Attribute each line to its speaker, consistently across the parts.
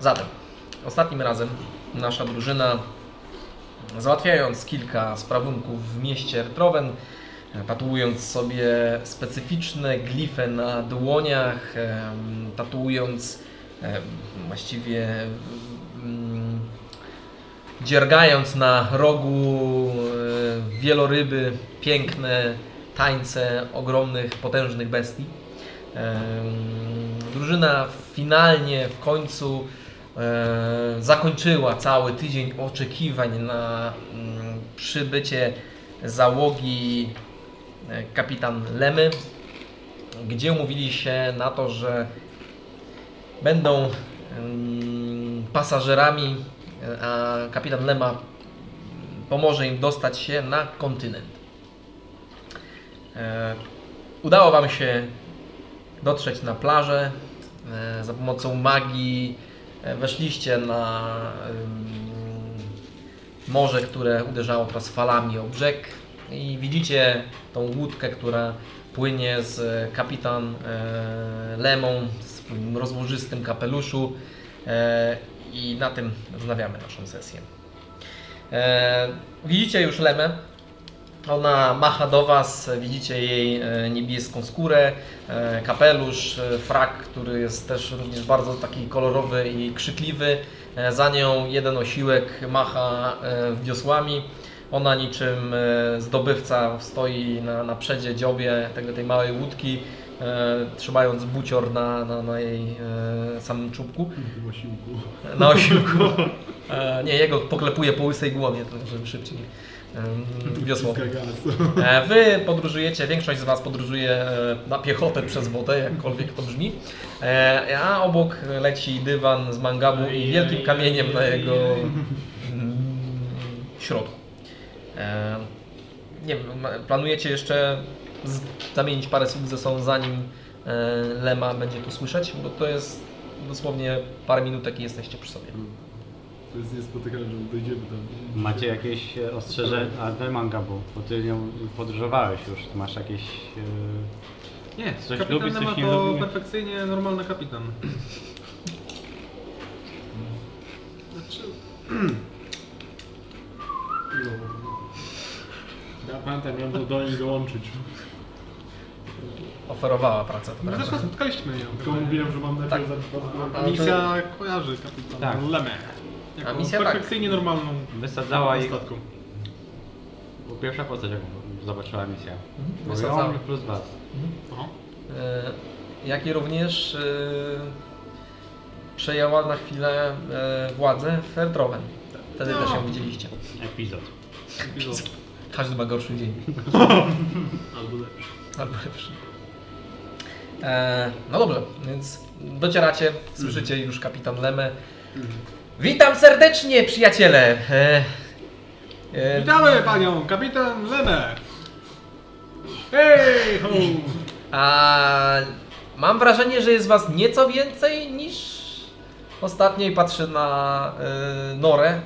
Speaker 1: Zatem, ostatnim razem nasza drużyna, załatwiając kilka sprawunków w mieście Ertrowen, tatuując sobie specyficzne glify na dłoniach, em, tatuując em, właściwie mm, dziergając na rogu e, wieloryby piękne tańce ogromnych, potężnych bestii. Em, Drużyna finalnie w końcu e, zakończyła cały tydzień oczekiwań na mm, przybycie załogi e, kapitan Lemy, gdzie umówili się na to, że będą em, pasażerami, e, a kapitan Lema pomoże im dostać się na kontynent. E, Udało Wam się dotrzeć na plażę e, za pomocą magii. e, Weszliście na em, morze, które uderzało teraz falami o brzeg i widzicie tą łódkę, która płynie z kapitan e, Lemą w swoim rozłożystym kapeluszu e, i na tym wznawiamy naszą sesję. E, Widzicie już Lemę. Ona macha do Was, widzicie jej e, niebieską skórę, e, kapelusz, e, frak, który jest też również bardzo taki kolorowy i krzykliwy. E, Za nią jeden osiłek macha e, wiosłami. Ona niczym e, zdobywca stoi na, na przedzie dziobie tego, tej małej łódki, e, trzymając bucior na, na, na jej e, samym czubku.
Speaker 2: Kurwa, siłku.
Speaker 1: Na osiłku. E, nie, jego poklepuje po łysej głowie, to żeby szybciej em, wiosło.
Speaker 2: Wciska gaz.
Speaker 1: E, Wy podróżujecie, większość z Was podróżuje e, na piechotę przez wodę, jakkolwiek to brzmi, E, a obok leci dywan z mangabu i wielkim kamieniem na jego mm, środku. E, Nie wiem, ma- planujecie jeszcze z- zamienić parę słów ze sobą, zanim e, Lema będzie tu słyszeć, bo to jest dosłownie parę minutek i jesteście przy sobie.
Speaker 2: To jest niespotykane, że dojdziemy tam.
Speaker 3: Macie jakieś e, ostrzeżenia? A ten manga był, bo ty nią podróżowałeś już. Masz jakieś. e,
Speaker 4: Nie,
Speaker 3: Coś
Speaker 4: kapitan
Speaker 3: lubi, coś
Speaker 4: Lema
Speaker 3: nie
Speaker 4: to
Speaker 3: lubi?
Speaker 4: perfekcyjnie normalny kapitan.
Speaker 2: Ja pamiętam, miałem to do niej dołączyć.
Speaker 1: Oferowała pracę, to
Speaker 4: No
Speaker 1: prawda.
Speaker 4: zresztą spotkaliśmy ją.
Speaker 2: Tylko mówiłem, że mam najpierw
Speaker 1: Tak.
Speaker 2: zacząć.
Speaker 4: A misja kojarzy kapitan
Speaker 3: Tak.
Speaker 4: Lemę. Jako
Speaker 1: A misja tak.
Speaker 4: perfekcyjnie normalną
Speaker 3: Wysadzała jej.
Speaker 4: statku.
Speaker 3: Bo Pierwsza postać, jaką zobaczyła misja.
Speaker 1: Mhm.
Speaker 3: Mówię,
Speaker 1: Wysadzała.
Speaker 3: o, plus was.
Speaker 4: Aha.
Speaker 1: E, jak i również e, przejęła na chwilę e, władzę w Erdrowen. Wtedy
Speaker 4: No.
Speaker 1: też ją widzieliście.
Speaker 3: Epizod.
Speaker 4: Epizod.
Speaker 1: Każdy ma gorszy dzień.
Speaker 4: Albo lepszy.
Speaker 1: Albo lepszy. E, no dobrze, więc docieracie,
Speaker 4: Mhm.
Speaker 1: słyszycie już kapitan Lemę. Witam serdecznie, przyjaciele! E, e,
Speaker 4: Witamy panią, kapitan Lemę! Hej, ho!
Speaker 1: A mam wrażenie, że jest was nieco więcej niż ostatniej patrzy na y, Norę.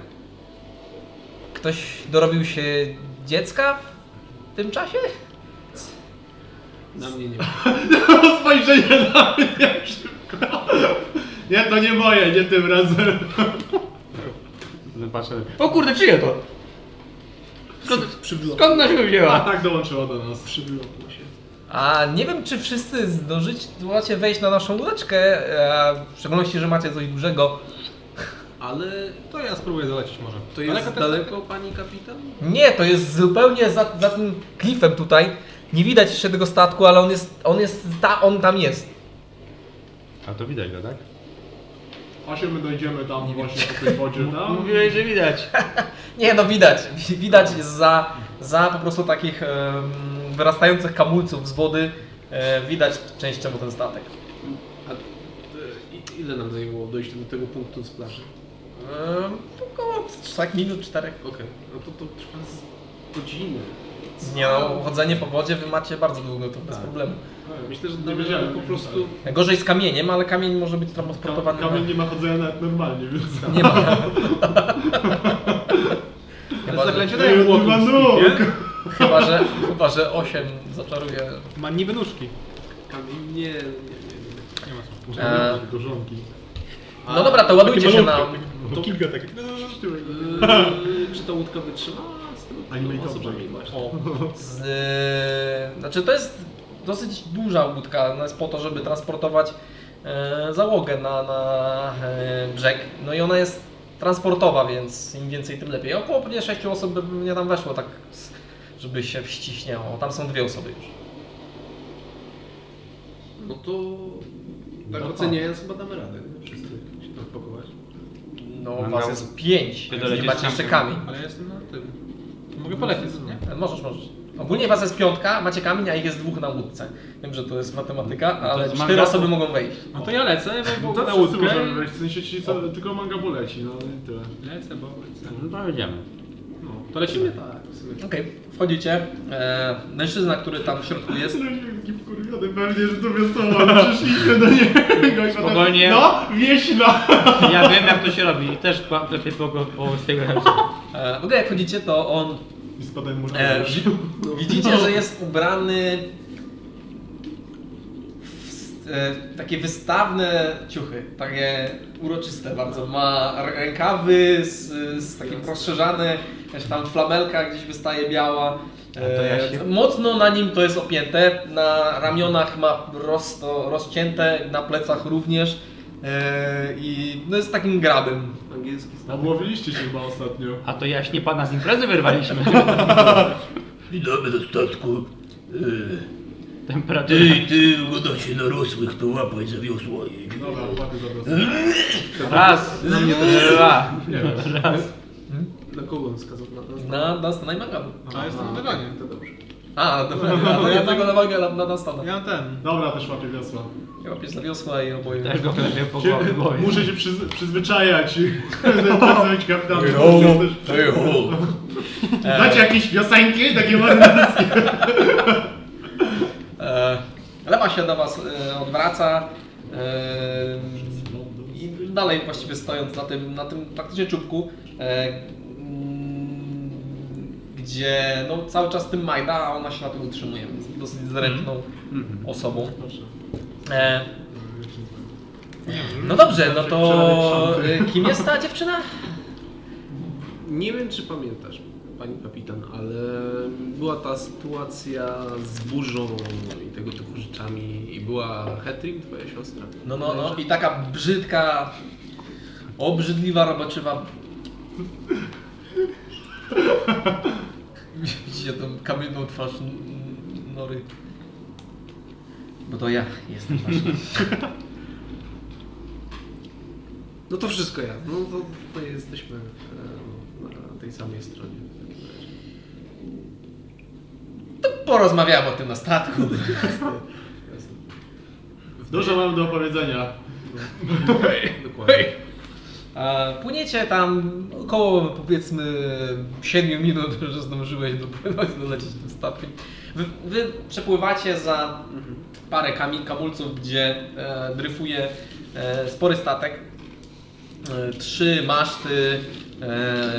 Speaker 1: Ktoś dorobił się dziecka w tym czasie?
Speaker 5: Na mnie nie.
Speaker 2: Spojrzenie na mnie szybko. Nie, to nie moje, nie tym razem.
Speaker 3: No Patrzę.
Speaker 5: O kurde, czyje to? Skąd,
Speaker 2: Przybyło.
Speaker 5: skąd ona się
Speaker 2: A
Speaker 5: wzięła?
Speaker 2: tak dołączyła do nas. Przybyło się.
Speaker 1: A nie wiem, czy wszyscy zdążycie wejść na naszą łódeczkę, a w szczególności, że macie coś dużego.
Speaker 5: Ale
Speaker 4: To ja spróbuję dolecieć może.
Speaker 5: to jest
Speaker 4: Daleko
Speaker 5: daleko, daleko pani kapitan?
Speaker 1: Nie, to jest zupełnie za, za tym klifem tutaj. Nie widać jeszcze tego statku, ale on jest, on jest, ta, on tam jest.
Speaker 3: A to widać go, tak?
Speaker 2: Właśnie my dojdziemy tam właśnie po tej wodzie
Speaker 3: No,
Speaker 2: tam.
Speaker 5: Mówiłeś, że widać.
Speaker 1: Nie, no widać. Wi- Widać za, za po prostu takich em, wyrastających kamulców z wody e, widać częściowo ten statek.
Speaker 5: A e, i- ile nam zajęło dojście do tego punktu z plaży?
Speaker 1: Em, Około 3 minut, 4.
Speaker 5: Okej, no to to trwa z godzinę.
Speaker 1: Nie no, chodzenie po wodzie wy macie bardzo długo, to bez
Speaker 5: Tak.
Speaker 1: problemu.
Speaker 5: Myślę, że
Speaker 2: Nie
Speaker 5: nam
Speaker 2: wiedziałem,
Speaker 5: po
Speaker 2: że
Speaker 5: prostu...
Speaker 1: Gorzej z kamieniem, ale kamień może być transportowany.
Speaker 2: Kamień nie ma chodzenia nawet normalnie, więc...
Speaker 1: na... nie ma.
Speaker 4: Ale
Speaker 1: chyba, że,
Speaker 4: zaklęcie daje
Speaker 2: Nie,
Speaker 4: łoku.
Speaker 2: ma nóg.
Speaker 1: chyba, że, chyba, że 8 zaczaruje.
Speaker 4: Ma niby nóżki.
Speaker 5: Kamień, nie, nie, nie. nie.
Speaker 4: Nie ma co.
Speaker 1: E,
Speaker 2: Muszę mieć gorzonki.
Speaker 5: A-
Speaker 1: No dobra, to ładujcie się na...
Speaker 4: To kilka takich.
Speaker 5: Yy, czy ta łódka wytrzyma z tymi
Speaker 4: Animator
Speaker 5: osobami
Speaker 4: Jack.
Speaker 5: właśnie?
Speaker 4: O,
Speaker 1: Z, yy, znaczy to jest dosyć duża łódka, ona jest po to, żeby transportować e, załogę na, na e, brzeg. No i ona jest transportowa, więc im więcej tym lepiej. Około pewnie 6 osób by mnie tam weszło, tak s- żeby się wściśniało. Tam są dwie osoby już.
Speaker 5: No to tak
Speaker 3: No
Speaker 5: oceniając chyba damy radę, nie? Wszyscy się tak pakować.
Speaker 1: No
Speaker 3: Mam
Speaker 1: was
Speaker 3: dał-
Speaker 1: jest pięć,
Speaker 3: Ty
Speaker 1: nie
Speaker 3: dolecisz
Speaker 1: macie
Speaker 3: tam
Speaker 1: jeszcze
Speaker 3: tym-
Speaker 1: kamień.
Speaker 4: ale ja jestem na tym. Mogę polecieć, nie?
Speaker 1: Możesz, możesz. Ogólnie was jest piątka, macie kamień, a ich jest dwóch na łódce. Wiem, że to jest matematyka,
Speaker 3: No to
Speaker 1: ale
Speaker 3: jest
Speaker 1: cztery
Speaker 3: manga.
Speaker 1: osoby mogą wejść.
Speaker 4: No to ja lecę, bo,
Speaker 2: No to
Speaker 4: bo na
Speaker 2: wszyscy
Speaker 4: łódkę.
Speaker 2: możemy wejść, w sensie ci co, tylko manga poleci, no i tyle.
Speaker 4: Lecę, bo lecę.
Speaker 3: No to idziemy.
Speaker 4: No, to
Speaker 5: W sumie
Speaker 4: lecimy.
Speaker 5: tak, w sumie.
Speaker 1: Okej, wchodzicie. E, mężczyzna, który tam w środku jest,
Speaker 2: Jakim kurwiony pewnie, że to wesoło, przyszliśmy do niego i potem,
Speaker 3: Spokojnie.
Speaker 2: no, wieśla!
Speaker 3: Ja wiem jak to się robi i też kłapię po, po swojego ręce.
Speaker 1: E, W ogóle jak wchodzicie, to on
Speaker 2: I spadaj mu
Speaker 1: e, wi widzicie, że jest ubrany w st- e, takie wystawne ciuchy, takie uroczyste bardzo. Ma r- rękawy z, z takim rozszerzane, jakaś tam flamelka gdzieś wystaje biała.
Speaker 3: A to ja
Speaker 1: E,
Speaker 3: się-
Speaker 1: Mocno na nim to jest opięte, na ramionach ma prosto rozcięte, na plecach również. E, I no jest takim grabem.
Speaker 5: Angielski stan.
Speaker 2: Obłowiliście się chyba ostatnio.
Speaker 3: A to jaśnie pana z imprezy wyrwaliśmy.
Speaker 6: Witamy do statku.
Speaker 7: e,
Speaker 3: Temperatura.
Speaker 6: Ty, ty, uda się narosłych, to łapaj za wiosła. i-
Speaker 2: Dobra, łapy za wiosło.
Speaker 3: Raz, dwa.
Speaker 2: Nie wiem.
Speaker 5: Na kogo on skazał? Na, na,
Speaker 1: Na, na, na Najmangabu.
Speaker 4: A jestem na wyganie.
Speaker 5: To dobrze.
Speaker 1: A, dobra, a to ja tego na wagę na, na nastanę.
Speaker 4: Ja mam ten.
Speaker 2: Dobra, też łapię wiosła.
Speaker 1: Ja łapię za wiosła i oboje.
Speaker 3: Też go klepię po
Speaker 2: Się,
Speaker 3: głowie. boję.
Speaker 2: muszę się przyz, przyzwyczajać. Pracować kapitanem. Dacie jakieś piosenki takie ładne?
Speaker 1: E, lewa się do was e, odwraca. E,
Speaker 2: No,
Speaker 1: I dalej właściwie stojąc na tym, na tym praktycznie czubku, e, mm, gdzie no, cały czas tym majda, a ona się na tym utrzymuje, więc jest dosyć zręczną osobą. E, no dobrze, no to e, kim jest ta dziewczyna?
Speaker 5: Nie wiem, czy pamiętasz, pani kapitan, ale była ta sytuacja z burzą i tego typu rzeczami i była Hetrim, twoja siostra.
Speaker 1: No, no, no. I taka brzydka, obrzydliwa, robaczywa. Widzicie tą kamienną twarz n- n- Nory. Bo to ja jestem ważny.
Speaker 5: No to wszystko ja. No to tutaj jesteśmy em, na tej samej stronie. w takim razie.
Speaker 1: To porozmawiamy o tym na statku.
Speaker 5: Jasne.
Speaker 2: Dużo mam do opowiedzenia.
Speaker 5: Dokładnie.
Speaker 1: A płyniecie tam około powiedzmy 7 minut, że zdążyłeś dopłynąć, dolecieć tym statkiem. Wy, wy przepływacie za parę kamień kamulców, gdzie e, dryfuje e, spory statek. E, trzy maszty e,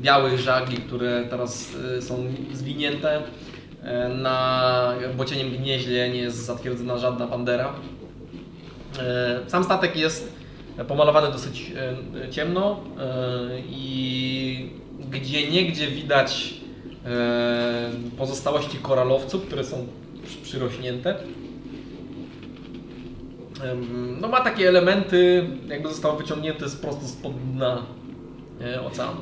Speaker 1: białych żagli, które teraz e, są zwinięte. E, na bocieniem gnieździe nie jest zatwierdzona żadna bandera. E, Sam statek jest pomalowany dosyć e, ciemno e, i gdzie niegdzie widać e, pozostałości koralowców, które są przy- przyrośnięte. Em, No ma takie elementy, jakby został wyciągnięty z prosto spod dna e, oceanu.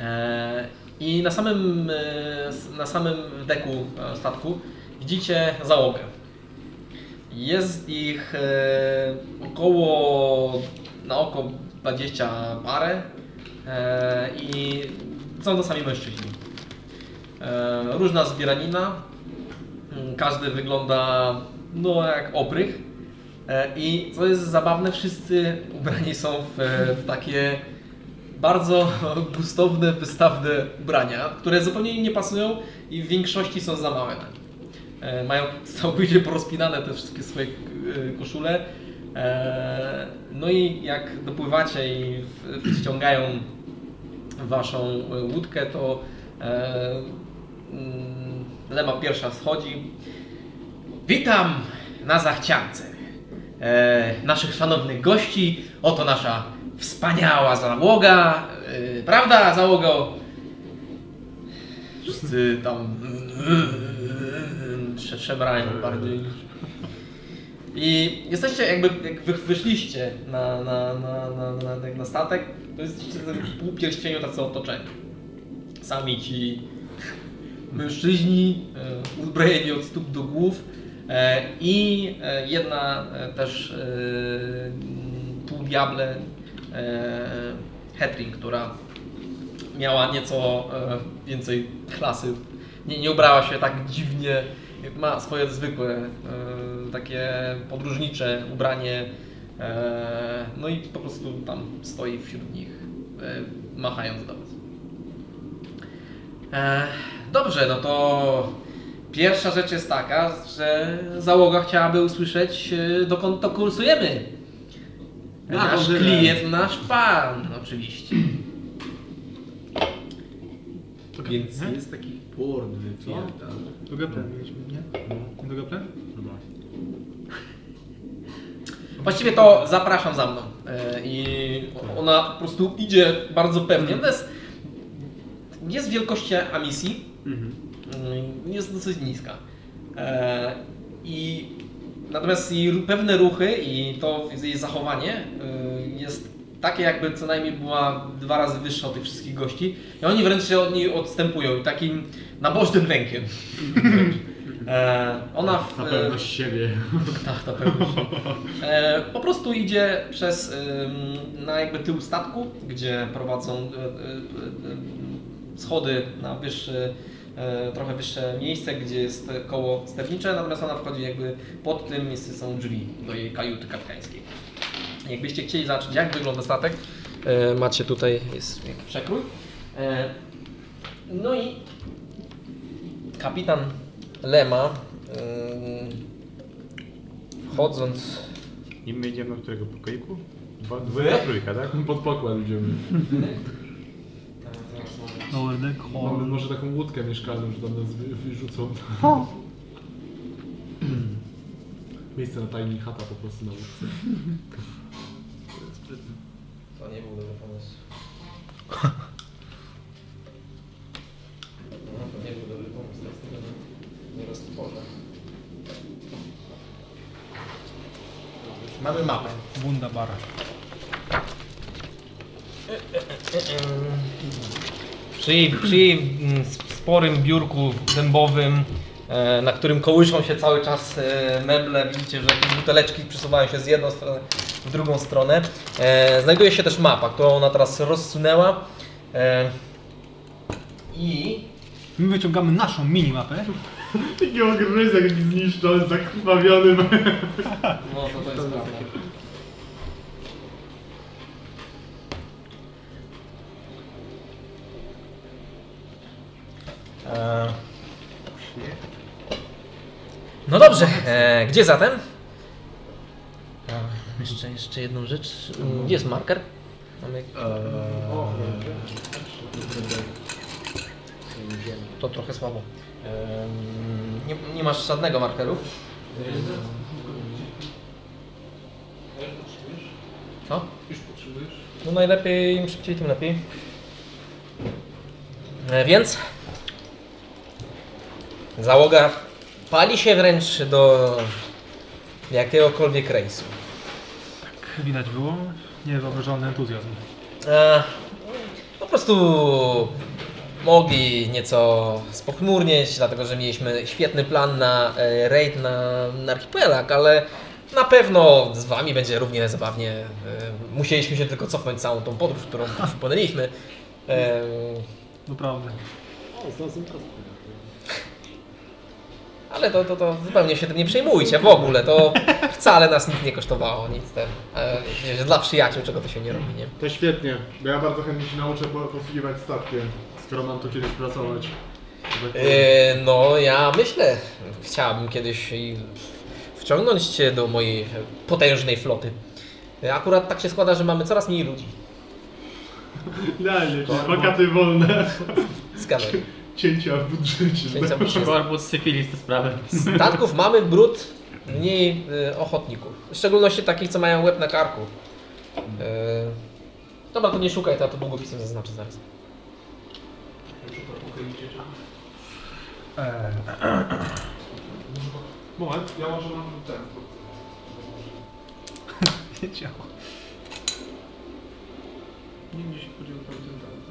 Speaker 1: E, I na samym, e, s- na samym deku e, statku widzicie załogę. Jest ich e, około na oko 20 parę e, i są to sami mężczyźni. E, różna zbieranina, Mm, każdy wygląda no jak oprych e, i co jest zabawne, wszyscy ubrani są w, e, w takie bardzo gustowne, wystawne ubrania, które zupełnie im nie pasują i w większości są za małe na nich. E, Mają całkowicie porozpinane te wszystkie swoje e, koszule. E, No i jak dopływacie i w- wciągają waszą e, łódkę, to e, mm, Lema pierwsza schodzi. Witam na zachciance. E, e, naszych szanownych gości. Oto nasza wspaniała załoga, e, prawda załogo? Wszyscy tam mm, trze- szemrają bardziej. I jesteście jakby, jak wy, wyszliście na, na, na, na, na, na statek, to jesteście w takim półpierścieniu tacy otoczeni. Sami ci mężczyźni e, uzbrojeni od stóp do głów e, i e, jedna e, też e, mm, półdiable e, Hetring, która miała nieco e, więcej klasy, nie, nie ubrała się tak dziwnie, ma swoje zwykłe e, takie podróżnicze ubranie, e, no i po prostu tam stoi wśród nich, e, machając do was. E, dobrze, no to pierwsza rzecz jest taka, że załoga chciałaby usłyszeć, e, dokąd to kursujemy.
Speaker 4: Na
Speaker 1: nasz
Speaker 4: Wągierę.
Speaker 1: klient, nasz pan, oczywiście.
Speaker 5: Więc jest taki port wypierdal.
Speaker 4: Do Geplen mieliśmy, nie? Nie do Geplen?
Speaker 1: Właściwie to zapraszam za mną. E, I ona po prostu idzie bardzo pewnie.
Speaker 2: Mhm.
Speaker 1: Ona jest, jest wielkości emisji.
Speaker 2: Mhm.
Speaker 1: Mm, Jest dosyć niska. E, I natomiast jej ru- pewne ruchy i to jej zachowanie e, jest takie, jakby co najmniej była dwa razy wyższa od tych wszystkich gości. I oni wręcz się od niej odstępują i takim nabożnym lękiem. E, ona w,
Speaker 2: Mhm. Na pewno siebie.
Speaker 1: tak, na pewno. E, po prostu idzie przez ym, na jakby tył statku, gdzie prowadzą e, e, e, schody na wyższy, e, trochę wyższe miejsce, gdzie jest koło sternicze, natomiast ona wchodzi jakby pod tym miejsce są drzwi do jej kajuty kapitańskiej. Jakbyście chcieli zobaczyć, jak wygląda statek, e, macie tutaj jest jakiś przekrój. E, no i kapitan Lema. ym, Wchodząc.
Speaker 3: I my idziemy do którego pokoiku? Dwa, dwójka, trójka, tak?
Speaker 2: Pod pokład idziemy. Mamy może taką łódkę mieszkalną, że tam nas wy- wyrzucą. Miejsce na tajni chata po prostu na łódce.
Speaker 1: To nie był dobry pomysł. No, to nie był dobry pomysł, teraz tego nie- nie roztworzę. Mamy mapę.
Speaker 4: Bunda bara.
Speaker 1: Przy jej, przy jej mm, sp- sporym biurku dębowym, e, na którym kołyszą się cały czas e, meble, widzicie, że jakieś buteleczki przesuwają się z jedną strony w drugą stronę. E, Znajduje się też mapa, którą ona teraz rozsunęła. E, I
Speaker 4: My wyciągamy naszą minimapę.
Speaker 2: Taki ogryzek zniszczony, zakrwawiony.
Speaker 1: No to, to jest prawda. E, No dobrze, e, gdzie zatem? E, Jeszcze, jeszcze jedną rzecz. Mm, Gdzie jest marker? Mamy, to trochę słabo. Em, Nie, nie masz żadnego markeru? Co?
Speaker 5: Już potrzebujesz?
Speaker 1: No najlepiej, im szybciej, tym lepiej. E, Więc załoga pali się wręcz do jakiegokolwiek rejsu.
Speaker 4: Widać było niewyobrażalny entuzjazm.
Speaker 1: E, Po prostu mogli nieco spochmurnieć, dlatego że mieliśmy świetny plan na e, raid na, na archipelag, ale na pewno z wami będzie równie zabawnie. E, Musieliśmy się tylko cofnąć całą tą podróż, którą już podjęliśmy. E,
Speaker 4: Doprawdy.
Speaker 1: Ale to, to, to zupełnie się tym nie przejmujcie w ogóle. To wcale nas nic nie kosztowało, nic ten. E, wiecie, Dla przyjaciół czego to się nie robi, nie?
Speaker 2: To świetnie, bo ja bardzo chętnie się nauczę po- posługiwać statkiem, skoro mam tu kiedyś pracować. Tak powiem.
Speaker 1: E, no ja myślę, chciałabym kiedyś i wciągnąć cię do mojej potężnej floty. E, Akurat tak się składa, że mamy coraz mniej ludzi.
Speaker 2: Idealnie, czyli wakaty wolne,
Speaker 1: Zgadzam. się.
Speaker 2: cięcia w budżecie.
Speaker 1: Więc ja muszę-
Speaker 3: Korbus syfilis te sprawy.
Speaker 1: Statków mamy brud mniej y, ochotników. W szczególności takich, co mają łeb na karku. Y, dobra, to nie szukaj, to ja to długopisem zaznaczę zaraz.
Speaker 4: Eee,
Speaker 2: Moment, ja może mam ten.
Speaker 4: wiedział.
Speaker 2: Nie wiem, gdzie się podzielił tamten dalej.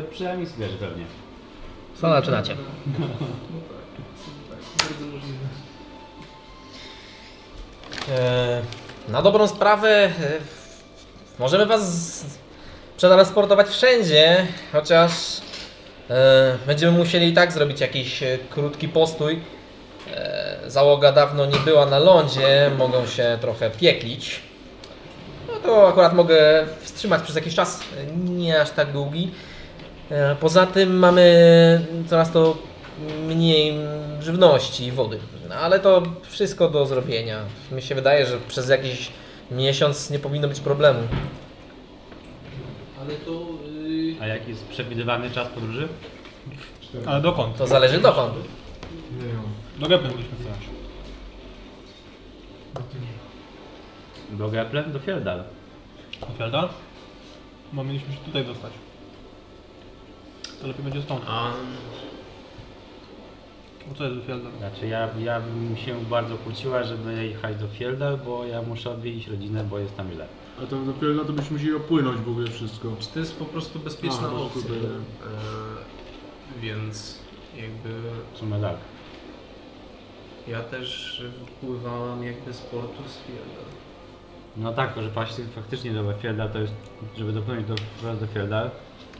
Speaker 3: E, przynajmniej zbierze pewnie.
Speaker 1: Co zaczynacie?
Speaker 2: No tak, no tak, bardzo możliwe.
Speaker 1: E, Na dobrą sprawę e, możemy Was z- przetransportować wszędzie, chociaż e, będziemy musieli i tak zrobić jakiś e, krótki postój. E, Załoga dawno nie była na lądzie, mogą się trochę pieklić. No to akurat mogę wstrzymać przez jakiś czas, e, nie aż tak długi. E, Poza tym mamy coraz to mniej żywności i wody, No, ale to wszystko do zrobienia. Mi się wydaje, że przez jakiś miesiąc nie powinno być problemu.
Speaker 5: Ale to... Yy,
Speaker 3: A jaki jest przewidywany czas podróży?
Speaker 4: Ale dokąd?
Speaker 1: To zależy dokąd.
Speaker 2: Nie wiem.
Speaker 4: Do gepy byśmy wziąć.
Speaker 3: Do Geplem, do Fjeldal.
Speaker 4: Ofiarda? Bo mieliśmy się tutaj dostać. To lepiej będzie stąd.
Speaker 5: a...
Speaker 4: Bo co jest Ofiarda?
Speaker 3: Znaczy ja, ja bym się bardzo kłóciła, żeby jechać do Fjeldal, bo ja muszę odwiedzić rodzinę, bo jest tam źle.
Speaker 2: A to dopiero na to byśmy musieli opłynąć w ogóle wszystko.
Speaker 5: Czy to jest po prostu bezpieczna
Speaker 2: Aha, no,
Speaker 5: opcja?
Speaker 2: kurde.
Speaker 5: E, więc jakby
Speaker 3: W sumie tak.
Speaker 5: ja też wpływałam jakby z portu z Fielda.
Speaker 3: No tak, że faktycznie, faktycznie do Fjeldal to jest, żeby dopłynąć do, wprost do Fjeldal,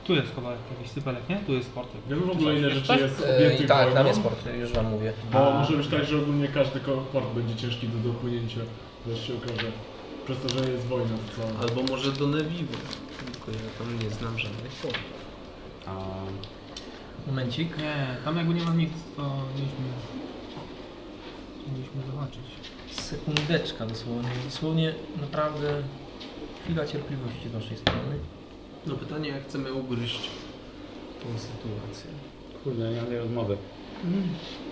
Speaker 4: Tu jest chyba jakiś sypelek, nie? Tu jest porty.
Speaker 2: Ja w ogóle ile rzeczy
Speaker 4: Tak?
Speaker 2: jest
Speaker 1: E, I
Speaker 2: objętych
Speaker 1: tak, tam
Speaker 2: wojną?
Speaker 1: jest port, już Wam mówię.
Speaker 2: Bo może być tak, że ogólnie każdy ko- port będzie ciężki do dopłynięcia. Zaś się okaże. Przez to, że jest wojna cała.
Speaker 5: Albo może do Nevivo. Tylko ja tam nie znam żadnych portów.
Speaker 3: a
Speaker 1: Momencik.
Speaker 4: Nie, tam jakby nie ma nic, to mieliśmy... Mieliśmy zobaczyć.
Speaker 1: Sekundeczka dosłownie. Dosłownie naprawdę chwila cierpliwości z Waszej strony.
Speaker 5: No pytanie, jak chcemy ugryźć tą sytuację.
Speaker 3: kurde, nie mam tej rozmowy.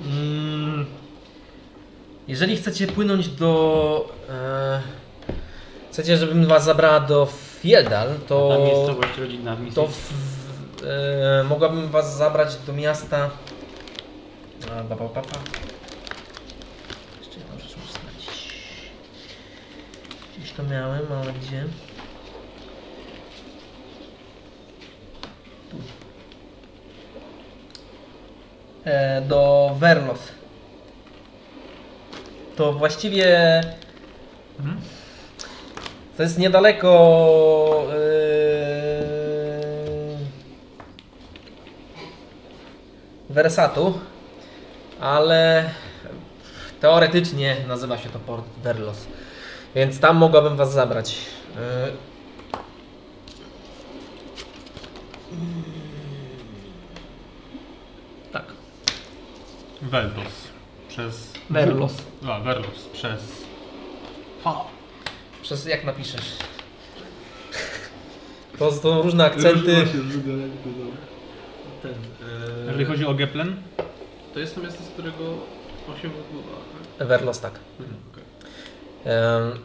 Speaker 1: Mm, Jeżeli chcecie płynąć do... E, chcecie, żebym Was zabrała do Fjeldal, to...
Speaker 3: Tam jest całość rodzina w misji.
Speaker 1: To w, w- e, mogłabym was zabrać do miasta. A, ba, ba, ba, ba. Jeszcze jedną rzecz muszę znać. Gdzieś to miałem, ale gdzie? Tu. E, do Verlos. To właściwie
Speaker 4: Mhm.
Speaker 1: to jest niedaleko. Yy... Versatu, ale teoretycznie nazywa się to Port Verlos. Więc tam mogłabym was zabrać. Yy, Tak.
Speaker 4: Veldos. Przez...
Speaker 1: Verlos.
Speaker 4: A, Verlos. Przez... V.
Speaker 1: Przez jak napiszesz? To są różne akcenty.
Speaker 2: Różne się zgadza, jak to dobra.
Speaker 5: Ten,
Speaker 4: Jeżeli
Speaker 5: e,
Speaker 4: chodzi o Geplen,
Speaker 5: to jest to miasto, z którego osiem wypływa, tak?
Speaker 1: Verlos, tak.
Speaker 5: Mhm, okej.
Speaker 1: Em,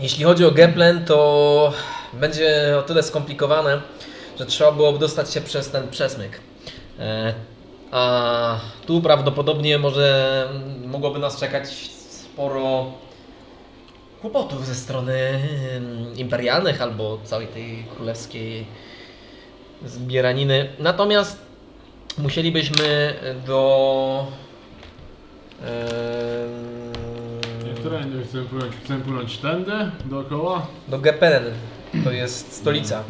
Speaker 1: Jeśli chodzi o Geplen, to będzie o tyle skomplikowane, że trzeba było dostać się przez ten przesmyk. E, A tu prawdopodobnie może mogłoby nas czekać sporo kłopotów ze strony em, imperialnych albo całej tej królewskiej zbieraniny. Natomiast musielibyśmy do. em,
Speaker 2: Nie, którędy chcemy płynąć? Chcemy płynąć tędy, dookoła?
Speaker 1: do Gepen, No to jest stolica.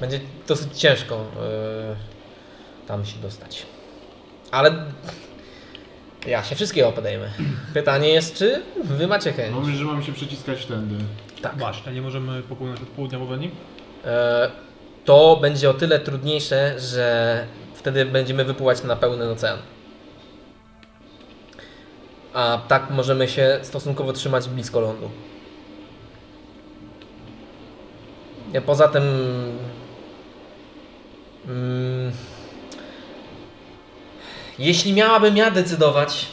Speaker 1: Będzie dosyć ciężko y, tam się dostać. Ale ja się wszystkiego podejmę. Pytanie jest, czy wy macie chęć?
Speaker 2: No mówisz, że mamy się przeciskać tędy.
Speaker 1: Tak.
Speaker 4: właśnie, nie możemy popłynąć od południa w nim.
Speaker 1: E, to będzie o tyle trudniejsze, że wtedy będziemy wypływać na pełny ocean. A tak możemy się stosunkowo trzymać blisko lądu. E, Poza tym. Mm, Jeśli miałabym ja decydować,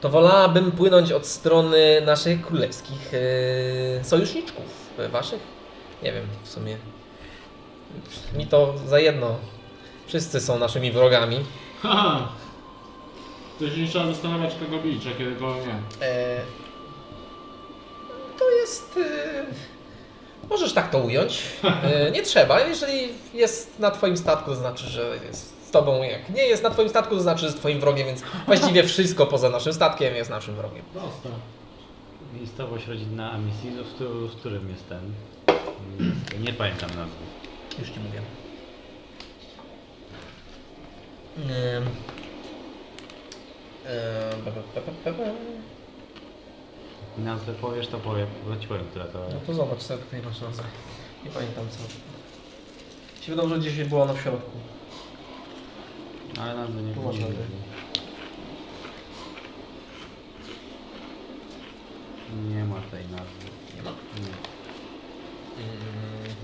Speaker 1: to wolałabym płynąć od strony naszych królewskich e, sojuszniczków, e, waszych. Nie wiem, w sumie. Mi to za jedno. Wszyscy są naszymi wrogami.
Speaker 2: Haha! To się nie trzeba zastanawiać, kogo bić, a kogo nie.
Speaker 1: E, to jest. E, możesz tak to ująć. E, nie trzeba. Jeżeli jest na Twoim statku, to znaczy, że jest z Tobą. Jak nie jest na Twoim statku, to znaczy, że jest Twoim wrogiem, więc właściwie wszystko poza naszym statkiem jest naszym wrogiem.
Speaker 2: Proste.
Speaker 3: Miejscowość rodzinna Amici, no w, któ- w którym jest ten? Nie pamiętam nazwy.
Speaker 1: Już Ci mówię.
Speaker 3: Nazwę powiesz, to powiem, bo ci powiem, która to...
Speaker 1: No to zobacz sobie tutaj masz nazwę. Nie pamiętam co. Się wydało, że gdzieś było na środku.
Speaker 3: Ale nazwy nie
Speaker 1: Tu masz
Speaker 3: pamiętam.
Speaker 1: nazwę.
Speaker 3: Nie ma tej nazwy.
Speaker 1: Nie ma?
Speaker 3: Nie.
Speaker 1: Mm.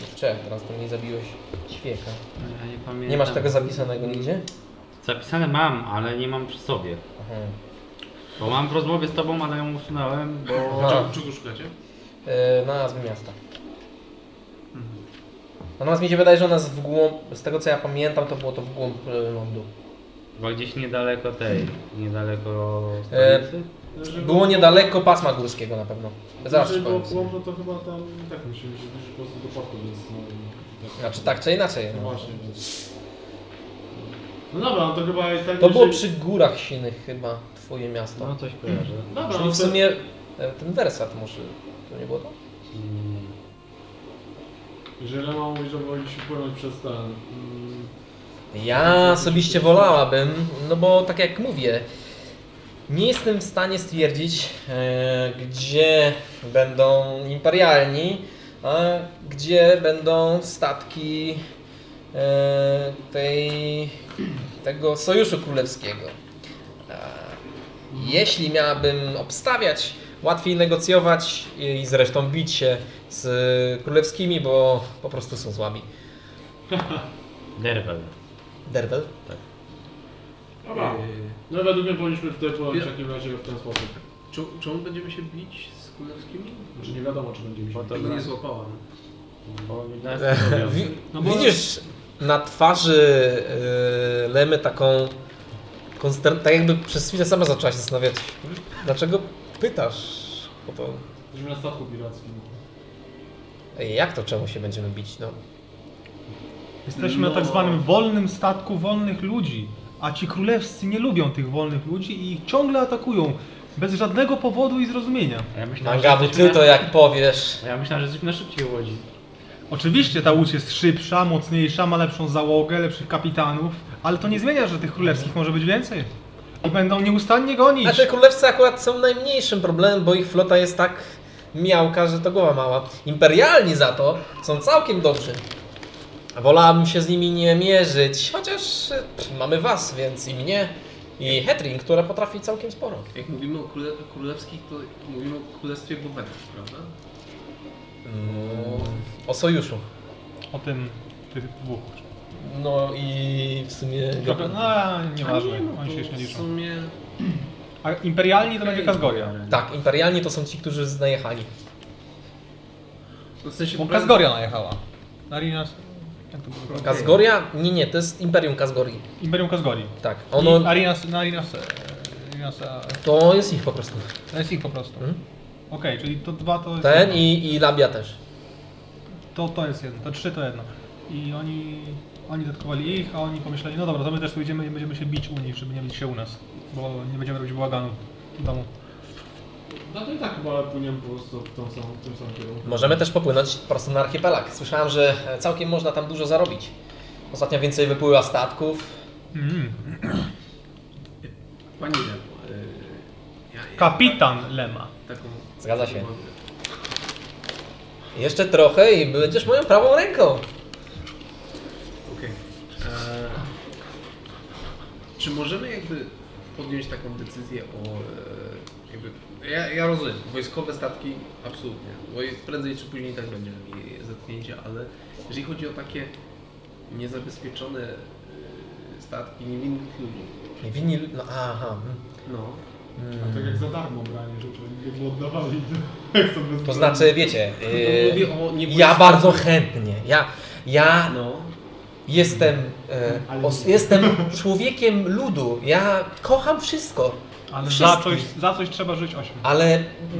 Speaker 1: Kurczę, teraz to mnie zabiłeś ćwieka.
Speaker 3: Ja nie pamiętam.
Speaker 1: Nie masz tego zapisanego nigdzie?
Speaker 3: Zapisane mam, ale nie mam przy sobie.
Speaker 1: Aha.
Speaker 3: Bo mam w rozmowie z tobą, ale ją usunąłem, bo...
Speaker 1: Aha.
Speaker 5: Czego szukacie?
Speaker 1: Yy, na nazwie miasta. Natomiast mi się wydaje, że ona jest w głąb, z tego co ja pamiętam, to było to w głąb e, lądu.
Speaker 3: Bo gdzieś niedaleko tej, niedaleko
Speaker 1: E,
Speaker 3: stolicy.
Speaker 2: Żeby-
Speaker 1: Było niedaleko pasma górskiego na pewno. Zaraz ci
Speaker 2: Jeżeli było
Speaker 1: powiem.
Speaker 2: płomno, to chyba tam i tak musimy się zbliżyć po prostu do portu, więc no...
Speaker 1: Znaczy tak czy inaczej.
Speaker 2: No
Speaker 1: No.
Speaker 2: właśnie, więc... No dobra, no to chyba i tak...
Speaker 1: To było
Speaker 2: jeżeli-
Speaker 1: przy górach sinych chyba twoje
Speaker 3: No
Speaker 1: miasto.
Speaker 3: coś kojarzę.
Speaker 2: Dobra,
Speaker 1: Czyli
Speaker 2: no
Speaker 1: w
Speaker 2: to-
Speaker 1: sumie e, ten wersat może. To nie było to?
Speaker 3: Mm.
Speaker 2: Jeżeli mam mówić, że mogliśmy płynąć przez ten... mm,
Speaker 1: Ja osobiście wolałabym, no bo tak jak mówię, nie jestem w stanie stwierdzić, e, gdzie będą imperialni, a gdzie będą statki e, tej, tego Sojuszu Królewskiego. E, Jeśli miałabym obstawiać, łatwiej negocjować i zresztą bić się z królewskimi, bo po prostu są słabi.
Speaker 3: Derwel.
Speaker 1: Derwel?
Speaker 2: Dobra,
Speaker 5: Yy,
Speaker 2: no według mnie powinniśmy tutaj płynąć w
Speaker 5: Ja-
Speaker 2: takim razie w ten sposób.
Speaker 5: Czy, czemu będziemy się bić z królewskimi?
Speaker 2: Znaczy nie wiadomo, czy będzie mi się...
Speaker 3: Bo to-
Speaker 5: Tego
Speaker 3: Dobra.
Speaker 5: nie złapałem.
Speaker 3: Bo nas nie
Speaker 1: E, Wi-
Speaker 4: No bo-
Speaker 1: Widzisz na twarzy yy, Lemy taką konsternację, tak jakby przez chwilę sama zaczęła się zastanawiać, dlaczego pytasz o to,
Speaker 2: Jesteśmy na statku pirackim.
Speaker 1: Ej, jak to czemu się będziemy bić, no.
Speaker 4: Jesteśmy na tak
Speaker 5: No.
Speaker 4: zwanym wolnym statku wolnych ludzi, a ci królewscy nie lubią tych wolnych ludzi i ich ciągle atakują bez żadnego powodu i zrozumienia.
Speaker 3: Ja myślałem, że
Speaker 1: Mangabu, ty
Speaker 3: jesteśmy-
Speaker 1: to jak powiesz.
Speaker 3: Ja myślałem, że jesteśmy na szybciej łodzi.
Speaker 4: Oczywiście ta łódź jest szybsza, mocniejsza, ma lepszą załogę, lepszych kapitanów, ale to nie zmienia, że tych królewskich może być więcej. I będą nieustannie gonić.
Speaker 1: A te Znaczy, królewcy akurat są najmniejszym problemem, bo ich flota jest tak miałka, że to głowa mała. Imperialni za to są całkiem dobrzy. Wolałabym się z nimi nie mierzyć, chociaż y, pff, mamy was, więc i mnie, i Hetrin, która potrafi całkiem sporo.
Speaker 5: Jak mówimy o króle, królewskich, to mówimy o królestwie bobetów, prawda?
Speaker 1: O sojuszu.
Speaker 4: O tym tych dwóch.
Speaker 1: No i w sumie.
Speaker 4: No, nieważne,
Speaker 5: A nie, no
Speaker 4: oni się
Speaker 5: to
Speaker 4: jeszcze nie
Speaker 5: W
Speaker 4: liczą.
Speaker 5: sumie...
Speaker 4: A imperialni to będzie Kazgoria.
Speaker 1: Tak, imperialni to są ci, którzy najechali.
Speaker 5: No w sensie...
Speaker 4: Bo
Speaker 5: prawie-
Speaker 4: Kazgoria najechała. Narinas. Jak to było?
Speaker 1: Kazgoria? Nie, nie, to jest Imperium Kazgorii.
Speaker 4: Imperium Kazgorii.
Speaker 1: Tak,
Speaker 4: Ono...
Speaker 1: ono.
Speaker 4: Arinas, na Arinas, e, Arinas, e,
Speaker 1: To jest ich po prostu.
Speaker 4: to jest ich po prostu.
Speaker 1: Mhm.
Speaker 4: Okej, czyli to dwa to jest
Speaker 1: Ten
Speaker 4: jedno.
Speaker 1: i, i Labia też.
Speaker 4: To, to jest jedno, to trzy to jedno. I oni, oni zatkowali ich, a oni pomyśleli, no dobra, to my też tu idziemy i będziemy się bić u nich, żeby nie bić się u nas. Bo nie będziemy robić bałaganu w domu.
Speaker 2: No to i tak chyba płyniemy po prostu w tą samą, w tym samym kierunku.
Speaker 1: Możemy też popłynąć prosto na archipelag. Słyszałem, że e, całkiem można tam dużo zarobić. Ostatnio więcej wypływa statków.
Speaker 4: Mm.
Speaker 5: Pani Lemo, yy, ja, ja
Speaker 4: Kapitan Lema.
Speaker 5: taką...
Speaker 1: Zgadza się. Jeszcze trochę i będziesz moją prawą ręką.
Speaker 5: Okej. E, Czy możemy jakby podjąć taką decyzję o... e, Jakby, ja, ja rozumiem, wojskowe statki absolutnie. Bo i prędzej czy później tak będzie mieli zetknięcie, ale jeżeli chodzi o takie niezabezpieczone y, statki niewinnych ludzi.
Speaker 1: Winni... No, aha. mm.
Speaker 5: No.
Speaker 2: A tak jak za darmo branie rzeczy, jakby oddawali, jak są bez
Speaker 1: To znaczy, wiecie,
Speaker 5: No,
Speaker 1: yy,
Speaker 5: mówię o niebezpiecznych-
Speaker 1: ja bardzo chętnie. Ja, ja
Speaker 5: No.
Speaker 1: jestem, e,
Speaker 2: Ale-
Speaker 1: os, jestem człowiekiem ludu. Ja kocham wszystko.
Speaker 4: Ale za
Speaker 1: Wszystkich.
Speaker 4: coś, za coś trzeba żyć 8.
Speaker 1: Ale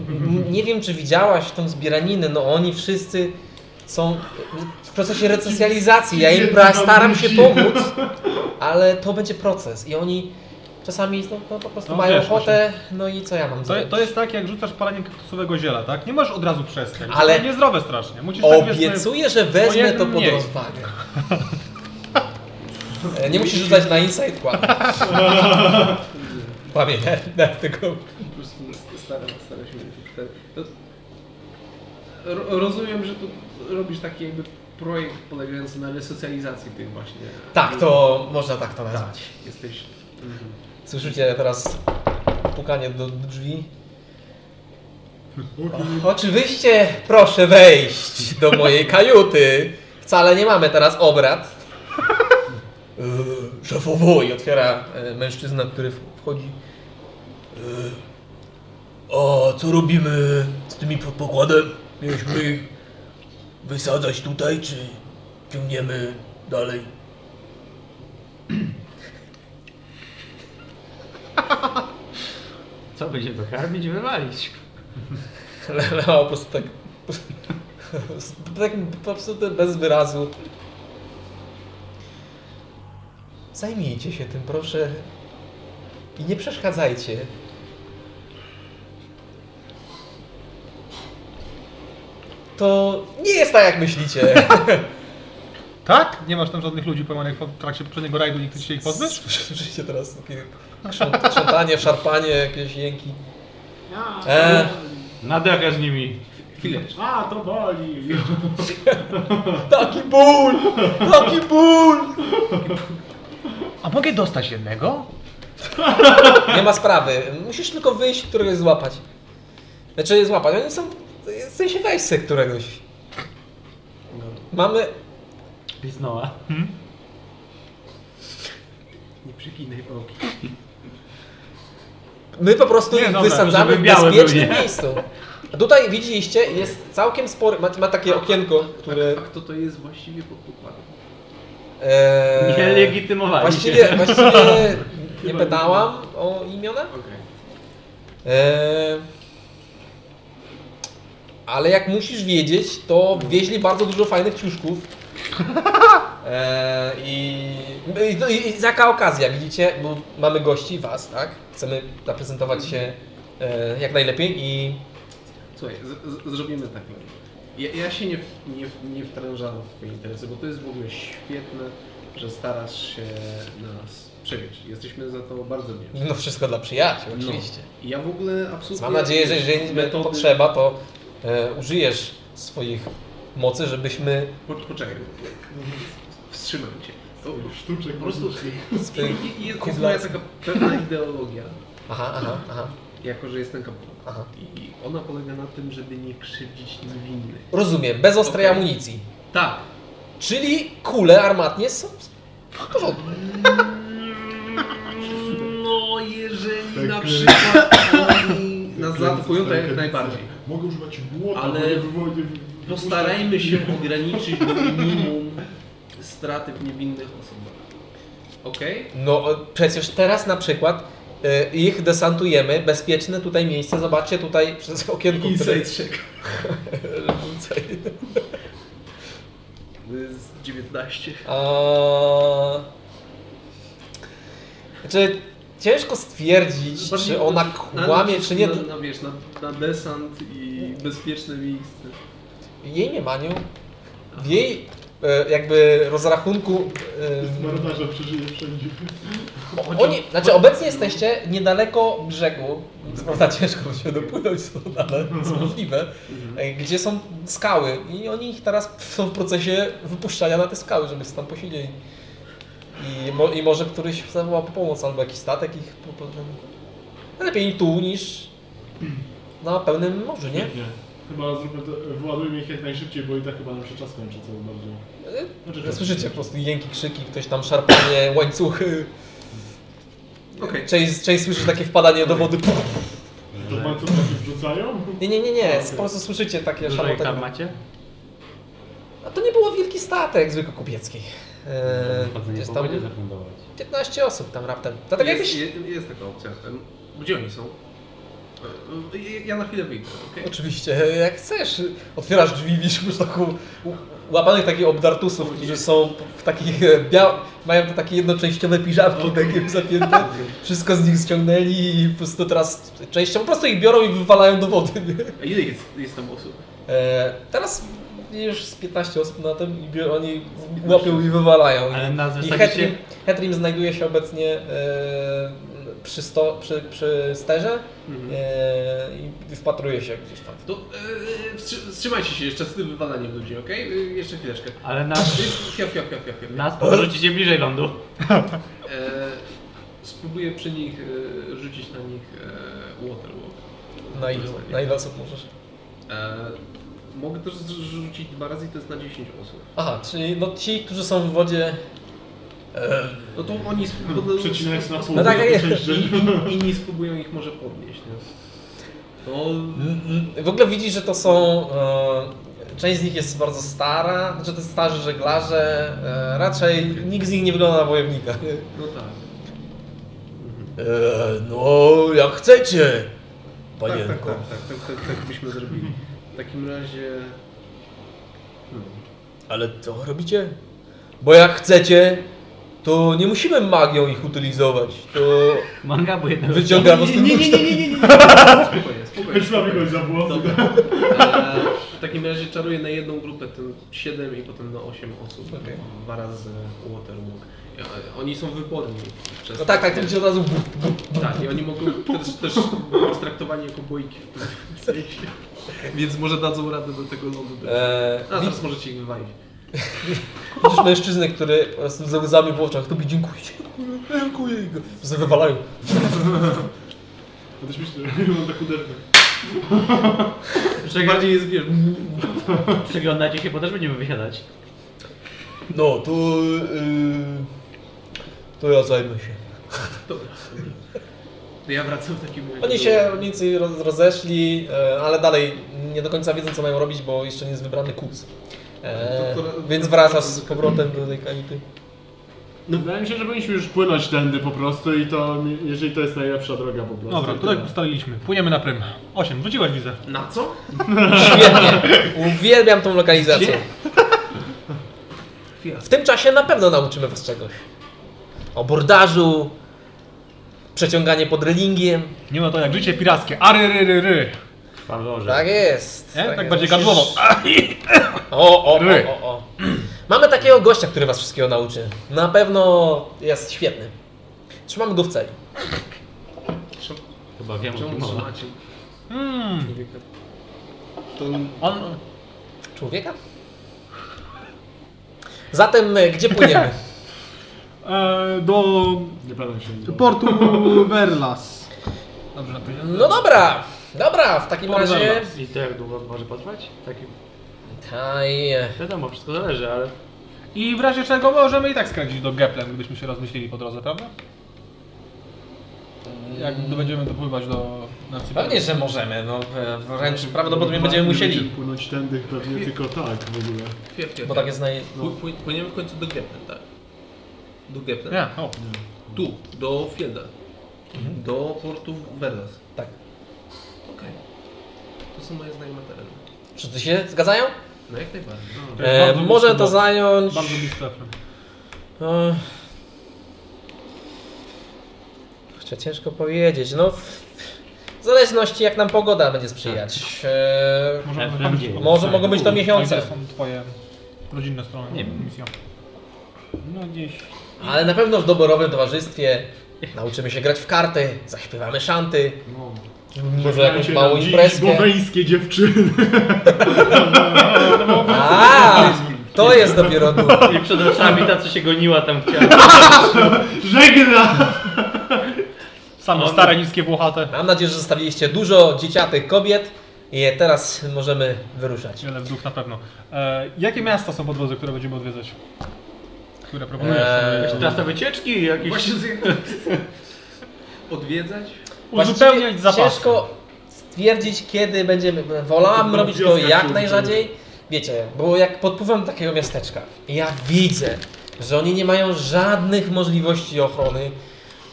Speaker 1: m- nie wiem, czy widziałaś tą zbieraninę, no oni wszyscy są w procesie resocjalizacji. Ja im pra- staram się pomóc, ale to będzie proces i oni czasami no, no, po prostu
Speaker 4: No
Speaker 1: mają
Speaker 4: wiesz,
Speaker 1: ochotę, no i co ja mam
Speaker 4: To,
Speaker 1: zrobić?
Speaker 4: to jest tak, jak rzucasz palenie kaktusowego ziela, tak? Nie możesz od razu przestać.
Speaker 1: Ale-
Speaker 4: To niezdrowe strasznie. Musisz tak wiesz, no-
Speaker 1: Obiecuję, że wezmę
Speaker 4: jednym
Speaker 1: to pod
Speaker 4: mniej.
Speaker 1: rozwagę. E, Nie musisz rzucać na inside kład. Pamiętaj, dlatego
Speaker 5: Po prostu staram, staram się. te- to- Ro- Rozumiem, że tu robisz taki jakby projekt polegający na resocjalizacji tych właśnie.
Speaker 1: tak, to można tak to nazwać.
Speaker 5: Jesteś.
Speaker 1: Słyszycie teraz pukanie do drzwi. O, oczywiście, proszę wejść do mojej kajuty. Wcale nie mamy teraz obrad. Yy, Szefowo i otwiera e, mężczyzna, który w- wchodzi.
Speaker 6: A co robimy z tymi pod pokładem? Mieliśmy ich wysadzać tutaj, czy ciągniemy dalej?
Speaker 3: Co będziemy karmić, wywalić?
Speaker 1: Le- Leo po prostu tak. tak po prostu tak bez wyrazu. Zajmijcie się tym, proszę. I nie przeszkadzajcie. To nie jest tak, jak myślicie.
Speaker 4: Tak? Nie masz tam żadnych ludzi pojmanych w trakcie poprzedniego rajdu, nikt się ich pozbył?
Speaker 1: Słyszycie teraz takie krząt- krzątanie, szarpanie, jakieś jęki.
Speaker 2: A,
Speaker 1: E,
Speaker 3: Nadawia z nimi.
Speaker 5: Chwileczkę.
Speaker 2: a, to boli!
Speaker 1: taki ból! Taki ból!
Speaker 4: A mogę dostać jednego?
Speaker 1: Nie ma sprawy. Musisz tylko wyjść, któregoś złapać. Znaczy złapać. Oni są. W sensie wejść se któregoś. Mamy.
Speaker 3: Pisnęła.
Speaker 5: Nie przeginaj pałki.
Speaker 1: My po prostu
Speaker 3: Nie,
Speaker 1: ich
Speaker 3: dobra,
Speaker 1: wysadzamy w
Speaker 3: żeby białe
Speaker 1: bezpiecznym
Speaker 3: były, nie?
Speaker 1: miejscu. A tutaj widzieliście, jest całkiem spory. Ma, ma takie okienko, które.
Speaker 5: A kto to jest właściwie pod pokładem?
Speaker 1: E,
Speaker 3: Nie legitymowali
Speaker 1: właściwie,
Speaker 3: się.
Speaker 1: właściwie nie pytałam o imiona.
Speaker 5: Okej.
Speaker 1: E, ale jak musisz wiedzieć, to wieźli bardzo dużo fajnych ciuszków. E, i, i, no i, I jaka okazja, widzicie? Bo mamy gości, was, tak? Chcemy zaprezentować się e, jak najlepiej i
Speaker 5: Słuchaj, z- z- zrobimy tak. Ja, ja się nie, w- nie, w- nie wtrążam w twoje interesy, bo to jest w ogóle świetne, że starasz się nas przewieźć. Jesteśmy za to bardzo wdzięczni.
Speaker 1: no wszystko dla przyjaciół, oczywiście.
Speaker 5: I Ja w ogóle absolutnie...
Speaker 1: Mam nadzieję, że jeżeli będzie potrzeba, to e, użyjesz swoich mocy, żebyśmy
Speaker 5: Po, poczekaj. Wstrzymam cię. Po,
Speaker 2: Sztuczek
Speaker 5: po prostu
Speaker 1: z tych...
Speaker 5: I- i- jest, jest
Speaker 1: Kudlacy.
Speaker 5: moja taka pewna ideologia,
Speaker 1: Aha, aha, aha,
Speaker 5: jako że jestem kapułem.
Speaker 1: aha.
Speaker 5: I ona polega na tym, żeby nie krzywdzić niewinnych.
Speaker 1: Rozumiem, bez ostrej
Speaker 5: Okej.
Speaker 1: amunicji.
Speaker 5: Tak.
Speaker 1: Czyli kule armatnie są w porządku.
Speaker 5: No, jeżeli
Speaker 2: Tak,
Speaker 5: na
Speaker 2: e,
Speaker 5: przykład oni nas zaatakują, to jak najbardziej.
Speaker 2: Mogę używać błota,
Speaker 5: Ale
Speaker 2: ale nie wywołuje...
Speaker 5: Postarajmy się ograniczyć do minimum straty w niewinnych osobach. Okej?
Speaker 1: No e, przecież teraz na przykład e, ich desantujemy, bezpieczne tutaj miejsce, zobaczcie tutaj przez okienko,
Speaker 5: Inside check.
Speaker 1: Inside.
Speaker 5: Z 19.
Speaker 1: A... Znaczy, ciężko stwierdzić,
Speaker 5: Bardziej
Speaker 1: czy ona
Speaker 5: na-
Speaker 1: kłamie, czy nie.
Speaker 5: Na, na, wiesz, na, na desant i bezpieczne miejsce.
Speaker 1: Jej nie manią. W jej e, jakby rozrachunku...
Speaker 2: Jest
Speaker 1: e,
Speaker 2: marynarza, przeżyje wszędzie.
Speaker 1: Oni, znaczy obecnie jesteście niedaleko brzegu, prawda ciężko się dopłynąć stąd, ale jest możliwe,
Speaker 3: Mhm.
Speaker 1: e, gdzie są skały i oni ich teraz są w procesie wypuszczania na te skały, żeby się tam posiedzieli. I, mo, i może któryś zawoła po pomoc, albo jakiś statek ich... Po, po, lepiej tu niż na pełnym morzu, nie?
Speaker 2: Świetnie. Chyba zróbmy to, wyładujmy ich jak najszybciej, bo i tak chyba nam się czas kończy coraz bardziej. Znaczy,
Speaker 3: Mhm.
Speaker 2: czas-
Speaker 1: Słyszycie po prostu jęki, krzyki, ktoś tam szarpanie łańcuchy.
Speaker 5: Okej.
Speaker 1: Część, część słyszy takie wpadanie do wody.
Speaker 2: To pan co taki wrzucają?
Speaker 1: Nie, nie, nie, nie. Po prostu słyszycie takie
Speaker 3: Dużo ich
Speaker 1: szarpanie.
Speaker 3: tam macie?
Speaker 1: A to nie było wielki statek zwykły kupiecki. E,
Speaker 3: Chodzenie
Speaker 1: jest
Speaker 3: po
Speaker 1: tam
Speaker 3: wodzie zafundować.
Speaker 1: 15 osób tam raptem. To tak
Speaker 5: jest,
Speaker 1: jakbyś...
Speaker 5: je- jest taka opcja. Em, Gdzie oni są? E, e, Ja na chwilę wyjdę, okej?
Speaker 1: Oczywiście, jak chcesz. Otwierasz drzwi, widzisz już taką u- łapanych takich obdartusów, którzy są w takich e, bia... mają te takie jednoczęściowe
Speaker 5: No.
Speaker 1: piżamki takie zapięte. Wszystko z nich ściągnęli i po prostu teraz częścią po prostu ich biorą i wywalają do wody. nie?
Speaker 5: A ile jest, jest tam osób?
Speaker 1: E, teraz już z 15 osób na tym i biorą, oni łapią i wywalają.
Speaker 3: Ale nas
Speaker 1: I
Speaker 3: wysadzicie...
Speaker 1: Hetrim, Hetrim znajduje się obecnie e, przy, sto, przy, przy sterze e, i wpatruje się gdzieś tam.
Speaker 5: To e, wstrzy- wstrzymajcie się jeszcze z tym wywalaniem ludzi, okej? E, Jeszcze chwileczkę.
Speaker 3: Ale nas,
Speaker 5: Fiop, fiop, fiop, fiop, fiop.
Speaker 3: nas porzucicie bliżej lądu.
Speaker 5: E, spróbuję przy nich e, rzucić na nich e, waterwalk.
Speaker 1: Na ile, na ile osób możesz?
Speaker 5: E, mogę też zrzu- rzucić dwa razy i to jest na 10 osób.
Speaker 1: Aha, czyli no ci, którzy są w wodzie. E,
Speaker 5: No to oni sp-
Speaker 2: Przecinać na pół.
Speaker 1: No tak, jak jest.
Speaker 2: Część rzeczy.
Speaker 5: inni, inni spróbują ich może podnieść. No. To
Speaker 1: m- m- w ogóle widzisz, że to są. E, część z nich jest bardzo stara, znaczy to starzy żeglarze. E, raczej nikt z nich nie wygląda na wojownika.
Speaker 5: no tak.
Speaker 6: E, no, jak chcecie,
Speaker 5: Tak,
Speaker 6: panienko.
Speaker 5: tak, tak, tak, tak, tak, tak byśmy zrobili. W takim razie
Speaker 6: Ale co robicie? Bo jak chcecie, to nie musimy magią ich utylizować. To
Speaker 3: Mangabu jednego.
Speaker 6: wyciąga was
Speaker 5: nie, nie, nie, nie, nie, nie, nie. Spokojnie, spokojnie.
Speaker 2: Trzeba
Speaker 5: spokojnie.
Speaker 2: kogoś za włosy.
Speaker 5: Dobra. E, W takim razie czaruję na jedną grupę, tym 7 i potem na 8 osób.
Speaker 1: Okej.
Speaker 5: Dwa razy Waterwalk. E, Oni są wyporni. przez-
Speaker 1: No tak, tak, to będzie od razu.
Speaker 5: Tak, i oni mogą też, też być traktowani jako bojki w pewnym sensie. Więc może dadzą radę do tego lądu.
Speaker 1: E,
Speaker 5: A teraz możecie ich wywalić.
Speaker 1: Widzisz mężczyznę, który po prostu ze łzami w oczach tobie dziękuję, dziękuję, dziękuję i go po prostu wywalają.
Speaker 2: To śmieszne, mam tak uderzę.
Speaker 5: Bardziej jest wiesz.
Speaker 3: Przyglądacie się, bo też będziemy wysiadać.
Speaker 6: No, to... e, to ja zajmę się.
Speaker 5: Dobra. To ja wracam w takim razie.
Speaker 1: Oni
Speaker 5: do-
Speaker 1: się rolnicy roz, rozeszli, e, ale dalej nie do końca wiedzą co mają robić, bo jeszcze nie jest wybrany kurs. E,
Speaker 5: To- to-
Speaker 1: więc wracasz z powrotem do tej kanity.
Speaker 2: No. Wydaje mi się, że powinniśmy już płynąć tędy po prostu i to, jeżeli to jest najlepsza droga po prostu.
Speaker 4: Dobra,
Speaker 2: I
Speaker 4: tutaj
Speaker 2: tyle.
Speaker 1: tak.
Speaker 4: ustaliliśmy. Płyniemy na prym. 8, wróciłaś widzę.
Speaker 5: Na co?
Speaker 1: Świetnie, uwielbiam tą lokalizację. W tym czasie na pewno nauczymy was czegoś. O bordażu, przeciąganie pod relingiem.
Speaker 4: Nie ma to jak życie pirackie. Aryryryry.
Speaker 3: Krwaworze.
Speaker 1: Tak jest.
Speaker 4: Nie? Tak
Speaker 1: jest.
Speaker 4: bardziej gardłowo.
Speaker 1: O, o, o,
Speaker 4: Ry.
Speaker 1: o, o. Mamy takiego gościa, który was wszystkiego nauczy. Na pewno jest świetny. Trzymamy go w celi.
Speaker 5: Czemu-
Speaker 3: Chyba wiem o
Speaker 5: Czemu
Speaker 3: kim mowa.
Speaker 5: trzymacie
Speaker 4: Mm.
Speaker 5: człowieka? To
Speaker 4: On,
Speaker 1: Człowieka? Zatem e, gdzie płyniemy?
Speaker 8: E, do
Speaker 2: Nie pamiętam się.
Speaker 8: portu Verlas.
Speaker 4: dobrze na pewno.
Speaker 1: No dobra, dobra, w takim razie...
Speaker 3: I to jak długo może potrwać? Tak,
Speaker 1: Taj, e,
Speaker 3: wiadomo, wszystko zależy, ale
Speaker 4: I w razie czego możemy i tak skręcić do Geplem, gdybyśmy się rozmyślili po drodze, prawda? Jak to będziemy dopływać do Nancy
Speaker 1: Pewnie, że możemy, no e, wręcz prawdopodobnie będziemy
Speaker 2: Nie
Speaker 1: musieli.
Speaker 2: Będziemy płynąć tędy pewnie tylko tak w ogóle.
Speaker 5: Fiep, fiep,
Speaker 1: Bo tak jest naj...
Speaker 5: No. Pły- Płyniemy w końcu do Gepnen, tak? Do Gepnen.
Speaker 4: Nie, o.
Speaker 5: Tu, do Fielda. Do portu Verdas.
Speaker 1: Tak.
Speaker 5: Okej. To są moje znajome tereny.
Speaker 1: Wszyscy się zgadzają?
Speaker 5: No jak najbardziej.
Speaker 1: E,
Speaker 4: bardzo
Speaker 1: może
Speaker 4: blisko
Speaker 1: to
Speaker 4: było.
Speaker 1: zająć...
Speaker 4: Bardzo blisko Efrem.
Speaker 1: No. Kurczę, ciężko powiedzieć. No, w w zależności jak nam pogoda będzie sprzyjać. E,
Speaker 4: Możemy
Speaker 3: Efrem
Speaker 4: zobaczyć-
Speaker 3: dzieje.
Speaker 1: może mogą być to miesiące.
Speaker 4: Jakie są twoje rodzinne strony?
Speaker 3: Nie wiem.
Speaker 4: Misja. No gdzieś.
Speaker 1: Ale na pewno w doborowym towarzystwie nauczymy się grać w karty, zaśpiewamy szanty. Może jakąś
Speaker 2: Dajcie
Speaker 1: małą
Speaker 2: nam dziś
Speaker 1: imprezkę.
Speaker 2: Boweńskie dziewczyny.
Speaker 1: A, to jest dopiero dużo.
Speaker 3: I przed oczami ta, co się goniła tam chciała.
Speaker 2: Żegna!
Speaker 4: Same
Speaker 3: On- No,
Speaker 4: stare, niskie, włochate.
Speaker 1: Mam nadzieję, że zostawiliście dużo dzieciatych kobiet I teraz możemy wyruszać.
Speaker 4: Wiele wdów na pewno. E, jakie miasta są po drodze, które będziemy odwiedzać? Które proponujesz?
Speaker 1: Eee,
Speaker 4: Jakieś
Speaker 3: Trasa wycieczki, jakieś...
Speaker 5: Właśnie z Odwiedzać?
Speaker 4: Uzupełniać
Speaker 1: Właściwie
Speaker 4: zapasy.
Speaker 1: Ciężko stwierdzić, kiedy będziemy. Wolałam
Speaker 2: Na
Speaker 1: robić to
Speaker 2: wioskach
Speaker 1: jak
Speaker 2: się
Speaker 1: najrzadziej. Wiecie, bo jak pod wpływem takiego miasteczka, ja widzę, że oni nie mają żadnych możliwości ochrony,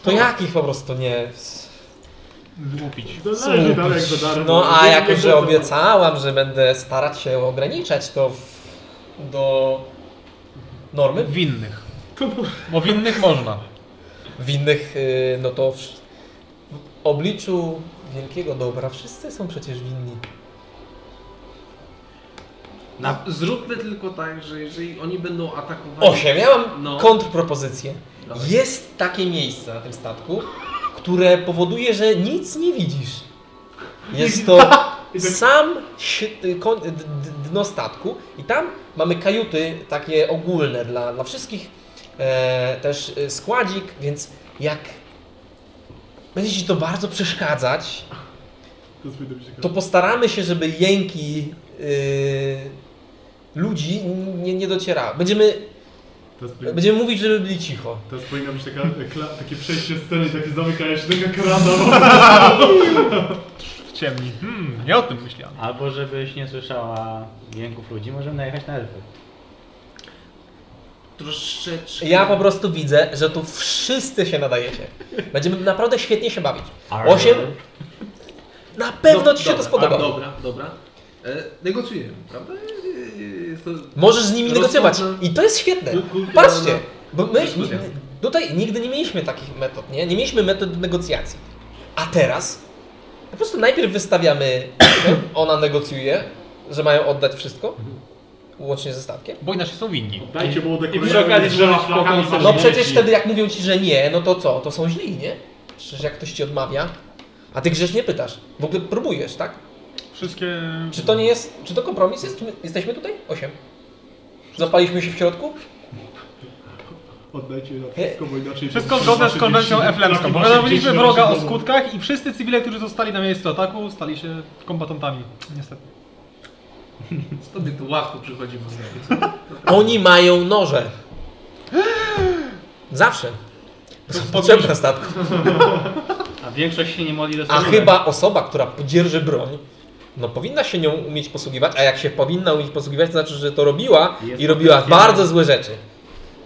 Speaker 1: to
Speaker 4: No.
Speaker 1: jak ich po prostu nie.
Speaker 4: Złupić.
Speaker 2: Zależy dalej jak za darmo.
Speaker 1: No a
Speaker 2: Nie- nie
Speaker 1: jako, że
Speaker 2: będą.
Speaker 1: obiecałam, że będę starać się ograniczać to w, do normy
Speaker 4: Winnych. Bo winnych można.
Speaker 1: winnych, y, no to w, w obliczu wielkiego dobra wszyscy są przecież winni.
Speaker 5: Na... Zróbmy tylko tak, że jeżeli oni będą atakowali...
Speaker 1: Osiem, ja mam
Speaker 5: No.
Speaker 1: kontrpropozycję.
Speaker 5: Dawaj.
Speaker 1: Jest takie miejsce na tym statku, które powoduje, że nic nie widzisz. Jest to
Speaker 5: tak-
Speaker 1: sam si- y, kon- d- d- dno statku i tam mamy kajuty takie ogólne dla, dla wszystkich, e, też y, składzik, więc jak będzie Ci to bardzo przeszkadzać,
Speaker 2: To jest powinno być ciekawe.
Speaker 1: to postaramy się, żeby jęki y, ludzi nie, nie docierały. Będziemy,
Speaker 2: To jest powinno-
Speaker 1: będziemy mówić, żeby byli cicho.
Speaker 2: to jest powinno być taka, kla- takie przejście sceny, takie zamykanie się tego krana.
Speaker 4: W ciemni. Hmm, nie o tym myślałem.
Speaker 3: Albo żebyś nie słyszała jęków ludzi, możemy najechać na elfy.
Speaker 5: Troszeczkę...
Speaker 1: Ja po prostu widzę, że tu wszyscy się nadajecie. Będziemy naprawdę świetnie się bawić.
Speaker 3: Arr.
Speaker 1: Osiem? Na pewno
Speaker 5: Dob-
Speaker 1: Ci się to
Speaker 5: dobra,
Speaker 1: spodoba.
Speaker 5: a, Dobra, dobra. E, negocjujemy, prawda? E, jest to...
Speaker 1: Możesz z nimi negocjować.
Speaker 5: Rozsądne.
Speaker 1: I to jest świetne.
Speaker 5: Kulturalna
Speaker 1: Patrzcie, bo my
Speaker 5: dyskusja.
Speaker 1: nigdy, tutaj nigdy nie mieliśmy takich metod, nie? Nie mieliśmy metod negocjacji. A teraz po prostu najpierw wystawiamy, ona negocjuje, że mają oddać wszystko,
Speaker 5: Mhm.
Speaker 1: łącznie ze statkiem.
Speaker 4: Bo inaczej są winni.
Speaker 2: Dajcie było
Speaker 4: I przy okazji trzeba spokojnie
Speaker 1: No przecież wtedy jak mówią ci, że nie, no to co? To są źli, nie? Przecież jak ktoś ci odmawia, a ty grzecznie pytasz. W ogóle próbujesz, tak?
Speaker 4: Wszystkie...
Speaker 1: Czy to nie jest, czy to kompromis jest? Czy my- Jesteśmy tutaj? Osiem. Zapaliśmy się w środku?
Speaker 2: Oddajcie na wszystko, bo inaczej...
Speaker 4: Wszystko zgodne z konwencją eflemską. Powiadomiliśmy wroga o skutkach i wszyscy cywile, którzy zostali na miejscu ataku, stali się kombatantami. Niestety.
Speaker 5: Tobie to łatwo przychodzi, bo znaczy.
Speaker 1: Oni mają noże. Zawsze. Bo Są potrzebne na statku.
Speaker 3: A większość się nie modli do
Speaker 1: A
Speaker 3: srebrnych.
Speaker 1: chyba osoba, która dzierży broń, no powinna się nią umieć posługiwać, a jak się powinna umieć posługiwać, to znaczy, że to robiła
Speaker 3: Jest
Speaker 1: i robiła
Speaker 3: potencjał.
Speaker 1: bardzo złe rzeczy.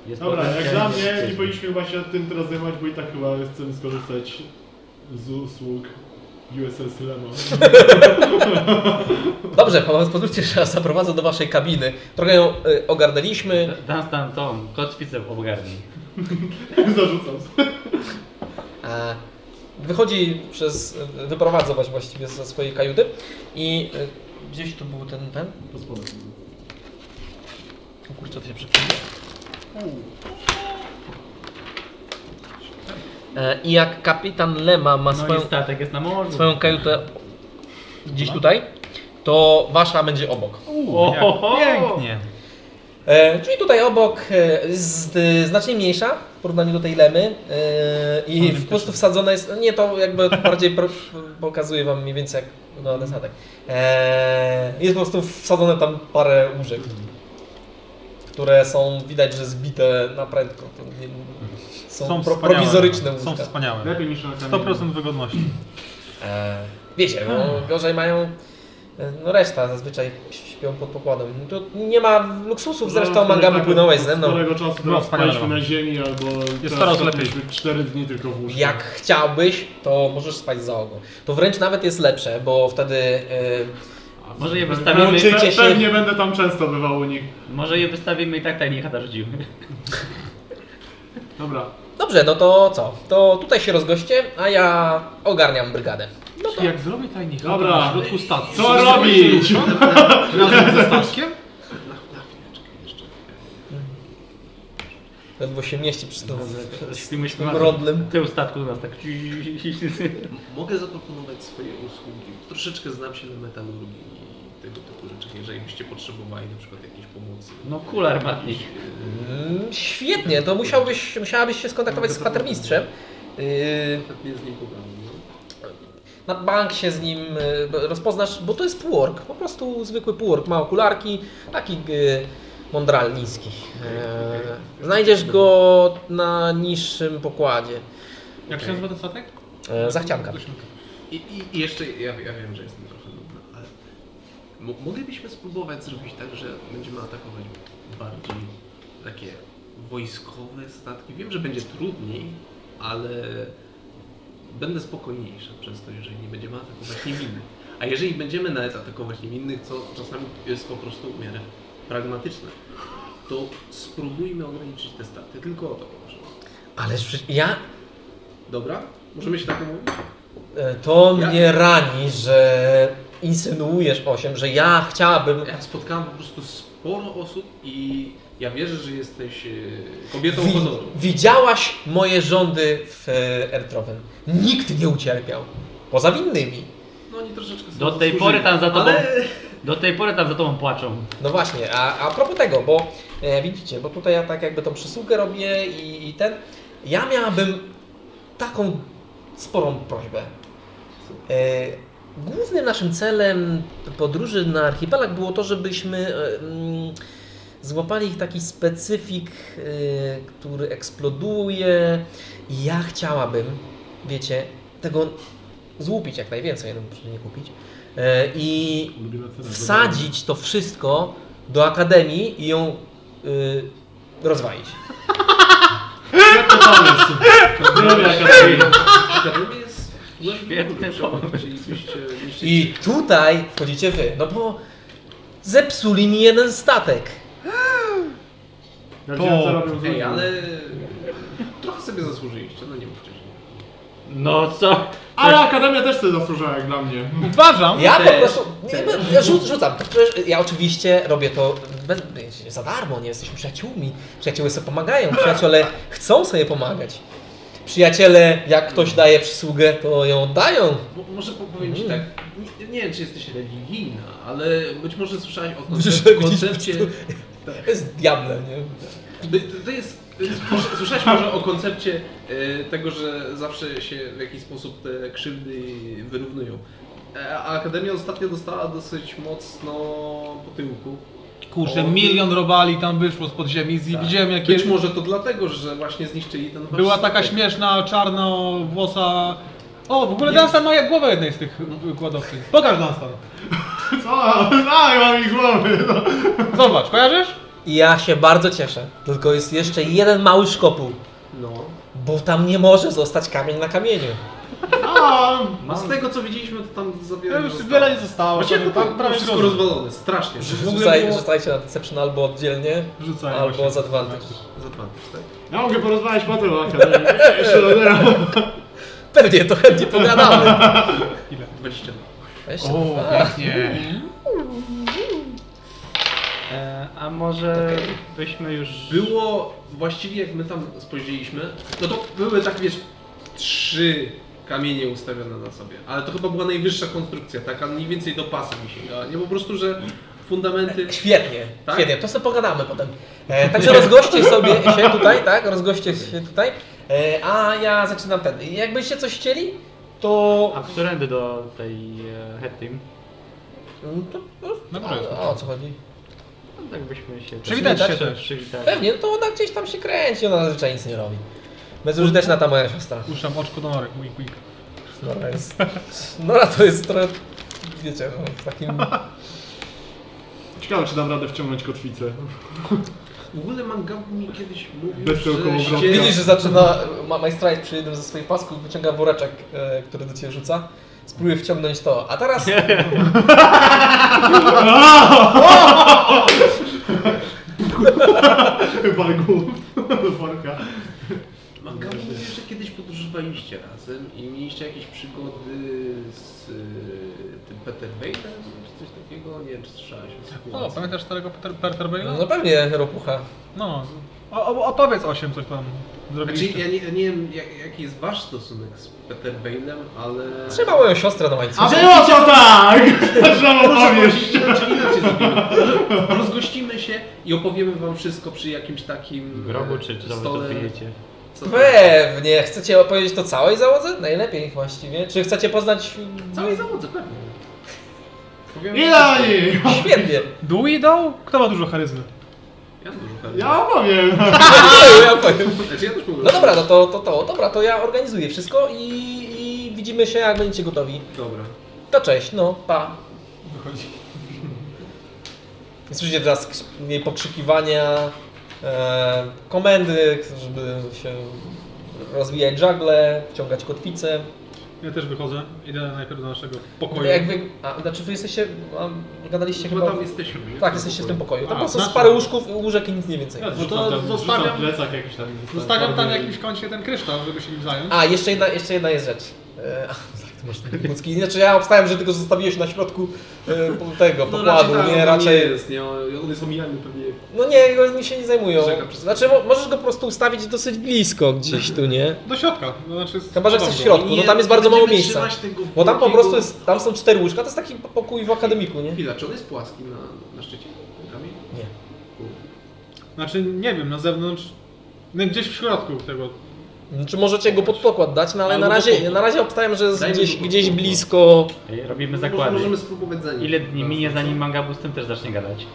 Speaker 3: Jest
Speaker 2: Dobra, jak
Speaker 3: potencjalnie
Speaker 2: dla mnie nie
Speaker 3: niebezpieczny.
Speaker 2: powinniśmy chyba się tym teraz zajmować, bo i tak chyba chcemy skorzystać z usług USS Lemon.
Speaker 1: Dobrze, po- pozwólcie, że was zaprowadzę do waszej kabiny. Trochę ją y, ogarnęliśmy.
Speaker 3: Dunstan Tom, kotwicę ogarnij.
Speaker 2: Zarzucam sobie.
Speaker 1: E, Wychodzi przez, y, wyprowadza was właściwie ze swojej kajuty i y, gdzieś tu był ten, ten?
Speaker 2: To spodem.
Speaker 1: O kurczę, to się przypomina. E, I jak kapitan Lema ma
Speaker 3: No
Speaker 1: swoją,
Speaker 3: i statek jest na morzu.
Speaker 1: swoją kajutę gdzieś tutaj, to wasza będzie obok.
Speaker 3: Ohoho!
Speaker 4: Pięknie.
Speaker 1: E, czyli tutaj obok e, z, e, znacznie mniejsza w porównaniu do tej lemy e,
Speaker 4: No,
Speaker 1: i w po prostu wsadzona jest, no nie to jakby bardziej pro, pokazuje wam mniej więcej jak wygląda ten statek. E, jest po prostu wsadzone tam parę łóżek, które są widać, że zbite na prędko. To nie, są pro,
Speaker 4: wspaniałe. no.
Speaker 1: prowizoryczne
Speaker 4: Są
Speaker 1: łóżka.
Speaker 4: wspaniałe.
Speaker 2: Lepiej niż na kamieniu.
Speaker 4: 100% wygodności.
Speaker 1: E, wiecie,
Speaker 4: Hmm.
Speaker 1: no, gorzej mają e, no reszta zazwyczaj śpią pod pokładem. Tu nie ma luksusów, zresztą
Speaker 4: tak,
Speaker 1: Mangabu płynąłeś ze mną.
Speaker 2: Z którego czasu
Speaker 4: No,
Speaker 2: teraz
Speaker 4: wspaniale
Speaker 2: spaliśmy
Speaker 4: wam.
Speaker 2: na ziemi albo teraz
Speaker 4: coraz lepiej.
Speaker 2: spaliśmy 4 dni tylko w łóżku.
Speaker 1: Jak chciałbyś, to możesz spać za ogon. To wręcz nawet jest lepsze, bo wtedy e,
Speaker 3: A Może je
Speaker 1: Nauczy-
Speaker 3: wystawimy,
Speaker 1: Czujcie
Speaker 2: Pe-
Speaker 1: się-
Speaker 2: pewnie będę tam często bywał u nich.
Speaker 3: może je wystawimy i tak tak nie chata rzucimy.
Speaker 2: Dobra,
Speaker 1: dobrze, no to co? To tutaj się rozgoście, a ja ogarniam brygadę. No to
Speaker 4: Jak zrobię tajny
Speaker 2: Dobra.
Speaker 4: Dobra. w środku statku.
Speaker 2: co robić?
Speaker 4: Razem ze statkiem?
Speaker 1: ledwo się mieści przy tym
Speaker 3: Z tym myślimy.
Speaker 1: brodlem.
Speaker 3: Tył statku do nas tak.
Speaker 5: Mogę zaproponować swoje usługi. Troszeczkę znam się na metalurgii i tego typu rzeczach, jeżeli byście potrzebowali na przykład jakiejś pomocy.
Speaker 3: No kul armatnik.
Speaker 1: Mm, świetnie, to musiałbyś, musiałabyś się skontaktować z kwatermistrzem. Yy,
Speaker 5: Chętnie z nim pogadam. No.
Speaker 1: na bank się z nim y, b- rozpoznasz, bo to jest półork, po prostu zwykły półork, ma okularki, taki y, mądralniński. E, Znajdziesz go na niższym pokładzie.
Speaker 4: Jak się nazywa ten statek?
Speaker 1: E, Zachcianka.
Speaker 5: I, i, i jeszcze, ja, ja wiem, że jestem trochę nudny, ale mo- moglibyśmy spróbować zrobić tak, że będziemy atakować bardziej takie wojskowe statki. Wiem, że będzie trudniej, ale będę spokojniejszy przez to, jeżeli nie będziemy atakować niewinnych. A jeżeli będziemy nawet atakować niewinnych, co czasami jest po prostu w miarę pragmatyczne, to spróbujmy ograniczyć te straty. Tylko o to proszę.
Speaker 1: Ależ przecież ja...
Speaker 5: Dobra? Możemy się tak umówić?
Speaker 1: e, To
Speaker 5: Ja-
Speaker 1: mnie rani, że insynuujesz, Osiem, że ja chciałabym...
Speaker 5: Ja spotkałem po prostu sporo osób i ja wierzę, że jesteś e, kobietą
Speaker 1: Wi-
Speaker 5: honoru.
Speaker 1: widziałaś moje rządy w e, Ertrowen. Nikt nie ucierpiał. Poza winnymi.
Speaker 5: No oni troszeczkę sobie
Speaker 3: Do tej
Speaker 5: zasłużyli.
Speaker 3: pory tam za tobą,
Speaker 5: Ale
Speaker 3: do tej pory tam za tobą płaczą.
Speaker 1: No właśnie, a, a propos tego, bo e, widzicie, bo tutaj ja tak jakby tą przysługę robię i, i ten. Ja miałabym taką sporą prośbę. E, głównym naszym celem podróży na archipelag było to, żebyśmy e, mm, złapali ich taki specyfik, e, który eksploduje. I ja chciałabym, wiecie, tego złupić jak najwięcej, ja bym proszę nie kupić. E, I
Speaker 2: Ulubiona cena.
Speaker 1: wsadzić to wszystko do akademii i ją y, rozwalić.
Speaker 3: Świetny pomysł. Dobra, Katarzyna.
Speaker 5: Akademia jest
Speaker 3: Świetny pomysł.
Speaker 5: Czyli byście niszczyli.
Speaker 1: I tutaj wchodzicie wy, no bo zepsuli mi jeden statek.
Speaker 2: Ja
Speaker 4: To-
Speaker 2: wziąłem, co robią
Speaker 5: Ej,
Speaker 2: złego.
Speaker 5: ale trochę sobie zasłużyliście, no nie mówcie, że nie.
Speaker 3: No co?
Speaker 2: Ale Akademia też sobie zasłużyła jak dla mnie.
Speaker 4: Uważam,
Speaker 1: Ja po
Speaker 5: też,
Speaker 1: prostu nie, be- ja rzu- rzucam. Przecież Ja oczywiście robię to bez, wiecie, za darmo, nie jesteśmy przyjaciółmi. Przyjaciele sobie pomagają, przyjaciele chcą sobie pomagać. Przyjaciele, jak ktoś daje przysługę, to ją oddają.
Speaker 5: Bo, może po- powiem ci tak, nie, nie wiem czy jesteś religijna, ale być może słyszałaś o
Speaker 1: Muszę
Speaker 5: koncep-
Speaker 1: widzieć
Speaker 5: koncepcie...
Speaker 1: To jest diable, nie?
Speaker 5: By- To, to jest. to jest- może- Słyszałeś może o koncepcie e, tego, że zawsze się w jakiś sposób te krzywdy wyrównują. E, A Akademia ostatnio dostała dosyć mocno po tyłku.
Speaker 4: kurczę, milion robali tam wyszło z podziemi. Tak. Widziałem jakie...
Speaker 5: Być może to dlatego, że właśnie zniszczyli ten wasz
Speaker 4: Była taka
Speaker 5: statek.
Speaker 4: śmieszna, czarnowłosa... O, w ogóle Dunstan ma jak głowę jednej z tych wykładowców. Pokaż Dunstan.
Speaker 2: Co? A, ja mam ich głowy. No.
Speaker 4: Zobacz, kojarzysz?
Speaker 1: I ja się bardzo cieszę. Tylko jest jeszcze jeden mały szkopuł.
Speaker 5: No.
Speaker 1: Bo tam nie może zostać kamień na kamieniu.
Speaker 2: A,
Speaker 5: A z tego co widzieliśmy, to tam za
Speaker 4: No. Ja
Speaker 5: wiele
Speaker 4: już wiele nie zostało.
Speaker 5: Właśnie to
Speaker 4: tam
Speaker 5: tam
Speaker 4: prawie
Speaker 5: wszystko
Speaker 4: rozwalone.
Speaker 5: rozwalone, strasznie. Że- że-
Speaker 1: Rzucaj, Rzucajcie na deception albo oddzielnie,
Speaker 4: Rzucaj
Speaker 1: albo
Speaker 4: właśnie.
Speaker 1: za advantage.
Speaker 5: Zapamiętasz, tak?
Speaker 2: ja mogę porozmawiać potem o Akademii. Jeszcze do teraz.
Speaker 1: Pewnie, to chętnie pogadamy.
Speaker 5: 20.
Speaker 1: Weź się.
Speaker 4: O, pięknie.
Speaker 3: E, a może byśmy już...
Speaker 5: Było właściwie jak my tam spojrzeliśmy, no to były tak wiesz trzy kamienie ustawione na sobie, ale to chyba była najwyższa konstrukcja, taka mniej więcej do pasa mi sięgała. Nie po prostu, że fundamenty.
Speaker 1: Świetnie,
Speaker 5: Tak?
Speaker 1: świetnie, to sobie pogadamy potem. E, także rozgoście sobie się tutaj, tak? Rozgoście się tutaj. E, a ja zaczynam ten. Jakbyście coś chcieli, to.
Speaker 3: A którędy do tej e, head team?
Speaker 1: Mm, to,
Speaker 4: No
Speaker 1: a,
Speaker 4: proszę.
Speaker 1: a o co chodzi?
Speaker 3: No, tak byśmy się...
Speaker 4: Przywitać się
Speaker 3: Przy-
Speaker 4: też.
Speaker 3: Przywitać.
Speaker 1: Pewnie, no to ona gdzieś tam się kręci, ona zazwyczaj nic nie robi. Bezużyteczna ta moja siostra.
Speaker 4: Puszczam oczko do norek, wink wink.
Speaker 1: Nora No, jest. Nora to jest trochę. Wiecie, no, w takim.
Speaker 2: Ciekawe, czy dam radę wciągnąć kotwicę.
Speaker 5: W ogóle Mangabu mi kiedyś mówił,
Speaker 2: Bez
Speaker 5: że
Speaker 2: kołkowobrotki.
Speaker 5: się...
Speaker 1: Widzisz, że zaczyna. Ma, majstra jest przy jednym ze swoich pasków, wyciąga woreczek, e, który do ciebie rzuca. Spróbuję wciągnąć to. A teraz.
Speaker 2: Chyba głów. Worka.
Speaker 5: Mangabu mówił, że kiedyś podróżowaliście razem i mieliście jakieś przygody z y, tym Peter Bailem, czy coś takiego, nie wiem czy słyszałeś o
Speaker 4: O, tak.
Speaker 5: sytuacji.
Speaker 4: pamiętasz starego Peter, Peter Baila?
Speaker 1: No pewnie, ropucha.
Speaker 4: No. O, o, opowiedz osiem coś tam
Speaker 5: Znaczy,
Speaker 4: zrobiliście.
Speaker 5: ja nie, ja nie wiem jak, jaki jest wasz stosunek z Peter Bailem, ale...
Speaker 1: Trzyma moją siostrę na łańcuchu.
Speaker 2: A było to tak! Trzeba opowieść.
Speaker 5: Znaczy inaczej zrobimy. Rozgościmy się i opowiemy wam wszystko przy jakimś takim...
Speaker 3: W grobu
Speaker 5: e,
Speaker 3: czy, czy nawet
Speaker 5: stole.
Speaker 3: to pijecie?
Speaker 5: Co
Speaker 1: Pewnie. Chcecie opowiedzieć to całej załodze? Najlepiej właściwie. Czy chcecie poznać...
Speaker 5: Całej załodze, pewnie. Powiem,
Speaker 2: Nie na niej!
Speaker 1: Świetnie.
Speaker 4: Dłuidą? Kto ma dużo charyzmy?
Speaker 5: Ja dużo pewnie.
Speaker 2: Ja powiem!
Speaker 1: Ja powiem.
Speaker 5: Znaczy, ja też mówię.
Speaker 1: No dobra, no to, to, to, dobra, to ja organizuję wszystko i, i widzimy się, jak będziecie gotowi.
Speaker 5: Dobra.
Speaker 1: To cześć, no, pa. Wychodzi. Słyszycie teraz krz- jej pokrzykiwania, e, komendy, żeby się rozwijać żagle, wciągać kotwice.
Speaker 4: Ja też wychodzę. Idę najpierw do naszego
Speaker 1: No
Speaker 4: pokoju.
Speaker 1: Jak wy, a, znaczy wy jesteście, a, gadaliście
Speaker 5: Chyba
Speaker 1: chyba...
Speaker 5: No, tam jesteśmy. nie?
Speaker 1: tak, jesteście w tym pokoju. Tam
Speaker 4: No A,
Speaker 1: po prostu
Speaker 4: znaczy-
Speaker 1: z parę łóżków, łóżek i nic nie więcej.
Speaker 2: Ja
Speaker 4: to
Speaker 2: zrzucam tam-
Speaker 4: zostawiam-
Speaker 2: zrzucam plecak jakiś tam. i
Speaker 4: Zostawiam tam
Speaker 2: parę-
Speaker 4: na jakimś kącie ten kryształ, żeby się nim zająć.
Speaker 1: A, jeszcze jedna, jeszcze jedna jest rzecz. E, ach, tak, to masz taki ludzki. Znaczy ja obstałem, że tylko zostawiłeś na środku e, po- tego
Speaker 5: No
Speaker 1: pokładu,
Speaker 5: tak,
Speaker 1: nie
Speaker 5: on
Speaker 1: raczej.
Speaker 5: jest, nie, on jest omijany pewnie.
Speaker 1: No nie, go mi się nie zajmują.
Speaker 5: Rzeka przez-
Speaker 1: Znaczy mo- możesz go po prostu ustawić dosyć blisko gdzieś tu, nie?
Speaker 4: Do środka. To znaczy z-
Speaker 1: Chyba, że chcesz w
Speaker 4: Dobra.
Speaker 1: środku, no tam jest bardzo mało
Speaker 5: będziemy
Speaker 1: miejsca.
Speaker 5: trzymać tego
Speaker 1: Bo tam po
Speaker 5: wielkiego-
Speaker 1: prostu jest, tam są cztery łóżka, to jest taki pokój w akademiku, nie?
Speaker 5: Chwila, czy on jest płaski na, na szczycie? Kamień?
Speaker 1: Nie.
Speaker 4: Znaczy, nie wiem, na zewnątrz. No gdzieś w środku tego.
Speaker 1: Znaczy możecie go pod pokład dać, no ale
Speaker 5: Albo
Speaker 1: na
Speaker 5: do
Speaker 1: razie,
Speaker 5: pokładu.
Speaker 1: na razie obstałem, że jest
Speaker 5: Dajmy
Speaker 1: gdzieś,
Speaker 5: do pokładu.
Speaker 1: gdzieś blisko.
Speaker 3: Ej, Robimy
Speaker 5: Może
Speaker 3: zakłady.
Speaker 5: Możemy spróbować za nim.
Speaker 3: Ile dni minie zanim Mangabu z tym też zacznie gadać?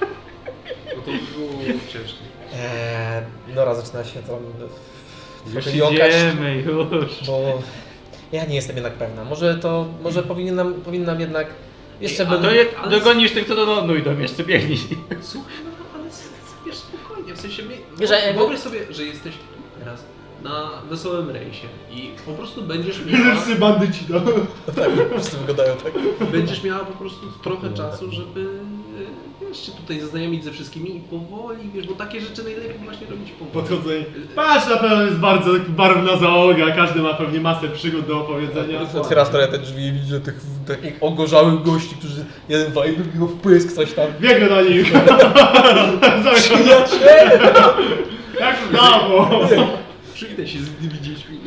Speaker 5: No to było ciężkie.
Speaker 1: Eee, Nora zaczyna się tam
Speaker 3: Już
Speaker 1: trochę jąkać.
Speaker 3: idziemy, już.
Speaker 1: Bo ja nie jestem jednak pewna. Może to, może powinnam, powinnam jednak jeszcze
Speaker 3: A
Speaker 1: będę...
Speaker 3: to je, dogonisz tych, co do lądu idą, jeszcze biegnij.
Speaker 5: Słuchaj, no ale s- wiesz, spokojnie, w sensie my...
Speaker 1: Że jakby-
Speaker 5: Wyobraź sobie, że jesteś teraz na wesołym rejsie i po prostu będziesz miała,
Speaker 2: Wszyscy bandyci no. tam.
Speaker 1: Tak, po prostu wyglądają tak.
Speaker 5: będziesz miała po prostu trochę czasu, żeby e, wiesz, się tutaj zaznajomić ze wszystkimi i powoli, wiesz, bo takie rzeczy najlepiej właśnie robić powoli.
Speaker 2: Podchodzę i... Patrz, na pewno jest bardzo barwna załoga, każdy ma pewnie masę przygód do opowiedzenia.
Speaker 1: Otwiera trochę te drzwi i widzę tych takich ogorzałych gości, którzy jeden waje drugiego no, w pysk, coś tam.
Speaker 2: Biegnę na nich!
Speaker 1: Przyjaciele!
Speaker 2: Jak w dawno!
Speaker 5: Przywitaj się z innymi dziećmi.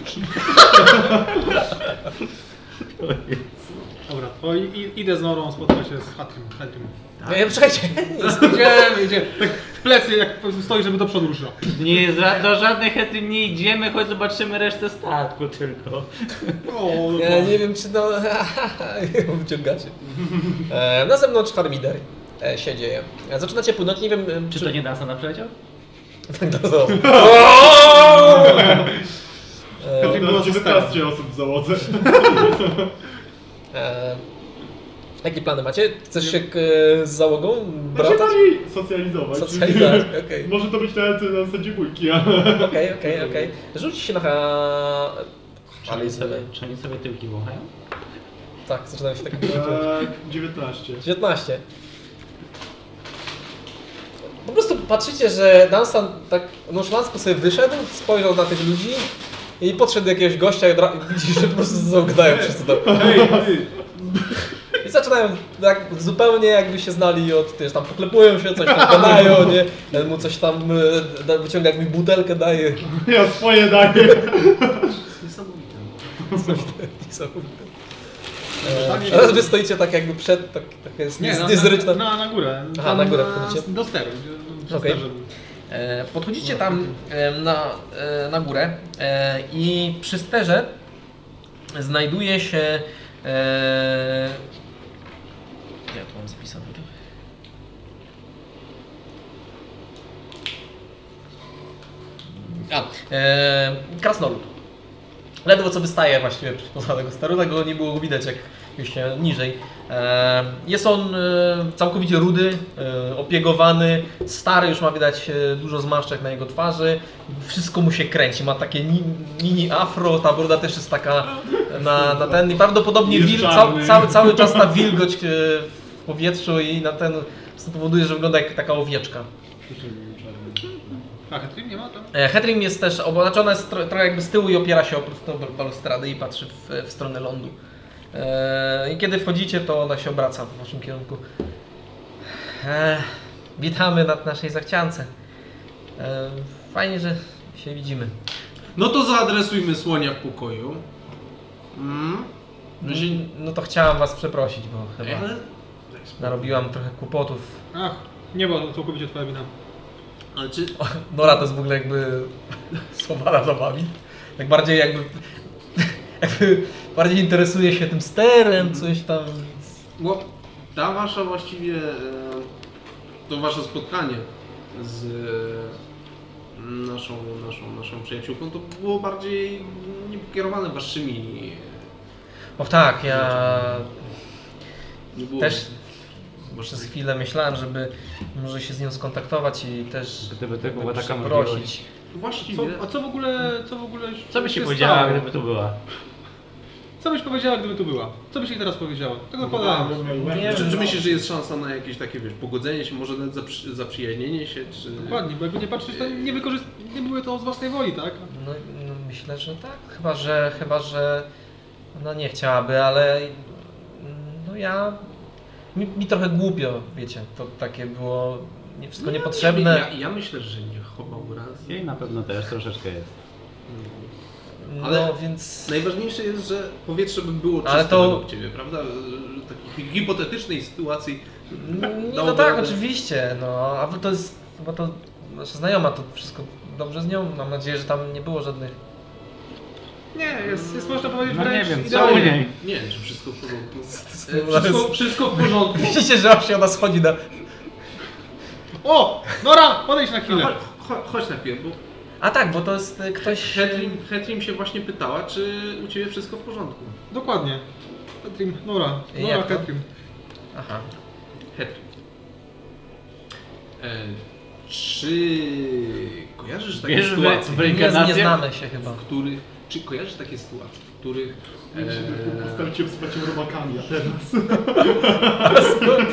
Speaker 4: Dobra, to i, i, idę z Norą spotkać się z Hatrim. Hatrim.
Speaker 1: No Nie, Czekajcie,
Speaker 4: Idziemy, idziemy. Tak w plecy, jak stoi, żeby do przodu ruszyła.
Speaker 3: Nie, za- do żadnych etym nie idziemy, choć zobaczymy resztę statku tylko.
Speaker 4: O,
Speaker 1: ja nie wiem czy no... Wyciągacie. E, na zewnątrz harmider e, się dzieje. E, Zaczynacie płynąć, nie wiem... e,
Speaker 3: Czy to nie dansa na przyleciał?
Speaker 1: To są- E,
Speaker 2: To jest 19 osób w załodze.
Speaker 1: E, jakie plany macie? Chcesz się k, z załogą
Speaker 2: Znaczy
Speaker 1: bratać?
Speaker 2: bardziej socjalizować.
Speaker 1: Socjalizować, okej.
Speaker 2: Może to być nawet na zasadzie bójki, ale...
Speaker 1: Okej, okej, okej. Rzuć się na... ha-
Speaker 3: Czy
Speaker 1: Ale
Speaker 3: oni
Speaker 1: jest
Speaker 3: sobie, czy oni sobie tyłki wąchają?
Speaker 1: Tak, zaczynam się tak...
Speaker 2: Eee, 19.
Speaker 1: 19. Po prostu patrzycie, że Dunstan tak nonszalancko sobie wyszedł, spojrzał na tych ludzi i podszedł do jakiegoś gościa i odra- i widzisz, że po prostu zaogdają wszyscy to. I zaczynają tak zupełnie jakby się znali od, wiesz, tam poklepują się, coś tam gadają, nie? Ten mu coś tam e, da- wyciąga, jak mi butelkę daje.
Speaker 2: Ja swoje daję.
Speaker 5: Niesamowite.
Speaker 1: Niesamowite. E, Teraz wy stoicie tak jakby przed, tak, tak jest
Speaker 4: Nie, no, na,
Speaker 1: dyzryczne.
Speaker 4: na, na, na górę.
Speaker 1: Aha,
Speaker 4: Tam
Speaker 1: na górę wchodzicie.
Speaker 4: Do steru. Przez
Speaker 1: Okej.
Speaker 4: sterze.
Speaker 1: E, Podchodzicie tam e, na, e, na górę e, i przy sterze znajduje się. e, Ja to mam zapisane. czekaj. A, e, krasnolud. Ledwo co wystaje właściwie poza tego steru, tego nie było go widać jak już się niżej. E, Jest on e, całkowicie rudy, e, opiegowany, stary, już ma widać e, dużo zmarszczek na jego twarzy. Wszystko mu się kręci, ma takie ni- mini afro, ta broda też jest taka na, na ten i prawdopodobnie
Speaker 2: Jest
Speaker 1: wil,
Speaker 2: czarny.
Speaker 1: ca, cały, cały czas ta wilgoć e, w powietrzu i na ten po prostu powoduje, że wygląda jak taka owieczka.
Speaker 4: A Hatrim nie ma tam?
Speaker 1: E, Hetrim jest też, obo- znaczy ona jest tro, trochę jakby z tyłu i opiera się o prostą balustradę i patrzy w, w stronę lądu. E, I kiedy wchodzicie, to ona się obraca w waszym kierunku. E, witamy na naszej zachciance. E, fajnie, że się widzimy.
Speaker 5: No to zaadresujmy słonia w pokoju. Mm. No się-
Speaker 1: No to chciałam was przeprosić, bo
Speaker 5: Ej,
Speaker 1: chyba
Speaker 5: ale...
Speaker 1: narobiłam trochę kłopotów.
Speaker 4: Ach, nie było to całkowicie twoja wina.
Speaker 5: Ale czy...
Speaker 1: Nora to jest w ogóle jakby słowa na zabawki. Tak bardziej jakby, jakby bardziej interesuje się tym sterem, coś tam.
Speaker 5: Bo ta wasza właściwie... e, To wasze spotkanie z e, naszą, naszą, naszą przyjaciółką to było bardziej nie kierowane waszymi...
Speaker 1: No tak, ja
Speaker 5: Nie było
Speaker 1: Też-
Speaker 5: waszych
Speaker 1: przez chwilę myślałem, żeby może się z nią skontaktować i też
Speaker 3: Gdyby to
Speaker 1: jakby
Speaker 3: była taka możliwość.
Speaker 1: przeprosić.
Speaker 5: Właściwie.
Speaker 4: a co w ogóle, co w ogóle
Speaker 3: Co by się
Speaker 4: stało?
Speaker 3: powiedziała, gdyby tu była?
Speaker 4: Co byś powiedziała, gdyby tu była? Co byś jej teraz powiedziała? Tak Tego
Speaker 2: Ja
Speaker 4: podałem.
Speaker 2: bym miał łeb.
Speaker 1: Nie no.
Speaker 5: Czy, czy myślisz, że jest szansa na jakieś takie, wiesz, pogodzenie się, może nawet zaprzy, zaprzyjaźnienie się, czy...
Speaker 4: Dokładnie, bo jakby nie patrzeć, to nie, wykorzyst... nie były to z własnej woli, tak?
Speaker 1: No, no myślę, że tak. Chyba, że chyba, że no nie chciałaby, ale no ja mi, mi trochę głupio, wiecie, to takie było nie, wszystko
Speaker 5: Ja
Speaker 1: niepotrzebne.
Speaker 5: myślę- Ja, ja myślę, że nie chowa urazy.
Speaker 3: Jej na pewno też troszeczkę jest.
Speaker 1: No
Speaker 5: ale-
Speaker 1: więc
Speaker 5: Najważniejsze jest, że powietrze by było czyste
Speaker 1: Ale
Speaker 5: Ale
Speaker 1: to-
Speaker 5: według Ciebie, prawda? Że Takiej hipotetycznej sytuacji.
Speaker 1: no, no
Speaker 5: dałoby
Speaker 1: tak,
Speaker 5: radę.
Speaker 1: oczywiście, no a wy to jest chyba to nasza znajoma, to wszystko dobrze z nią. Mam nadzieję, że tam nie było żadnych
Speaker 5: E,
Speaker 4: Nie, jest, jest można powiedzieć
Speaker 3: No nie
Speaker 4: wręcz
Speaker 3: wiem, co u
Speaker 4: idealnie.
Speaker 3: niej?
Speaker 5: Nie wiem, czy wszystko w porządku.
Speaker 1: E,
Speaker 5: Wszystko, wszystko w porządku.
Speaker 1: Widzicie, że aż się ona schodzi na
Speaker 4: O! Nora, podejdź na chwilę.
Speaker 5: Cho, chodź na chwilę, bo
Speaker 1: A tak, bo to jest y, ktoś
Speaker 5: Hetrim, Hetrim się właśnie pytała, czy u Ciebie wszystko w porządku.
Speaker 4: Dokładnie. Petrim, Nora.
Speaker 1: I
Speaker 4: Nora,
Speaker 1: jak to?
Speaker 4: Petrim.
Speaker 1: Aha.
Speaker 5: Hetrim. E, czy kojarzysz takie
Speaker 3: Wiesz, że
Speaker 5: sytuacje?
Speaker 3: w
Speaker 1: Nie, nie
Speaker 3: inkarnacjach
Speaker 1: znamy się chyba.
Speaker 5: w których, czy kojarzysz takie sytuacje, w których
Speaker 2: Ja się tylko
Speaker 5: e,
Speaker 2: Postawicie wsparcie robakami, a teraz.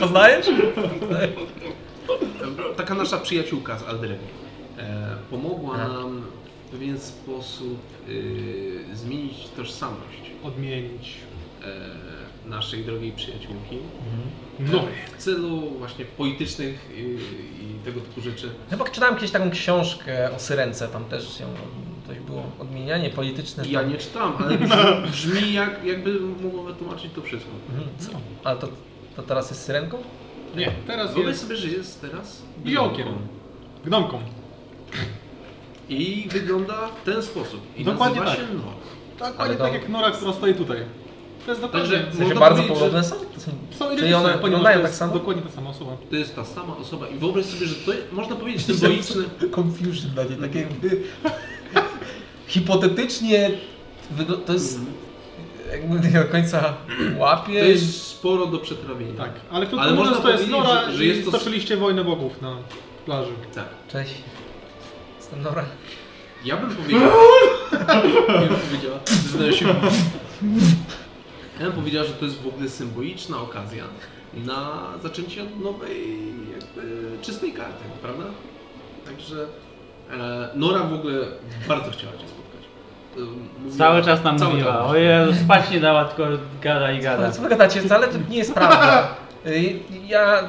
Speaker 1: Poznajesz?
Speaker 5: e, taka nasza przyjaciółka z Aldremi e, pomogła
Speaker 4: Tak.
Speaker 1: Aha.
Speaker 5: nam w pewien sposób e, zmienić tożsamość
Speaker 4: Odmienić.
Speaker 5: e, naszej drogiej przyjaciółki
Speaker 4: No.
Speaker 5: w celu właśnie politycznych i, i tego typu rzeczy.
Speaker 1: Chyba czytałem kiedyś taką książkę o Syrence, tam też ją coś było, odmienianie polityczne.
Speaker 5: Ja nie czytam, ale brzmi, brzmi jak, jakby mogło wytłumaczyć to wszystko.
Speaker 1: Mhm, co? Ale to, to teraz jest Syrenką?
Speaker 4: Nie, teraz
Speaker 5: Wyobraź
Speaker 4: jest
Speaker 5: sobie, że jest teraz
Speaker 4: Biołkiem. gnomką.
Speaker 5: I wygląda w ten sposób. I
Speaker 4: Dokładnie
Speaker 5: nazywa
Speaker 4: tak.
Speaker 5: się Nor.
Speaker 4: Dokładnie
Speaker 1: to-
Speaker 4: tak jak Nora, która stoi tutaj. To jest dokładnie...
Speaker 5: Także-
Speaker 1: W sensie
Speaker 5: Można
Speaker 1: bardzo
Speaker 5: powiedzieć,
Speaker 1: podobne są? To są Czyli
Speaker 4: Są
Speaker 1: one
Speaker 4: identyczne, ponieważ
Speaker 1: wyglądają
Speaker 4: to
Speaker 1: tak
Speaker 4: jest
Speaker 1: samo?
Speaker 4: dokładnie ta sama osoba.
Speaker 5: To jest ta sama osoba i wyobraź sobie, że to jest, można powiedzieć symboliczny...
Speaker 1: Confusion dla niej, tak jakby... Hipotetycznie wygl- to jest jakby nie do końca łapie.
Speaker 5: To jest sporo do przetrawienia.
Speaker 4: Tak, ale krótko
Speaker 5: Ale
Speaker 4: ale mówiąc
Speaker 5: można
Speaker 4: to jest
Speaker 5: powiedzieć,
Speaker 4: Nora
Speaker 5: że-
Speaker 4: że,
Speaker 5: że jest
Speaker 4: jest
Speaker 5: to-
Speaker 4: i stoczyliście wojnę bogów na plaży.
Speaker 5: tak.
Speaker 1: Cześć. Jestem Nora.
Speaker 5: Ja bym powiedział... ja bym powiedziała... przyznaję się. Ja bym powiedziała, że to jest w ogóle symboliczna okazja na zaczęcie od nowej, jakby czystej karty, prawda? Także e, Nora w ogóle bardzo chciała Cię spotkać. E, mówiła-
Speaker 3: Cały czas nam
Speaker 5: cały
Speaker 3: mówiła,
Speaker 5: czas.
Speaker 3: o Jezu, spać nie dała, tylko gada i gada.
Speaker 1: Ale co wy gadacie, ale to nie jest prawda. Y, Ja...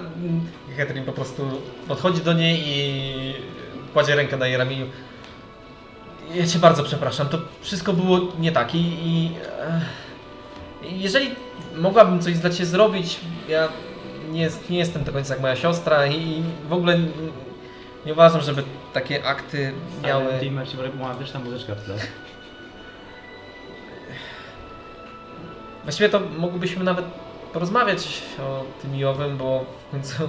Speaker 1: Katrin po prostu podchodzi do niej i kładzie rękę na jej ramieniu. Ja cię bardzo przepraszam, to wszystko było nie tak i... i e, jeżeli mogłabym coś dla ciebie zrobić, ja nie, jest- nie jestem do końca jak moja siostra i w ogóle nie, nie uważam, żeby takie akty miały...
Speaker 3: Miały... Macie romantyczna muzyczka w tle.
Speaker 1: Właściwie to moglibyśmy nawet porozmawiać o tym i owym, bo w końcu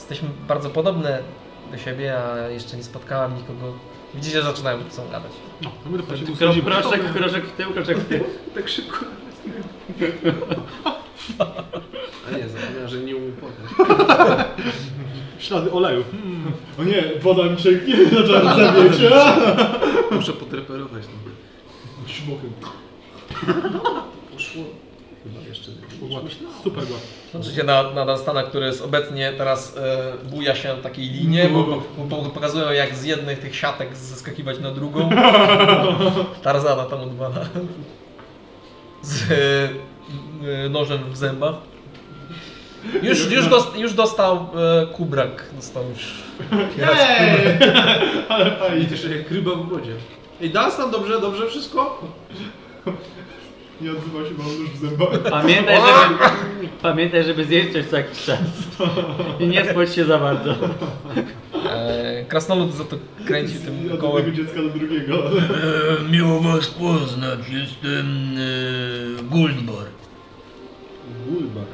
Speaker 1: jesteśmy bardzo podobne do siebie, a jeszcze nie spotkałam nikogo. Widzicie, że zaczynają ze sobą gadać.
Speaker 4: No, to my dopiero się
Speaker 3: Kro,
Speaker 4: usłyszeli.
Speaker 3: kroczek, kroczek w tył, kroczek w tył.
Speaker 5: Tak szybko. A nie, zapomniałem, że nie umiem płakać.
Speaker 4: Ślady oleju. Hmm.
Speaker 2: O nie, woda mi cieknie na czarce, wiecie?
Speaker 5: Muszę podreperować. No.
Speaker 2: Śmokiem.
Speaker 5: Poszło chyba jeszcze
Speaker 4: Gładko. Super gładko.
Speaker 1: Patrzycie na, na Dunstana, który jest obecnie teraz e, buja się na takiej linie, bo, bo, bo pokazują jak z jednych tych siatek zeskakiwać na drugą. Tarzana tam odwala. Z e, e, nożem w zębach. Już, już, dost, już dostał e, kubrak. Dostał już raz kubrak.
Speaker 5: A widzisz, jak ryba w wodzie. Ej, Dunstan, dobrze, dobrze wszystko?
Speaker 2: Nie odzywa się, mam nóż w zębach.
Speaker 3: Pamiętaj, żeby, pamiętaj, żeby zjeść coś co jakiś czas. I nie spać się za bardzo.
Speaker 1: E, Krasnolud za to kręci tym
Speaker 2: Od
Speaker 1: kołem.
Speaker 2: jednego dziecka do drugiego.
Speaker 7: E, miło was poznać, jestem e, Guldbar.
Speaker 2: Gulbar.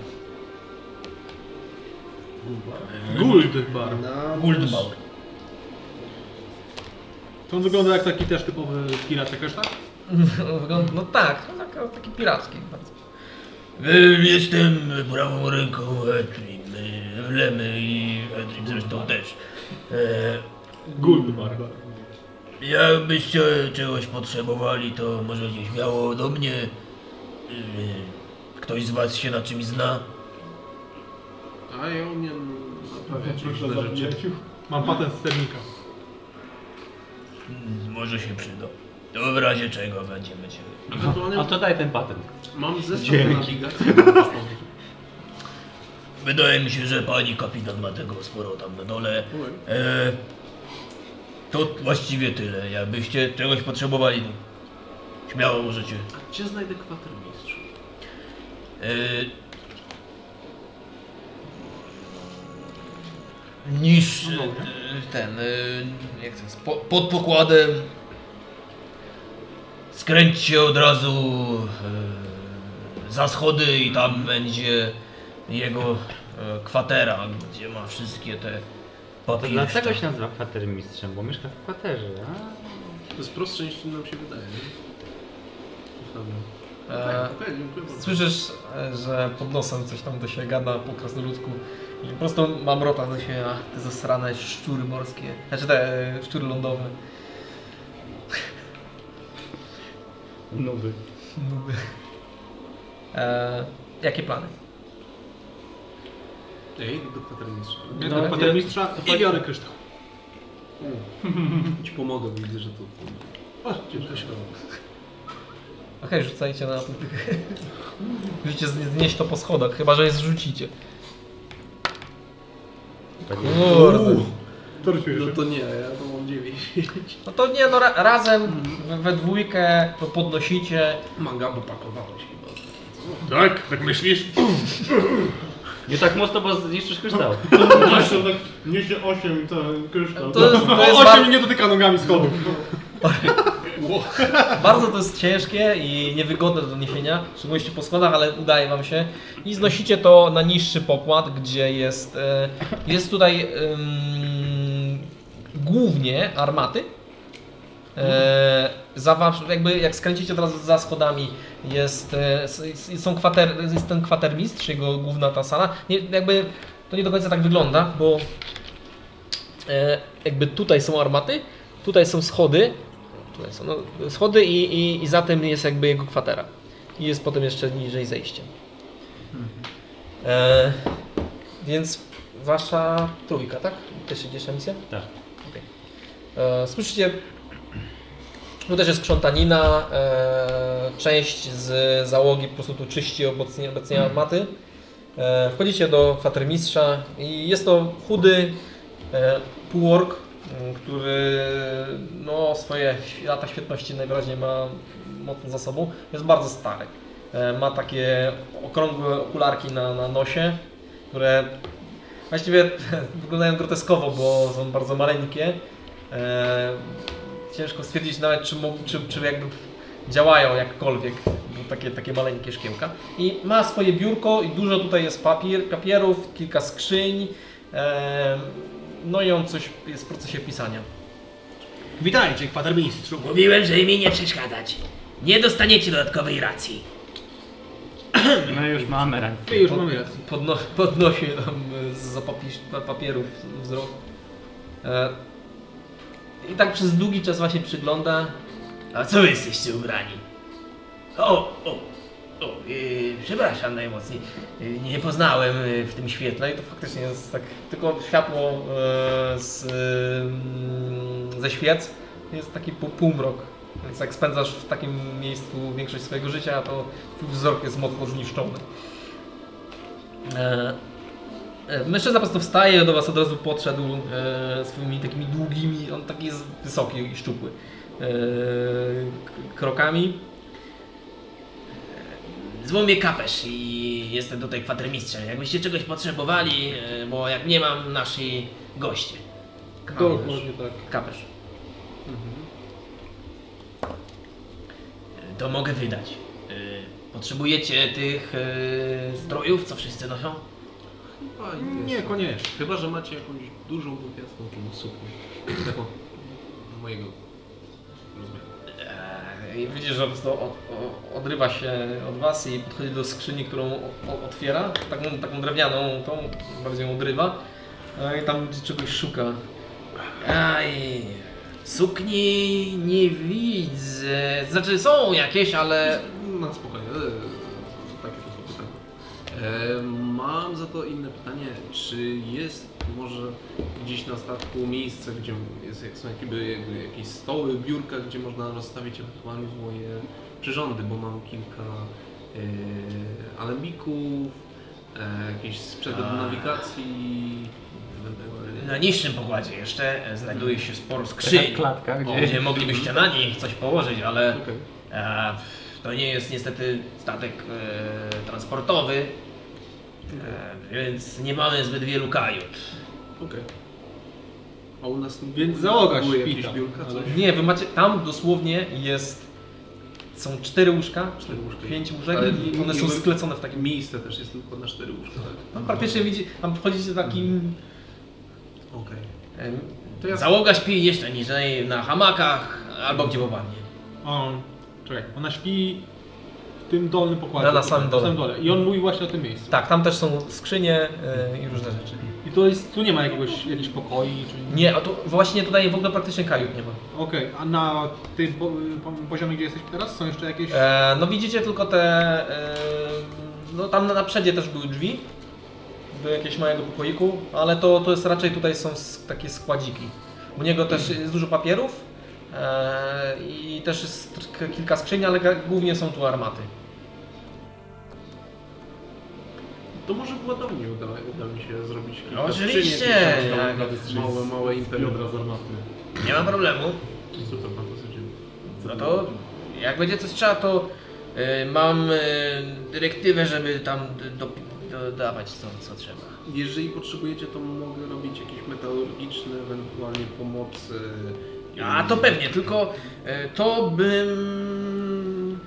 Speaker 4: Guldbar.
Speaker 5: No.
Speaker 8: Na...
Speaker 7: Guldbar.
Speaker 4: To on wygląda jak taki też typowy tak? pirat jak reszta?
Speaker 1: Wygląda, no tak, no tak, taki piracki bardzo.
Speaker 7: E, jestem prawą ręką Edrim, e, Lemy i Edrim zresztą też. E,
Speaker 4: Guldbar.
Speaker 7: Jakbyście czegoś potrzebowali, to możecie śmiało do mnie. Yy, Ktoś z was się na czymś zna?
Speaker 8: A ja umiem naprawiać
Speaker 2: Proszę
Speaker 8: różne rzeczy.
Speaker 2: zapomnieć.
Speaker 4: Mam patent sternika.
Speaker 7: Mm, Może się przyda. To w razie czego będziemy cię.
Speaker 8: Ewentualnie
Speaker 3: A to daj ten patent.
Speaker 8: mam zestaw
Speaker 3: Dzięki.
Speaker 8: na nawigacji. możesz powiedzieć.
Speaker 7: Wydaje mi się, że pani kapitan ma tego sporo tam na dole.
Speaker 8: Okej.
Speaker 7: E, to właściwie tyle. Jakbyście czegoś potrzebowali, to śmiało możecie.
Speaker 8: A gdzie znajdę kwatermistrz?
Speaker 7: E, niż
Speaker 9: No
Speaker 7: e, ten, e, jak to jest, po, pod pokładem skręć się od razu e, za schody i tam będzie jego e, kwatera, gdzie ma wszystkie te
Speaker 3: To
Speaker 7: papiery.
Speaker 3: dlatego się nazywa kwatermistrzem, bo mieszka w kwaterze. A?
Speaker 8: To jest prostsze niż nam się wydaje. nie? No
Speaker 1: E,
Speaker 8: tak, okej, dziękuję bardzo.
Speaker 1: Słyszysz, e, że pod nosem coś tam do siebie gada po krasnoludzku i po prostu mam rota do siebie, ach te zasrane szczury morskie, znaczy te e, szczury lądowe.
Speaker 3: Nowy.
Speaker 1: Nuby. E, jakie plany?
Speaker 8: Ja idę do kwatermistrza.
Speaker 4: Ja no, patent mistrza i biorę kryształ.
Speaker 8: Ci pomogę, bo widzę, że to...
Speaker 1: Okej, rzucajcie na atletykę. Musicie znie- znieść to po schodach, chyba że je zrzucicie. Kurde.
Speaker 8: No to nie, ja to mam 9.
Speaker 1: No to nie, no ra razem we, we dwójkę to podnosicie.
Speaker 8: Manga, bo pakowałeś chyba.
Speaker 2: Tak? Tak myślisz?
Speaker 3: Nie tak mocno, bo zniszczysz kryształ.
Speaker 2: Właśnie tak niesie 8 i ten kryształ.
Speaker 1: To jest, to jest
Speaker 10: Osiem
Speaker 1: bar
Speaker 10: nie dotyka nogami schodów.
Speaker 1: bardzo to jest ciężkie i niewygodne do niesienia, w szczególności po schodach, ale udaje wam się. I znosicie to na niższy pokład, gdzie jest, e, jest tutaj ym, głównie armaty. E, za wasz, jakby jak skręcicie od razu za schodami jest, e, s- s- są kwater, jest ten kwatermistrz, jego główna ta sala. Nie, jakby to nie do końca tak wygląda, bo e, jakby tutaj są armaty, tutaj są schody, tutaj są, no, schody i, i, i za tym jest jakby jego kwatera. I jest potem jeszcze niżej zejście. E, więc wasza trójka, tak? Też idziesz na misję?
Speaker 3: Tak.
Speaker 1: Okej. E, Słyszycie, tu też jest krzątanina, e, część z załogi po prostu tu czyści obecnie, obecnie armaty. E, wchodzicie do kwatermistrza i jest to chudy e, półork, m, mm, który no, swoje świ- lata świetności najwyraźniej ma mocno za sobą. Jest bardzo stary. E, ma takie okrągłe okularki na, na nosie, które właściwie wyglądają groteskowo, bo są bardzo maleńkie. E, ciężko stwierdzić nawet, czy, mógł, czy, czy jakby działają jakkolwiek, bo takie, takie maleńkie szkiełka. I ma swoje biurko i dużo tutaj jest papier, papierów, kilka skrzyń. E, no i on coś jest w procesie pisania.
Speaker 4: Witajcie, kwatermistrzu.
Speaker 9: Mówiłem, żeby mi nie przeszkadzać. Nie dostaniecie dodatkowej racji.
Speaker 3: No już mamy rację.
Speaker 4: I już mamy rację.
Speaker 1: Podno, podnosi nam e, z papi- papierów wzrok. E, I tak przez długi czas właśnie przygląda.
Speaker 9: A co wy jesteście ubrani? O, o, o, yy, przepraszam najmocniej.
Speaker 1: Y, Nie poznałem y, w tym świetle i to faktycznie jest tak, tylko światło e, z, y, ze świec jest taki pół, półmrok. Więc jak spędzasz w takim miejscu większość swojego życia, to twój wzrok jest mocno zniszczony. E, e, Mężczyzna po prostu wstaje, do was od razu podszedł e, swoimi takimi długimi, on taki jest wysoki i szczupły, e, k- krokami.
Speaker 9: Złomię kapesz i jestem tutaj e, kwatermistrzem. Jakbyście czegoś potrzebowali, yy, bo jak nie mam, nasi goście.
Speaker 1: Kamysz.
Speaker 5: Dokładnie tak.
Speaker 1: Kapesz.
Speaker 7: To mogę wydać.
Speaker 9: E,
Speaker 7: Y, Potrzebujecie tych y, strojów, co wszyscy noszą?
Speaker 8: Chyba
Speaker 5: Nie, koniecznie.
Speaker 8: Chyba, że macie jakąś dużą, bufiastą czy suknię. Taką no, mojego rozmiaru.
Speaker 1: I widzisz, że po prostu od, o- odrywa się od was i podchodzi do skrzyni, którą o- o- otwiera. Taką, taką drewnianą, tą bardziej ją odrywa. E, I tam czegoś szuka.
Speaker 7: Aj, sukni nie widzę. Znaczy są jakieś, ale...
Speaker 8: Na No, spokojnie, ale takie to są pytania. E, mam za to inne pytanie, czy jest może gdzieś na statku miejsce, gdzie jest, są jakby, jakby jakieś stoły, biurka, gdzie można rozstawić ewentualnie moje przyrządy, bo mam kilka e, alembików, e, jakiś sprzęt do
Speaker 7: A.
Speaker 8: nawigacji, ewentualnie-
Speaker 7: Na niższym pokładzie jeszcze e, znajduje się sporo skrzyń,
Speaker 3: klatka, gdzie...
Speaker 7: gdzie moglibyście na nich coś położyć, ale
Speaker 8: Okej.
Speaker 7: e, to nie jest niestety statek e, transportowy, e, więc nie mamy zbyt wielu kajut.
Speaker 8: Okej. A u nas
Speaker 5: Więc załoga
Speaker 8: były
Speaker 5: śpi
Speaker 8: jakieś
Speaker 5: tam,
Speaker 8: biurka,
Speaker 5: ale-
Speaker 8: coś?
Speaker 1: Nie, wy macie, tam dosłownie jest, są cztery łóżka,
Speaker 8: Cztery łóżka.
Speaker 1: pięć łóżek
Speaker 8: Ale
Speaker 1: i one są
Speaker 8: jakby-
Speaker 1: sklecone w takim...
Speaker 8: Miejsce też jest tylko na cztery łóżka, tak?
Speaker 1: Tam praktycznie widzi, tam wchodzicie takim...
Speaker 8: Okej.
Speaker 1: em,
Speaker 8: To ja
Speaker 7: Załoga śpi jeszcze niżej na hamakach albo gdzie popadnie.
Speaker 4: O, czekaj, ona śpi w tym dolnym pokładzie.
Speaker 1: Na- na samym dole.
Speaker 4: Na samym dole. I on mówi właśnie o tym miejscu.
Speaker 1: Tak, tam też są skrzynie e, i różne rzeczy.
Speaker 4: I to jest, tu nie ma jakiegoś, jakichś pokoi czy...
Speaker 1: Nie, a tu właśnie tutaj w ogóle praktycznie kajut nie ma.
Speaker 4: Okej, a na tym po, po- poziomie, gdzie jesteśmy teraz, są jeszcze jakieś...
Speaker 1: E, no widzicie tylko te... E, no tam na- na przedzie też były drzwi do jakiegoś małego pokoiku, ale to, to jest raczej tutaj są s- takie składziki. U niego też
Speaker 8: Mhm.
Speaker 1: jest dużo papierów e, i też jest k- kilka skrzyń, ale ga- głównie są tu armaty.
Speaker 8: To może w ładowni uda, uda mi się zrobić kilka
Speaker 7: Oczywiście,
Speaker 8: skrzyniek i tam
Speaker 7: jak-
Speaker 8: tam jakieś małe, małe imperium.
Speaker 2: Biodra z armaty.
Speaker 7: Nie ma problemu.
Speaker 8: Super, fantastycznie.
Speaker 7: No to jak będzie coś trzeba, to y, mam y, dyrektywę, żeby tam d- do, dodawać co, co trzeba.
Speaker 8: Jeżeli potrzebujecie, to mogę robić jakieś metalurgiczne, ewentualnie pomocy.
Speaker 7: A to pewnie, tylko y, to bym.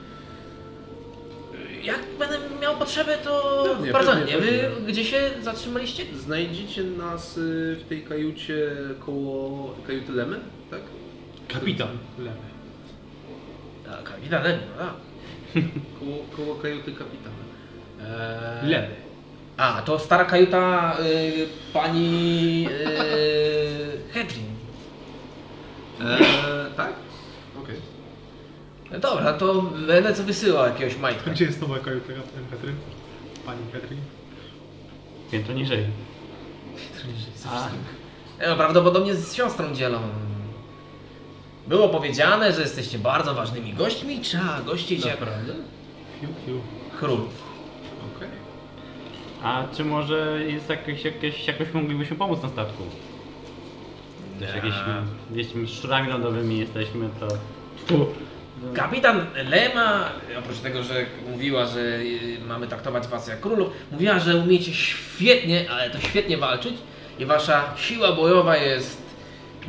Speaker 7: e, Jak będę miał potrzebę, to
Speaker 8: Pewnie,
Speaker 7: bardzo
Speaker 8: pewnie,
Speaker 7: nie. Wy
Speaker 8: pewnie.
Speaker 7: gdzie się zatrzymaliście?
Speaker 8: Znajdziecie nas y, w tej kajucie koło kajuty Lemy, tak?
Speaker 5: Kapitan.
Speaker 7: A, Kapitanem, no tak.
Speaker 8: Koło, koło kajuty kapitana. Eee,
Speaker 5: Lewy.
Speaker 7: A, to stara kajuta y, pani y, Hedrin.
Speaker 8: Eee,
Speaker 5: E,
Speaker 8: tak? Okej.
Speaker 7: No Dobra, to będę co wysyłał jakiegoś majtka.
Speaker 4: Gdzie jest nowa kajuta Katry? Pani Katry?
Speaker 3: Piętro niżej. A,
Speaker 7: E, Prawdopodobnie z siostrą dzielą. Było powiedziane, że jesteście bardzo ważnymi gośćmi, trzeba gościć jak
Speaker 8: Naprawdę?
Speaker 4: Fiu, fiu.
Speaker 7: królów.
Speaker 8: Okej.
Speaker 3: a czy może jest jakoś, jakoś, jakoś moglibyśmy pomóc na statku? Też jakieś, jeśli szczurami lądowymi jesteśmy, to...
Speaker 7: Kapitan Lema, oprócz tego, że mówiła, że y, mamy traktować was jak królów, mówiła, że umiecie świetnie, ale to świetnie walczyć i wasza siła bojowa jest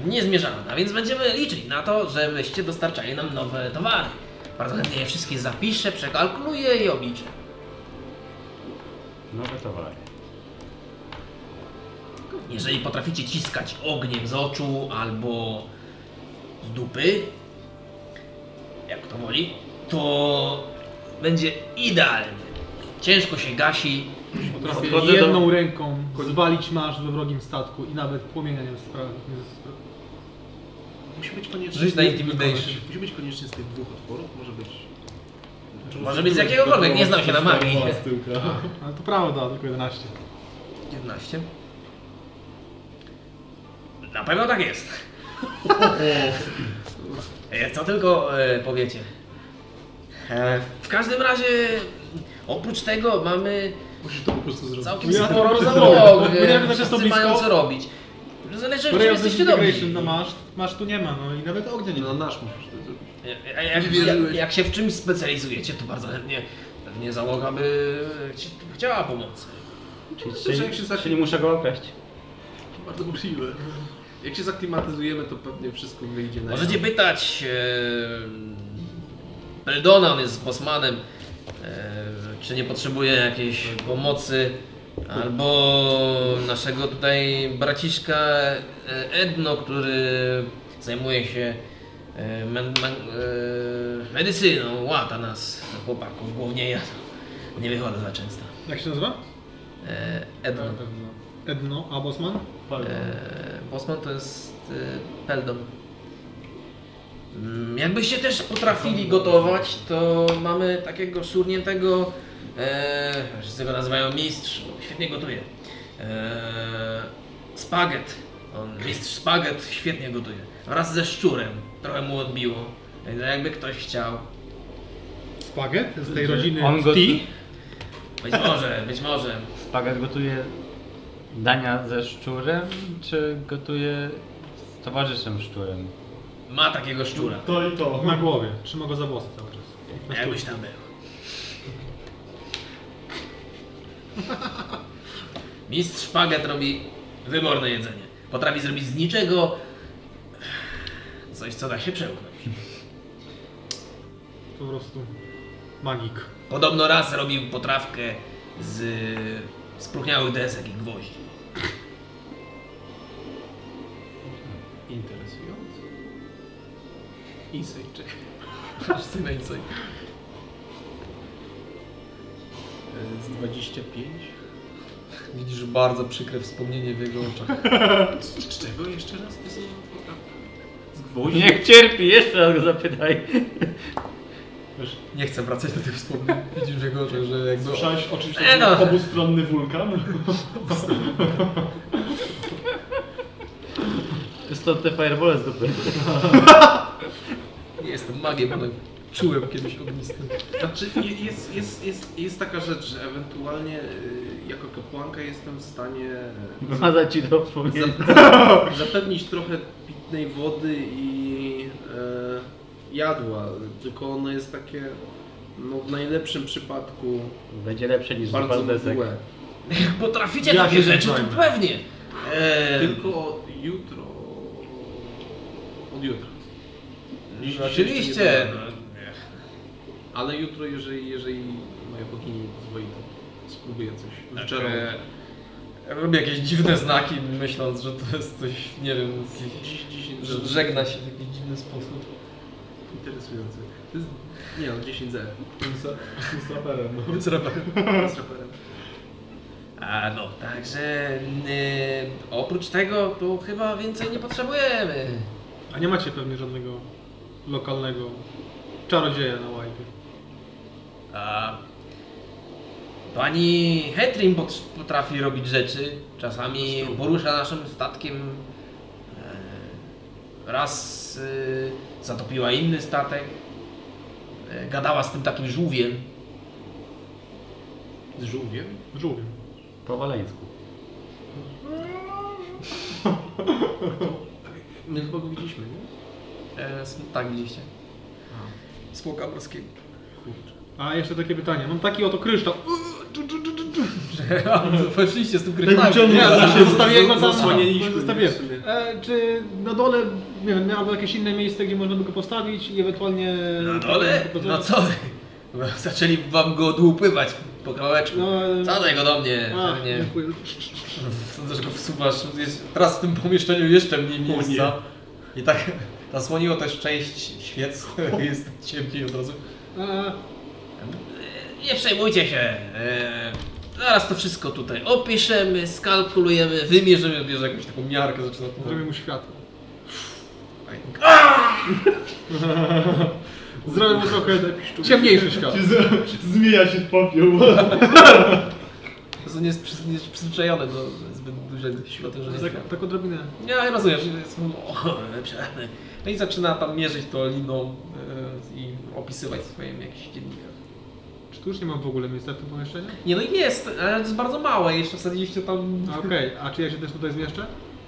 Speaker 7: niezmierzalna, więc będziemy liczyć na to, że byście dostarczali nam nowe towary. Bardzo chętnie je wszystkie zapiszę, przekalkuluję i obliczę.
Speaker 3: Nowe towary.
Speaker 7: Jeżeli potraficie ciskać ogniem z oczu albo z dupy, jak to woli, to będzie idealnie. Ciężko się gasi.
Speaker 3: Podchodzę do-
Speaker 4: Jedną ręką zwalić masz we wrogim statku i nawet płomienia nie sprawi.
Speaker 8: Musi być koniecznie.
Speaker 1: Rzuć na intimidation.
Speaker 8: Musi być koniecznie z tych dwóch otworów, może być.
Speaker 7: Może być z jakiegokolwiek, nie znam się na magii.
Speaker 2: Mała tyłka.
Speaker 4: Ale to prawda, tylko 11.
Speaker 1: 11.
Speaker 7: Na pewno tak jest. E, Co tylko e, powiecie. E, W każdym razie, oprócz tego mamy
Speaker 8: Musisz to po prostu zrobić.
Speaker 7: całkiem
Speaker 4: Ja
Speaker 7: sporo
Speaker 4: to-
Speaker 7: załogę.
Speaker 4: Ja wiem, że to
Speaker 7: Wszyscy
Speaker 4: blisko.
Speaker 7: mają co robić. Zależy, czy
Speaker 4: Ray of
Speaker 7: jesteście dobrzy.
Speaker 4: Disintegration na maszt, masz tu nie ma, no i nawet ognia nie ma.
Speaker 8: No nasz musisz to zrobić.
Speaker 7: E, A Jak, jak, jak się w czymś specjalizujecie, to bardzo chętnie pewnie załoga by ci- chciała pomocy.
Speaker 3: Czyli,
Speaker 8: Słyszę, jak się
Speaker 3: czyli,
Speaker 8: zacznie-
Speaker 3: czyli muszę go okraść.
Speaker 8: Bardzo możliwe.
Speaker 5: Jak się zaklimatyzujemy, to pewnie wszystko wyjdzie na
Speaker 7: Możecie
Speaker 5: jaw.
Speaker 7: pytać e, Eldona, on jest z Bosmanem, e, czy nie potrzebuje jakiejś pomocy, albo naszego tutaj braciszka e, Edno, który zajmuje się e, men, men, e, medycyną, łata nas, chłopaków, głównie ja. Nie wychodzę za często.
Speaker 4: Jak się nazywa?
Speaker 7: E, Edno.
Speaker 2: Na pewno.
Speaker 4: Edno Abosman?
Speaker 7: E, Bosman to jest e, peldon. Mm, Jakbyście też potrafili gotować, to mamy takiego szurniętego, e, wszyscy go nazywają mistrz, bo świetnie gotuje. E, spaget, on mistrz spaget świetnie gotuje. Wraz ze szczurem, trochę mu odbiło, Więc jakby ktoś chciał.
Speaker 4: Spaget z tej rodziny
Speaker 3: On go-
Speaker 4: T.
Speaker 7: Być może, być może.
Speaker 3: Spagat gotuje dania ze szczurem, czy gotuje z towarzyszem szczurem?
Speaker 7: Ma takiego szczura,
Speaker 2: To i to.
Speaker 4: Na głowie. Trzyma go za włosy cały czas.
Speaker 7: No jakbyś tam był. Mistrz Szpaget robi wyborne jedzenie. Potrafi zrobić z niczego coś, co da się przełknąć.
Speaker 4: Po prostu magik.
Speaker 7: Podobno raz robił potrawkę z spruchniałych desek i gwoździ.
Speaker 5: Interesujące. Insight check.
Speaker 7: Wszyscy na insight.
Speaker 5: Z 25.
Speaker 7: Widzisz bardzo przykre wspomnienie w jego oczach.
Speaker 5: Z z czego jeszcze raz? To jest Z gwoździ?
Speaker 3: Niech cierpi, jeszcze raz go zapytaj.
Speaker 7: Nie chcę wracać do tych wspomnień. Widzisz w jego oczach, że jakby...
Speaker 2: Słyszałeś oczywiście
Speaker 7: E, no.
Speaker 2: obustronny wulkan?
Speaker 3: Stąd te firebole z dupy.
Speaker 7: Nie jestem magiem, ale czułem kiedyś ognisty.
Speaker 5: Znaczy, je- jest, jest, jest, jest taka rzecz, że ewentualnie y, jako kapłanka jestem w stanie y,
Speaker 3: Maza ci to wspomnienie.
Speaker 5: za- zapewnić trochę pitnej wody i e, jadła, tylko ono jest takie no, w najlepszym przypadku
Speaker 3: Będzie lepsze niż zupa
Speaker 5: bardzo
Speaker 3: z desek.
Speaker 5: mdłe.
Speaker 7: Jak potraficie
Speaker 4: Ja
Speaker 7: takie
Speaker 4: się
Speaker 7: rzeczy,
Speaker 4: zajmę.
Speaker 7: to pewnie. E,
Speaker 5: Tylko jutro. Od jutra. Dziś-
Speaker 1: No.
Speaker 5: dzisiaj jeszcze nie
Speaker 7: Oczywiście.
Speaker 5: dodałem. Ale jutro, jeżeli, jeżeli moja bogini pozwoli, to spróbuję coś
Speaker 7: Tak,
Speaker 5: wyczerpać.
Speaker 7: e, Robię jakieś dziwne znaki, myśląc, że to jest coś, nie wiem, z-
Speaker 5: Dziś, dziś,
Speaker 7: że żegna się w jakiś dziwny sposób.
Speaker 5: Interesujące. To jest, nie no, 10 z
Speaker 2: Tym sa- tym saperem. no.
Speaker 5: z raperem.
Speaker 7: A no, także y, oprócz tego to chyba więcej nie potrzebujemy.
Speaker 4: A nie macie pewnie żadnego lokalnego czarodzieja na łajbie.
Speaker 7: A pani Hetrim pot- potrafi robić rzeczy. Czasami porusza naszym statkiem. E, Raz e, zatopiła inny statek. E, Gadała z tym takim żółwiem.
Speaker 5: Z żółwiem?
Speaker 4: Żółwiem.
Speaker 3: Po waleńsku.
Speaker 5: My chyba go widzieliśmy, nie?
Speaker 7: E, s- Tak widzieliście. Spłoka morskiego.
Speaker 4: A jeszcze takie pytanie. Mam taki oto kryształ.
Speaker 7: Weszliście
Speaker 4: Tak,
Speaker 7: z tym kryształem.
Speaker 4: Nie, zostawiłem go
Speaker 5: za-
Speaker 4: zasłonięliśmy.
Speaker 5: zasłoniliśmy
Speaker 4: Zostawiłem.
Speaker 5: w sumie.
Speaker 4: E, czy na dole, nie wiem, albo jakieś inne miejsce, gdzie można by go postawić i ewentualnie...
Speaker 7: No dole, no co? wy? Zaczęli wam go odłupywać po kawałeczku.
Speaker 4: No, e,
Speaker 7: Zadaj go do mnie.
Speaker 4: a,
Speaker 7: pewnie.
Speaker 4: dziękuję.
Speaker 7: Sądzę, że go wsuwasz. Jest teraz w tym pomieszczeniu jeszcze mniej miejsca. I tak zasłoniło też część świec. Jest ciemniej od razu.
Speaker 4: E,
Speaker 7: Nie przejmujcie się. e, Zaraz to wszystko tutaj opiszemy, skalkulujemy, wymierzymy, bierze jakąś taką miarkę, zaczyna to.
Speaker 4: zrobię mu światło.
Speaker 11: Zrobię mu trochę tak ciemniejszy świat.
Speaker 2: Z- Zmija się w popiół.
Speaker 7: To nie jest przy- nie jest przyzwyczajone do zbyt dużej siły, że nie
Speaker 4: Tak, tak odrobinę.
Speaker 7: Ja rozumiem, że jest o, przerwny. No i zaczyna tam mierzyć to liną e, i opisywać w swoim jakichś dziennikach.
Speaker 4: Czy tu już nie mam w ogóle miejsca w tym pomieszczeniu?
Speaker 7: Nie no jest, ale to jest bardzo małe, jeszcze wsadziliście tam...
Speaker 4: A, Okej, a czy ja się też tutaj zmieszczę?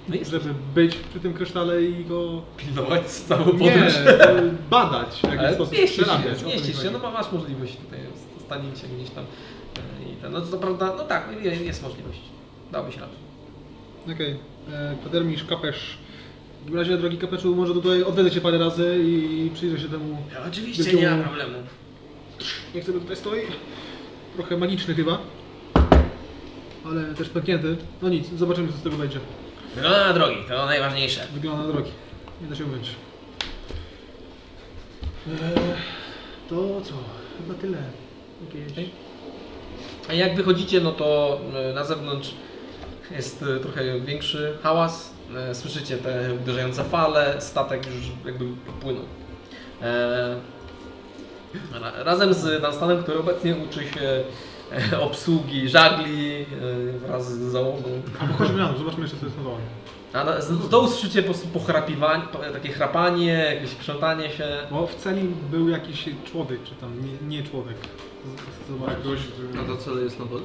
Speaker 7: No jest
Speaker 4: Żeby być przy tym krysztale i go...
Speaker 7: pilnować całą podróż.
Speaker 4: Nie, e, badać w jakiś
Speaker 7: Ale
Speaker 4: sposób.
Speaker 7: zmieścisz
Speaker 4: przerabiać, o
Speaker 7: się,
Speaker 4: to mi
Speaker 7: zmieścisz się,
Speaker 4: chodzi.
Speaker 7: no ma- masz możliwość tutaj stanięcia gdzieś tam. e, I ten, no to co prawda, no tak, je- jest możliwość. Dałbyś radę.
Speaker 4: Okej, okay. kwadermistrz e, Kapesz W razie, drogi kapeczu, może tutaj odwiedzę cię parę razy i przyjrzę się temu.
Speaker 7: Oczywiście nie ma problemu.
Speaker 4: Nie chcę, by tutaj stoi. Trochę magiczny chyba. Ale też pęknięty. No nic, zobaczymy co z tego będzie.
Speaker 7: Wygląda na No, drogi, to najważniejsze.
Speaker 4: Wygląda na drogi. Nie da się ująć. Eee, to co? Chyba tyle. Jakieś...
Speaker 1: A jak wychodzicie, no to e, na zewnątrz jest e, trochę większy hałas. E, Słyszycie te uderzające fale, statek już jakby płynął. E, ra- Razem z Dunstanem, który obecnie uczy się e, obsługi żagli e, wraz z załogą.
Speaker 4: A pochodźmy na dół, zobaczmy jeszcze co jest na dole.
Speaker 1: A na- z z dołu słyszycie po prostu pochrapiwanie, po- takie chrapanie, jakieś krzątanie się.
Speaker 4: Bo w celi był jakiś człowiek, czy tam nie, nie człowiek. Z- Zobacz.
Speaker 2: Jakoś,
Speaker 8: A to cele jest na dole?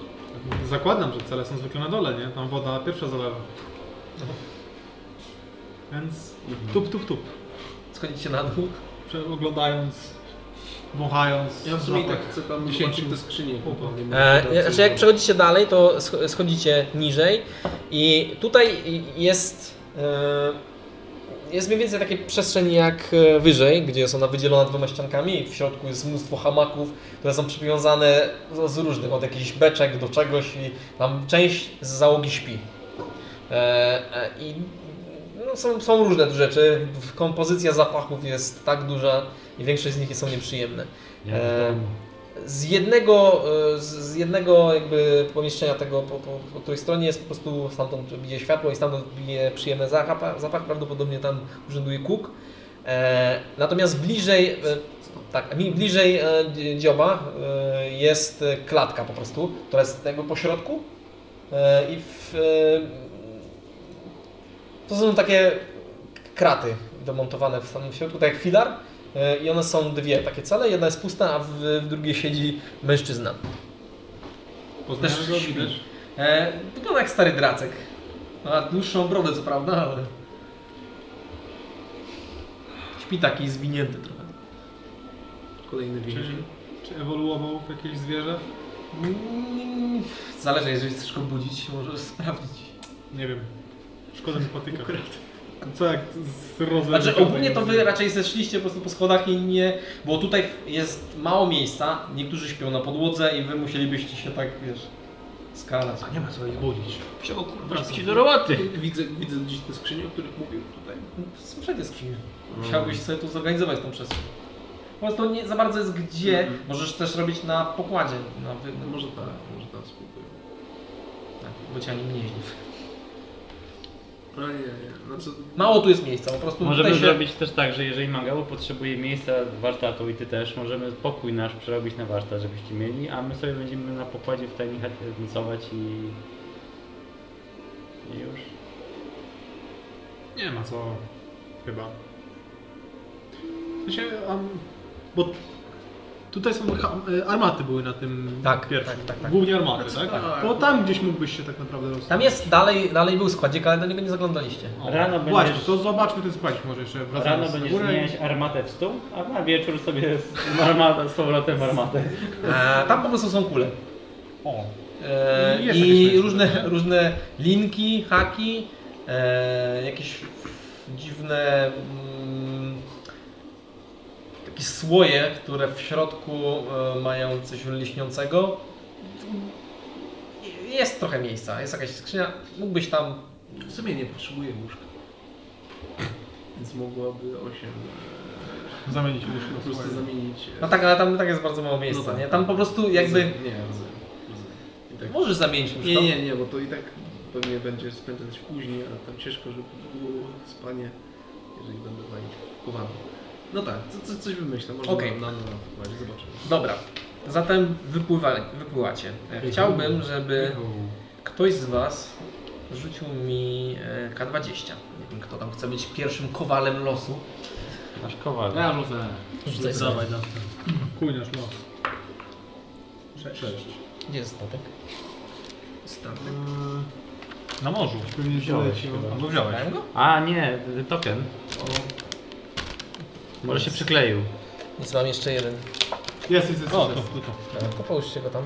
Speaker 4: Zakładam, że cele są zwykle na dole, nie? Tam woda pierwsza zalewa. Więc
Speaker 8: Mhm.
Speaker 4: tup, tup, tup.
Speaker 1: Schodzicie na dół.
Speaker 4: Prze- Oglądając, wąchając.
Speaker 8: Ja w sumie i
Speaker 4: zapach.
Speaker 8: tak chcę tam
Speaker 4: Dziesięciu.
Speaker 8: zobaczyć te skrzynie.
Speaker 4: Opa.
Speaker 8: Nie ma
Speaker 1: E,
Speaker 8: racji,
Speaker 1: znaczy jak
Speaker 8: bo-
Speaker 1: przechodzicie dalej, to sch- schodzicie niżej i tutaj jest e, jest mniej więcej takie przestrzeń jak e, wyżej, gdzie jest ona wydzielona dwoma ściankami i w środku jest mnóstwo hamaków, które są przywiązane z, z różnych, od jakichś beczek do czegoś i tam część z załogi śpi. E, e, I no, są, są różne tu rzeczy, kompozycja zapachów jest tak duża i większość z nich są nieprzyjemne.
Speaker 3: Ja
Speaker 1: E,
Speaker 3: wiem.
Speaker 1: z jednego, e, z- z jednego jakby pomieszczenia tego po, po, po której stronie jest po prostu stamtąd bije światło i stamtąd bije przyjemny zapach, zapach prawdopodobnie tam urzęduje kuk. E, natomiast bliżej, e, tak, mi- bliżej e, dzie- dzioba e, jest e, klatka po prostu, która jest jakby po środku e, i w, e, to są takie kraty domontowane w samym środku, tak jak filar. E, I one są dwie takie cele. Jedna jest pusta, a w, w drugiej siedzi mężczyzna.
Speaker 4: Poznaję go,
Speaker 1: śpi.
Speaker 4: widać.
Speaker 1: E, wygląda jak stary dracek. Ma dłuższą brodę, co prawda, ale. Śpi taki zwinięty trochę.
Speaker 8: Kolejny więzień.
Speaker 4: Czy ewoluował w jakieś zwierzę?
Speaker 1: Mm, Zależy, jeżeli chcesz go budzić, możesz sprawdzić.
Speaker 4: Nie wiem. Szkoda mi patyka. Co jak z rozem...
Speaker 1: Znaczy ogólnie to wy raczej zeszliście po prostu po schodach i nie... Bo tutaj jest mało miejsca, niektórzy śpią na podłodze i wy musielibyście się tak, wiesz, skalać.
Speaker 4: Nie ma co ich budzić.
Speaker 8: Wsiadł,
Speaker 3: Wracam ci do roboty.
Speaker 8: Widzę, widzę gdzieś te skrzynie, o których mówił tutaj.
Speaker 1: Sprzęt jest skrzynię.
Speaker 4: Mm.
Speaker 1: Musiałbyś sobie tu zorganizować tą przestrzeń. Po prostu nie za bardzo jest gdzie.
Speaker 4: Mm.
Speaker 1: Możesz też robić na pokładzie. Na wy...
Speaker 8: No może tak, może tam spróbuję.
Speaker 1: tak, bo cię ani nie jeździ.
Speaker 8: Ojej, znaczy...
Speaker 1: Mało tu jest miejsca, po prostu
Speaker 3: Możemy
Speaker 1: tutaj się...
Speaker 3: zrobić też tak, że jeżeli Mangało potrzebuje miejsca warsztatu i ty też, możemy pokój nasz przerobić na warsztat, żebyście mieli, a my sobie będziemy na pokładzie w tajni chacie nocować i... I już.
Speaker 4: Nie ma co. Chyba. W sensie, am- bo tutaj są ha- e, armaty były na tym
Speaker 1: Tak,
Speaker 4: pierwszym.
Speaker 1: tak, tak, tak.
Speaker 4: Głównie armaty, tak?
Speaker 8: tak.
Speaker 4: Bo tam gdzieś mógłbyś się tak naprawdę rozstać.
Speaker 1: Tam jest, dalej, dalej był składzik, ale do niego nie zaglądaliście.
Speaker 4: O,
Speaker 3: Rano
Speaker 4: Właśnie,
Speaker 3: będziesz-
Speaker 4: to zobaczmy ten składzik może jeszcze wracając
Speaker 3: Rano
Speaker 4: na
Speaker 3: będziesz
Speaker 4: górę i-
Speaker 3: zmieniać armatę w stół, a na wieczór sobie z, armata, z powrotem armatę.
Speaker 1: E, tam po prostu są kule.
Speaker 4: O,
Speaker 1: E,
Speaker 4: Jest jakieś
Speaker 1: I
Speaker 4: miejsce,
Speaker 1: różne, różne linki, haki, e, jakieś dziwne mm, takie słoje, które w środku e, mają coś lśniącego. Jest trochę miejsca, jest jakaś skrzynia, mógłbyś tam...
Speaker 8: W sumie nie potrzebuję łóżka. Więc mogłaby 8
Speaker 4: zamienić już
Speaker 8: po prostu zamienić... e,
Speaker 1: No tak, ale tam tak jest bardzo mało miejsca,
Speaker 8: tak.
Speaker 1: nie? Tam po prostu jakby...
Speaker 8: Rozumiem, Nie, rozumiem. rozumiem. I tak-
Speaker 1: Możesz zamienić na
Speaker 8: Nie,
Speaker 1: przykład.
Speaker 8: nie, nie,
Speaker 5: No
Speaker 8: bo to i tak pewnie będzie spędzać później, a
Speaker 5: tak
Speaker 8: tam ciężko, żeby było spanie, jeżeli będę walić kowany. No tak, co, co, coś wymyślę, może
Speaker 1: Okej.
Speaker 8: na, na, na, na zobaczymy.
Speaker 1: Dobra, zatem wypływa, wypływacie. E, Chciałbym, żeby... Ktoś z Was rzucił mi e, K20. Nie wiem, kto tam chce być pierwszym kowalem losu.
Speaker 3: Nasz kowal.
Speaker 2: Ja rzucę.
Speaker 1: Rzucaj sobie.
Speaker 2: Dawaj, dawaj.
Speaker 4: Kujnasz los.
Speaker 2: Cześć.
Speaker 1: Gdzie jest statek?
Speaker 4: Na morzu. Pewnie
Speaker 3: Wziąłeś
Speaker 4: wziąłeś.
Speaker 3: chyba.
Speaker 4: Albo wziąłeś.
Speaker 1: Brałem go?
Speaker 3: A nie, token. Może się przykleił.
Speaker 1: Nic, mam jeszcze jeden. No,
Speaker 4: Jest, jest, jest. O, to, to, to.
Speaker 1: To połóżcie go tam.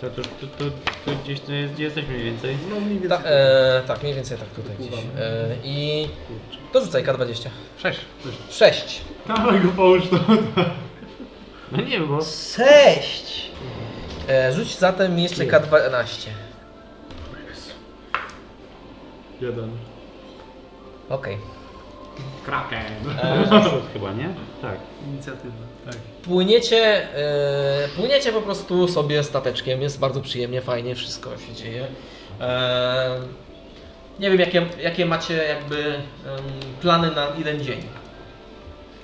Speaker 3: To, to, to, to, to gdzieś to jest, gdzie jesteś mniej więcej?
Speaker 5: No mniej więcej.
Speaker 1: Ta, e, tak, mniej więcej tak tutaj gdzieś.
Speaker 5: Wypływamy.
Speaker 1: E, I to rzucaj K20.
Speaker 4: 6.
Speaker 1: 6.
Speaker 2: Dawaj go połóż to.
Speaker 3: No nie, bo...
Speaker 1: 6! E, rzuć zatem jeszcze K12.
Speaker 2: Jeden.
Speaker 1: Okej.
Speaker 3: Kraken!
Speaker 1: no,
Speaker 3: E, chyba, nie? Tak.
Speaker 5: Inicjatywa.
Speaker 1: Płyniecie, e, płyniecie po prostu sobie stateczkiem, jest bardzo przyjemnie, fajnie, wszystko się dzieje. E, nie wiem jakie, jakie macie jakby em, plany na jeden dzień.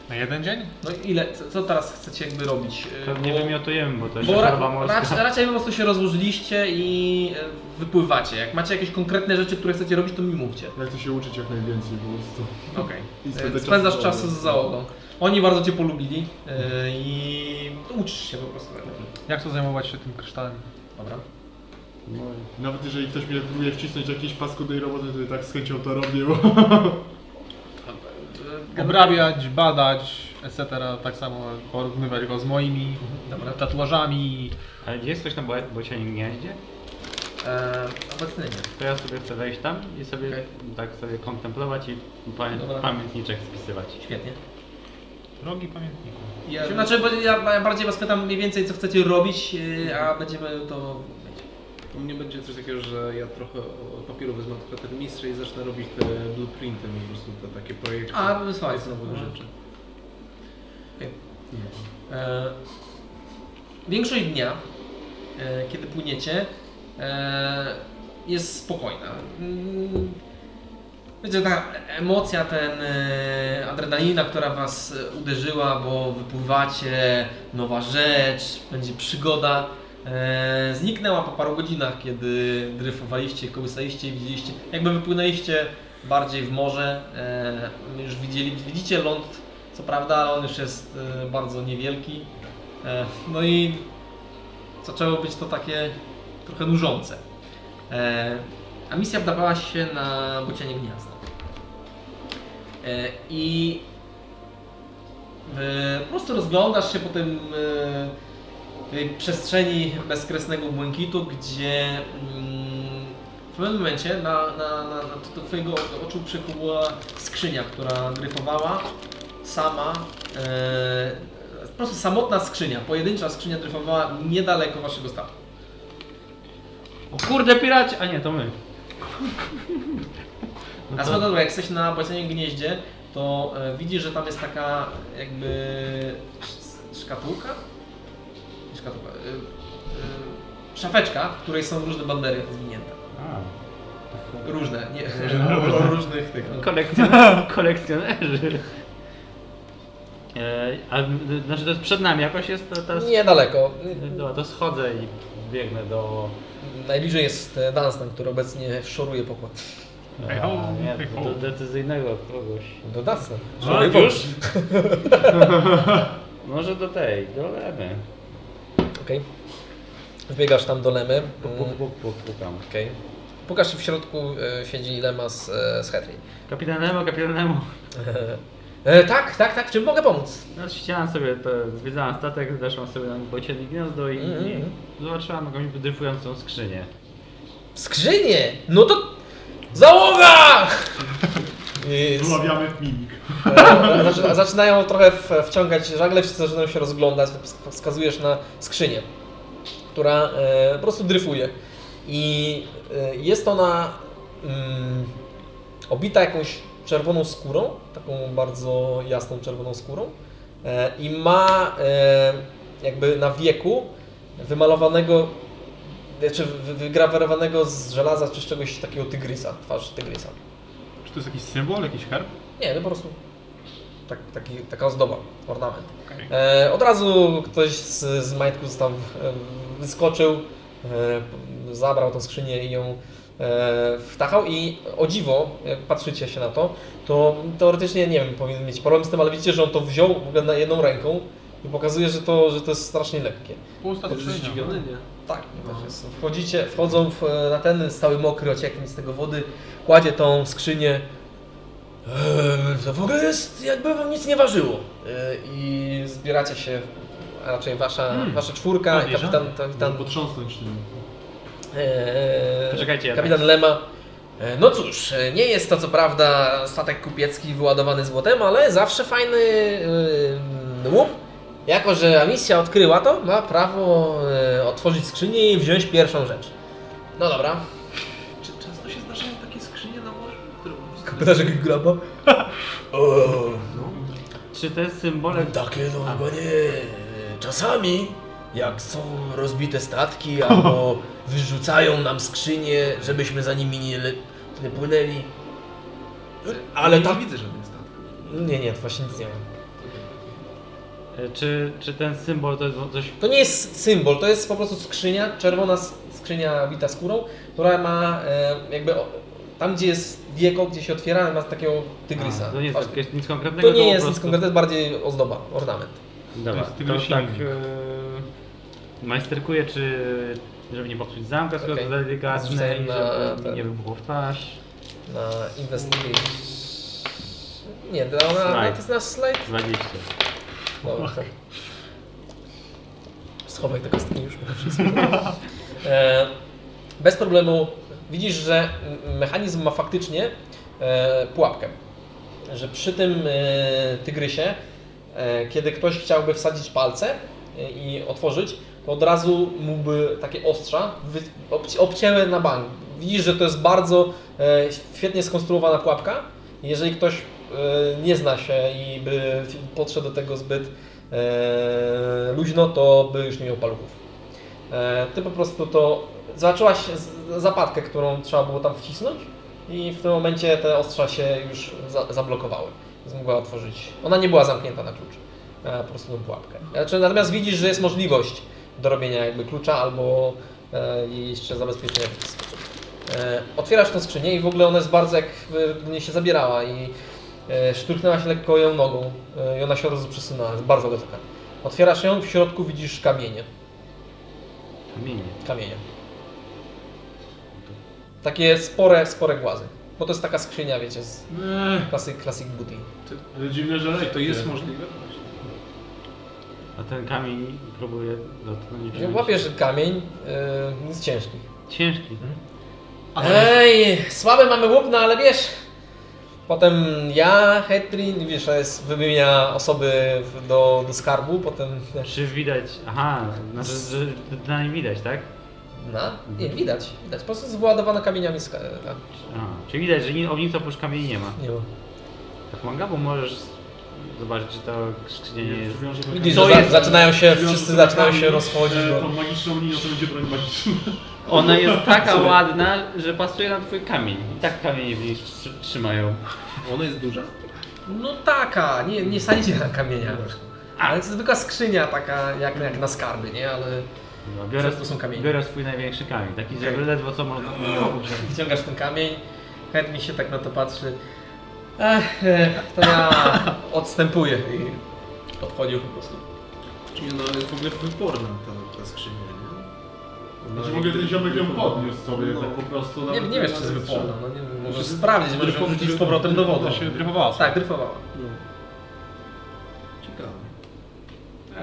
Speaker 4: Na jeden dzień?
Speaker 1: No i ile, co, co teraz chcecie jakby robić? E,
Speaker 3: Pewnie
Speaker 1: bo-
Speaker 3: wymiotujemy, bo to jest
Speaker 1: Bo
Speaker 3: choroba
Speaker 1: ra-
Speaker 3: morska.
Speaker 1: raczej, raczej po prostu się rozłożyliście i e, wypływacie. Jak macie jakieś konkretne rzeczy, które chcecie robić, to mi mówcie.
Speaker 2: Jak to się uczyć jak najwięcej po prostu.
Speaker 1: Okej.
Speaker 2: I spędzę
Speaker 1: E,
Speaker 2: czas
Speaker 1: Spędzasz
Speaker 2: z
Speaker 1: czas
Speaker 2: załogą.
Speaker 1: z załogą. Oni bardzo cię polubili e, i uczysz się po prostu. tak
Speaker 4: Jak to zajmować się tym kryształem?
Speaker 1: Dobra.
Speaker 2: Nawet jeżeli ktoś mnie próbuje wcisnąć jakiejś paskudnej roboty, to i tak z chęcią to robię, bo...
Speaker 4: Obrabiać, badać, etc. Tak samo porównywać go z moimi dobra, tatuażami.
Speaker 3: Ale gdzie jest coś na bo- bocianim gnieździe?
Speaker 1: E, obecny nie.
Speaker 3: To ja sobie chcę wejść tam i sobie
Speaker 1: Okej.
Speaker 3: tak sobie kontemplować i
Speaker 1: Dobra.
Speaker 3: pamię- pamiętniczek spisywać.
Speaker 1: Świetnie.
Speaker 4: Drogi pamiętniku.
Speaker 5: Ja,
Speaker 1: Znaczy, bo ja ja bardziej was pytam mniej więcej, co chcecie robić, e, a będziemy to...
Speaker 5: u mnie będzie coś takiego, że ja trochę o- papieru wezmę od kwatermistrza i zacznę robić te blueprinty po prostu, te takie projekty.
Speaker 1: A, no, wysłałeś
Speaker 5: nowe rzeczy.
Speaker 1: E, większość dnia, e, kiedy płyniecie, e, jest spokojna. Mm, Wiecie, ta emocja, ten e, adrenalina, która was e, uderzyła, bo wypływacie, nowa rzecz, będzie przygoda, e, zniknęła po paru godzinach, kiedy dryfowaliście, kołysaliście i widzieliście, jakby wypłynęliście bardziej w morze, e, już widzieli, widzicie ląd, co prawda, ale on już jest e, bardzo niewielki, e, no i zaczęło być to takie trochę nużące. E, a misja wdawała się na bocianie gniazda. E, I e, po prostu rozglądasz się po tym e, tej przestrzeni bezkresnego błękitu, gdzie mm, w pewnym momencie na, na, na, na do twojego oczu przykuła skrzynia, która dryfowała sama. E, po prostu samotna skrzynia, pojedyncza skrzynia dryfowała niedaleko waszego statku.
Speaker 3: No O kurde piraci! A nie, to my.
Speaker 1: A
Speaker 3: tak.
Speaker 1: swoją drogą, jak jesteś na błacanym gnieździe, to e, widzisz, że tam jest taka jakby sz- szkatułka? Nie szkatułka. Y, y, szafeczka, w której są różne bandery zwinięte.
Speaker 3: A.
Speaker 1: Różne, nie, różne. różnych tych. no.
Speaker 3: Kolekcjoner, kolekcjonerzy. E, a y, znaczy to jest przed nami jakoś jest ta, ta
Speaker 1: Niedaleko.
Speaker 3: Dobra, to schodzę i biegnę do.
Speaker 1: Najbliżej jest e, Dunstan, który obecnie szoruje pokład.
Speaker 4: Hej ho,
Speaker 3: A, nie,
Speaker 4: hej
Speaker 3: do,
Speaker 4: ho.
Speaker 3: do decyzyjnego kogoś.
Speaker 1: Do Dunstan.
Speaker 3: A, już? Może do tej, do lewy.
Speaker 1: Okej. Wbiegasz tam do Lemy. Mm,
Speaker 3: Puk, puk, puk, puk, pukam.
Speaker 1: Okej. Pokaż w środku e, siedzi Lema z, e, z Hetri.
Speaker 3: Kapitan Nemo, kapitan Nemo.
Speaker 1: E, tak, tak, tak, w czym mogę pomóc?
Speaker 3: No, chciałem sobie, to, zwiedzałem statek, weszłam sobie na bocienie gniazdo i,
Speaker 1: Mm, mm.
Speaker 3: i zobaczyłam jakąś dryfującą skrzynię.
Speaker 1: Skrzynię! No to. Załoga! I z-
Speaker 2: Wyławiamy mimik.
Speaker 1: E, zaczyna- Zaczynają trochę w- wciągać żagle, wszyscy zaczynają się rozglądać. wsk- Wskazujesz na skrzynię, która e, po prostu dryfuje. I e, jest ona mm, obita jakąś czerwoną skórą, taką bardzo jasną czerwoną skórą. E, I ma e, jakby na wieku wymalowanego, znaczy wy- wygrawerowanego z żelaza czy z czegoś takiego tygrysa, twarz tygrysa.
Speaker 4: Czy to jest jakiś symbol, jakiś herb?
Speaker 1: Nie, no po prostu tak, taki, taka ozdoba, ornament.
Speaker 4: Okej.
Speaker 1: E, od razu ktoś z, z majtku tam e, wyskoczył, e, p- zabrał tą skrzynię i ją e, wtachał i o dziwo, jak patrzycie się na to, to teoretycznie nie wiem, powinien mieć problem z tym, ale widzicie, że on to wziął w ogóle na jedną ręką i pokazuje, że to, że to jest strasznie lekkie.
Speaker 4: Pusta
Speaker 5: Jesteś
Speaker 4: skrzynia.
Speaker 5: zdziwiony, nie?
Speaker 1: Tak, no. też jest. Wchodzicie, wchodzą w, e, na ten stały mokry ocieknie z tego wody, kładzie tą skrzynię.
Speaker 6: Eee, to w ogóle jest, jakby wam nic nie ważyło.
Speaker 1: Y, i zbieracie się a raczej wasza, wasza czwórka,
Speaker 4: podejrzane.
Speaker 1: kapitan, kapitan,
Speaker 2: Tam potrząsnąć tym.
Speaker 1: e,
Speaker 3: Poczekajcie, ja
Speaker 1: kapitan Lema. E, No cóż, e, nie jest to co prawda statek kupiecki wyładowany złotem, ale zawsze fajny e, łup. Jako, że misja odkryła to, ma prawo e, otworzyć skrzynię i wziąć pierwszą rzecz. No dobra.
Speaker 5: Czy często się zdarzają takie skrzynie na morzu, które po prostu...
Speaker 6: Pytasz jak graba? O,
Speaker 3: Czy te symbole...
Speaker 6: takie to chyba nie. Czasami, jak są rozbite statki albo wyrzucają nam skrzynie, żebyśmy za nimi nie, le- nie płynęli. Ale
Speaker 5: nie
Speaker 6: tak...
Speaker 5: widzę żadnych statków.
Speaker 1: Nie, nie, to właśnie nic nie ma.
Speaker 3: e, Czy, czy ten symbol to jest coś...
Speaker 1: To nie jest symbol, to jest po prostu skrzynia, czerwona s- skrzynia wita skórą, która ma e, jakby o, tam gdzie jest wieko, gdzie się otwiera, ma takiego tygrysa.
Speaker 3: A, To nie jest
Speaker 1: Właśnie.
Speaker 3: jakieś, nic konkretnego,
Speaker 1: to nie
Speaker 3: po
Speaker 1: jest nic
Speaker 3: prostu-
Speaker 1: konkretnego, to jest bardziej ozdoba, ornament.
Speaker 3: Dobra,
Speaker 4: To jest
Speaker 3: to
Speaker 4: tygrysik.
Speaker 3: tak... E, majsterkuję, czy... Żeby nie popsuć zamka, skoro
Speaker 1: Okej.
Speaker 3: to delikatne
Speaker 1: Zrzucałem
Speaker 3: i
Speaker 1: na
Speaker 3: żeby
Speaker 1: ten.
Speaker 3: mi nie wybuchło w twarz.
Speaker 1: Na inwestycje. Nie, na, na, na, to jest nasz slajd.
Speaker 3: 20.
Speaker 1: Dobra. Schowaj te kostki już. bo wszystko. E, Bez problemu widzisz, że m- mechanizm ma faktycznie e, pułapkę. Że przy tym e, tygrysie, e, kiedy ktoś chciałby wsadzić palce e, i otworzyć, to od razu mógłby takie ostrza wy- obci- obcięły na bank. Widzisz, że to jest bardzo e, świetnie skonstruowana pułapka. Jeżeli ktoś e, nie zna się i by podszedł do tego zbyt e, luźno, to by już nie miał paluchów. E, Ty po prostu to zobaczyłaś z- zapadkę, którą trzeba było tam wcisnąć i w tym momencie te ostrza się już za, zablokowały. Więc mogła otworzyć. Ona nie była zamknięta na klucz, e, po prostu tą pułapkę. Znaczy, natomiast widzisz, że jest możliwość do robienia jakby klucza albo e, jej jeszcze zabezpieczenia w jakiś sposób. E, Otwierasz tą skrzynię i w ogóle ona jest bardzo jak e, mnie się zabierała i e, szturchnęłaś lekko ją nogą e, i ona się od razu przesunęła, jest bardzo gotowa. Otwierasz ją, w środku widzisz kamienie
Speaker 3: Kamienie.
Speaker 1: kamienie. Takie spore, spore głazy. Bo to jest taka skrzynia, wiecie, z
Speaker 2: Eee,
Speaker 1: classic, classic booty.
Speaker 2: ale dziwne, że lekkie.
Speaker 5: To jest możliwe?
Speaker 3: A ten kamień próbuję dotknąć.
Speaker 1: Łapiesz kamień, yy, nic ciężkich.
Speaker 3: Ciężki.
Speaker 1: Ej, słabe mamy łup, no ale wiesz. Potem ja, Hetrin, wiesz, to jest, wymienia osoby w, do, do skarbu, potem wiesz,
Speaker 3: Czy widać. Aha, znaczy, że na nim widać, tak?
Speaker 1: na, nie, widać, widać, po prostu wyładowana kamieniami ska- a,
Speaker 3: A, czy widać, że ni- ognisko oprócz kamieni nie ma.
Speaker 1: nie ma.
Speaker 3: Tak manga, bo możesz zobaczyć, czy to skrzynia nie jest.
Speaker 2: Przywiążę do
Speaker 1: Widzisz,
Speaker 3: To
Speaker 1: że za,
Speaker 3: jest-
Speaker 1: zaczynają się,
Speaker 2: Przywiążę
Speaker 1: wszyscy
Speaker 2: do
Speaker 1: zaczynają się
Speaker 2: kamieni,
Speaker 1: rozchodzić,
Speaker 2: e,
Speaker 1: bo
Speaker 2: Tą magiczną linią to będzie broń magiczna.
Speaker 3: Ona jest taka ładna, że pasuje na twój kamień. I tak kamienie w niej trzy- trzymają.
Speaker 5: Ona jest duża?
Speaker 1: No taka, nie, nie sadzicie na kamieniach. Ale to jest zwykła skrzynia taka jak, jak na skarby, nie? Ale
Speaker 3: No,
Speaker 1: Że
Speaker 3: biorę,
Speaker 1: to są kamienie.
Speaker 3: biorę swój największy kamień, taki, że
Speaker 1: Okej. No.
Speaker 3: ledwo co można.
Speaker 1: wyciągasz ten kamień, chętnie się tak na to patrzy. Ech, ech, to ja odstępuję i odchodził po prostu.
Speaker 5: Czyli ona jest w ogóle wyporna, ta, ta skrzynia, nie?
Speaker 1: No
Speaker 5: Ona
Speaker 2: Znaczy w ogóle ten
Speaker 5: nigdy-
Speaker 2: ziomek ją podniósł sobie,
Speaker 5: No.
Speaker 2: tak po prostu.
Speaker 1: Nie,
Speaker 2: nawet
Speaker 1: nie wiesz, czy jest
Speaker 2: na strzał.
Speaker 1: wypłona, no nie wiem, możesz sprawdzić, możesz ją
Speaker 2: dryfować-
Speaker 1: wrzucić z powrotem do wody.
Speaker 4: To się dryfowała.
Speaker 1: Tak, dryfowała.
Speaker 5: No. Ciekawe.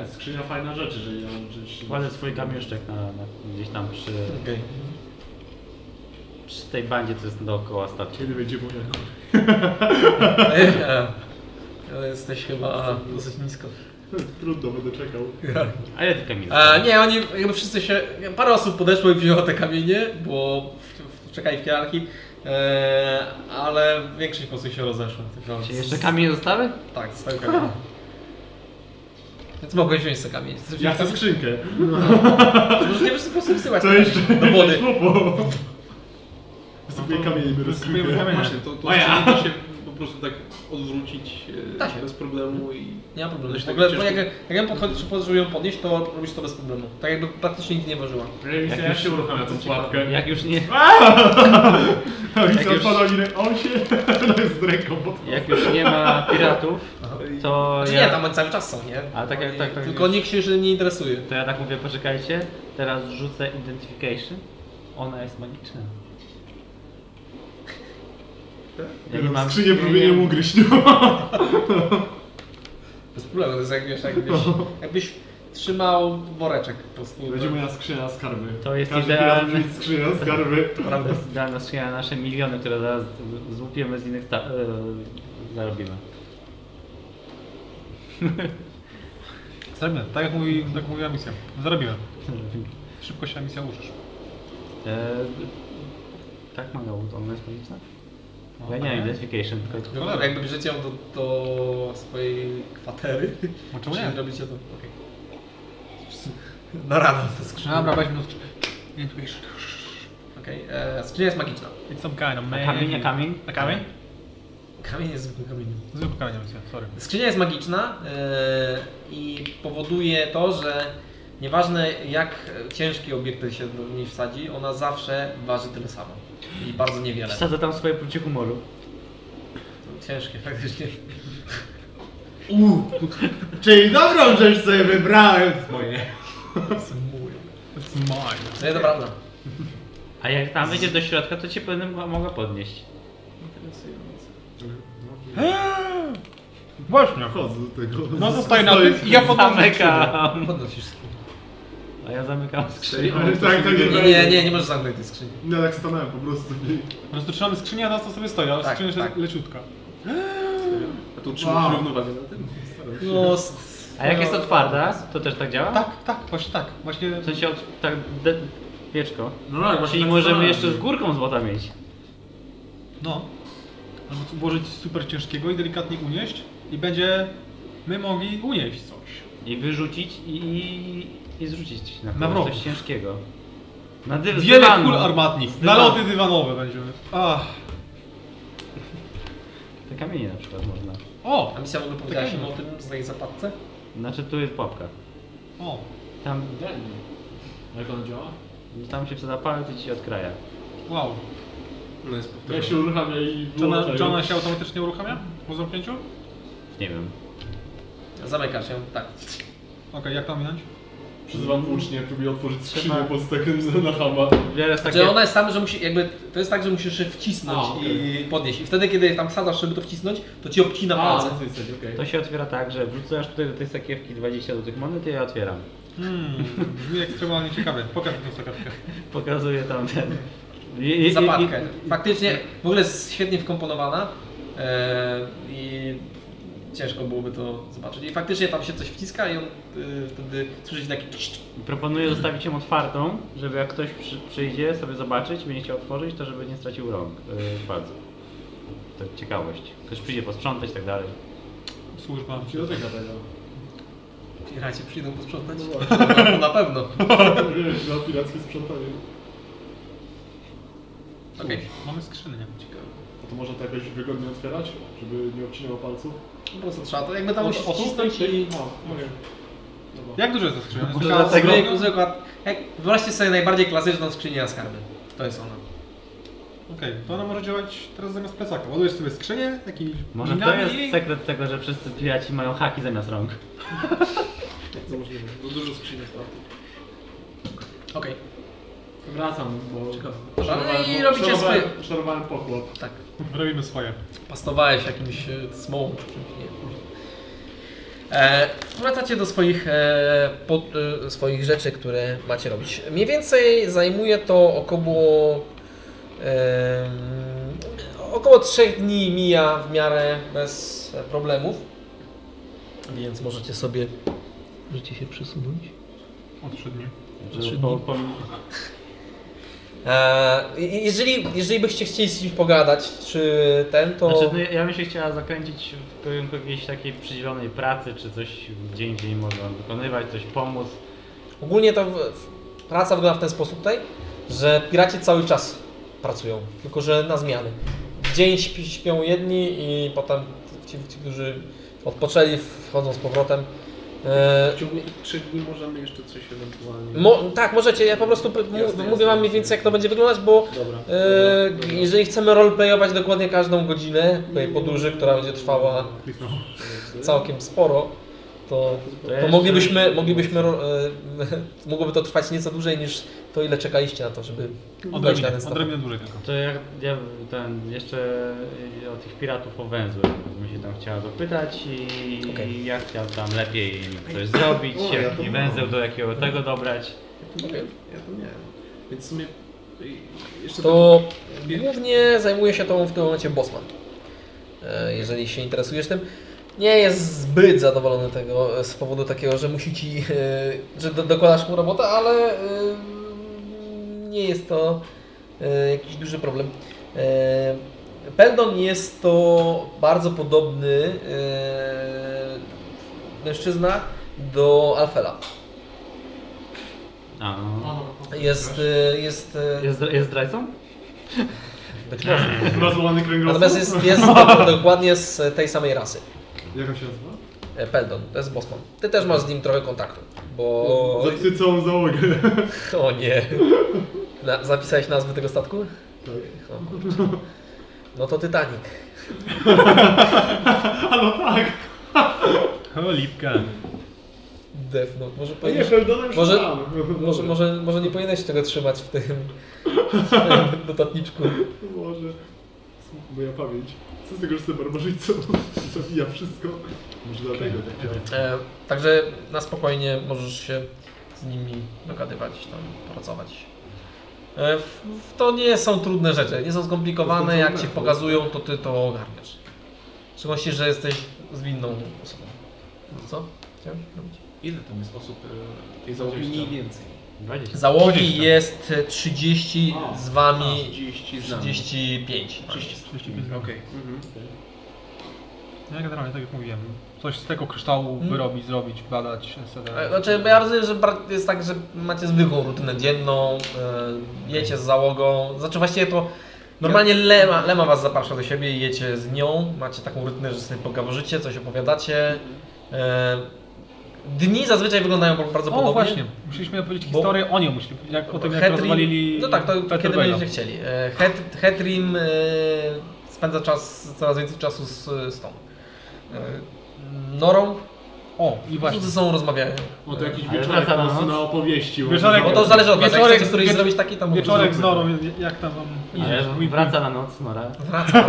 Speaker 2: E, skrzynia fajna rzecz, jeżeli ją rzeczywiście...
Speaker 3: Kładę swój kamieszczek na, na, gdzieś tam przy,
Speaker 1: Okay.
Speaker 3: przy tej bandzie, co jest dookoła statku.
Speaker 2: Kiedy będzie moja
Speaker 1: Ale jesteś chyba dosyć nisko.
Speaker 2: Trudno, będę czekał.
Speaker 3: A ile tych kamieni?
Speaker 1: A, nie, oni jakby wszyscy się. Parę osób podeszło i wzięło te kamienie, bo w, w, czekali w kierarchii, e, ale większość po prostu się rozeszła. Tylko
Speaker 3: Czy jeszcze kamienie zostały?
Speaker 1: Tak, stały kamienie. Więc mogłeś wziąć te kamienie. Chcesz
Speaker 2: Ja
Speaker 1: wziąć
Speaker 2: chcę
Speaker 1: kamienie?
Speaker 2: skrzynkę.
Speaker 1: Możecie po prostu wsyłać
Speaker 2: To
Speaker 1: te
Speaker 2: jeszcze
Speaker 1: kamienie do wody.
Speaker 2: szlupu.
Speaker 1: No
Speaker 2: Wysypuję kamienie, biorę
Speaker 4: Wysypujemy
Speaker 2: skrzynkę.
Speaker 4: kamienie.
Speaker 5: Właśnie, to, to
Speaker 2: Moja.
Speaker 5: skrzynia da się po prostu tak odwrócić e,
Speaker 1: Da się.
Speaker 5: bez problemu i...
Speaker 1: Nie ma problemu.
Speaker 5: Dość
Speaker 1: W ogóle,
Speaker 5: tak
Speaker 1: bo jak,
Speaker 5: ciężko.
Speaker 1: jak ja podchodzę, czy podchodzę, żeby ją podnieść, to robisz to bez problemu. Tak jakby praktycznie nic nie ważyła.
Speaker 2: Rewizja ja się uruchamia tą pułapkę.
Speaker 3: Jak już nie.
Speaker 2: Rewizja
Speaker 3: jak już-
Speaker 2: odpada mi rę- on się... No jest z ręką, bo...
Speaker 3: Jak już nie ma piratów, to
Speaker 1: Znaczy nie,
Speaker 3: ja,
Speaker 1: tam oni cały czas są, nie?
Speaker 3: A, tak, jak- tak, tak.
Speaker 1: Tylko nikt się że nie interesuje.
Speaker 3: to ja tak mówię, poczekajcie, teraz rzucę identification. Ona jest magiczna. Ja nie mam
Speaker 2: Skrzynię próbuję
Speaker 3: nie-
Speaker 2: ją ugryźć. no.
Speaker 1: Bez problemu, to jest jak wiesz, jak, wiesz, jakbyś trzymał woreczek po prostu.
Speaker 2: Będzie moja skrzynia skarby.
Speaker 3: To jest
Speaker 2: Każdy
Speaker 3: idealne.
Speaker 2: pirat mieć skrzynię skarby.
Speaker 3: Prawda jest idealna skrzynia na nasze miliony, które zaraz złupiemy z innych sta- e, zarobimy.
Speaker 4: Zrobimy, tak jak, mówi, tak mówiła misja. Zrobimy. Szybko się na misja użysz.
Speaker 3: E, tak ma to ona jest magiczna? Ja nie mam identification, tylko
Speaker 1: No, jakby bierzecie ją do, do swojej kwatery.
Speaker 4: No czemu
Speaker 1: Czy
Speaker 4: nie?
Speaker 1: robicie to? Okej. Na rano to skrzynia.
Speaker 4: No Dobra, weźmy nóż. Intuition.
Speaker 1: Okej, e, Skrzynia jest magiczna.
Speaker 4: It's some kind of magic.
Speaker 3: kamień, a kamień?
Speaker 4: A kamień?
Speaker 1: Kamień jest zwykłym kamieniem.
Speaker 4: Zwykły kamień misja, sorry.
Speaker 1: Skrzynia jest magiczna e, i powoduje to, że nieważne jak ciężki obiekt się do niej wsadzi, ona zawsze waży tyle samo. I bardzo niewiele.
Speaker 3: Wsadzę tam swoje poczucie humoru.
Speaker 1: Ciężkie faktycznie.
Speaker 2: Czyli dobrą rzecz sobie wybrałem. Moje.
Speaker 4: It's mine.
Speaker 1: No i dobra, no.
Speaker 3: A jak tam wejdziesz do środka, to cię będę mo- mogła podnieść.
Speaker 4: Właśnie.
Speaker 2: Chodzę do tego.
Speaker 4: No zostaj na tym i ja podam
Speaker 3: Zamykam.
Speaker 1: Podnosisz skrzynię.
Speaker 3: A ja zamykam skrzynię.
Speaker 2: Ale tak, tak,
Speaker 1: Nie, nie, nie, nie możesz zamknąć tej skrzyni.
Speaker 2: Ja tak stanąłem po prostu.
Speaker 4: Po prostu trzymamy skrzynię, a nas to sobie stoi, ale
Speaker 1: Tak,
Speaker 4: skrzynia jest
Speaker 1: tak.
Speaker 4: leciutka.
Speaker 5: A tu utrzymasz
Speaker 2: Wow.
Speaker 5: równowagę na tym?
Speaker 1: No,
Speaker 3: A jak jest otwarta, to też tak działa?
Speaker 4: Tak, tak, właśnie tak. Właśnie
Speaker 3: W sensie od, tak de, wieczko.
Speaker 2: No tak, właśnie
Speaker 3: Czyli
Speaker 2: tak
Speaker 3: możemy
Speaker 2: stanąłem.
Speaker 3: jeszcze z górką złota mieć.
Speaker 4: No. Albo co- włożyć super ciężkiego i delikatnie unieść i będzie my mogli unieść coś.
Speaker 3: I wyrzucić i, i, i zrzucić na
Speaker 4: Na
Speaker 3: kogoś
Speaker 4: wrogów.
Speaker 3: coś ciężkiego. Na dy- z
Speaker 4: Wiele
Speaker 3: dywanu.
Speaker 4: kul armatnich,
Speaker 3: dywanu.
Speaker 4: naloty dywanowe będziemy. Ach.
Speaker 3: Te kamienie na przykład można.
Speaker 4: O!
Speaker 1: A misja w ogóle powiedziała się o tym z tej zapadce?
Speaker 3: Znaczy tu jest pułapka.
Speaker 4: O!
Speaker 3: Tam,
Speaker 2: Idealnie. Jak on działa?
Speaker 3: tam się wsadza palec i ci się odkraja.
Speaker 4: Wow.
Speaker 5: No jest
Speaker 2: Jak
Speaker 5: powtórzone.
Speaker 2: się uruchamia i
Speaker 4: Czy ona,
Speaker 2: wyłącza
Speaker 4: czy
Speaker 2: ją.
Speaker 4: ona się automatycznie uruchamia po zamknięciu?
Speaker 3: Nie wiem.
Speaker 1: Zamykasz ją, tak.
Speaker 4: Okej, jak to minąć?
Speaker 2: Przyzywam włócznie, próbuję otworzyć skrzynię pod stakiem na hama.
Speaker 3: Wiele jest takie...
Speaker 1: Że ona jest tam, że musi, jakby, to jest tak, że musisz je wcisnąć
Speaker 2: A, okej.
Speaker 1: i podnieść. I wtedy, kiedy tam wsadzasz, żeby to wcisnąć, to ci obcina palce.
Speaker 2: na tej zasadzie, okej.
Speaker 3: To się otwiera tak, że wrzucasz tutaj do tej sakiewki 20 do tych monet i ja otwieram.
Speaker 4: Hmm, brzmi ekstremalnie ciekawie. Pokaż mi tą sokarkę.
Speaker 3: Pokazuję tam ten... I- i- i- i-
Speaker 1: Zapadkę. Faktycznie, w ogóle jest świetnie wkomponowana e, i ciężko byłoby to zobaczyć. I faktycznie tam się coś wciska i on e, wtedy słyszycie taki...
Speaker 3: Proponuję zostawić ją otwartą, żeby jak ktoś przy, przyjdzie sobie zobaczyć, będzie chciał otworzyć, to żeby nie stracił rąk, yy, palców. To ciekawość. Ktoś przyjdzie posprzątać i tak dalej.
Speaker 4: Służba.
Speaker 2: Się dotyka tego.
Speaker 1: Piraci przyjdą
Speaker 2: No
Speaker 1: posprzątać? Na pewno.
Speaker 2: Wiesz, na pirackie sprzątanie.
Speaker 1: Okej.
Speaker 4: Mamy skrzynię.
Speaker 2: A to można to jakoś wygodnie otwierać, żeby nie obcinało palców?
Speaker 1: Po prostu trzeba to, jakby tam
Speaker 2: O-
Speaker 1: musisz
Speaker 2: o tu?
Speaker 1: wcisnąć i...
Speaker 2: No, okej. Dobra.
Speaker 4: Jak duża jest ta skrzynia? Jest
Speaker 3: Może
Speaker 4: taka
Speaker 3: dlatego-
Speaker 4: zwykła?
Speaker 1: Zwykła, zwykła, jak, wyobraźcie sobie najbardziej klasyczną skrzynię na skarby. To jest ona.
Speaker 4: Okej, to ona może działać teraz zamiast plecaka. Ładujesz sobie skrzynię, taki
Speaker 3: Może to jest sekret tego, że wszyscy piraci mają haki zamiast rąk.
Speaker 5: Co możliwe? No dużo skrzyni jest prawda.
Speaker 1: Okej.
Speaker 2: Wracam, bo...
Speaker 1: No i
Speaker 2: bo-
Speaker 1: robicie
Speaker 2: szarowałem-
Speaker 1: swoje-
Speaker 2: Szarowałem pokład.
Speaker 1: Tak.
Speaker 4: Robimy swoje.
Speaker 1: Pastowałeś jakimś e, smołą czy czymś, nie wiem. E, wracacie do swoich, e, po, e, swoich rzeczy, które macie robić. Mniej więcej zajmuje to około e, około 3 dni mija w miarę bez problemów. Więc możecie sobie możecie się przesunąć.
Speaker 4: Od trzy dni.
Speaker 3: Że po, po,
Speaker 1: E, i- jeżeli, jeżeli byście chcieli z kimś pogadać, czy ten, to...
Speaker 3: Znaczy, no, ja- ja bym się chciała zakręcić w kierunku jakiejś takiej przydzielonej pracy, czy coś gdzie indziej można wykonywać, coś pomóc.
Speaker 1: Ogólnie to w, w, praca wygląda w ten sposób tutaj, że piraci cały czas pracują, tylko że na zmiany. W Dzień śpi, śpią jedni i potem ci, ci którzy odpoczęli, wchodzą z powrotem. E,
Speaker 5: W ciągu trzech dni możemy jeszcze coś ewentualnie...
Speaker 1: mo, tak, możecie, ja po prostu p- mu-
Speaker 5: Jasne,
Speaker 1: mówię
Speaker 5: jasne.
Speaker 1: wam mniej więcej jak to będzie wyglądać, bo
Speaker 5: Dobra.
Speaker 1: e,
Speaker 5: dobra, dobra.
Speaker 1: jeżeli chcemy roleplayować dokładnie każdą godzinę tej podróży, która będzie trwała
Speaker 5: Całe
Speaker 1: całkiem sporo, to to,
Speaker 3: To
Speaker 1: to
Speaker 3: jeszcze-
Speaker 1: moglibyśmy, moglibyśmy ro- e, mogłoby to trwać nieco dłużej niż to, ile czekaliście na to, żeby dojść na
Speaker 4: Odrobinę,
Speaker 1: ten stopień.
Speaker 4: odrobinę dłużej tylko.
Speaker 3: To jak ja ten jeszcze o tych piratów o węzły bym się tam chciała dopytać i
Speaker 1: Okej.
Speaker 3: jak chciał tam lepiej coś zrobić,
Speaker 5: O, ja to
Speaker 3: jaki
Speaker 5: mam.
Speaker 3: węzeł do jakiego tego dobrać.
Speaker 5: Ja to miałem. Więc w sumie y, jeszcze
Speaker 1: To głównie zajmuje się tą w tym momencie Bosman. E, Jeżeli się interesujesz tym. Nie jest zbyt zadowolony tego e, z powodu takiego, że musi ci, e, że do- dokładasz mu robotę, ale e, nie jest to e, jakiś duży problem. E, Peldon jest to bardzo podobny e, mężczyzna do Alfela.
Speaker 3: A, no.
Speaker 1: Jest, e, jest, e,
Speaker 3: jest, jest zdrajcą?
Speaker 1: być może.
Speaker 2: Ma złamany kręgosłup.
Speaker 1: Natomiast jest, jest do- dokładnie z tej samej rasy.
Speaker 2: Jak on się nazywa?
Speaker 1: E, Peldon, to jest Bosman. Ty też masz z nim trochę kontaktu, bo...
Speaker 2: Zapisy całą załogę.
Speaker 1: O nie. Na, zapisałeś nazwę tego statku?
Speaker 2: Tak.
Speaker 1: O, kurczę. no to Titanic.
Speaker 2: A no tak.
Speaker 4: O, lipka.
Speaker 1: Def, no może
Speaker 2: A nie,
Speaker 1: powinieneś...
Speaker 2: Feldonem już
Speaker 1: Może-
Speaker 2: mam.
Speaker 1: Może, może, może nie powinieneś tego trzymać w tym, w tym notatniczku.
Speaker 2: Może. Moja pamięć. Co z tego, że jestem barbarzyńcą? Zabija wszystko. Może dlatego tak działa.
Speaker 1: E, także na spokojnie możesz się z nimi dogadywać, tam pracować. E, w, w, to nie są trudne rzeczy, nie są
Speaker 2: To
Speaker 1: skomplikowane.
Speaker 2: są
Speaker 1: Jak
Speaker 2: trudne,
Speaker 1: ci
Speaker 2: bo-
Speaker 1: pokazują, to ty to ogarniasz. W szczególności, że jesteś zwinną osobą. No Co? Chciałeś robić?
Speaker 5: Ile tam jest osób? y, Jest załogi mniej więcej.
Speaker 3: 20.
Speaker 1: Załogi jest 30, z
Speaker 2: tak,
Speaker 1: wami
Speaker 5: 30 z nami.
Speaker 1: 35.
Speaker 4: 35 zł.
Speaker 5: Okej. Mhm.
Speaker 4: Ja generalnie, tak jak mówiłem, coś z tego kryształu
Speaker 1: Mhm.
Speaker 4: wyrobić, zrobić, badać,
Speaker 1: E,
Speaker 4: etc.
Speaker 1: Znaczy, bo ja rozumiem, że bar- jest tak, że macie zwykłą rutynę dzienną, e, jecie z załogą, znaczy właściwie to normalnie Lema, Lema was zaprasza do siebie i jecie z nią, macie taką rutynę, że sobie pogaworzycie, coś opowiadacie. E, Dni zazwyczaj wyglądają bardzo
Speaker 4: O,
Speaker 1: podobnie.
Speaker 4: właśnie, musieliśmy opowiedzieć historię o nim, musieli, jak o tym jak
Speaker 1: Hetrim-
Speaker 4: rozwalili
Speaker 1: No tak, to kiedy
Speaker 4: Peterbela.
Speaker 1: będziecie chcieli. E, Het, Hetrim e, spędza czas, coraz więcej czasu z, z tą e, Norą.
Speaker 4: O, i właśnie.
Speaker 1: Wszyscy ze sobą rozmawiają.
Speaker 2: O to jakiś
Speaker 3: Ale
Speaker 2: wieczorek
Speaker 3: wraca
Speaker 2: po
Speaker 3: na
Speaker 2: prostu
Speaker 3: noc.
Speaker 2: tak, no. na opowieści.
Speaker 4: Wieczorek-
Speaker 1: Bo to zależy od was, jak
Speaker 4: Wieczorek-
Speaker 1: chcecie któryś
Speaker 4: wiecz-
Speaker 1: zrobić taki, to możecie
Speaker 4: Wieczorek z
Speaker 1: zrobić.
Speaker 4: Norą, jak tam wam idzie? no.
Speaker 3: Ale wraca na noc, no Nora.
Speaker 1: Wraca.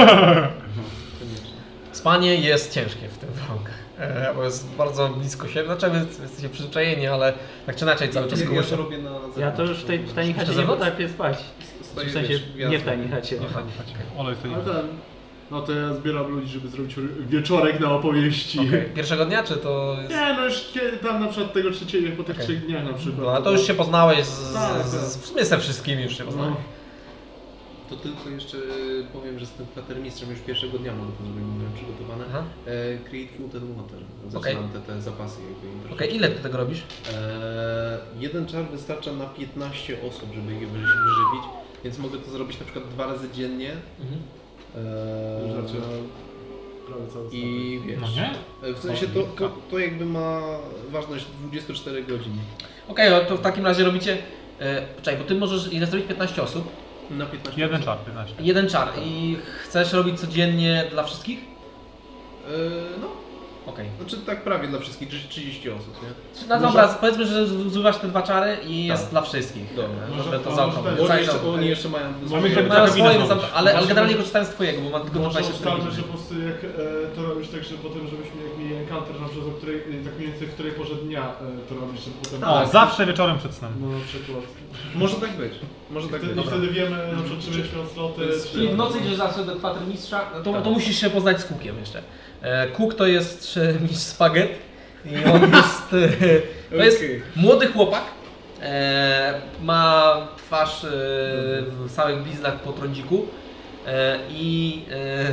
Speaker 1: Spanie jest ciężkie w tym warunkach, e, bo jest bardzo blisko siebie. Znaczy wy jesteście przyzwyczajeni, ale tak czy inaczej cały czas
Speaker 5: Ja- ja
Speaker 1: kołysze.
Speaker 5: to robię na zewnątrz.
Speaker 3: Ja to już w tej w tajnej
Speaker 1: Jeszcze
Speaker 3: chacie nie
Speaker 1: zawrót?
Speaker 3: potrafię spać.
Speaker 5: Stoję,
Speaker 3: W sensie,
Speaker 5: wiesz,
Speaker 3: nie w
Speaker 5: gwiazdą.
Speaker 3: tajnej chacie.
Speaker 4: Olej wtedy.
Speaker 2: Ale ten. No to ja zbieram ludzi, żeby zrobić wieczorek na opowieści.
Speaker 1: Okej. Pierwszego dnia czy to jest...
Speaker 2: Nie, no już kiedy, tam na przykład tego trzeciego, po tych
Speaker 1: Okej.
Speaker 2: trzech dniach na przykład.
Speaker 1: No, a to już się poznałeś z,
Speaker 2: Tak,
Speaker 1: z,
Speaker 2: tak.
Speaker 1: z, w sumie ze wszystkimi już się poznałeś.
Speaker 2: No.
Speaker 5: To tylko jeszcze powiem, że z tym kwatermistrzem już pierwszego dnia mam to zrobić, byłem przygotowany.
Speaker 1: Aha.
Speaker 5: E, create food and water. Zaczynam te, te zapasy jakby im
Speaker 1: Okej, ile ty tego robisz?
Speaker 5: E, jeden czar wystarcza na 15 osób, żeby je wyży- wyżywić, więc mogę to zrobić na przykład dwa razy dziennie.
Speaker 4: Mhm.
Speaker 5: E,
Speaker 2: Już zaczyna prawie cały
Speaker 5: I wiesz.
Speaker 4: No nie?
Speaker 5: e, W sensie to, to, to jakby ma ważność 24 godzin.
Speaker 1: Okej, no to w takim razie robicie... E, czekaj, bo ty możesz ile zrobić 15 osób,
Speaker 5: Na 15
Speaker 4: Jeden
Speaker 5: osób.
Speaker 4: czar, 15.
Speaker 1: jeden czar i chcesz robić codziennie dla wszystkich?
Speaker 5: E, no,
Speaker 1: Okej.
Speaker 5: znaczy tak prawie dla wszystkich, czyli 30 osób, nie?
Speaker 1: No dobra, powiedzmy, że zużywasz te dwa czary i jest dla wszystkich.
Speaker 5: Dobra.
Speaker 1: Dobra, żeby
Speaker 2: Tak. Może-
Speaker 1: to
Speaker 2: a może
Speaker 1: zamknąć.
Speaker 2: też-
Speaker 5: Bo oni
Speaker 1: Cały
Speaker 5: jeszcze,
Speaker 1: czas.
Speaker 5: oni jeszcze mają...
Speaker 4: Mamy
Speaker 5: swoje-
Speaker 4: chyba-
Speaker 7: tak
Speaker 1: Mają
Speaker 4: Kabina
Speaker 1: swoje,
Speaker 4: znowu.
Speaker 1: zam- ale, ale
Speaker 2: Może-
Speaker 1: generalnie korzystałem z twojego, bo mam tylko
Speaker 2: Może
Speaker 1: 24
Speaker 2: ustalmy, że
Speaker 1: godziny.
Speaker 2: po prostu jak e, to robisz tak, że potem, żebyśmy jak mieli encounter, na przykład o której, e, tak mniej więcej w której porze dnia e, to robisz, żeby potem...
Speaker 4: O, zawsze wieczorem przed snem.
Speaker 2: No na przykład.
Speaker 5: Może tak być, może tak
Speaker 2: Wtedy,
Speaker 5: być.
Speaker 2: I wtedy wiemy na przykład, czy mieliśmy sloty,
Speaker 1: Czyli
Speaker 2: czy...
Speaker 1: w nocy idziesz zawsze do kwatermistrza, no to, to musisz się poznać z Kukiem jeszcze. E, Kuk to jest e, mistrz spaghet i on jest... E, to jest
Speaker 5: Okej.
Speaker 1: młody chłopak. E, ma twarz e, w samych bliznach po trądziku e, i e,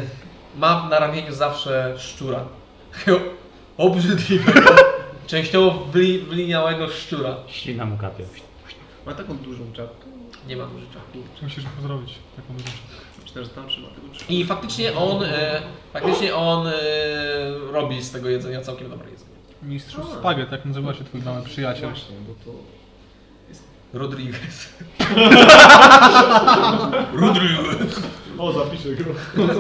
Speaker 1: ma na ramieniu zawsze szczura. Obrzydliwego, częściowo wyli, wyliniałego szczura.
Speaker 3: Ślina mu kapie.
Speaker 5: Ma taką dużą czapkę,
Speaker 1: Nie mam życza.
Speaker 4: Musisz go zrobić taką rzecz.
Speaker 5: myślę, że tam trzyma tego trzy.
Speaker 1: I faktycznie on, e, faktycznie on e, robi z tego jedzenia całkiem dobre jedzenie.
Speaker 4: Mistrzu Spaget, jak nazywa się twój mały przyjaciel.
Speaker 5: Właśnie, bo to...
Speaker 1: Rodriguez.
Speaker 2: O, zapiszę go.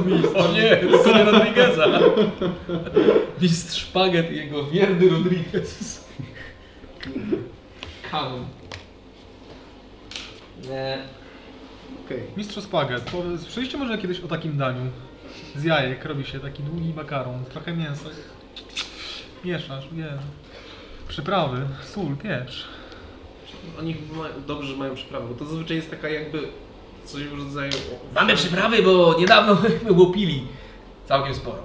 Speaker 2: Mistrz.
Speaker 1: O nie, to nie Rodrigueza. Mistrz Szpaget i jego wierny Rodriguez. Kanon. Nie.
Speaker 5: Okej.
Speaker 4: Mistrzu Spaget, powiedz, słyszeliście może kiedyś o takim daniu? Z jajek robi się taki długi makaron, trochę mięsa. Mieszasz, nie. Przyprawy, sól, pieprz.
Speaker 5: Oni ma, dobrze że mają przyprawę, bo to zazwyczaj jest taka jakby coś w rodzaju... o-
Speaker 1: Mamy przyprawy, bo niedawno my łopili. Całkiem sporo.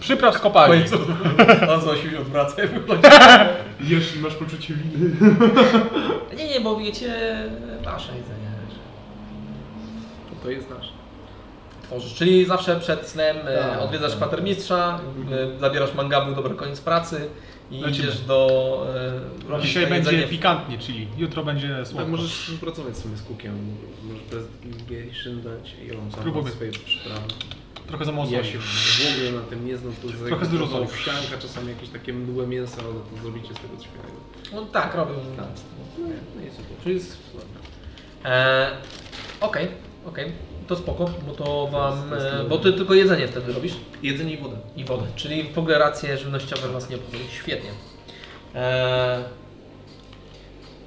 Speaker 4: Przypraw z kopalni.
Speaker 1: On znosił się odwraca i wychodzi.
Speaker 2: Jeśli masz poczucie winy.
Speaker 1: Nie, nie, bo wiecie, wasze jedzenie. że
Speaker 5: To jest nasz.
Speaker 1: Tworzysz, czyli zawsze przed snem e,
Speaker 2: Tak,
Speaker 1: odwiedzasz
Speaker 2: tak.
Speaker 1: kwatermistrza, e, zabierasz mangabu, dobry koniec pracy i
Speaker 4: Lecimy.
Speaker 1: idziesz do... E, robisz
Speaker 4: Dzisiaj
Speaker 1: to
Speaker 4: będzie
Speaker 1: jedzenie.
Speaker 4: pikantnie, czyli jutro będzie
Speaker 5: Tak,
Speaker 4: słodko.
Speaker 5: możesz współpracować sobie z Kukiem. Możesz presentation dać i on sam ma
Speaker 4: Spróbuję.
Speaker 5: swoje przyprawy.
Speaker 4: Trochę za mocno.
Speaker 5: Ja się w ogóle na tym nie znam, to jest
Speaker 4: Trochę dużo słów.
Speaker 5: ścianka, czasami jakieś takie mdłe mięso, ale to zrobicie z tego coś fajnego.
Speaker 1: No tak, robią.
Speaker 5: Tak. No i super. Czyli jest
Speaker 1: E, Okej, okej, to spoko, bo to wam...
Speaker 5: to jest
Speaker 1: E,
Speaker 5: dobre.
Speaker 1: bo ty tylko jedzenie wtedy robisz
Speaker 5: Jedzenie i woda.
Speaker 1: i wodę, czyli w ogóle racje żywnościowe was nie obchodzą. Świetnie. E,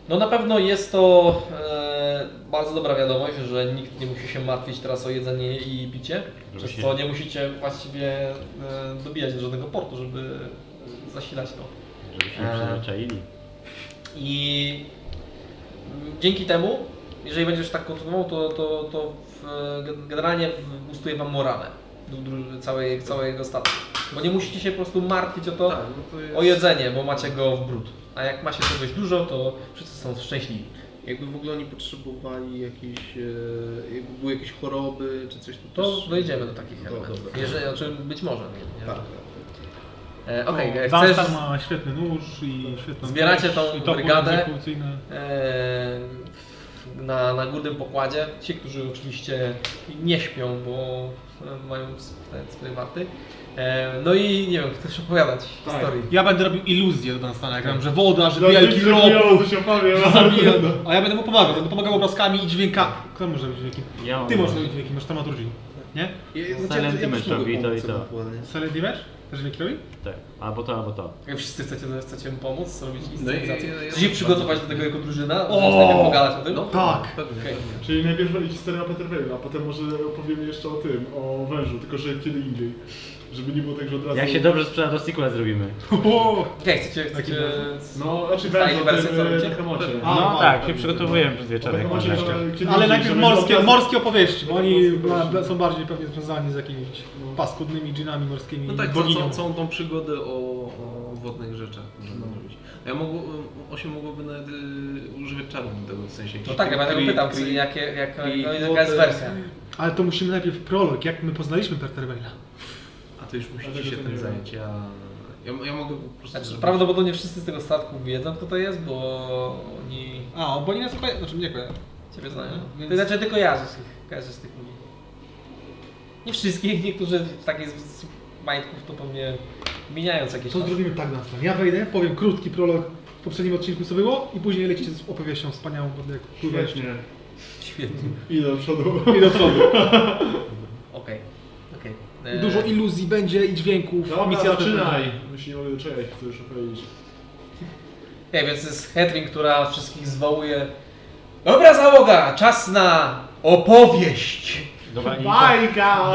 Speaker 1: no na pewno jest to e, bardzo dobra wiadomość, że nikt nie musi się martwić teraz o jedzenie i picie.
Speaker 3: Żeby
Speaker 1: Przez
Speaker 3: się-
Speaker 1: co nie musicie właściwie e, dobijać do żadnego portu, żeby e, zasilać to.
Speaker 3: Żeby się nie
Speaker 1: Eee.
Speaker 3: przyzwyczaili.
Speaker 1: I mm, dzięki temu, jeżeli będziesz tak kontynuował, to, to, to w, gen- generalnie boostuje Wam morale dru- dru- całej, całego statku. Bo nie musicie się po prostu martwić o to,
Speaker 5: Tak, no to jest...
Speaker 1: o jedzenie, bo macie go w brud. A jak macie czegoś dużo, to wszyscy są szczęśliwi.
Speaker 5: Jakby w ogóle oni potrzebowali jakiejś, e, jakby były jakieś choroby czy coś, to
Speaker 1: To
Speaker 5: też...
Speaker 1: dojdziemy do takich
Speaker 5: Do-
Speaker 1: elementów.
Speaker 5: dobra.
Speaker 1: Jeżeli, znaczy być może. Nie, nie.
Speaker 5: Tak. No,
Speaker 1: E, Okej,
Speaker 4: Okay,
Speaker 1: jak
Speaker 4: Dunstan
Speaker 1: chcesz...
Speaker 4: ma świetny nóż i świetną
Speaker 1: Zbieracie
Speaker 4: miecz
Speaker 1: tą
Speaker 4: i topór
Speaker 1: brygadę.
Speaker 4: egzekucyjny.
Speaker 1: E, na, na górnym pokładzie. Ci, którzy oczywiście nie śpią, bo e, mają s- te swoje warty. E, No i nie wiem, chcesz opowiadać
Speaker 2: Tak.
Speaker 1: historii.
Speaker 4: Ja będę robił iluzję do Dunstana, jak gram, że woda, że
Speaker 2: Dla
Speaker 4: wielki
Speaker 2: ludzi,
Speaker 4: rok,
Speaker 2: że coś opowiem.
Speaker 4: zabija. A ja będę mu pomagał, będę pomagał obrazkami i dźwiękami. Kto może robić dźwięki?
Speaker 3: Ja mam-
Speaker 4: Ty możesz robić dźwięki, masz dramaturgii. Nie?
Speaker 5: Ja,
Speaker 3: No, Silent Image robi to i to.
Speaker 4: Silent Image? Też dźwięki robi?
Speaker 3: Tak, albo to, albo to.
Speaker 1: Jak wszyscy chcecie, chcecie mu pomóc, robić
Speaker 5: No i-
Speaker 1: inscenizację.
Speaker 5: i- i-
Speaker 1: Chcecie się przygotować do tego jako drużyna?
Speaker 4: O!
Speaker 1: Chcesz najpierw pogadać o tym?
Speaker 4: Tak.
Speaker 5: No, Pewnie,
Speaker 1: Okej.
Speaker 5: pewnie.
Speaker 2: Czyli najpierw historia Peterfeila, a potem może opowiemy jeszcze o tym, o wężu, tylko że kiedy indziej. Żeby nie było tak, że od razu...
Speaker 3: Jak się dobrze sprzeda, to sequel zrobimy.
Speaker 1: Okej, chcecie, chcecie...
Speaker 2: No, znaczy
Speaker 1: Stanie
Speaker 2: wężu,
Speaker 1: wersję, co
Speaker 2: tym
Speaker 1: robicie?
Speaker 2: e, Tekemocie.
Speaker 4: A,
Speaker 3: No
Speaker 4: a,
Speaker 3: tak, się przygotowujemy przez wieczorek.
Speaker 2: Tekemocie,
Speaker 3: może jeszcze.
Speaker 2: ale kiedy
Speaker 4: Ale
Speaker 2: indziej,
Speaker 4: najpierw
Speaker 2: żeby
Speaker 4: morskie,
Speaker 2: obraz-
Speaker 4: morskie opowieści, bo oni
Speaker 2: Morskie opowieści.
Speaker 4: ma- są bardziej pewnie związani z jakimiś paskudnymi dżinami morskimi
Speaker 5: No tak, całą,
Speaker 4: boginią.
Speaker 5: całą, całą tą przygodę o, o wodnych rzeczach możemy
Speaker 1: Mhm.
Speaker 5: zrobić. A ja mogło, o się mogłoby nawet y, używać czarów do tego w sensie.
Speaker 1: No tak, ja będę
Speaker 5: Kri-
Speaker 1: pytał,
Speaker 5: kri-
Speaker 1: czy jakie, jak,
Speaker 5: kri-
Speaker 1: no, jaka jest
Speaker 5: kri-
Speaker 1: wersja.
Speaker 4: Ale to musimy najpierw prolog, jak my poznaliśmy Perterwejla.
Speaker 5: A to już
Speaker 2: A
Speaker 5: musicie
Speaker 2: tego
Speaker 5: się
Speaker 2: to
Speaker 5: tym
Speaker 2: nie wiem.
Speaker 5: zająć. Ja, ja, ja mogę po prostu.
Speaker 1: Znaczy,
Speaker 5: zrobić-
Speaker 1: prawdopodobnie wszyscy z tego statku wiedzą, kto to jest, bo oni
Speaker 4: A, o, bo oni nas kojarzą, znaczy mnie kojarzą.
Speaker 1: Ciebie znają.
Speaker 4: No, Więc-
Speaker 1: To znaczy ty kojarzysz ich, kojarzysz tych ludzi. Nie wszystkich, niektórzy w takich z- z majtków to pewnie mijając jakieś
Speaker 4: To
Speaker 1: tam-
Speaker 4: zrobimy tak na stronę. Ja wejdę, powiem krótki prolog w poprzednim odcinku co było i później lecicie z opowieścią wspaniałą, będę jak pływać.
Speaker 2: Świetnie.
Speaker 1: Świetnie.
Speaker 2: Idę do przodu.
Speaker 4: I do przodu.
Speaker 1: Okej. Okej. E,
Speaker 4: I dużo iluzji będzie i dźwięków.
Speaker 2: Dobra,
Speaker 4: misja
Speaker 2: zaczynaj. My się nie mogę doczekać, chcę już opowiedzieć.
Speaker 1: Okej, więc jest Hedwig, która wszystkich zwołuje. Dobra załoga, czas na opowieść!
Speaker 3: Dobra, i
Speaker 2: Bajka!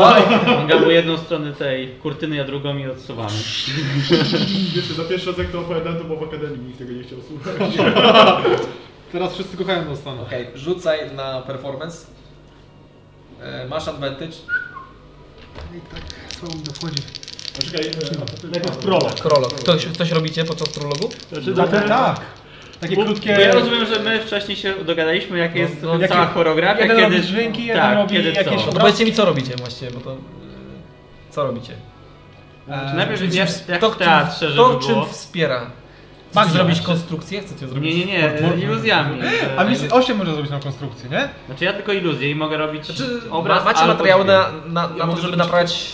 Speaker 3: Mangamy jedną stronę tej kurtyny, a drugą i odsuwamy.
Speaker 2: Wiecie, za pierwszy raz jak to opowiadałem, to było w akademii, nikt tego nie chciał słuchać.
Speaker 4: Teraz wszyscy kochają Dunstana.
Speaker 1: Okej, rzucaj na performance. E, masz advantage.
Speaker 4: I tak, słabo mi to wchodzi.
Speaker 2: Poczekaj,
Speaker 4: Najpierw prolog.
Speaker 1: Krolog. Coś, coś robicie podczas prologu?
Speaker 3: Znaczy,
Speaker 4: Tak, tak. Takie
Speaker 3: Bo,
Speaker 4: krótkie...
Speaker 3: bo ja rozumiem, że my wcześniej się dogadaliśmy, jak jest
Speaker 1: no,
Speaker 3: cała
Speaker 4: jakie-
Speaker 3: choreografia,
Speaker 4: jeden
Speaker 3: kiedy... tak,
Speaker 4: robi dźwięki, jeden robi
Speaker 3: kiedy
Speaker 4: jakieś
Speaker 3: co.
Speaker 4: obra- Powiedzcie
Speaker 1: mi co robicie właściwie, bo to... e, Co robicie?
Speaker 4: E,
Speaker 3: Znaczy, najpierw jak, jak
Speaker 1: To,
Speaker 3: w teatrze,
Speaker 1: czym,
Speaker 3: żeby
Speaker 1: to czym
Speaker 3: było...
Speaker 1: wspiera? Chcecie
Speaker 4: Magia,
Speaker 1: zrobić
Speaker 4: znaczy-
Speaker 1: konstrukcję? Chcecie zrobić?
Speaker 3: Nie, nie, nie,
Speaker 4: Bo- bo-
Speaker 3: iluzjami.
Speaker 4: A
Speaker 3: że-
Speaker 4: misji 8 może zrobić na konstrukcję, nie?
Speaker 3: Znaczy ja tylko iluzję i mogę robić
Speaker 1: Znaczy,
Speaker 3: obraz
Speaker 1: ma, macie
Speaker 3: albo
Speaker 1: materiały
Speaker 3: dźwięk.
Speaker 1: na, na, na to, żeby
Speaker 5: mogę zrobić-
Speaker 1: naprawiać.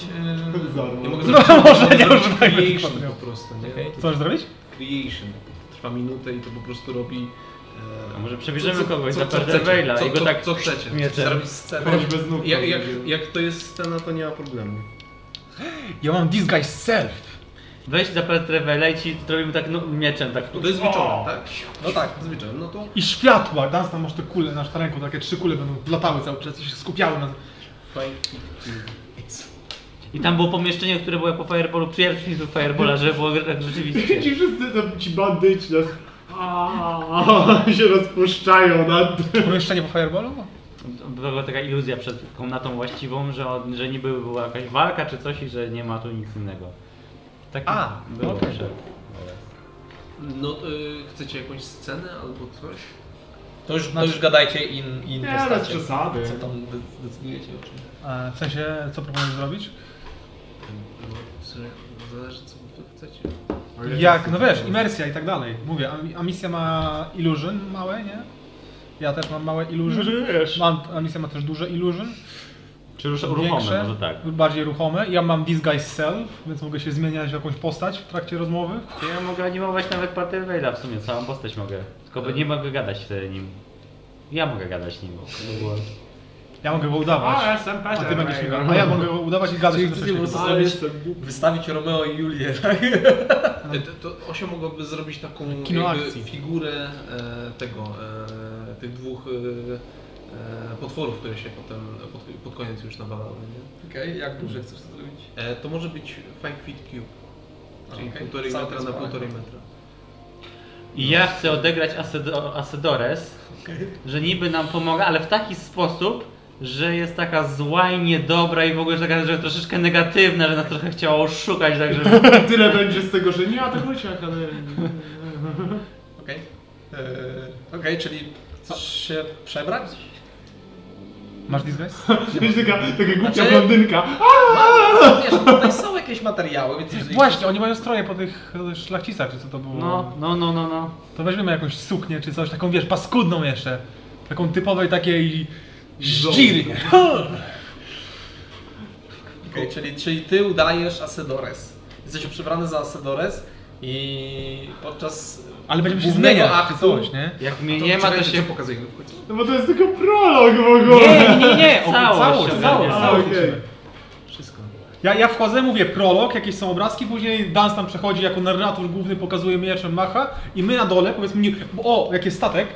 Speaker 2: Zarwa.
Speaker 4: No może nie używaj
Speaker 5: Creation po prostu, nie?
Speaker 1: Okej.
Speaker 4: Co masz zrobić?
Speaker 5: Creation. Trwa minutę i to po prostu robi
Speaker 3: A może przebierzemy
Speaker 5: Co- co-
Speaker 3: kogoś
Speaker 5: co-
Speaker 3: na
Speaker 5: co chcecie?
Speaker 3: Perdeweila
Speaker 5: Co-
Speaker 3: i go
Speaker 5: co-
Speaker 3: tak
Speaker 5: co chcecie?
Speaker 3: mieczem.
Speaker 5: Zrobić scenę?
Speaker 2: Chodź bez nóg. no,
Speaker 5: Jak, jak,
Speaker 2: prawdziwy.
Speaker 5: jak to jest scena, to nie ma problemu.
Speaker 4: Ja mam disguise self.
Speaker 3: Weź za Perdeweila i ci zrobimy tak no, mieczem. tak.
Speaker 5: Bo to jest liczone,
Speaker 3: O!
Speaker 5: tak?
Speaker 1: No tak.
Speaker 5: Z wieczorem, no to
Speaker 4: I światła, Dunstan, masz te kule, nasz ręką, takie trzy kule będą latały cały czas i się skupiały na...
Speaker 3: I tam było pomieszczenie, które było po fireballu, pierwszy do firebola, że było tak rzeczywiście.
Speaker 2: Ci wszyscy tam ci bandyci nas... Aaaa, się rozpuszczają nad tym.
Speaker 4: Pomieszczenie po fireballu?
Speaker 3: Była taka iluzja przed komnatą właściwą, że, on, że niby była jakaś walka czy coś i że nie ma tu nic innego. Tak
Speaker 1: A,
Speaker 3: było
Speaker 1: okej.
Speaker 3: przed.
Speaker 5: No, y, chcecie jakąś scenę albo coś?
Speaker 1: To już, to już gadajcie in, in
Speaker 2: Nie, bez
Speaker 1: postacie.
Speaker 2: przesady.
Speaker 1: Co tam de- decydujecie o czym?
Speaker 4: A, w sensie, co proponujesz zrobić?
Speaker 5: No, w sumie zależy co wy chcecie.
Speaker 4: Jak, no wiesz, imersja i tak dalej. Mówię, a- a misja ma illusion małe, nie? Ja też mam małe
Speaker 2: Mhm.
Speaker 4: illusion. Mam, a misja ma też duże illusion.
Speaker 3: Czy już uruchomy,
Speaker 4: większe,
Speaker 3: może tak.
Speaker 4: bardziej ruchome. Ja mam disguise self, więc mogę się zmieniać w jakąś postać w trakcie rozmowy.
Speaker 3: To ja mogę animować nawet Perdeweila w sumie, całą postać mogę. Tylko by nie mogę gadać wtedy nim. Ja mogę gadać nim. To było-
Speaker 4: Ja mogę go udawać.
Speaker 2: A, jestem
Speaker 4: A ty będziesz
Speaker 2: Peter.
Speaker 4: mnie gadał. A ja mogę go udawać i gadać.
Speaker 1: Czyli
Speaker 4: jednocześnie.
Speaker 1: chcecie po prostu
Speaker 2: Ale
Speaker 1: zrobić,
Speaker 2: jestem
Speaker 1: wystawić Romeo i Julię, tak?
Speaker 5: Y, To, to Osio mogłaby zrobić taką
Speaker 4: Kino
Speaker 5: jakby
Speaker 4: akcji.
Speaker 5: figurę e, tego, e, tych dwóch e, e, potworów, które się potem pod, pod koniec już nawalały, nie?
Speaker 1: Okej, jak duże chcesz to zrobić?
Speaker 5: E, to może być 5 feet cube, czyli
Speaker 1: Okej,
Speaker 5: półtorej
Speaker 1: całkiem
Speaker 5: metra na
Speaker 1: spoko.
Speaker 5: półtorej metra.
Speaker 3: I ja chcę odegrać Asedo- Asedores, że niby nam pomaga, ale w taki sposób, że jest taka zła i niedobra i w ogóle że taka, że troszeczkę negatywna, że nas trochę chciała oszukać, tak żeby...
Speaker 2: Tyle będzie z tego, że nie atakujcie akademii.
Speaker 1: Okej. Okay. e, Okej, czyli chcesz się przebrać?
Speaker 4: Masz disguise?
Speaker 2: Jesteś taka, taka głupia
Speaker 1: Znaczy-
Speaker 2: blondynka.
Speaker 1: No, wiesz, tutaj są jakieś materiały, więc jeżeli...
Speaker 4: Właśnie, oni mają stroje po tych e, szlachcicach, czy co to było.
Speaker 3: No, no, no, no, no.
Speaker 4: To weźmiemy jakąś suknię, czy coś, taką wiesz, paskudną jeszcze. Taką typowej takiej... Zdziry.
Speaker 1: Okej, czyli, czyli ty udajesz Asedores. Jesteś przebrany za Asedores i podczas...
Speaker 4: Ale będziemy się
Speaker 1: Głównego
Speaker 4: zmieniać, czy
Speaker 1: aktu-
Speaker 4: coś, nie?
Speaker 3: Jak mnie nie ma, to się...
Speaker 5: pokazuje w końcu?
Speaker 2: No bo to jest tylko prolog w ogóle.
Speaker 3: Nie, nie, nie, całość,
Speaker 4: całość,
Speaker 3: ogarnia,
Speaker 4: całość,
Speaker 2: A,
Speaker 4: całość.
Speaker 2: okej.
Speaker 5: Wszystko.
Speaker 4: Ja, ja wchodzę, mówię prolog, jakieś są obrazki, później Dans tam przechodzi jako narrator główny, pokazuje mieczem macha i my na dole, powiedzmy, nie, bo o, jak jest statek,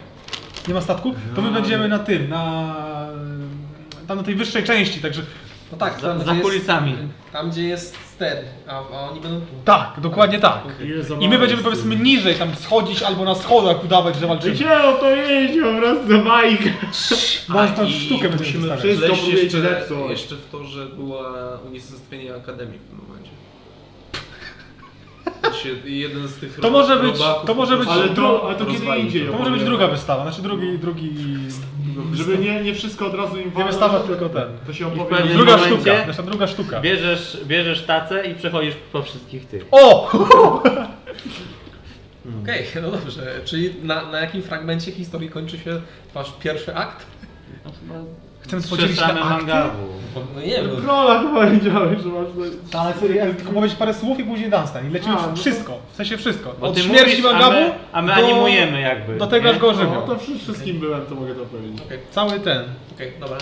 Speaker 4: nie ma statku, to my będziemy na tym, na... tam na tej wyższej części, także
Speaker 1: No tak,
Speaker 3: Za,
Speaker 1: tam,
Speaker 3: za
Speaker 1: gdzie jest,
Speaker 3: kulisami.
Speaker 1: tam gdzie jest ten, a, a oni będą tu.
Speaker 4: tak, dokładnie tak.
Speaker 2: Ile za
Speaker 4: I my
Speaker 2: mało
Speaker 4: będziemy
Speaker 2: jest
Speaker 4: powiedzmy
Speaker 2: tego.
Speaker 4: niżej tam schodzić albo na schodach udawać, że walczymy.
Speaker 2: Gdzie o to jeździ po prostu Majka?
Speaker 4: Dans tam
Speaker 5: i
Speaker 4: sztukę będziemy
Speaker 5: musimy
Speaker 4: stawiać.
Speaker 2: wszystko
Speaker 5: Leś
Speaker 2: próbujecie
Speaker 5: jeszcze,
Speaker 2: zepsuć.
Speaker 5: jeszcze w to, że była unicestwienie Akademii w tym momencie. To się- Jeden z tych
Speaker 4: To może być-
Speaker 5: robaków
Speaker 4: to może być-
Speaker 5: po prostu
Speaker 2: Ale to- a to kiedy
Speaker 5: rozwalił
Speaker 2: idzie?
Speaker 4: To może być druga wystawa, znaczy drugi, drugi...
Speaker 2: Żeby nie, nie wszystko od razu im
Speaker 4: Nie
Speaker 2: walnąć,
Speaker 4: wystawa, tylko ten.
Speaker 2: To się
Speaker 3: I w pewnym
Speaker 2: opowie.
Speaker 4: Druga
Speaker 3: momencie-
Speaker 4: sztuka, nasza druga sztuka.
Speaker 3: Tak. Bierzesz, bierzesz tacę i przechodzisz po wszystkich tych.
Speaker 4: O!
Speaker 1: Okej, no dobrze. Czyli na, na jakim fragmencie historii kończy się wasz pierwszy akt?
Speaker 3: No, chyba
Speaker 4: Chcemy podzielić
Speaker 3: Przesamy
Speaker 4: na akty?
Speaker 3: mangabu.
Speaker 1: No nie wiem. no-
Speaker 2: Prola chyba powiedziałeś, że masz coś.
Speaker 4: Tak, Ale serio, ja tylko powiedzieć parę słów i później Dunstan. I lecimy
Speaker 2: A, no to-
Speaker 4: wszystko, w sensie wszystko.
Speaker 3: Bo
Speaker 4: Od
Speaker 3: ty
Speaker 4: śmierci
Speaker 3: mówisz, a
Speaker 4: Mangabu
Speaker 3: my, a my
Speaker 4: do,
Speaker 3: animujemy jakby.
Speaker 4: do tego,
Speaker 3: nie?
Speaker 4: aż go
Speaker 2: No
Speaker 4: ożywią.
Speaker 2: to przy wszystkim byłem, to mogę to powiedzieć.
Speaker 4: Cały ten.
Speaker 1: Okej, dobra.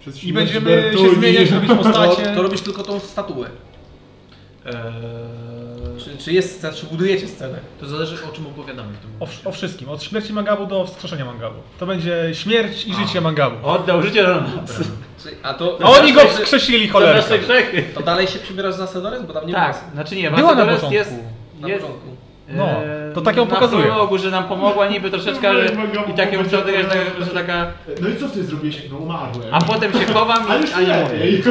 Speaker 2: Przez
Speaker 4: I
Speaker 2: śmierć
Speaker 4: będziemy się
Speaker 2: Bertuni.
Speaker 4: zmieniać, robić
Speaker 1: To,
Speaker 4: postacie.
Speaker 1: to robisz tylko tą statuę. Czy, czy jest scena, czy budujecie scenę?
Speaker 5: To zależy o czym opowiadamy w tym
Speaker 4: O,
Speaker 5: momencie.
Speaker 4: wsz- o wszystkim, od śmierci Mangabu do wskrzeszenia Mangabu. To będzie śmierć i życie Mangabu.
Speaker 3: Oddał życie za nas.
Speaker 1: Czy, a to,
Speaker 4: A oni go wskrzesili,
Speaker 3: Za
Speaker 4: cholera.
Speaker 3: nasze grzechy.
Speaker 1: To dalej się przybierasz za Sedores? Bo tam nie
Speaker 3: Tak,
Speaker 1: było-
Speaker 3: znaczy nie,
Speaker 4: Była na
Speaker 3: Wasadores
Speaker 4: początku.
Speaker 3: jest...
Speaker 1: Na
Speaker 3: jest
Speaker 1: początku.
Speaker 4: No,
Speaker 3: e,
Speaker 4: to tak ją
Speaker 3: na
Speaker 4: pokazuje.
Speaker 3: prologu, że nam pomogła niby troszeczkę, ale i tak ją chcę odegrać, tak, że taka...
Speaker 2: No i co ty zrobiłeś? No umarłem.
Speaker 3: A potem się chowam
Speaker 2: Ale
Speaker 3: i
Speaker 2: już
Speaker 3: animuję.
Speaker 2: lepiej.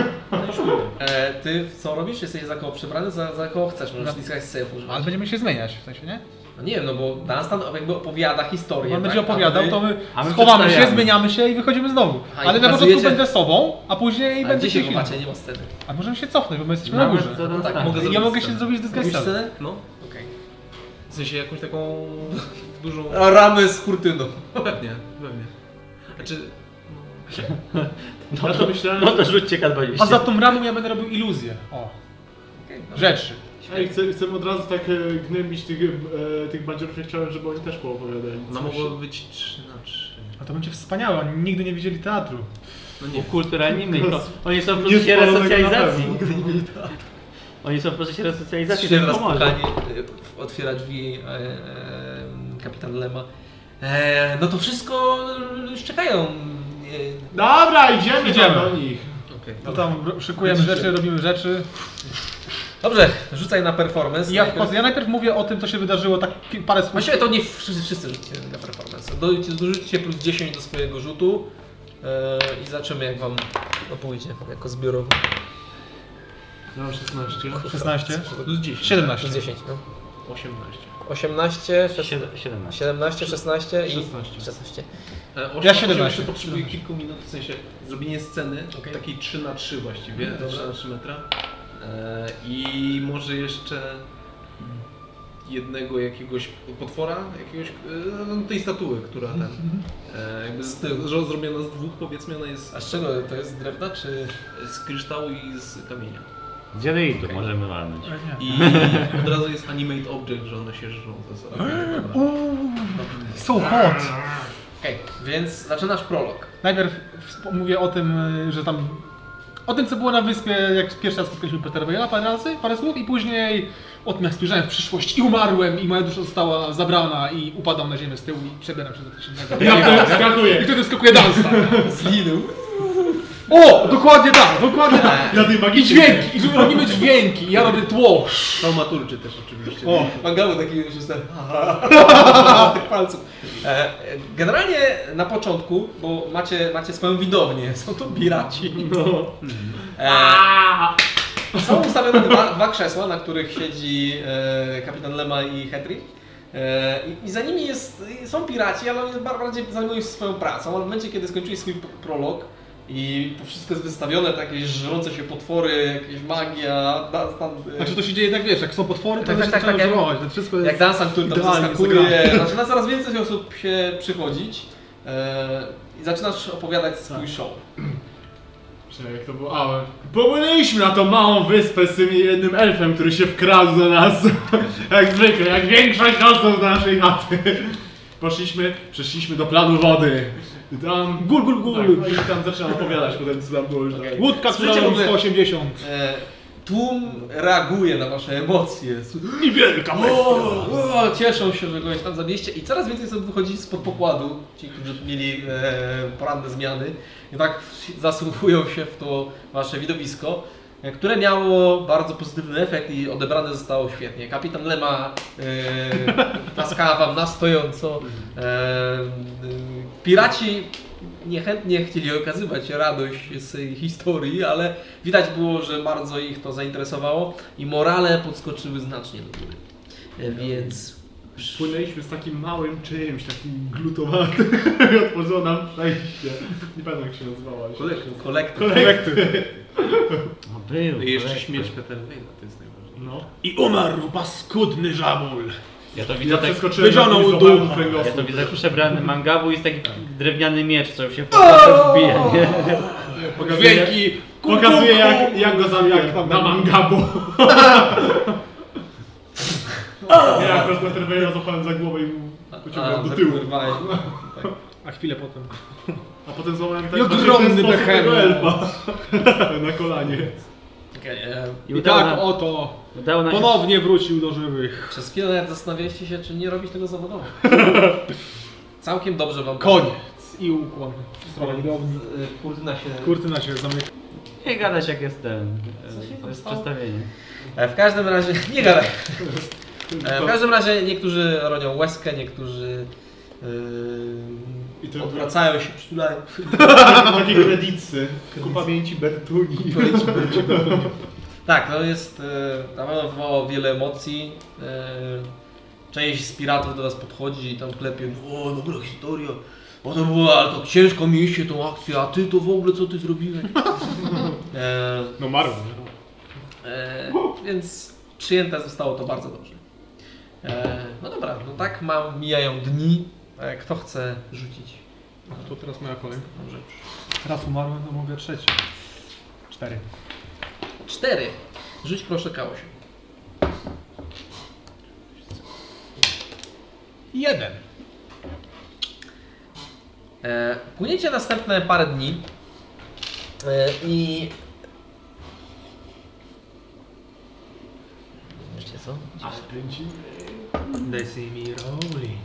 Speaker 1: E, ty co robisz? Jesteś za koło przebrany, za, za koło chcesz. Możesz ściskać self używać.
Speaker 4: Ale będziemy się zmieniać, w sensie, nie?
Speaker 1: No nie wiem, no bo Dunstan jakby opowiada historię. tak?
Speaker 4: On będzie
Speaker 1: A
Speaker 4: opowiadał,
Speaker 1: wy-
Speaker 4: to my
Speaker 3: A my
Speaker 4: schowamy się,
Speaker 3: przedstawiamy.
Speaker 4: zmieniamy się i wychodzimy znowu.
Speaker 1: Aha, i
Speaker 4: Ale na początku
Speaker 1: pokazujecie-
Speaker 4: będę sobą, a później
Speaker 1: A
Speaker 4: będę
Speaker 1: gdzie się
Speaker 4: się...
Speaker 1: chowacie? Nie ma sceny.
Speaker 4: A możemy się cofnąć, bo my jesteśmy na
Speaker 3: Nawet
Speaker 4: górze.
Speaker 3: za
Speaker 1: tak,
Speaker 3: tak,
Speaker 1: mogę
Speaker 4: Ja
Speaker 1: zrobić
Speaker 4: mogę się
Speaker 1: scenę.
Speaker 4: zrobić dysguise
Speaker 1: Robisz
Speaker 4: self.
Speaker 1: scenę? No.
Speaker 5: Okej. W sensie jakąś taką dużą...
Speaker 1: A Ramy z kurtyną.
Speaker 5: Pewnie, pewnie. Znaczy,
Speaker 3: No to, no to rzućcie K20.
Speaker 4: A za tą ramą ja będę robił iluzję. O,
Speaker 1: Okej, dobra.
Speaker 4: rzeczy.
Speaker 2: Ej, chcę, chcę od razu tak e, gnębić tych, e, tych bandziorów, ja chciałem, żeby oni też poopowiadali.
Speaker 5: No
Speaker 2: coś.
Speaker 5: mogłoby być 3 na 3.
Speaker 4: A to będzie wspaniałe, oni nigdy nie widzieli teatru.
Speaker 5: No
Speaker 3: Nie.
Speaker 5: nie.
Speaker 3: Ukulturalnijmy ich.
Speaker 2: Teraz
Speaker 3: Oni są
Speaker 2: nie
Speaker 3: w procesie
Speaker 2: spalonego
Speaker 3: resocjalizacji.
Speaker 2: na
Speaker 3: Oni są w procesie resocjalizacji, to
Speaker 1: Trzy
Speaker 3: im
Speaker 1: raz
Speaker 3: pomoże.
Speaker 1: pukanie, y, otwiera drzwi e, e, kapitan Lema. E, no to wszystko już czekają. E,
Speaker 2: Dobra, idziemy,
Speaker 4: Idziemy.
Speaker 2: idziemy. do nich.
Speaker 4: To tam ro- szykujemy
Speaker 1: Widzicie.
Speaker 4: rzeczy, robimy rzeczy.
Speaker 1: Dobrze, rzucaj na performance.
Speaker 4: Ja,
Speaker 1: Najpierw-
Speaker 4: wchodzę, ja najpierw mówię o tym, co się wydarzyło, tak ki- parę słów.
Speaker 1: Właściwie to nie wszyscy, wszyscy rzućcie na performance. Do- Dorzućcie plus 10 do swojego rzutu e, i zobaczymy jak wam to pójdzie jako zbiorowo.
Speaker 2: Ja mam 16.
Speaker 4: 16,
Speaker 5: Plus 10.
Speaker 4: 17.
Speaker 1: Plus 10, no.
Speaker 5: 18.
Speaker 1: 18, 16,
Speaker 3: Siedem- 17.
Speaker 1: 17, 16 i
Speaker 2: 16.
Speaker 1: 16.
Speaker 5: E, osiem-
Speaker 4: Ja
Speaker 5: osiem
Speaker 4: 17.
Speaker 5: jeszcze potrzebuję kilku minut, w sensie zrobienie sceny,
Speaker 1: Okej. Mhm,
Speaker 5: takiej 3 na 3 właściwie,
Speaker 1: Dobra.
Speaker 5: 3 na 3 metra. E, I może jeszcze jednego jakiegoś potwora, jakiegoś, e, no, tej statuły, która tam,
Speaker 1: Mhm,
Speaker 5: e, jakby z, że zrobiona z dwóch powiedzmy, ona jest
Speaker 1: A z czego to jest? Z drewna czy...
Speaker 5: z kryształu i z kamienia.
Speaker 3: Z jadeity możemy walnąć.
Speaker 5: I
Speaker 1: Mhm.
Speaker 5: od razu jest animate object, że one się żrą ze sobą.
Speaker 4: So hot!
Speaker 1: Okej, więc zaczynasz prolog.
Speaker 4: Najpierw wsp- mówię o tym, y, że tam. O tym, co było na wyspie, jak pierwszy raz spotkaliśmy Petera Wejla parę razy, parę słów, i później o tym, jak spojrzałem w przyszłość i umarłem, i moja dusza została zabrana, i upadam na ziemię z tyłu, i przebieram się do coś innego.
Speaker 2: Ja to
Speaker 4: I
Speaker 2: skakuję.
Speaker 4: wtedy skakuje dansa. Zlidu. O, dokładnie tak, dokładnie tak.
Speaker 2: Na tej
Speaker 4: I
Speaker 2: magicznej.
Speaker 4: dźwięki, i robimy dźwięki, i ja robię tło.
Speaker 5: Taumaturczy też oczywiście.
Speaker 4: O.
Speaker 1: Mangało taki już jestem. z tych palców. E, Generalnie na początku, bo macie, macie swoją widownię, są to piraci. E, są ustawione dwa, dwa krzesła, na których siedzi e, kapitan Lema i Hetri. E, i, I za nimi jest, są piraci, ale oni bar- bardziej zajmują się swoją pracą. Ale w momencie, kiedy skończyli swój p- prolog i to wszystko jest wystawione, takie żrące się potwory, jakieś magia, dan- tam, e,
Speaker 4: Znaczy to się dzieje tak, wiesz, jak są potwory, to
Speaker 1: Tak,
Speaker 4: tak,
Speaker 1: tak,
Speaker 4: się
Speaker 1: tak,
Speaker 4: zaczyna
Speaker 1: tak, jak-
Speaker 4: żałować, to wszystko jest...
Speaker 1: jak Dansan, który tam
Speaker 4: idealnie
Speaker 1: zaskakuje, zaczyna coraz więcej osób się przychodzić e, i zaczynasz opowiadać swój show.
Speaker 2: Czekaj, jak to było? A, popłynęliśmy na tą małą wyspę z tym jednym elfem, który się wkradł do nas. jak zwykle, jak większość osób do naszej chaty. Poszliśmy, przeszliśmy do planu wody. I tam... Gul, gul, gul. Tak, no i tam zaczynam opowiadać potem, co tam było już dalej.
Speaker 4: Łódka, która
Speaker 1: Słyszycie w
Speaker 4: robi
Speaker 1: ogóle-
Speaker 4: 180.
Speaker 1: E, tłum reaguje na wasze emocje. Su-
Speaker 2: Niewielka
Speaker 1: O, o, cieszą się, że kogoś tam zabiliście i coraz więcej osób wychodzi spod pokładu, ci, którzy mieli e, poranne zmiany i tak wsi- zasłuchują się w to wasze widowisko, e, które miało bardzo pozytywny efekt i odebrane zostało świetnie. Kapitan Lema e, taskała wam na stojąco. E, e, piraci niechętnie chcieli okazywać radość z tej historii, ale widać było, że bardzo ich to zainteresowało i morale podskoczyły znacznie do góry. E, Więc
Speaker 2: Płynęliśmy z takim małym czymś, takim glutowatym i otworzono nam przejście. Nie pamiętam jak się nazywała.
Speaker 1: kolektor.
Speaker 2: Kolekty.
Speaker 3: No był.
Speaker 5: I jeszcze
Speaker 3: kolektor.
Speaker 5: śmierć Peter Wejla, to jest najważniejsze.
Speaker 2: No.
Speaker 4: I umarł paskudny żabul.
Speaker 3: Ja to
Speaker 2: Ja
Speaker 3: widzę tak...
Speaker 2: przeskoczyłem
Speaker 4: wyzionął
Speaker 2: na
Speaker 4: ducha.
Speaker 2: duch.
Speaker 3: Ja
Speaker 2: kręgosłup.
Speaker 3: to widzę jak przebrany mangabu i jest taki drewniany miecz, co się po wbija, nie?
Speaker 2: Pokazuje, pokazuje jak, jak go zabiję na mangabu. Ja akurat na Terwejla złapałem za głowę i mu pociągnąłem do tyłu.
Speaker 1: wyrwałeś.
Speaker 4: A chwilę potem.
Speaker 2: A potem złamałem tak
Speaker 4: I
Speaker 2: właśnie w ten
Speaker 4: ogromny
Speaker 2: sposób
Speaker 4: behemoth.
Speaker 2: tego elfa. Na kolanie.
Speaker 1: Okej, e,
Speaker 4: I
Speaker 3: udało
Speaker 4: tak
Speaker 3: nam-
Speaker 4: oto
Speaker 3: udało nam się
Speaker 4: ponownie wrócił do żywych.
Speaker 1: Przez chwilę nawet zastanawialiście się, czy nie robić tego zawodowo. Całkiem dobrze wam
Speaker 4: Koniec. I ukłon. W stronę widowni.
Speaker 1: Kurtyna się...
Speaker 4: Kurtyna się zamyka.
Speaker 3: Nie gadać jak jest ten.
Speaker 1: Co się
Speaker 3: e, To
Speaker 1: tam
Speaker 3: jest
Speaker 1: stało?
Speaker 3: przestawienie.
Speaker 1: E, W każdym razie... Nie gadaj. E, W każdym razie niektórzy ronią łezkę, niektórzy...
Speaker 2: I
Speaker 1: Yy,
Speaker 2: to-
Speaker 1: odwracają się, przytulają.
Speaker 2: Takie kredicy. Ku pamięci Bertuni.
Speaker 1: Tak, to jest... e, Na pewno wywołało wiele emocji. E, Część z piratów do was podchodzi i tam klepie. O, dobra historia. O to było, ale to ciężko mieliście tą akcję, a ty to w ogóle co ty zrobiłeś? E,
Speaker 2: No marł.
Speaker 1: E, więc przyjęte zostało to bardzo dobrze. E, no dobra, no tak mam, mijają dni. E, kto chce rzucić?
Speaker 4: To teraz moja kolej.
Speaker 1: Dobrze.
Speaker 4: Raz umarłem, no mogę trzeci. Cztery.
Speaker 1: Cztery. Rzuć proszę K8.
Speaker 4: Jeden.
Speaker 1: E, Płyniecie następne parę dni e, i... Wiecie co?
Speaker 3: They see me rolling.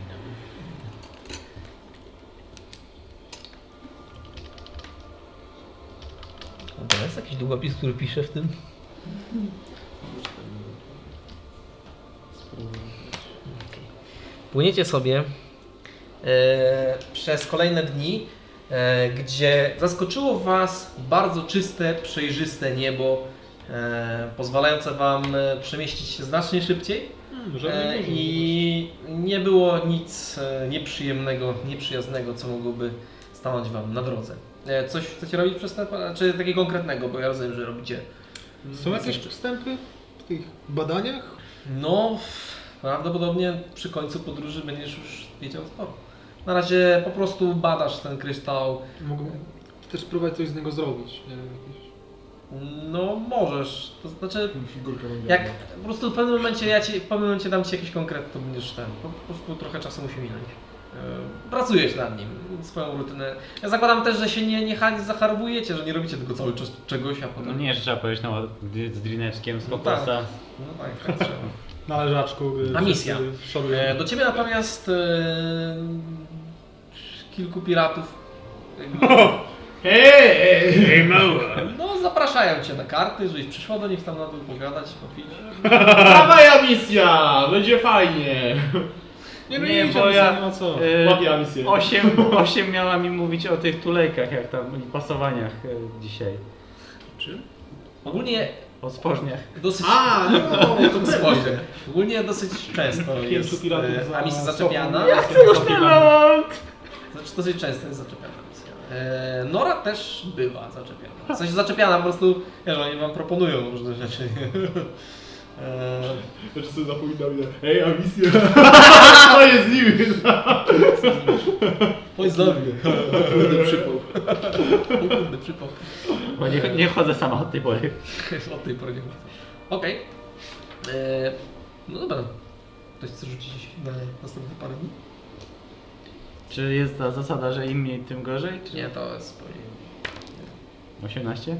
Speaker 1: To jest jakiś długopis, który pisze w tym? Okej. Płyniecie sobie e, przez kolejne dni, e, gdzie zaskoczyło Was bardzo czyste, przejrzyste niebo, e, pozwalające Wam e, przemieścić się znacznie szybciej. E, I nie było nic e, nieprzyjemnego, nieprzyjaznego, co mogłoby stanąć Wam na drodze. E, Coś chcecie robić przez ten Czy takiego konkretnego, bo ja rozumiem, że robicie.
Speaker 4: Są jakieś postępy w tych badaniach?
Speaker 1: No, prawdopodobnie przy końcu podróży będziesz już wiedział sporo. Na razie po prostu badasz ten kryształ.
Speaker 4: Mogą też próbować coś z niego zrobić. Nie wiem, jakieś...
Speaker 1: No, możesz. To znaczy,
Speaker 2: Figurka będzie.
Speaker 1: jak po prostu w pewnym momencie ja ci, w pewnym momencie dam ci jakiś konkret, to będziesz ten. Po, po prostu trochę czasu musi minąć. E, Pracujesz nad nim, swoją rutynę. Ja zakładam też, że się nie, nie ha- zacharowujecie, że nie robicie tego cały czas czegoś, a
Speaker 3: No
Speaker 1: potem.
Speaker 3: nie, że trzeba powiedzieć no, d- z drineczkiem, z
Speaker 1: No
Speaker 3: kokosa.
Speaker 1: tak. No tak, tak trzeba.
Speaker 4: Należaczku.
Speaker 1: A misja? E,
Speaker 4: Szoruję.
Speaker 1: Do ciebie natomiast e, kilku piratów jakby,
Speaker 2: Hej, hej, mała!
Speaker 1: no, zapraszają cię na karty, żebyś przyszła do nich tam na dół pogadać, popić.
Speaker 2: Dawaj misja! Będzie fajnie!
Speaker 4: Nie, no
Speaker 3: Nie,
Speaker 4: nie,
Speaker 3: bo
Speaker 4: bo
Speaker 3: ja- e,
Speaker 4: Nie ma co.
Speaker 2: Łapię misję.
Speaker 3: 8, miała mi mówić o tych tulejkach, jak tam, i pasowaniach e, dzisiaj.
Speaker 1: Ogólnie
Speaker 3: O spożniach.
Speaker 1: dosyć...
Speaker 2: A, no, to
Speaker 1: Spojrzę. Ogólnie dosyć często jest
Speaker 4: piratów
Speaker 1: e,
Speaker 4: za
Speaker 1: amisja
Speaker 4: sobą.
Speaker 1: zaczepiana.
Speaker 4: Ja
Speaker 1: chcę już
Speaker 3: Ląd!
Speaker 1: Znaczy dosyć często jest zaczepiana misja. E, Nora też była zaczepiana. W sensie zaczepiana po prostu, wiesz, oni wam proponują różne rzeczy. E,
Speaker 2: Znaczy sobie zapominam, ile. Hej, a misja! To jest z nimi!
Speaker 1: Chodź do mnie.
Speaker 2: Kurde, przypał.
Speaker 1: O Kurde, przypał.
Speaker 3: Bo nie, nie chodzę sama od tej pory.
Speaker 1: Od tej pory nie wracam. Okej. E, No dobra. Ktoś chce rzucić na następne parę dni?
Speaker 3: Czy jest ta zasada, że im mniej, tym gorzej? Czy...
Speaker 1: Nie, to jest pewnie
Speaker 3: 18?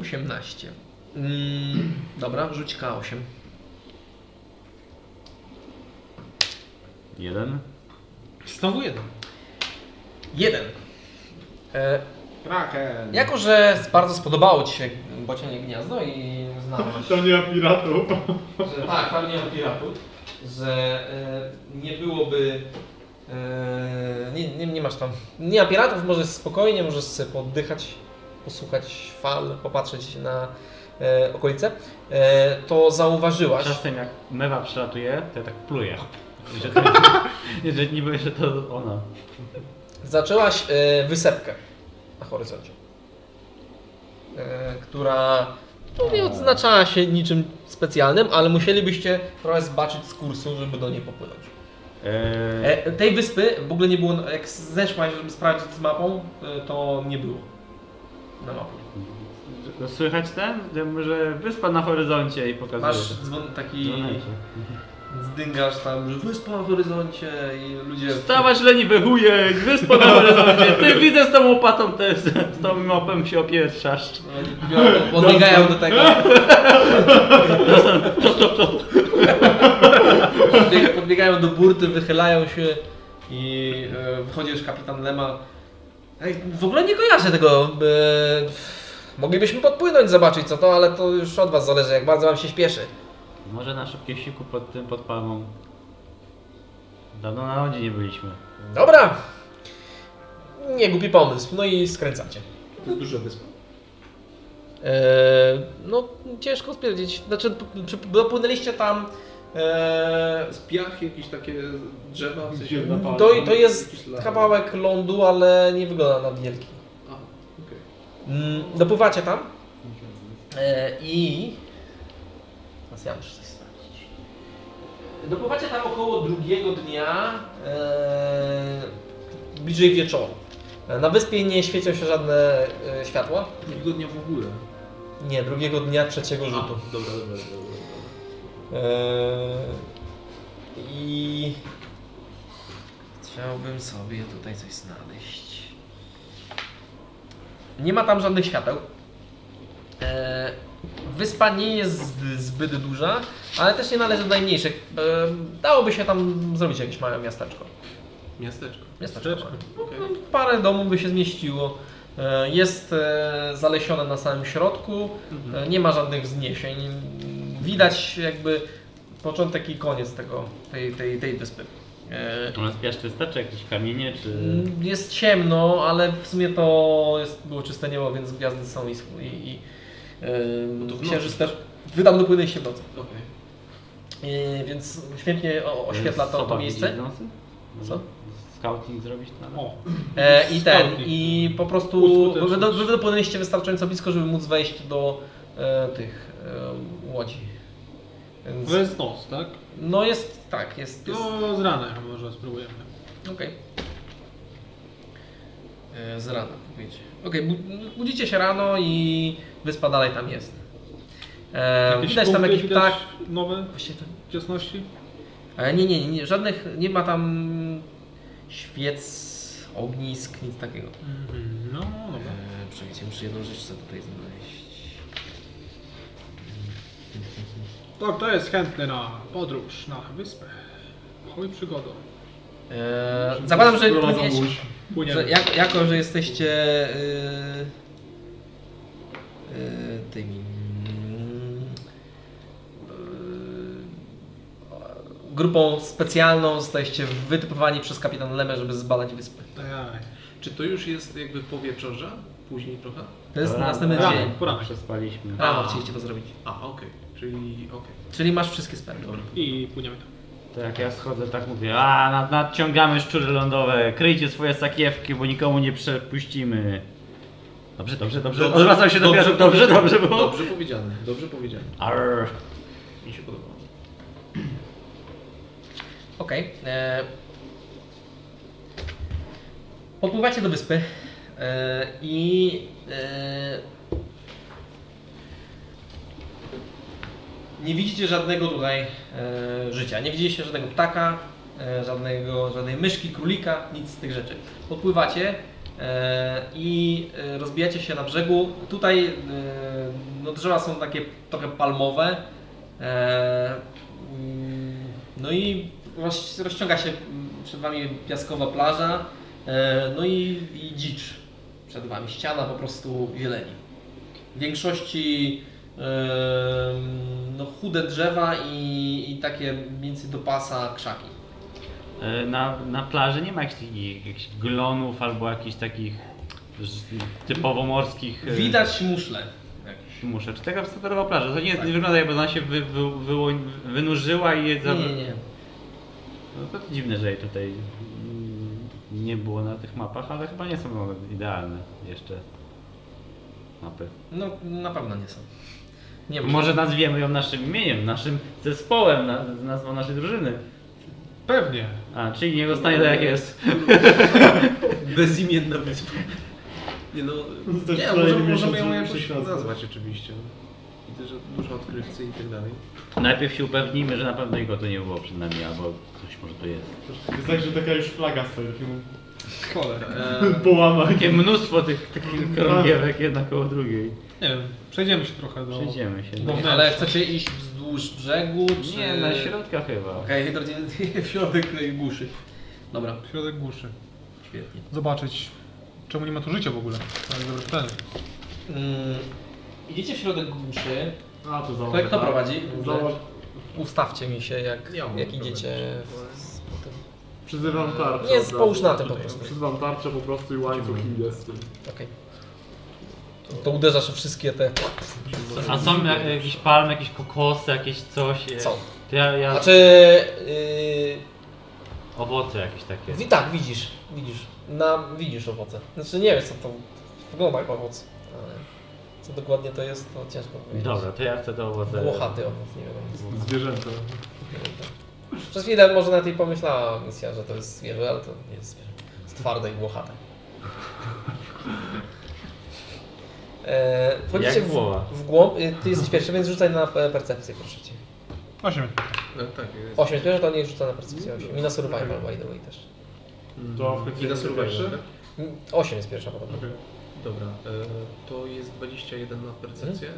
Speaker 1: 18. Mm, dobra, rzuć K8.
Speaker 3: Jeden.
Speaker 4: Znowu jeden.
Speaker 1: Jeden. E,
Speaker 2: Kraken!
Speaker 1: jako, że bardzo spodobało Ci się bocianie gniazdo i znałeś,
Speaker 2: Tam nie ma piratów.
Speaker 1: że tak, tam nie ma piratów, że e, nie byłoby... E, nie, nie, nie masz tam... Nie ma piratów, możesz spokojnie, możesz sobie poddychać, posłuchać fal, popatrzeć na e, okolice. E, to zauważyłaś...
Speaker 3: Czasem jak mewa przylatuje, to ja tak pluję. Że, że niby, że to ona.
Speaker 1: Zaczęłaś e, wysepkę na horyzoncie, e, która no, nie odznaczała się niczym specjalnym, ale musielibyście trochę zbaczyć z kursu, żeby do niej popłynąć.
Speaker 3: Eee,
Speaker 1: E, tej wyspy w ogóle nie było, na- jak zeszłaś, żeby sprawdzić z mapą, e, to nie było na mapie.
Speaker 3: E, słychać ten? Że Może wyspa na horyzoncie i pokazuje.
Speaker 1: Masz dzwon taki, zdyngasz tam, że wyspa na horyzoncie i ludzie...
Speaker 3: Wstawać leniwy chujek, wyspa na horyzoncie. Ty widzę z tą łopatą też, z tą mopem się opietrzasz.
Speaker 1: Oni biorą, podbiegają do tego. Podbieg- Podbiegają do burty, wychylają się i e, wychodzi już kapitan Lema. Ej, w ogóle nie kojarzę tego. E, moglibyśmy podpłynąć, zobaczyć co to, ale to już od was zależy, jak bardzo wam się śpieszy.
Speaker 3: Może na szybkim siku pod tym, pod palmą. Dawno na lądzie nie byliśmy.
Speaker 1: Dobra. Nie głupi pomysł. No i skręcacie.
Speaker 5: To jest duża wyspa.
Speaker 1: E, no, ciężko stwierdzić. Znaczy, p- czy dopłynęliście tam. E,
Speaker 5: Z piach jakieś takie drzewa, w sensie...
Speaker 2: Zielona pala.
Speaker 1: to, to jest
Speaker 5: Jakiś las.
Speaker 1: kawałek lądu, ale nie wygląda na wielki.
Speaker 5: A, okej.
Speaker 1: Mm, Dopływacie tam e, i... Teraz ja muszę coś sprawdzić. Dopływacie tam około drugiego dnia, e, bliżej wieczoru. E, Na wyspie nie świecią się żadne e, światła.
Speaker 5: Drugiego dnia w ogóle.
Speaker 1: Nie, drugiego dnia trzeciego
Speaker 5: A,
Speaker 1: rzutu.
Speaker 5: dobra, dobra, dobra. dobra.
Speaker 1: E, I chciałbym sobie tutaj coś znaleźć. Nie ma tam żadnych świateł. E, Wyspa nie jest zbyt duża, ale też nie należy do najmniejszych. E, Dałoby się tam zrobić jakieś małe miasteczko.
Speaker 5: Miasteczko.
Speaker 1: Miasteczko. No, Parę domów by się zmieściło. E, Jest e, zalesione na samym środku,
Speaker 5: Mhm.
Speaker 1: e, nie ma żadnych wzniesień. Widać jakby początek i koniec tego, tej, tej, tej wyspy. E,
Speaker 3: To jest piaszczysta, czy jakieś kamienie, czy...
Speaker 1: Mm, Jest ciemno, ale w sumie to jest, było czyste niebo, więc gwiazdy są i, i, i
Speaker 5: No to
Speaker 1: yy,
Speaker 5: w nocy.
Speaker 1: księżyc też. Wydam dopłynę się w nocy,
Speaker 5: Okej.
Speaker 1: yy, więc świetnie o, oświetla to, to
Speaker 3: Sowa
Speaker 1: miejsce.
Speaker 3: widzi w nocy? Może
Speaker 1: Co?
Speaker 3: Scouting zrobić na
Speaker 4: O,
Speaker 1: E, I ten,
Speaker 4: Skałki.
Speaker 1: i po prostu
Speaker 4: Uskutecznić.
Speaker 1: wy, wy dopłynęliście wystarczająco blisko, żeby móc wejść do e, tych e, łodzi. Więc,
Speaker 4: to jest noc, tak?
Speaker 1: no jest, tak, jest, jest
Speaker 4: To z rana może spróbujemy. No.
Speaker 1: Okej. E, Z rana powiecie. Okej, bu- budzicie się rano i wyspa dalej tam jest. E,
Speaker 4: Jakieś
Speaker 1: widać tam
Speaker 4: punkty
Speaker 1: jakiś ptak.
Speaker 4: nowe
Speaker 1: Właśnie to-
Speaker 4: ciasności?
Speaker 1: E, nie, nie, nie, żadnych, nie ma tam świec, ognisk, nic takiego.
Speaker 4: Mhm, no, dobra.
Speaker 1: E, Czekajcie, muszę jedną rzecz sobie tutaj znaleźć.
Speaker 4: To kto jest chętny na podróż na wyspę? Chuj przygodą.
Speaker 1: E, zakładam, że
Speaker 2: Prowadzą
Speaker 1: płyniecie,
Speaker 2: łódź.
Speaker 4: Płyniemy.
Speaker 1: że jak, jako, że jesteście y, y, tymi mm, y, grupą specjalną, zostaliście wytypowani przez kapitan Lemę, żeby zbadać wyspę.
Speaker 4: Ajaj.
Speaker 5: Czy to już jest jakby po wieczorze? Później trochę?
Speaker 1: To jest następny
Speaker 4: Rano,
Speaker 1: dzień.
Speaker 4: poranek.
Speaker 3: Przespaliśmy.
Speaker 1: Rano chcieliście to zrobić.
Speaker 5: Tak. A, okej. Czyli okej.
Speaker 1: Czyli masz wszystkie spermy.
Speaker 4: I płyniemy tam.
Speaker 3: To jak ja schodzę, tak mówię, a nad, nadciągamy szczury lądowe, kryjcie swoje sakiewki, bo nikomu nie przepuścimy. Dobrze, dobrze, dobrze.
Speaker 5: Dobrze,
Speaker 3: Odwracam się do
Speaker 5: dobrze,
Speaker 3: piarzów, dobrze, dobrze było.
Speaker 5: Dobrze powiedziane, dobrze powiedziane.
Speaker 3: Arr.
Speaker 5: Mi się podobało.
Speaker 1: Okej. e, Popływacie do wyspy e, i e, nie widzicie żadnego tutaj e, życia. Nie widzieliście żadnego ptaka, e, żadnego, żadnej myszki, królika, nic z tych rzeczy. Podpływacie e, i e, rozbijacie się na brzegu. Tutaj e, no, drzewa są takie trochę palmowe. E, mm, no i roz, rozciąga się mm, przed wami piaskowa plaża, e, no i, i dzicz przed wami, ściana po prostu zieleni. W większości em, no, chude drzewa i, i takie mniej więcej do pasa krzaki.
Speaker 3: E, Na, na plaży nie ma jakichś, takich- jakichś glonów albo jakichś takich z- typowo morskich e,
Speaker 1: Widać muszle. jakieś.
Speaker 3: muszek. Czy taka standardowa plaża? To nie, jest, nie wygląda jakby ona się wy, wy, wyłoń- wynurzyła i je za-
Speaker 1: Nie, nie, nie.
Speaker 3: No to dziwne, że jej tutaj mm, nie było na tych mapach, ale chyba nie są one idealne jeszcze mapy.
Speaker 1: No na pewno nie są. Nie ma.
Speaker 3: Może nazwiemy ją naszym imieniem, naszym zespołem, na- nazwą naszej drużyny.
Speaker 4: Pewnie.
Speaker 3: A, czyli nie zostanie tak jak jest.
Speaker 5: Bezimienna wyspa. Nie no,
Speaker 2: Zostać
Speaker 5: nie,
Speaker 2: w
Speaker 5: możemy,
Speaker 2: kolejnym
Speaker 5: możemy
Speaker 2: miesiącu
Speaker 5: ją
Speaker 2: i
Speaker 5: jakoś
Speaker 2: prześledzać.
Speaker 5: nazwać oczywiście. Widzę, że dużo odkrywcy i tak dalej.
Speaker 3: Najpierw się upewnijmy, że na pewno jego tu nie było przed nami, albo ktoś może tu jest.
Speaker 2: Jest tak, że taka już flaga stoi. takim
Speaker 4: Cholera.
Speaker 1: e,
Speaker 2: Połama.
Speaker 3: Takie mnóstwo tych takich krągiewek jedna koło drugiej.
Speaker 4: Nie wiem, przejdziemy się trochę do...
Speaker 3: Przejdziemy się.
Speaker 4: No.
Speaker 1: Ale chcecie iść wzdłuż brzegu? Czy...
Speaker 3: Nie, na środka chyba.
Speaker 1: Okej, okay, w środek guszy. Dobra,
Speaker 4: W środek głuszy.
Speaker 1: świetnie.
Speaker 4: Zobaczyć, czemu nie ma tu życia w ogóle. Tak, To jest dobre pytanie.
Speaker 1: Mm, idziecie w środek guszy.
Speaker 2: A, to
Speaker 1: Kto,
Speaker 2: założę. tak?
Speaker 1: kto Tak, prowadzi?
Speaker 2: Założ...
Speaker 1: Ustawcie mi się, jak, jak idziecie. w-
Speaker 2: Przyzywam tarczę.
Speaker 1: Nie,
Speaker 2: od razu.
Speaker 1: połóż na tym po prostu.
Speaker 2: Przyzywam tarczę po prostu i łańcuch i jest.
Speaker 1: Okej. To, to uderzasz w wszystkie te.
Speaker 3: A są jak- jakieś palmy, jakieś kokosy, jakieś coś. e,
Speaker 1: Są.
Speaker 3: To ja, ja
Speaker 1: Znaczy. Yy,
Speaker 3: owoce jakieś takie.
Speaker 1: wi- tak, widzisz. Widzisz. Na, widzisz owoce. Znaczy nie wiesz, co to wygląda jak owoc. Ale co dokładnie to jest, to ciężko powiedzieć.
Speaker 3: Dobra, to ja chcę te owoce.
Speaker 1: Włochaty owoc, nie wiadomo.
Speaker 2: Zwierzęta.
Speaker 1: Przez chwilę może na tej pomyślała misja, że to jest zwierzę, ale to nie jest zwierzę. Jest twarde i włochate. E, wchodzicie
Speaker 3: Jak woła.
Speaker 1: y, w, w głąb. E, Ty jesteś pierwszy, więc rzucaj na e, percepcję, proszę cię.
Speaker 4: 8.
Speaker 5: No tak, jest.
Speaker 1: 8, to to nie jest rzucana percepcja 8. I na survival, by the way też.
Speaker 2: Mm. To w końcu
Speaker 5: I na
Speaker 2: jest
Speaker 5: survival,
Speaker 2: pierwszy?
Speaker 5: tak?
Speaker 1: 8 jest pierwsza podobno.
Speaker 2: Okej.
Speaker 5: Dobra, e, to jest 21 na percepcję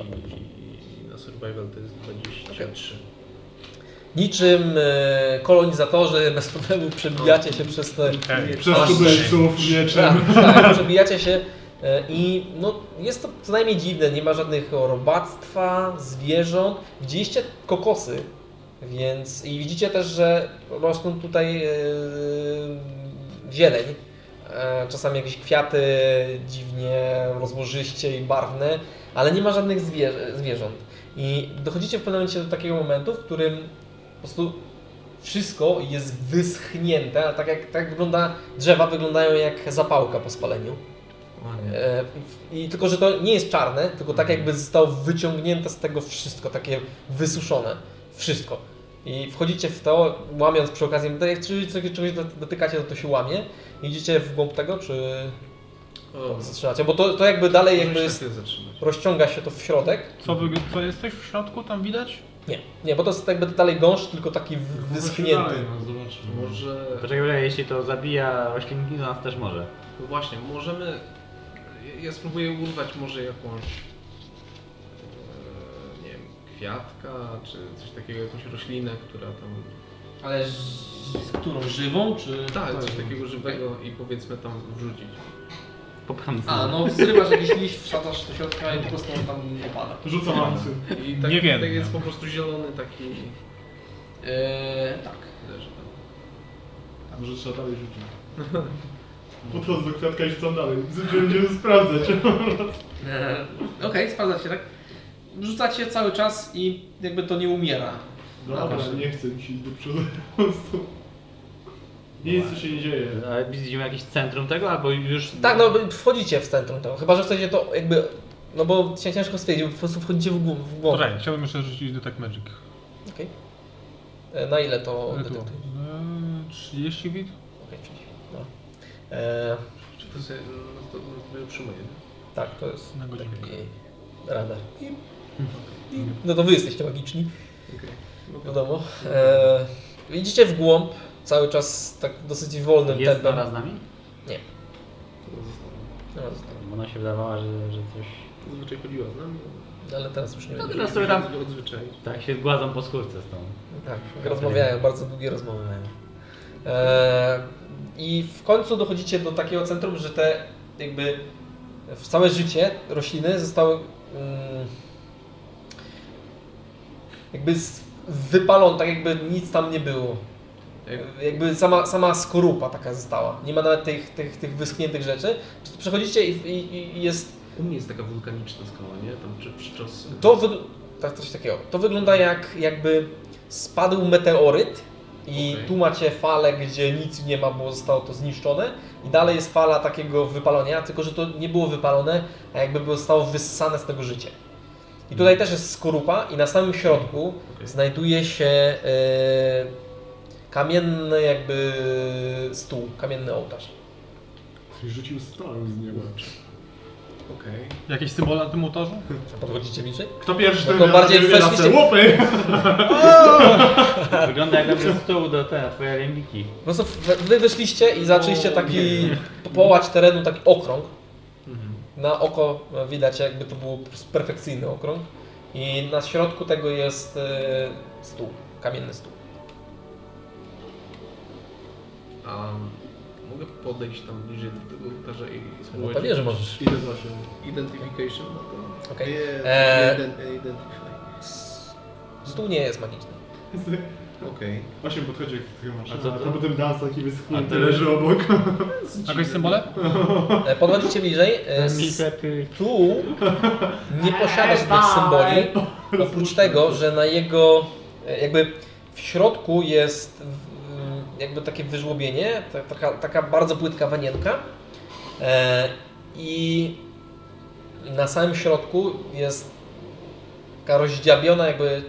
Speaker 1: Mhm.
Speaker 5: i, i na survival to jest 23.
Speaker 1: Niczym e, kolonizatorzy bez problemu przebijacie się przez te...
Speaker 2: Ej, Przez tubelców mieczem.
Speaker 1: Tak, tak, przebijacie się e, i no, jest to co najmniej dziwne, nie ma żadnego robactwa, zwierząt. Widzieliście kokosy, więc i widzicie też, że rosną tutaj e, zieleń. E, Czasami jakieś kwiaty dziwnie rozłożyście i barwne, ale nie ma żadnych zwier zwierząt. I dochodzicie w pewnym momencie do takiego momentu, w którym po prostu wszystko jest wyschnięte, a tak jak tak wygląda, drzewa wyglądają jak zapałka po spaleniu. E, I tylko, że to nie jest czarne, tylko
Speaker 7: Mhm.
Speaker 1: tak jakby zostało wyciągnięte z tego wszystko, takie wysuszone. Wszystko. I wchodzicie w to, łamiąc przy okazji, tak jak czy czy- czegoś do- dotykacie, to to się łamie. Idziecie w głąb tego, czy
Speaker 5: O,
Speaker 1: zatrzymacie? Bo to, to jakby dalej no. jakby
Speaker 5: możesz
Speaker 1: jest,
Speaker 5: się zatrzymać.
Speaker 1: rozciąga się to w środek.
Speaker 4: Co, wy, co jesteś w środku, tam widać?
Speaker 1: Nie, nie, bo to jest jakby dalej gąszcz, tylko taki w- wyschnięty.
Speaker 2: Dalej, no, zobaczmy.
Speaker 5: Może...
Speaker 3: Poczekaj, poczekaj, jeśli to zabija roślinki, to nas też może.
Speaker 5: No właśnie, możemy... ja- Ja spróbuję urwać może jakąś... e, Nie wiem, kwiatka, czy coś takiego, jakąś roślinę, która tam...
Speaker 7: Ale z, z którą? Żywą czy...
Speaker 5: Tak, coś takiego żywego i powiedzmy tam wrzucić.
Speaker 3: Popcham
Speaker 7: A, no zrywasz jakiś liść, wsadzasz do środka i po prostu on tam nie pada.
Speaker 2: Rzucam akcję.
Speaker 5: I tak,
Speaker 4: Nie wiem.
Speaker 5: tak jest po prostu zielony taki...
Speaker 7: Eee, tak.
Speaker 5: leży tam.
Speaker 2: Może trzeba dalej rzucić. Podchodzę do kwiatka i rzucam dalej. Będziemy sprawdzać.
Speaker 7: Eee, Okej, spadzacie, tak? Rzucacie cały czas i jakby to nie umiera.
Speaker 2: Dobra,
Speaker 7: Dobra.
Speaker 2: nie chcę mi się iść do przodu. Po prostu. Nic tu się nie dzieje.
Speaker 3: Ale widzimy jakieś centrum tego, albo już...
Speaker 1: Tak, no wchodzicie w centrum tego. Chyba, że chcecie to jakby. No bo się ciężko stwierdzić, po prostu wchodzicie w głąb. W głąb.
Speaker 4: Poczekaj, chciałbym jeszcze rzucić Detect Magic.
Speaker 1: Okej. E, Na ile to
Speaker 4: Ale tu.
Speaker 1: detektuje?
Speaker 4: Eee, 30 wit?
Speaker 1: Okej, czyli. No. E,
Speaker 5: Czy to sobie... No to, no to utrzymuję.
Speaker 1: tak, to jest.
Speaker 4: Na godzinkę.
Speaker 1: taki Radar. I, i, no to wy jesteście magiczni.
Speaker 5: Okej.
Speaker 1: Wiadomo. E, idziecie w głąb, cały czas tak dosyć wolnym
Speaker 3: Jest
Speaker 1: tempem.
Speaker 3: Nora z nami?
Speaker 1: No, zostało.
Speaker 3: Bo ona się wydawała, że, że coś...
Speaker 5: Zazwyczaj chodziła z nami.
Speaker 1: ale teraz już nie
Speaker 3: No
Speaker 1: będzie.
Speaker 3: teraz sobie tam...
Speaker 5: Odzwyczaj.
Speaker 3: Tak, się gładzą po skórce z tą.
Speaker 1: Tak, rozmawiają, bardzo długie rozmowy mają. E, I w końcu dochodzicie do takiego centrum, że te jakby w całe życie rośliny zostały mm, jakby z- wypalone, tak jakby nic tam nie było. Jakby sama, sama skorupa taka została. Nie ma nawet tych, tych, tych wyschniętych rzeczy. Przechodzicie i, i, i jest
Speaker 5: U mnie jest taka wulkaniczna skała, nie? Tam czy przyczos.
Speaker 1: To, wygl- tak, coś takiego. to wygląda jak jakby spadł meteoryt i
Speaker 5: Okej.
Speaker 1: tu macie falę, gdzie nic nie ma, bo zostało to zniszczone i dalej jest fala takiego wypalenia, tylko że to nie było wypalone, a jakby było- zostało wyssane z tego życie. I
Speaker 2: Mm.
Speaker 1: tutaj też jest skorupa i na samym środku
Speaker 5: Okej.
Speaker 1: znajduje się e, kamienny jakby stół, kamienny ołtarz.
Speaker 2: Ktoś rzucił stal z nieba.
Speaker 5: Okej.
Speaker 4: Jakieś symbole na tym ołtarzu?
Speaker 1: Podchodzicie bliżej?
Speaker 2: Kto pierwszy,
Speaker 1: No
Speaker 2: ten
Speaker 1: to bardziej
Speaker 2: wybiera
Speaker 1: weszliście-
Speaker 2: sobie łopy.
Speaker 3: Wygląda jak jakby stół do te, twojej rębiki.
Speaker 1: Po prostu wy- No wy wyszliście i zaczęliście
Speaker 5: No,
Speaker 1: taki połać terenu, taki okrąg.
Speaker 5: Mhm.
Speaker 1: Na oko no, widać jakby to był po prostu perfekcyjny okrąg. I na środku tego jest e, stół, kamienny stół.
Speaker 5: A mogę podejść tam bliżej do tego ołtarza i
Speaker 1: No
Speaker 5: spróbować.
Speaker 1: pewnie, że możesz.
Speaker 2: Idę za się.
Speaker 5: Identification na to.
Speaker 1: Okej.
Speaker 5: Nie,
Speaker 1: Eee.
Speaker 5: ident- Identify.
Speaker 1: S- Stół nie jest magiczny.
Speaker 5: Okej.
Speaker 2: Osiem podchodzi jak ty masz.
Speaker 3: A co
Speaker 2: A
Speaker 3: to?
Speaker 2: to potem dans taki
Speaker 3: A
Speaker 2: wyschnięty
Speaker 3: to-
Speaker 2: leży obok.
Speaker 4: Jakieś symbole?
Speaker 1: E, Podchodzicie bliżej. e,
Speaker 3: lepiej.
Speaker 1: Stół nie posiada żadnych symboli. Oprócz tego, że na jego e, jakby w środku jest mm, jakby takie wyżłobienie, ta- taka, taka bardzo płytka wanienka e, i na samym środku jest taka rozdziabiona jakby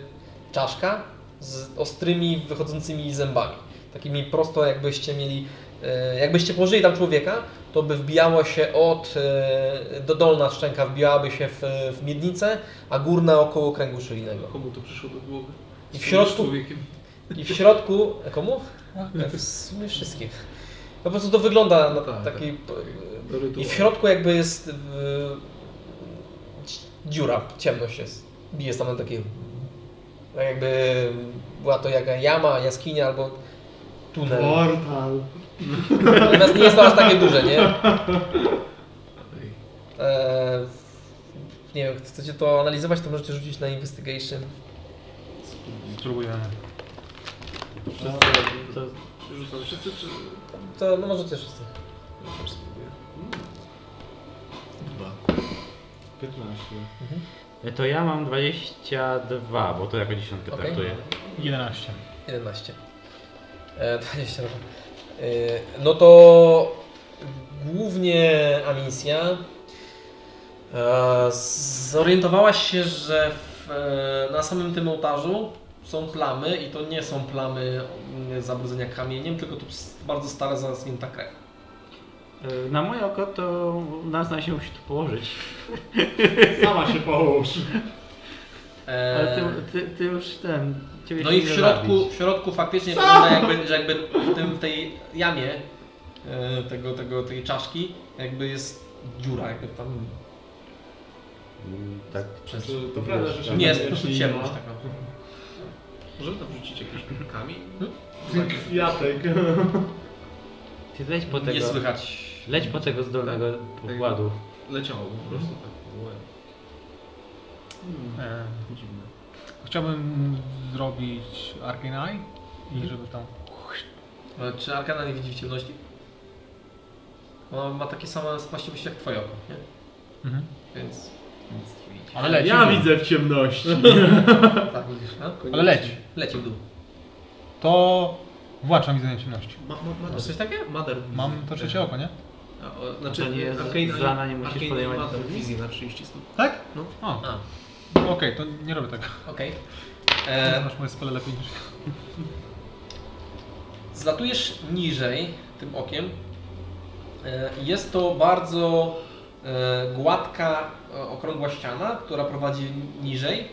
Speaker 1: czaszka z ostrymi wychodzącymi zębami. Takimi prosto jakbyście mieli, e, jakbyście położyli tam człowieka, to by wbijało się od, e, do dolna szczęka wbijałaby się w, w miednicę, a górna około kręgu szyjnego.
Speaker 5: Komu to przyszło do głowy?
Speaker 1: I w środku,
Speaker 8: Człowiekiem.
Speaker 1: i w środku komu?
Speaker 8: No,
Speaker 1: E, W sumie wszystkim. Po prostu to wygląda na
Speaker 8: tak,
Speaker 1: taki...
Speaker 8: Do
Speaker 1: I
Speaker 8: rytuału.
Speaker 1: w środku jakby jest e, dziura, ciemność jest. Bije tam takie... Tak jakby była to jaka jama, jaskinia albo tunel.
Speaker 2: Portal.
Speaker 1: Natomiast nie jest to aż takie duże, nie? E, nie wiem, chcecie to analizować, to możecie rzucić na investigation.
Speaker 3: Spróbujemy.
Speaker 1: No.
Speaker 3: To,
Speaker 8: Rzucam wszyscy czy...
Speaker 1: To no możecie wszyscy.
Speaker 8: Też spróbuję.
Speaker 2: 15.
Speaker 3: to ja mam 22, bo to jako dziesiątkę
Speaker 1: Okej.
Speaker 3: traktuję.
Speaker 4: 11.
Speaker 1: 11. E, 20. dobra. E, no to głównie Amicia. E, zorientowałaś się, że w, e, na samym tym ołtarzu są plamy i to nie są plamy mm, zabrudzenia kamieniem, tylko to s- bardzo stara zasnięta krew.
Speaker 3: E, Na moje oko to Nazna się musi tu położyć.
Speaker 2: Sama się połóż.
Speaker 1: E,
Speaker 3: Ale ty, ty, ty już ten... Ciebie
Speaker 1: No
Speaker 3: się
Speaker 1: i w
Speaker 3: nie
Speaker 1: środku,
Speaker 3: zabić.
Speaker 1: w środku faktycznie wygląda jakby, że jakby w, tym, w tej jamie e, tego, tego, tej czaszki jakby jest dziura, jakby tam
Speaker 3: Mm, Tak.
Speaker 1: przez...
Speaker 2: To, to prawda, że
Speaker 8: Tak.
Speaker 2: się
Speaker 1: Nie, jest
Speaker 2: nie
Speaker 1: po prostu
Speaker 2: śni,
Speaker 1: ciemność
Speaker 2: no.
Speaker 1: taka.
Speaker 8: Możemy tam wrzucić jakiś kamień?
Speaker 2: Kwiatek.
Speaker 3: Ty leć po
Speaker 1: Nie
Speaker 3: tego...
Speaker 1: słychać.
Speaker 3: Leć po tego zdolnego pokładu.
Speaker 8: Leciało po prostu tak. Łe.
Speaker 4: E,
Speaker 8: Dziwne.
Speaker 4: chciałbym zrobić Arcane Eye i żeby tam...
Speaker 1: Ale Czy Arkana nie widzi w ciemności? Ona ma takie same właściwości jak twoje oko, nie?
Speaker 4: Mhm.
Speaker 1: Więc nic nie widzi.
Speaker 4: Ale leci.
Speaker 2: Ja widzę w ciemności.
Speaker 1: Tak widzisz, no?
Speaker 4: Ale leci.
Speaker 1: Leci w dół.
Speaker 4: To włączam widzenie ciemności.
Speaker 8: Ma, ma, ma,
Speaker 1: Masz coś takie?
Speaker 8: Mother Vision.
Speaker 4: Mam to trzecie oko, nie?
Speaker 8: A, o, Znaczy,
Speaker 3: To nie jest
Speaker 8: Arcane-
Speaker 3: zana, nie musisz
Speaker 8: Arcane
Speaker 3: podejmować
Speaker 8: Mother
Speaker 3: decyzji.
Speaker 8: Vision na 30 stóp.
Speaker 4: Tak?
Speaker 8: No.
Speaker 4: O,
Speaker 1: A,
Speaker 4: okej, to nie robię tego.
Speaker 1: okej.
Speaker 4: Eee.
Speaker 1: E,
Speaker 4: Znasz moje spele lepiej niż...
Speaker 1: Zlatujesz niżej tym okiem. E, Jest to bardzo e, gładka, e, okrągła ściana, która prowadzi niżej.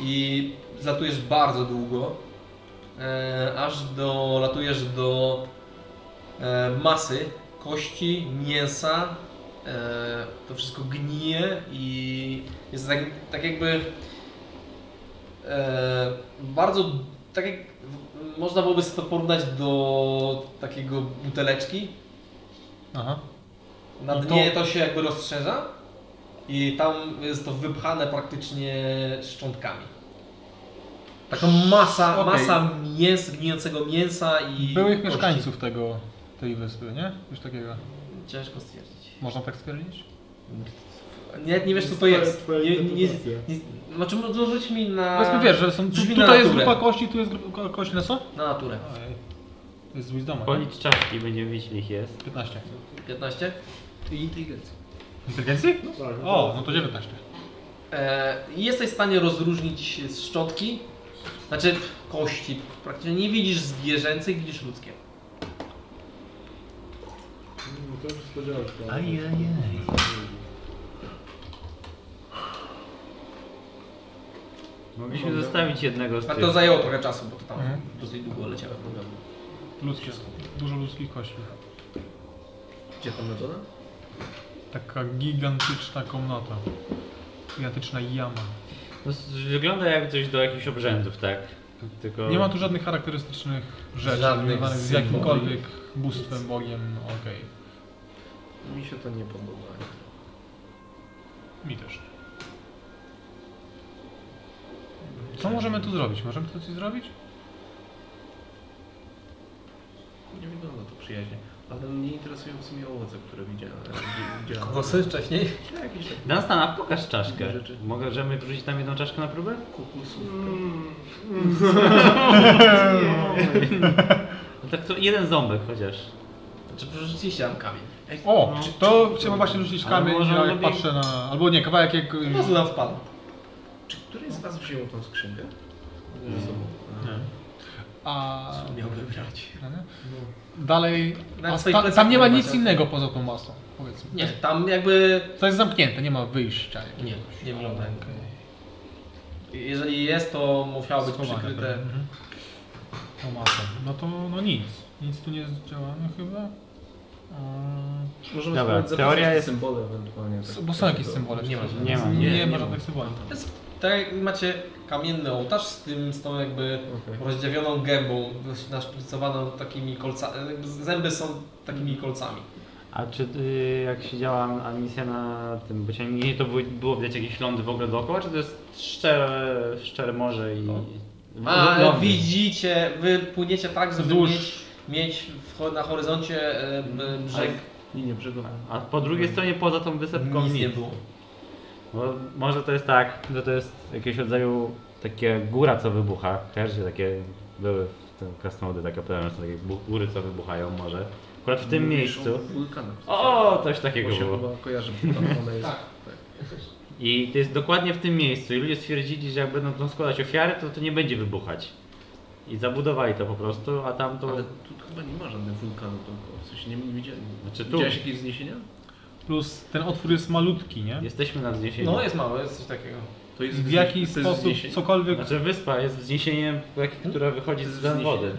Speaker 1: I zlatujesz bardzo długo, e, aż do, latujesz do e, masy kości, mięsa. E, To wszystko gnije i jest tak, tak jakby e, bardzo, tak jak w- można byłoby to porównać do takiego buteleczki.
Speaker 4: Aha.
Speaker 1: Na
Speaker 4: I to-
Speaker 1: dnie No to... się jakby rozszerza i tam jest to wypchane praktycznie szczątkami. Taka masa,
Speaker 4: Okej.
Speaker 1: masa mięs, gnijącego mięsa i
Speaker 4: Byłych
Speaker 1: kości.
Speaker 4: mieszkańców tego, tej wyspy, nie? Coś takiego.
Speaker 1: Ciężko stwierdzić.
Speaker 4: Można tak stwierdzić?
Speaker 1: Nie, nie wiesz co to
Speaker 2: Twoje-
Speaker 1: jest. Nie,
Speaker 2: twoje
Speaker 1: nie, nie,
Speaker 2: interpretacje.
Speaker 1: znaczy, no, rzuć mi na,
Speaker 4: Powiedzmy, wiesz, że są, tu,
Speaker 1: Drzwi na
Speaker 4: tutaj jest
Speaker 1: naturę.
Speaker 4: grupa kości, tu jest grupa kości, na co?
Speaker 1: na naturę.
Speaker 4: Ojej. To jest z Wisdoma, nie?
Speaker 3: Policz czaszki, będziemy wiedzieć ile ich jest.
Speaker 4: 15.
Speaker 1: 15?
Speaker 8: I inteligencja.
Speaker 4: Inteligencji?
Speaker 2: Tak,
Speaker 4: O, no to 19.
Speaker 1: E, jesteś w stanie rozróżnić szczątki, znaczy kości. Praktycznie nie widzisz zwierzęcych, widzisz ludzkie.
Speaker 2: Mm, To już spodziewałeś. No,
Speaker 3: Mogliśmy zostawić jednego z
Speaker 1: A to
Speaker 3: tych.
Speaker 1: zajęło trochę czasu, bo to tam
Speaker 4: Mhm.
Speaker 1: dosyć długo leciałem.
Speaker 4: Ludzkie. Dużo ludzkich kości.
Speaker 8: Gdzie tam Madonna?
Speaker 4: Taka gigantyczna komnata. Gigantyczna jama.
Speaker 3: No, z- wygląda jak coś do jakichś obrzędów, tak? Tylko...
Speaker 4: Nie ma tu żadnych charakterystycznych rzeczy
Speaker 1: Żadnych
Speaker 4: związanych z
Speaker 1: symboli.
Speaker 4: jakimkolwiek bóstwem, bogiem, okej.
Speaker 8: Mi się to nie podoba.
Speaker 4: Mi też. Co możemy tu zrobić? Możemy tu coś zrobić?
Speaker 8: Nie wygląda to przyjaźnie. Ale mnie interesują w sumie owoce, które widziałem. widziałem. Tak,
Speaker 1: Kokosy wcześniej?
Speaker 8: Jakieś takie
Speaker 3: Danstana, pokaż czaszkę.
Speaker 8: Rzeczy.
Speaker 3: Możemy wrzucić tam jedną czaszkę na próbę?
Speaker 8: kokusów.
Speaker 3: No tak to jeden ząbek chociaż.
Speaker 1: Znaczy przerzuciliście tam kamień.
Speaker 4: O!
Speaker 1: no.
Speaker 4: To chciałbym właśnie rzucić
Speaker 3: Ale
Speaker 4: kamień,
Speaker 3: może
Speaker 4: ja jak
Speaker 3: lepiej-
Speaker 4: patrzę na... Albo nie, kawałek jak...
Speaker 1: Po prostu nam wpadł.
Speaker 8: Czy któryś z was wziął tą skrzynkę?
Speaker 4: A... No
Speaker 1: Miałby brać.
Speaker 4: Dalej...
Speaker 1: Na
Speaker 4: A
Speaker 1: swoich
Speaker 4: ta,
Speaker 1: plecach
Speaker 4: tam nie ma
Speaker 1: nie
Speaker 4: nic
Speaker 1: macie.
Speaker 4: innego poza tą masą, powiedzmy.
Speaker 1: Nie, tam jakby...
Speaker 4: To jest zamknięte, nie ma wyjścia.
Speaker 1: Nie, nie wygląda.
Speaker 4: Okej.
Speaker 1: Jeżeli jest, to musiało być
Speaker 4: Schowane
Speaker 1: przykryte.
Speaker 4: pewnie, mhm. No masę. No to no nic. Nic tu nie zdziała, no chyba. Eee,
Speaker 5: Możemy
Speaker 3: Dobra,
Speaker 5: spróbować
Speaker 3: teoria
Speaker 5: zapisać
Speaker 3: jest-
Speaker 5: symbole ewentualnie.
Speaker 4: s-
Speaker 5: tak,
Speaker 4: bo są
Speaker 5: tak,
Speaker 4: jakieś
Speaker 5: to-
Speaker 4: symbole.
Speaker 1: nie ma,
Speaker 4: przecież.
Speaker 3: nie ma,
Speaker 4: Nie,
Speaker 5: nie
Speaker 4: ma
Speaker 5: ma.
Speaker 4: żadnych symboli.
Speaker 1: Tak jak macie kamienny ołtarz z tym, z tą jakby
Speaker 5: Okej.
Speaker 1: rozdziawioną gębą, naszpicowaną takimi kolcami. Zęby są takimi kolcami.
Speaker 3: A czy y, jak siedziała misja na tym wyciągnięciu, to by- było widać jakieś lądy w ogóle dookoła, czy to jest szczere, szczere morze i...
Speaker 1: A
Speaker 3: lądy?
Speaker 1: widzicie, wy płyniecie tak, żeby
Speaker 4: Wzdłuż.
Speaker 1: mieć, mieć w, ho- na horyzoncie e, b- brzeg.
Speaker 8: Nie, nie, brzegowa.
Speaker 3: A po drugiej stronie poza tą wysepką
Speaker 1: Nic
Speaker 3: nic.
Speaker 1: nie było.
Speaker 3: Bo może to jest tak, że to jest jakiegoś rodzaju takie góra, co wybucha. Kojarzycie takie, były w tym krasnoludy takie opowiadane, że są takie bu- góry, co wybuchają może. Akurat w tym miejscu.
Speaker 8: Wulkanach.
Speaker 3: O, coś takiego
Speaker 8: Bo się
Speaker 3: było.
Speaker 8: chyba kojarzy, bo tam ona jest. Tak.
Speaker 3: I to jest dokładnie w tym miejscu. I ludzie stwierdzili, że jak będą tam składać ofiary, to to nie będzie wybuchać. I zabudowali to po prostu, a tam to...
Speaker 8: Ale tu chyba nie ma żadnych wulkanów dookoła. W sensie nie, nie widziałem.
Speaker 3: Znaczy tu.
Speaker 8: Widziałeś jakieś wzniesienia?
Speaker 4: Plus ten otwór jest malutki, nie?
Speaker 3: Jesteśmy na wzniesieniu.
Speaker 1: No jest małe, jest
Speaker 4: tak,
Speaker 1: coś takiego.
Speaker 8: To
Speaker 4: I
Speaker 8: jest
Speaker 4: w
Speaker 8: wznie-
Speaker 4: jaki
Speaker 8: to jest
Speaker 4: sposób
Speaker 8: wzniesienie.
Speaker 4: cokolwiek,
Speaker 3: Znaczy wyspa jest wzniesieniem, jak- która wychodzi z
Speaker 8: wzniesienie.
Speaker 3: wody.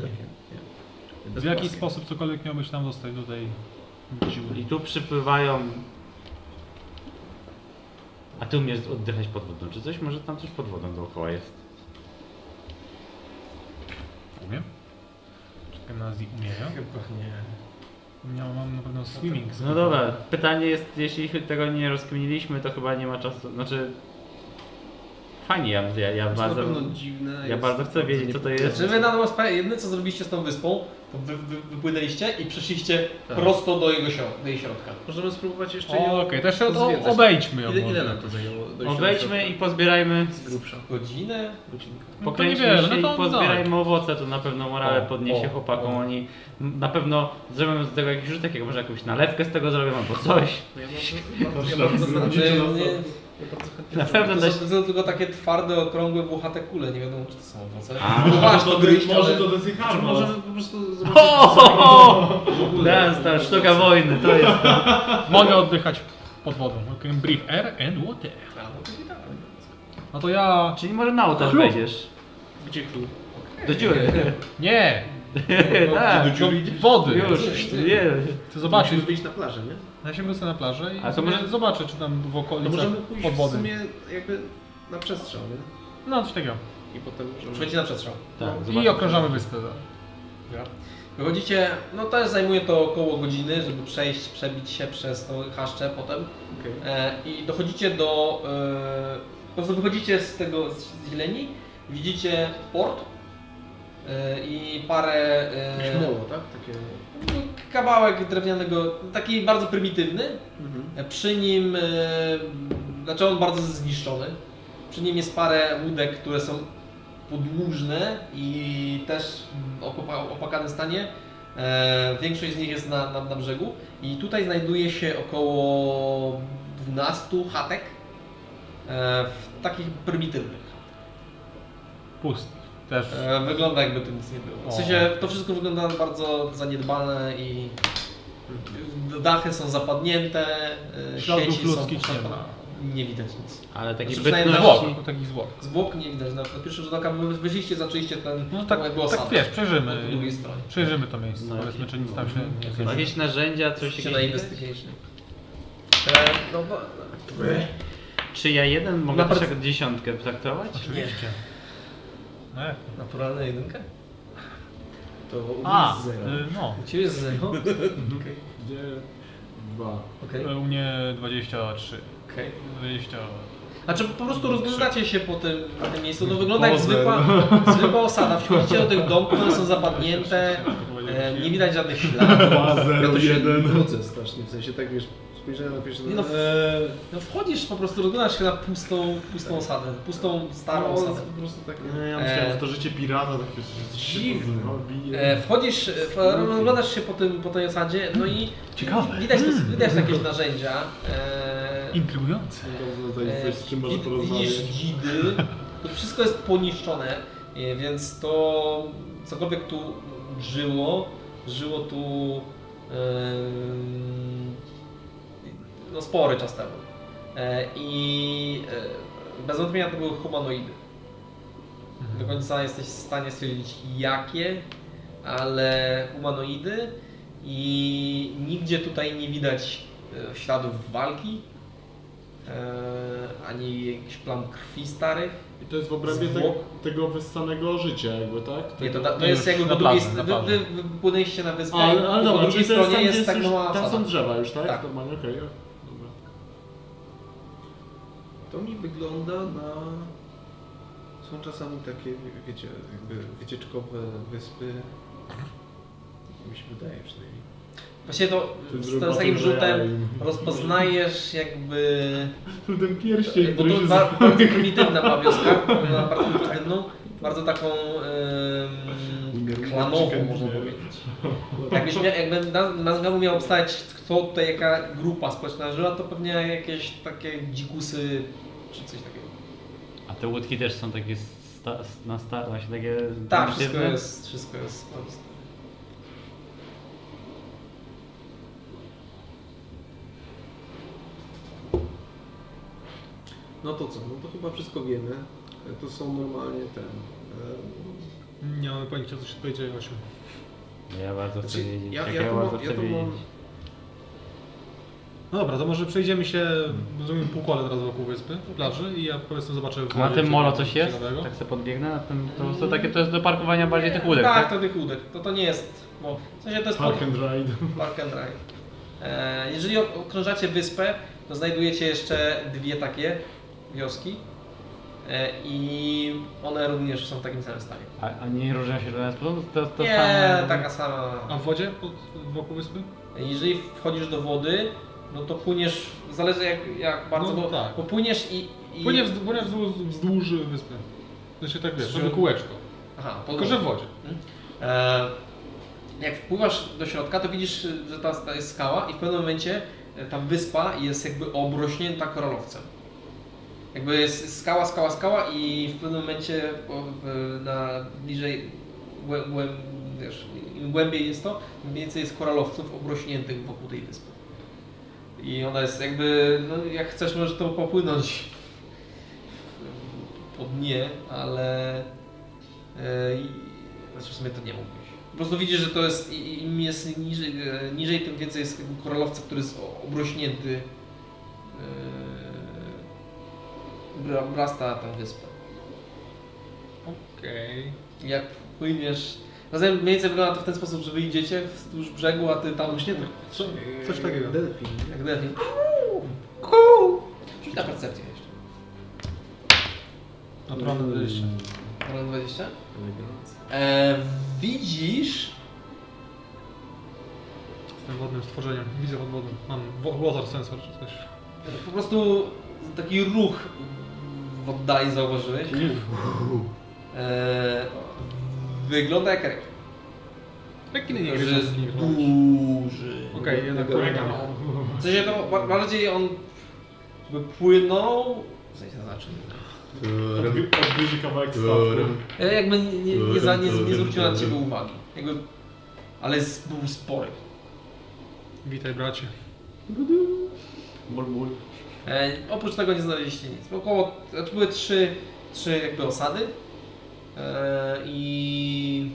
Speaker 8: Nie.
Speaker 4: w jaki sposób cokolwiek miałbyś tam dostać do tej dziury.
Speaker 3: I tu przypływają... A ty umiesz oddychać pod wodą. Czy coś? Może tam coś pod wodą dookoła jest?
Speaker 4: Umiem? Czekaj na Zi umieją.
Speaker 1: Chyba nie.
Speaker 4: Ja mam na pewno swimming.
Speaker 3: No dobra, pytanie jest, jeśli tego nie rozkminiliśmy, to chyba nie ma czasu, znaczy... Fajnie, ja, ja, ja
Speaker 8: To jest Znaczy, na
Speaker 3: bardzo...
Speaker 8: pewno dziwne.
Speaker 3: Ja
Speaker 8: jest-
Speaker 3: bardzo chcę wiedzieć, co to jest.
Speaker 1: Znaczy wy na dobrą sprawę, jedyne co zrobiliście z tą wyspą, to wy, wy, wypłynęliście i przeszliście prosto do jego środ- do jej środka.
Speaker 8: Możemy spróbować jeszcze
Speaker 4: O, Okej, też o- o-
Speaker 8: Zwiedzać.
Speaker 4: obejdźmy ją.
Speaker 8: Ile, ile
Speaker 4: może.
Speaker 8: nam to zajęło? dojście do
Speaker 3: Obejdźmy
Speaker 8: środka?
Speaker 3: i pozbierajmy,
Speaker 8: Z grubsza.
Speaker 1: Godzinę?
Speaker 8: Godzinka.
Speaker 4: No to
Speaker 3: pokręćmy
Speaker 4: niewiele,
Speaker 3: się
Speaker 4: no to
Speaker 3: i pozbierajmy owoce, to na pewno morale
Speaker 1: O,
Speaker 3: podniesie
Speaker 1: o,
Speaker 3: chłopakom,
Speaker 1: o.
Speaker 3: oni na pewno zrobią z tego jakiś rzutek, jak może jakąś nalewkę z tego zrobią albo coś.
Speaker 8: No ja bardzo,
Speaker 2: tak.
Speaker 8: bardzo, ja bardzo, bardzo,
Speaker 1: Znaczy,
Speaker 8: bardzo,
Speaker 1: nie,
Speaker 8: chętnie
Speaker 3: Na
Speaker 1: to,
Speaker 3: pewno da się...
Speaker 1: są, to są tylko takie twarde, okrągłe, włochate kule, nie wiadomo czy to są owoce.
Speaker 3: A,
Speaker 1: Masz to gryźć,
Speaker 2: no może
Speaker 1: ale...
Speaker 2: to dosyć
Speaker 8: Czy
Speaker 2: harmo.
Speaker 8: możemy po prostu zobaczyć...
Speaker 3: O, ho, ho! Dance, ta sztuka wojny, to jest to.
Speaker 4: Mogę oddychać pod wodą. Okay. Breathe air and water. No to ja...
Speaker 3: Czyli może na ołtarz
Speaker 4: Klub.
Speaker 3: wejdziesz.
Speaker 8: Gdzie klub?
Speaker 3: Do dziury.
Speaker 4: Nie!
Speaker 3: Tak,
Speaker 4: Do wody!
Speaker 3: już, nie.
Speaker 4: Chcę
Speaker 8: Zobaczysz.
Speaker 4: zobaczyć.
Speaker 8: Musisz wyjść na plażę, nie?
Speaker 4: Ja się wrócę na plażę i
Speaker 3: A to może-
Speaker 4: zobaczę, czy tam w
Speaker 8: To
Speaker 4: okolicach
Speaker 8: możemy pójść
Speaker 4: pod
Speaker 8: w
Speaker 4: wodą.
Speaker 8: sumie jakby na przestrzał, nie?
Speaker 4: No, coś takiego.
Speaker 8: I potem możemy...
Speaker 1: Przychodzi na przestrzał.
Speaker 3: Tak,
Speaker 4: I
Speaker 3: zobaczmy.
Speaker 4: okrążamy wyspę.
Speaker 1: Wychodzicie, no też zajmuje to około godziny, żeby przejść, przebić się przez tą haszcze potem.
Speaker 8: Okej.
Speaker 1: E, I dochodzicie do... E, po prostu wychodzicie z tego z z zieleni, widzicie port e, i parę... E,
Speaker 8: Śmiało, tak? Takie...
Speaker 1: no, kawałek drewnianego, taki bardzo prymitywny.
Speaker 8: Mhm.
Speaker 1: E, Przy nim, e, znaczy on bardzo zniszczony. Przy nim jest parę łódek, które są podłużne i też w okopa- opłakanym stanie. E, Większość z nich jest na, na, na brzegu. I tutaj znajduje się około 12 chatek, e, w takich prymitywnych.
Speaker 4: Pust. Też.
Speaker 1: E, Wygląda jakby tu nic nie było. W sensie to wszystko wygląda bardzo zaniedbane i dachy są zapadnięte, e,
Speaker 4: Śladów
Speaker 1: sieci
Speaker 4: ludzkich
Speaker 1: są
Speaker 4: nie ma.
Speaker 1: Nie widać nic.
Speaker 3: Ale taki
Speaker 1: Znaczy, przynajmniej
Speaker 3: bytności...
Speaker 4: Zwłok. Takich
Speaker 3: No
Speaker 4: zwłok.
Speaker 1: Zwłok nie widać. Na na pierwszy rzut oka wy- wyszliście, zaczęliście ten
Speaker 4: No tak,
Speaker 1: tą jakby osadę
Speaker 4: tak wiesz,
Speaker 1: po
Speaker 4: przejrzymy.
Speaker 1: drugiej stronie.
Speaker 4: Przejrzymy to miejsce.
Speaker 3: No,
Speaker 4: Powiedzmy,
Speaker 3: jakieś-
Speaker 4: czy nic tam się nie dzieje.
Speaker 3: Jakieś narzędzia, coś
Speaker 1: Rzućcie na
Speaker 3: jakieś...
Speaker 1: investigation. E, no, bo,
Speaker 3: Czy ja jeden mogę
Speaker 1: Na
Speaker 3: też
Speaker 1: pers-
Speaker 3: jako dziesiątkę traktować?
Speaker 4: Oczywiście. No jak?
Speaker 1: naturalna jedynka?
Speaker 8: To u
Speaker 4: A,
Speaker 8: mnie jest zero.
Speaker 3: Tak.
Speaker 4: y, no.
Speaker 1: U Ciebie jest zero? Okej.
Speaker 2: Gdzie... Dwa.
Speaker 1: Okay.
Speaker 4: Y, U mnie 23.
Speaker 1: Okay.
Speaker 4: 20.
Speaker 1: Znaczy po prostu rozglądacie się po tym, po tym miejscu, to wygląda jak zwykła, zwykła osada. Wchodzicie do tych domków, one są zapadnięte, e, nie widać żadnych śladów.
Speaker 2: Dwa,
Speaker 8: Ja
Speaker 2: zero,
Speaker 8: to się
Speaker 2: jeden.
Speaker 8: nudzę strasznie, w sensie tak wiesz, spojrzałem na pierwszy...
Speaker 1: Nie no, w- no wchodzisz po prostu, rozglądasz się na pustą, pustą osadę, pustą, starą
Speaker 8: No,
Speaker 1: osadę.
Speaker 8: po prostu tak...
Speaker 2: Nie, ja
Speaker 1: myślałem,
Speaker 2: myślałem,
Speaker 1: że
Speaker 2: że to życie pirata takie że
Speaker 1: się
Speaker 2: dziwne.
Speaker 1: E, Wchodzisz, w- rozglądasz się po, tym, po tej osadzie, no i Ciekawe. widać, tu- widać jakieś narzędzia. e,
Speaker 4: Intrygujące.
Speaker 1: e,
Speaker 2: Coś, z czym może
Speaker 1: wid- Widzisz
Speaker 2: porozmawiać.
Speaker 1: dzidy, to wszystko jest poniszczone, e, więc to cokolwiek tu żyło, żyło tu em, no spory czas temu. E, I e, bez wątpienia to były humanoidy. Do końca nie jesteś w stanie stwierdzić jakie, ale humanoidy i nigdzie tutaj nie widać e, śladów walki, e, ani jakichś plam krwi starych.
Speaker 2: I to jest w obrębie
Speaker 1: Zwłok?
Speaker 2: tego, tego wyssanego życia jakby, tak?
Speaker 1: Nie, to,
Speaker 2: Tego-
Speaker 1: to
Speaker 3: nie,
Speaker 1: jest
Speaker 3: już
Speaker 1: jakby po
Speaker 3: na
Speaker 1: drugiej
Speaker 3: plaży,
Speaker 1: st-
Speaker 3: na
Speaker 1: wy,
Speaker 3: plaży.
Speaker 1: wy, wy płynęliście na wyspę
Speaker 2: Ale, ale
Speaker 1: i
Speaker 2: dobra,
Speaker 1: po
Speaker 2: czyli
Speaker 1: drugiej
Speaker 2: to jest
Speaker 1: stronie
Speaker 2: tam,
Speaker 1: jest,
Speaker 2: jest
Speaker 1: tak
Speaker 2: już,
Speaker 1: mała
Speaker 2: tam są
Speaker 1: osada.
Speaker 2: drzewa już, tak?
Speaker 1: Tak.
Speaker 2: Normalnie, okej. o, dobra.
Speaker 8: To mi wygląda na... Są czasami takie, wiecie, jakby wycieczkowe wyspy. Mi się wydaje przynajmniej.
Speaker 1: Właściwie to
Speaker 2: To jest
Speaker 1: z,
Speaker 2: robaty
Speaker 1: z takim
Speaker 2: Braille.
Speaker 1: rzutem rozpoznajesz jakby
Speaker 2: Tu ten pierścień,
Speaker 1: Tak, Bo
Speaker 2: który
Speaker 1: to
Speaker 2: się
Speaker 1: ba-
Speaker 2: za-
Speaker 1: bardzo prymitywna pawioska, na bardzo prymitywną, bardzo taką em, klanową można powiedzieć. Jakbyś mia, jakby naz- nazwa miała obstać, kto tutaj jaka grupa społeczna żyła, to pewnie jakieś takie dzikusy czy coś takiego.
Speaker 3: A te łódki też są takie sta, na start, właśnie takie...
Speaker 1: Tak, wszystko
Speaker 3: prymitywne?
Speaker 1: jest, wszystko jest proste.
Speaker 8: No to co, no to chyba wszystko wiemy. E, To są normalnie ten... e,
Speaker 4: Nie mamy pojęcia, co się tutaj dzieje, Osiu.
Speaker 3: Ja bardzo chcę
Speaker 8: Znaczy,
Speaker 3: wiedzieć.
Speaker 8: ja,
Speaker 3: jak
Speaker 8: ja, to
Speaker 3: bardzo
Speaker 8: mam, ja
Speaker 3: chcę
Speaker 8: to mam...
Speaker 3: wiedzieć.
Speaker 4: No dobra, to może przejdziemy się, zrobimy półkole teraz wokół wyspy, plaży i ja powiedzmy zobaczę...
Speaker 3: A na tym molo coś jest?
Speaker 4: ciekawego.
Speaker 3: Tak sobie podbiegnę? Na tym, to, to, takie, to jest do parkowania bardziej tych łódek,
Speaker 1: tak,
Speaker 3: tak?
Speaker 1: to tych łódek. To, to nie jest, bo w sensie to jest
Speaker 2: Park and ride.
Speaker 1: Park and Ride. E, Jeżeli o- okrążacie wyspę, to znajdujecie jeszcze dwie takie wioski e, i one również są w takim samym stanie.
Speaker 3: A, a nie różnią się w żaden sposób? To, to
Speaker 1: nie,
Speaker 3: same-
Speaker 1: E,
Speaker 7: tak.
Speaker 8: no.
Speaker 1: taka
Speaker 4: A
Speaker 3: Tak.
Speaker 1: sama.
Speaker 4: w wodzie pod, wokół wyspy?
Speaker 1: Jeżeli wchodzisz do wody, no to płyniesz, zależy jak, jak bardzo,
Speaker 4: No
Speaker 1: bo,
Speaker 4: tak.
Speaker 1: bo płyniesz i... i
Speaker 4: Płynie wzdłuż, płynie wzdłuż, wzdłuż wyspy. To się tak wiesz,
Speaker 1: Że-
Speaker 4: robię kółeczko.
Speaker 1: Aha, po
Speaker 4: Tylko, że w wodzie.
Speaker 1: E, Jak wpływasz do środka, to widzisz, że ta, ta jest skała i w pewnym momencie e, ta wyspa jest jakby obrośnięta koralowcem. Jakby jest skała, skała, skała i w pewnym momencie po- w- na bliżej, głę, głę, wiesz, im głębiej jest to, im więcej jest koralowców obrośniętych wokół tej wyspy. I ona jest jakby, no jak chcesz możesz to popłynąć po dnie, ale E, i- Znaczy w sumie to nie mógłbyś. Po prostu widzisz, że to jest, i- im jest niżej, e, niżej tym więcej jest jakby koralowca, który jest o- obrośnięty. e, bra- Brasta tę wyspę.
Speaker 4: Okej.
Speaker 1: Jak płyniesz. Zatem mniej więcej wygląda to w ten sposób, że wyjdziecie wzdłuż brzegu, a ty tam już nie tak.
Speaker 4: Co, coś takiego.
Speaker 8: Delfin.
Speaker 1: Jak delfin. Kuu! Rzuć na percepcję jeszcze.
Speaker 4: Naturalne wyjście.
Speaker 1: Roland 20? E, widzisz,
Speaker 4: Jestem wodnym stworzeniem. Widzę pod wodą. Mam wo- łozar sensor czy coś.
Speaker 1: po prostu taki ruch w oddali zauważyłeś. Eee, wygląda jak ryb.
Speaker 4: Rekiny nie
Speaker 1: Tylko,
Speaker 4: wiedzą,
Speaker 1: że jest
Speaker 4: z nich
Speaker 1: duży.
Speaker 4: Okej, jednak kolega ma.
Speaker 1: W sensie to ba- bardziej on by płynął. W sensie to znaczy.
Speaker 2: Odgry- Odgryzie kawałek statku.
Speaker 1: E, Jakby nie, nie, nie, za, nie, nie zwrócił na ciebie uwagi. Jakby, ale jest, był spory.
Speaker 4: Witaj bracie.
Speaker 2: Bol, bol.
Speaker 1: E, oprócz tego nie znaleźliście nic. Około, znaczy były trzy, trzy jakby osady e, i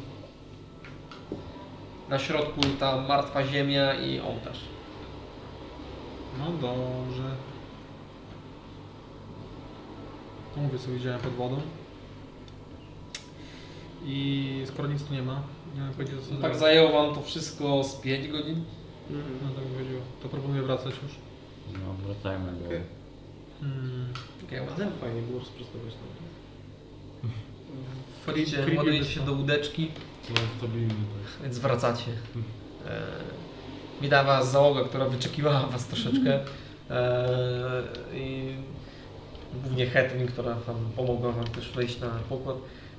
Speaker 1: na środku ta martwa ziemia i ołtarz.
Speaker 4: No dobrze. To mówię co widziałem pod wodą. I skoro nic tu nie ma, nie mam pojęcia co
Speaker 1: No tak
Speaker 4: zrobić.
Speaker 1: zajęło wam to wszystko z 5 godzin.
Speaker 4: No tak wychodziło. To proponuję wracać już.
Speaker 3: No, wracajmy do...
Speaker 8: Okej.
Speaker 4: Hmm.
Speaker 1: Okay,
Speaker 8: Ale fajnie było sprostować nogi.
Speaker 1: Wchodzicie,
Speaker 4: Creepy
Speaker 1: ładujecie
Speaker 4: wyszło.
Speaker 1: się do łódeczki,
Speaker 2: To jest stabilny tak.
Speaker 1: więc wracacie. E, widać was załoga, która wyczekiwała was troszeczkę. E, I głównie Hetwin, która tam pomogła wam też wejść na pokład.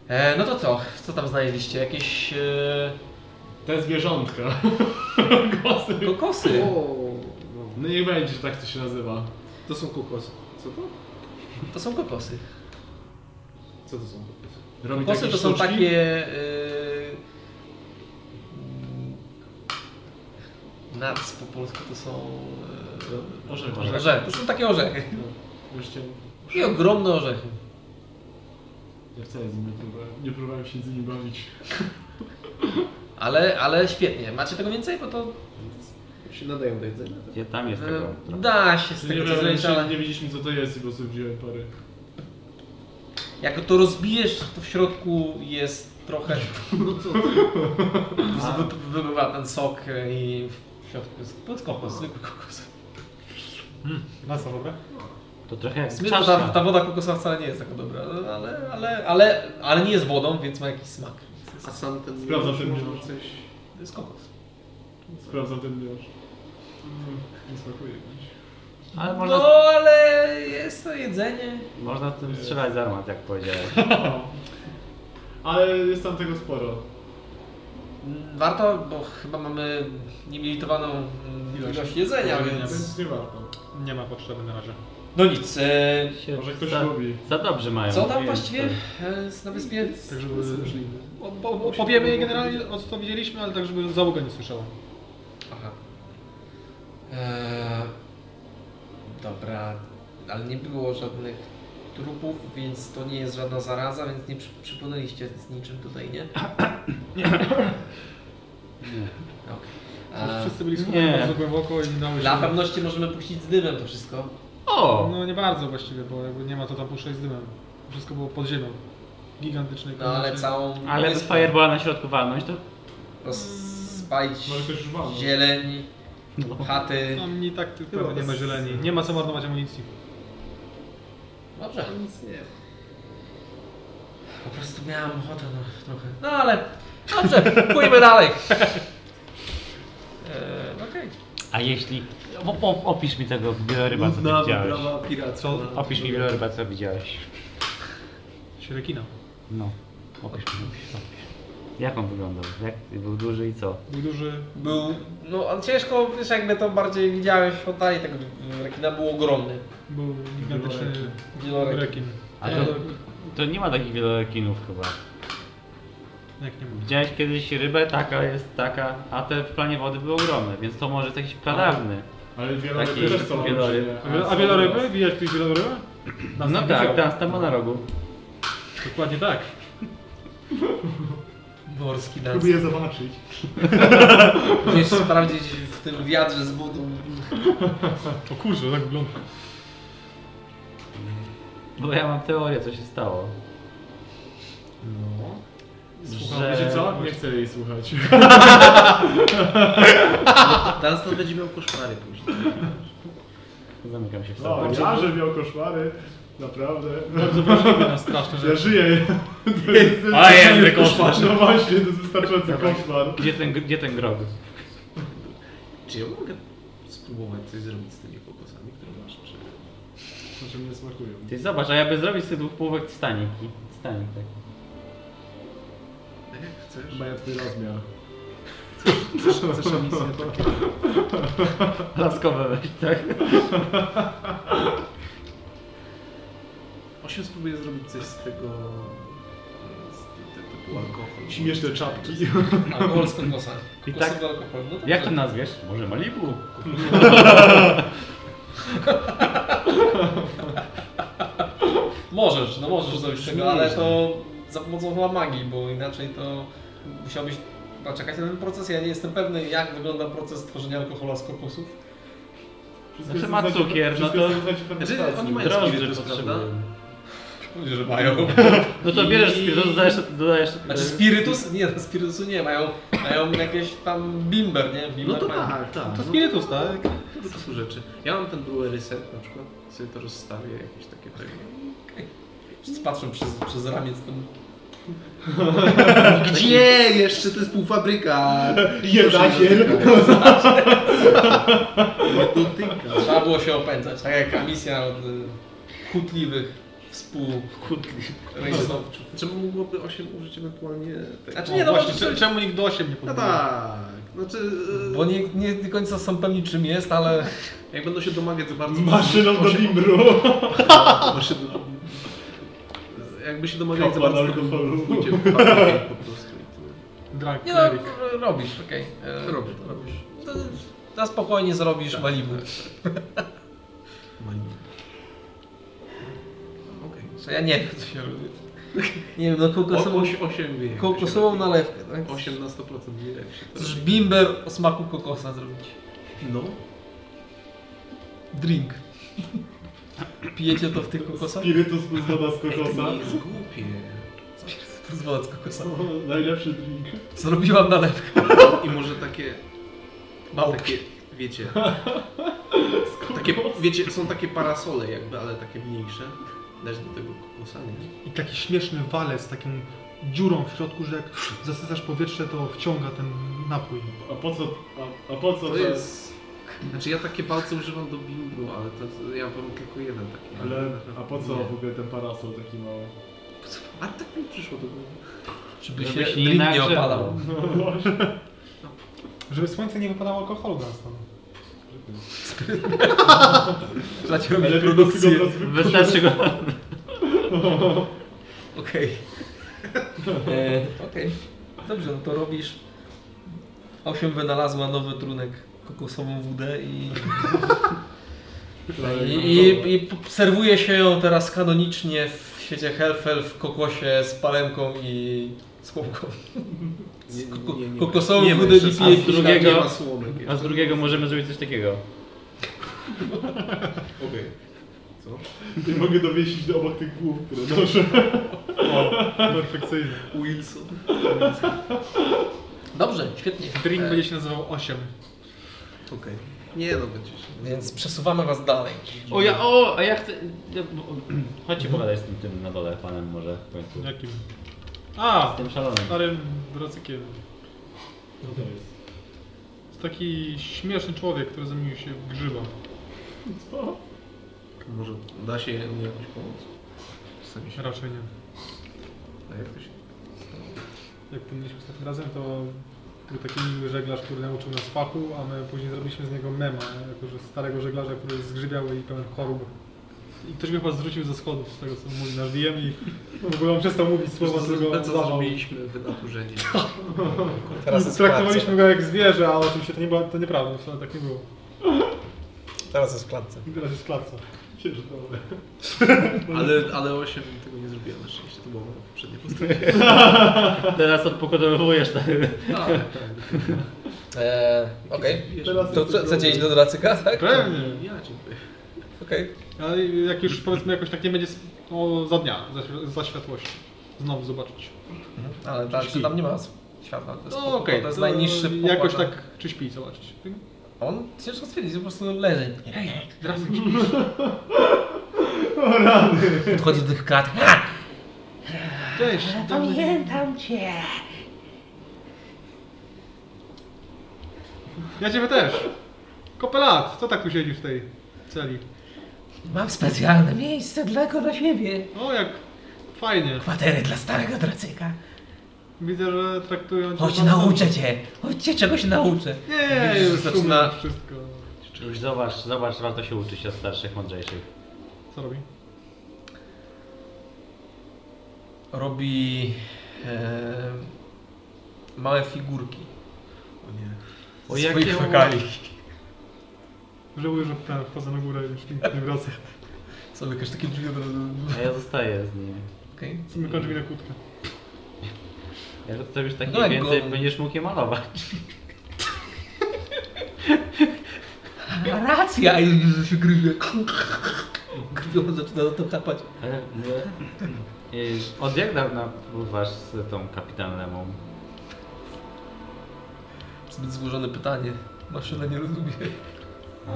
Speaker 1: E, no to co? Co tam znaleźliście? Jakieś e,
Speaker 2: Te zwierzątka. Kosy.
Speaker 1: kokosy.
Speaker 8: no.
Speaker 2: No nie będzie, że tak to się nazywa.
Speaker 8: To są kokosy. Co to?
Speaker 1: To są kokosy.
Speaker 8: Co to są kokosy?
Speaker 2: Robi
Speaker 1: Kokosy
Speaker 2: takie
Speaker 1: to są
Speaker 2: sztuczki?
Speaker 1: takie... E, Nuts po polsku to są...
Speaker 2: Orzech.
Speaker 1: E,
Speaker 3: Orzech.
Speaker 1: orzechy. To są takie orzechy.
Speaker 2: Wreszcie.
Speaker 1: I ogromne orzechy.
Speaker 2: Ja wcale z nim nie próbowałem, nie próbowałem się z nim bawić.
Speaker 1: Ale, ale świetnie. Macie tego więcej? Bo to
Speaker 5: Się nadają do jedzenia.
Speaker 3: Gdzie tam jest
Speaker 1: e,
Speaker 3: tego?
Speaker 5: No.
Speaker 1: da się z
Speaker 2: Nie,
Speaker 1: tego
Speaker 2: wiem,
Speaker 1: co zrobić,
Speaker 2: jeszcze
Speaker 1: ale
Speaker 2: nie wiedzieliśmy co to jest i po prostu wziąłem parę.
Speaker 1: jak to rozbijesz, to w środku jest trochę... No co ty? Wybywa ten sok e, i w środku jest to jest kokos, zwykły kokos.
Speaker 4: Na co, dobra?
Speaker 3: To trochę jak
Speaker 1: Zmywa, ta,
Speaker 3: czaszka.
Speaker 1: ta woda kokosowa wcale nie jest taka dobra, no, ale, ale, ale, ale nie jest wodą, więc ma jakiś smak.
Speaker 5: A sam ten
Speaker 2: Sprawdzam
Speaker 5: miąższ
Speaker 2: ten
Speaker 5: może
Speaker 2: miąższ.
Speaker 5: coś...
Speaker 1: To jest kokos.
Speaker 2: Sprawdzam ten miąższ. Mm, nie smakuje jakoś.
Speaker 3: Ale
Speaker 1: No
Speaker 3: można,
Speaker 1: ale jest to jedzenie.
Speaker 3: można w tym strzelać z armat, jak powiedziałeś.
Speaker 2: O. Ale jest tam tego sporo.
Speaker 1: Mm, Warto, bo chyba mamy nielimitowaną mm,
Speaker 2: Ilość.
Speaker 1: ilość jedzenia, więc...
Speaker 2: Więc nie warto.
Speaker 4: Nie ma potrzeby na razie.
Speaker 1: No nic, e,
Speaker 3: Się
Speaker 2: Może ktoś
Speaker 3: za,
Speaker 2: lubi.
Speaker 3: Za dobrze mają.
Speaker 1: co tam
Speaker 3: Więc
Speaker 1: właściwie e, na wyspie?
Speaker 2: Tak, żeby możliwe.
Speaker 4: Opowiemy generalnie o co widzieliśmy, ale tak, żeby załoga nie słyszała.
Speaker 1: Aha. E, dobra, ale nie było żadnych trupów, więc to nie jest żadna zaraza, więc nie przy, przypłynęliście z niczym tutaj, nie? Okej. E,
Speaker 4: Wszyscy byli
Speaker 3: Nie.
Speaker 4: schowani bardzo głęboko i na
Speaker 1: Dla
Speaker 4: łyżkę.
Speaker 1: pewności możemy puścić z dymem to wszystko.
Speaker 3: O!
Speaker 4: No nie bardzo właściwie, bo jakby nie ma to tam puszczać z dymem. Wszystko było pod ziemią. Gigantycznej
Speaker 1: No ale
Speaker 4: konicy.
Speaker 1: całą...
Speaker 3: Ale z
Speaker 1: wyspę
Speaker 3: fireballa na środku walność to...
Speaker 1: Rozpalić
Speaker 2: Może ktoś już walnął.
Speaker 1: zieleń,
Speaker 3: No.
Speaker 1: chaty.
Speaker 4: Tam nie tak tylko nie ma zieleni. Nie ma co marnować amunicji.
Speaker 1: Dobrze.
Speaker 5: Nic nie.
Speaker 1: Po prostu miałem ochotę no, trochę. No ale dobrze, pójdźmy dalej. Eee, Okej.
Speaker 3: A jeśli... O, o, opisz mi tego wieloryba, co ty
Speaker 5: Nudna
Speaker 3: widziałeś.
Speaker 5: wyprawa piracka.
Speaker 4: Co?
Speaker 3: Opisz mi wieloryba, co widziałeś.
Speaker 4: Sierekina.
Speaker 3: No. Opisz mi, opisz, opisz. Jak on wyglądał? Jak był duży i co?
Speaker 4: Był duży.
Speaker 1: Był, no ale ciężko, wiesz jakby to bardziej widziałeś w oddali, tego rekina był ogromny.
Speaker 4: Był gigantyczny
Speaker 1: Wielorek.
Speaker 4: rekin.
Speaker 3: A to, to nie ma takich wielorekinów chyba.
Speaker 4: Jak nie mówię.
Speaker 3: Widziałeś kiedyś rybę, taka jest taka, a te w planie wody były ogromne, więc to może jest jakiś pradawny.
Speaker 2: Ale wieloryby
Speaker 3: Taki
Speaker 2: też są
Speaker 3: wieloryb.
Speaker 2: olbrzymie,
Speaker 4: A
Speaker 2: są
Speaker 4: wieloryby? Widziałeś kiedyś wieloryby?
Speaker 3: No tak, tam, tam ma na rogu.
Speaker 4: Dokładnie tak.
Speaker 1: Morski dans.
Speaker 2: teraz. Próbuję zobaczyć.
Speaker 1: Musisz sprawdzić w tym wiadrze z wodą.
Speaker 4: O kurczę, tak wygląda.
Speaker 3: Bo ja mam teorię, co się stało.
Speaker 2: No. Słucham, wiecie co? Nie chcę jej słuchać.
Speaker 5: Teraz to będzie miał koszmary później.
Speaker 3: Zamykam się w
Speaker 2: O,
Speaker 3: sobie.
Speaker 2: No, ja, że miał koszmary. Naprawdę.
Speaker 4: Bardzo wrażliwy na straszne
Speaker 2: Ja
Speaker 4: rzeczy.
Speaker 2: żyję. To jest-
Speaker 3: A, ja będę koszmar.
Speaker 2: No właśnie, to jest wystarczający koszmar.
Speaker 3: Gdzie ten, gdzie ten grog?
Speaker 5: Czy ja mogę spróbować coś zrobić z tymi kokosami, które masz? Czy...
Speaker 2: Znaczy mnie smakują.
Speaker 3: Ty zobacz, a ja by zrobić z tych dwóch połówek Titaniki. Titanic, tak.
Speaker 5: Tak Jak chcesz?
Speaker 2: Mają twój rozmiar.
Speaker 5: Chcesz ambicje takie?
Speaker 3: Laskowe weź, tak?
Speaker 5: Osiem spróbuję zrobić coś z tego... Z ty- ty- typu alkohol.
Speaker 2: Śmieszne czapki.
Speaker 1: Alkohol z kokosa.
Speaker 3: I
Speaker 1: Kokosowy
Speaker 3: tak-
Speaker 1: alkohol. No
Speaker 3: Jak to
Speaker 1: dobrze.
Speaker 3: nazwiesz? Może Malibu?
Speaker 1: Możesz, no możesz zrobić tego, ale to za pomocą chyba magii, bo inaczej to musiałbyś chyba czekać na ten proces. Ja nie jestem pewny, jak wygląda proces tworzenia alkohola z kokosów.
Speaker 2: Wszystko
Speaker 3: Znaczy
Speaker 2: jest
Speaker 3: ma
Speaker 2: w zasadzie-
Speaker 3: cukier,
Speaker 2: wszystko
Speaker 3: no to-
Speaker 2: jest w zasadzie
Speaker 5: Znaczy, oni
Speaker 2: fantastyczne.
Speaker 5: mają
Speaker 3: Drożdże
Speaker 5: spirytus, prawda?
Speaker 3: potrzebują.
Speaker 1: Ludzie, że mają.
Speaker 3: No to bierzesz spirytus, dodajesz... dodajesz e,
Speaker 1: Znaczy spirytus? Nie, no spirytusu nie, mają, mają jakieś tam bimber, nie? Bimber
Speaker 5: No to
Speaker 1: mają.
Speaker 5: tak, tak.
Speaker 4: To spirytus, tak?
Speaker 5: No, to są rzeczy. Ja mam ten brewery set na przykład. Sobie to rozstawię, jakieś takie pewnie.
Speaker 1: Wszyscy Patrzą przez, przez ramię z tym.
Speaker 5: Gdzie jeszcze? To jest półfabryka.
Speaker 2: Jedakiel.
Speaker 5: Dotyka.
Speaker 1: Trzeba było się opędzać, tak jak misja od y, hutliwych współrejsowców.
Speaker 5: Czy mogłoby 8 użyć ewentualnie tego?
Speaker 1: Znaczy
Speaker 4: O,
Speaker 1: nie, no
Speaker 4: właśnie,
Speaker 1: może
Speaker 4: cze-
Speaker 1: coś-
Speaker 4: czemu nikt do 8 nie
Speaker 5: No
Speaker 4: podbiera?
Speaker 5: tak. Znaczy,
Speaker 1: Bo nie, nie do końca są pewni czym jest, ale...
Speaker 5: e, jak będą się domagać za bardzo...
Speaker 2: Maszyną do
Speaker 5: osiem-
Speaker 2: bimbru.
Speaker 5: Maszyną do Jakby się domagali za
Speaker 2: Kapłan
Speaker 5: bardzo, to
Speaker 2: alkoholu.
Speaker 5: pójdzie w fabrykę po prostu i tyle.
Speaker 4: Drag,
Speaker 1: Nie no,
Speaker 4: cleric.
Speaker 1: r- robisz, okej. E,
Speaker 5: Robię to, robisz.
Speaker 1: to Tak, Na spokojnie zrobisz Malibu. tak.
Speaker 5: Malibu. Okej.
Speaker 1: No, Ja nie wiem, co się robi. Nie wiem, no kokosową,
Speaker 5: 8 wie.
Speaker 1: kokosową nalewkę, tak?
Speaker 5: 8 na 100% wie jak się to
Speaker 1: Chcesz
Speaker 5: robi.
Speaker 1: bimber o smaku kokosa zrobić.
Speaker 5: No.
Speaker 1: Drink. Pijecie to w tych kokosach?
Speaker 2: Spirytus plus woda z
Speaker 5: Ej,
Speaker 2: kokosa.
Speaker 5: to nie jest głupie.
Speaker 1: To z woda z kokosa.
Speaker 2: Najlepszy drink.
Speaker 1: Zrobiłam nalewkę.
Speaker 5: I może takie,
Speaker 1: Małpki.
Speaker 5: takie, wiecie, takie, wiecie, są takie parasole jakby, ale takie mniejsze. Dać do tego kokosa,
Speaker 4: I
Speaker 5: nie?
Speaker 4: taki śmieszny walec z taką dziurą w środku, że jak zasysasz powietrze, to wciąga ten napój.
Speaker 2: A po co, a, a po co
Speaker 5: To
Speaker 2: to
Speaker 5: jest... Znaczy ja takie palce używam do bingu, ale to ja mam tylko jeden taki.
Speaker 2: Ale, a po co
Speaker 5: Nie.
Speaker 2: w ogóle ten parasol taki mały?
Speaker 5: A tak mi przyszło do głowy.
Speaker 1: Żeby się
Speaker 3: Żeby się
Speaker 1: drink nie
Speaker 3: inaczej-
Speaker 1: opadał.
Speaker 4: Żeby słońce nie wypadało alkoholu na stronę.
Speaker 1: Zaczęło robić
Speaker 2: Ale
Speaker 1: produkcję.
Speaker 2: produkcję.
Speaker 3: Wystarczy go.
Speaker 1: Okej. E, Okej. Dobrze, no to robisz. Osiem wynalazła nowy trunek kokosową wódę i, i,
Speaker 5: no
Speaker 1: i, i serwuje się ją teraz kanonicznie w świecie Hellfell w kokosie z palemką i z pompką.
Speaker 5: Nie,
Speaker 1: Koko,
Speaker 5: nie, nie.
Speaker 1: kokosową
Speaker 5: Nie ma
Speaker 1: wódę
Speaker 5: jeszcze
Speaker 1: nie pije
Speaker 3: z
Speaker 1: piwa.
Speaker 3: drugiego-
Speaker 5: Nie ma słomek.
Speaker 3: A z drugiego możemy zrobić coś takiego.
Speaker 5: Okej.
Speaker 2: I mogę dowiesić do obok tych głów, które noszę.
Speaker 4: Perfekcyjny.
Speaker 5: Wilson.
Speaker 1: Dobrze, świetnie.
Speaker 4: Drink będzie się nazywał 8.
Speaker 5: Okej. Nie no, będziesz.
Speaker 1: Więc przesuwamy was dalej.
Speaker 3: O ja, o, a ja chcę... ja- bo- Chodźcie
Speaker 1: Mhm.
Speaker 3: pogadać z tym, tym na dole panem może w końcu.
Speaker 4: Jakim? A,
Speaker 3: Z tym szalonym.
Speaker 4: starym drocykiem. No To taki śmieszny człowiek, który zamienił się w grzyba.
Speaker 5: Może da się mu jakoś pomóc? Czasami się.
Speaker 4: Raczej nie.
Speaker 5: A jak to się...
Speaker 4: Jak powinniśmy ostatnim razem, to był taki miły żeglarz, który nauczył nas fachu, a my później zrobiliśmy z niego mema, jako że starego żeglarza, który zgrzybiał i pełen chorób. I ktoś go chyba zrzucił ze schodów z tego, co mówi nasz DM i w ogóle on przestał mówić słowa,
Speaker 5: Co,
Speaker 4: którego
Speaker 5: co
Speaker 4: udawał.
Speaker 5: zrobiliśmy wynaturzenie?
Speaker 1: Teraz jest
Speaker 4: No, Traktowaliśmy go jak zwierzę, a oczywiście to, nie było, to nieprawda, wcale tak nie było.
Speaker 1: Teraz jest w klatce.
Speaker 4: I teraz jest klatca.
Speaker 5: Ale, ale 8 tego nie zrobiłem na szczęście, to było moja poprzednia postać.
Speaker 3: Teraz odpokodowujesz tak.
Speaker 5: Tak, tak.
Speaker 1: Eee, Okej.
Speaker 5: Teraz
Speaker 1: To co, chcecie iść do dracyka, tak?
Speaker 4: Pewnie.
Speaker 5: Ja dziękuję.
Speaker 1: Okej.
Speaker 4: Ale jak już powiedzmy jakoś tak nie będzie sp- o, za dnia, za, świ- za światłości. Znowu zobaczyć.
Speaker 1: Ale dalszy tam nie ma światła. To jest,
Speaker 4: No
Speaker 1: po-
Speaker 4: okej,
Speaker 1: to jest najniższy no. pokład.
Speaker 4: Jakoś tak czy śpi zobaczyć.
Speaker 1: On ciężko stwierdzić, po prostu leży.
Speaker 4: Teraz
Speaker 1: Podchodzi do tych krat. Ha!
Speaker 4: Cześć, dobrze.
Speaker 12: Pamiętam cię.
Speaker 4: Ja ciebie też. Kopelat, co tak tu siedzisz w tej celi?
Speaker 1: Mam specjalne miejsce tylko dla siebie.
Speaker 4: O, jak fajnie.
Speaker 1: Kwatery dla starego dracyka.
Speaker 4: Widzę, że traktują cię...
Speaker 1: Chodź,
Speaker 4: bardzo-
Speaker 1: nauczę cię. Chodź cię czegoś nauczę.
Speaker 4: Nie,
Speaker 1: Widzisz,
Speaker 4: już
Speaker 1: zaczyna-
Speaker 4: zaczyna wszystko.
Speaker 3: Już zobacz, zobacz, warto się uczyć od starszych, mądrzejszych.
Speaker 4: Co robi?
Speaker 1: Robi e, małe figurki.
Speaker 5: O nie.
Speaker 1: O
Speaker 3: jakie
Speaker 1: swoich
Speaker 3: ładne.
Speaker 1: fekali.
Speaker 4: Żałuję, że ten wchodzę na górę i już nigdy nie wraca.
Speaker 1: Sobie jakaś takie drzwi od razu.
Speaker 3: A ja zostaję z nim.
Speaker 1: Okej.
Speaker 4: Co mi kończy mi na kłódkę.
Speaker 3: Jak zrobisz takie
Speaker 1: No jak
Speaker 3: więcej,
Speaker 1: go-
Speaker 3: będziesz mógł je malować.
Speaker 1: A, Racja! I widzisz, że się gryzie. Krwią zaczyna na to kapać.
Speaker 3: Ale nie. I Od jak dawna pływasz z tą kapitan Lemą?
Speaker 1: Zbyt złożone pytanie. Maszyna nie rozumie.
Speaker 3: A,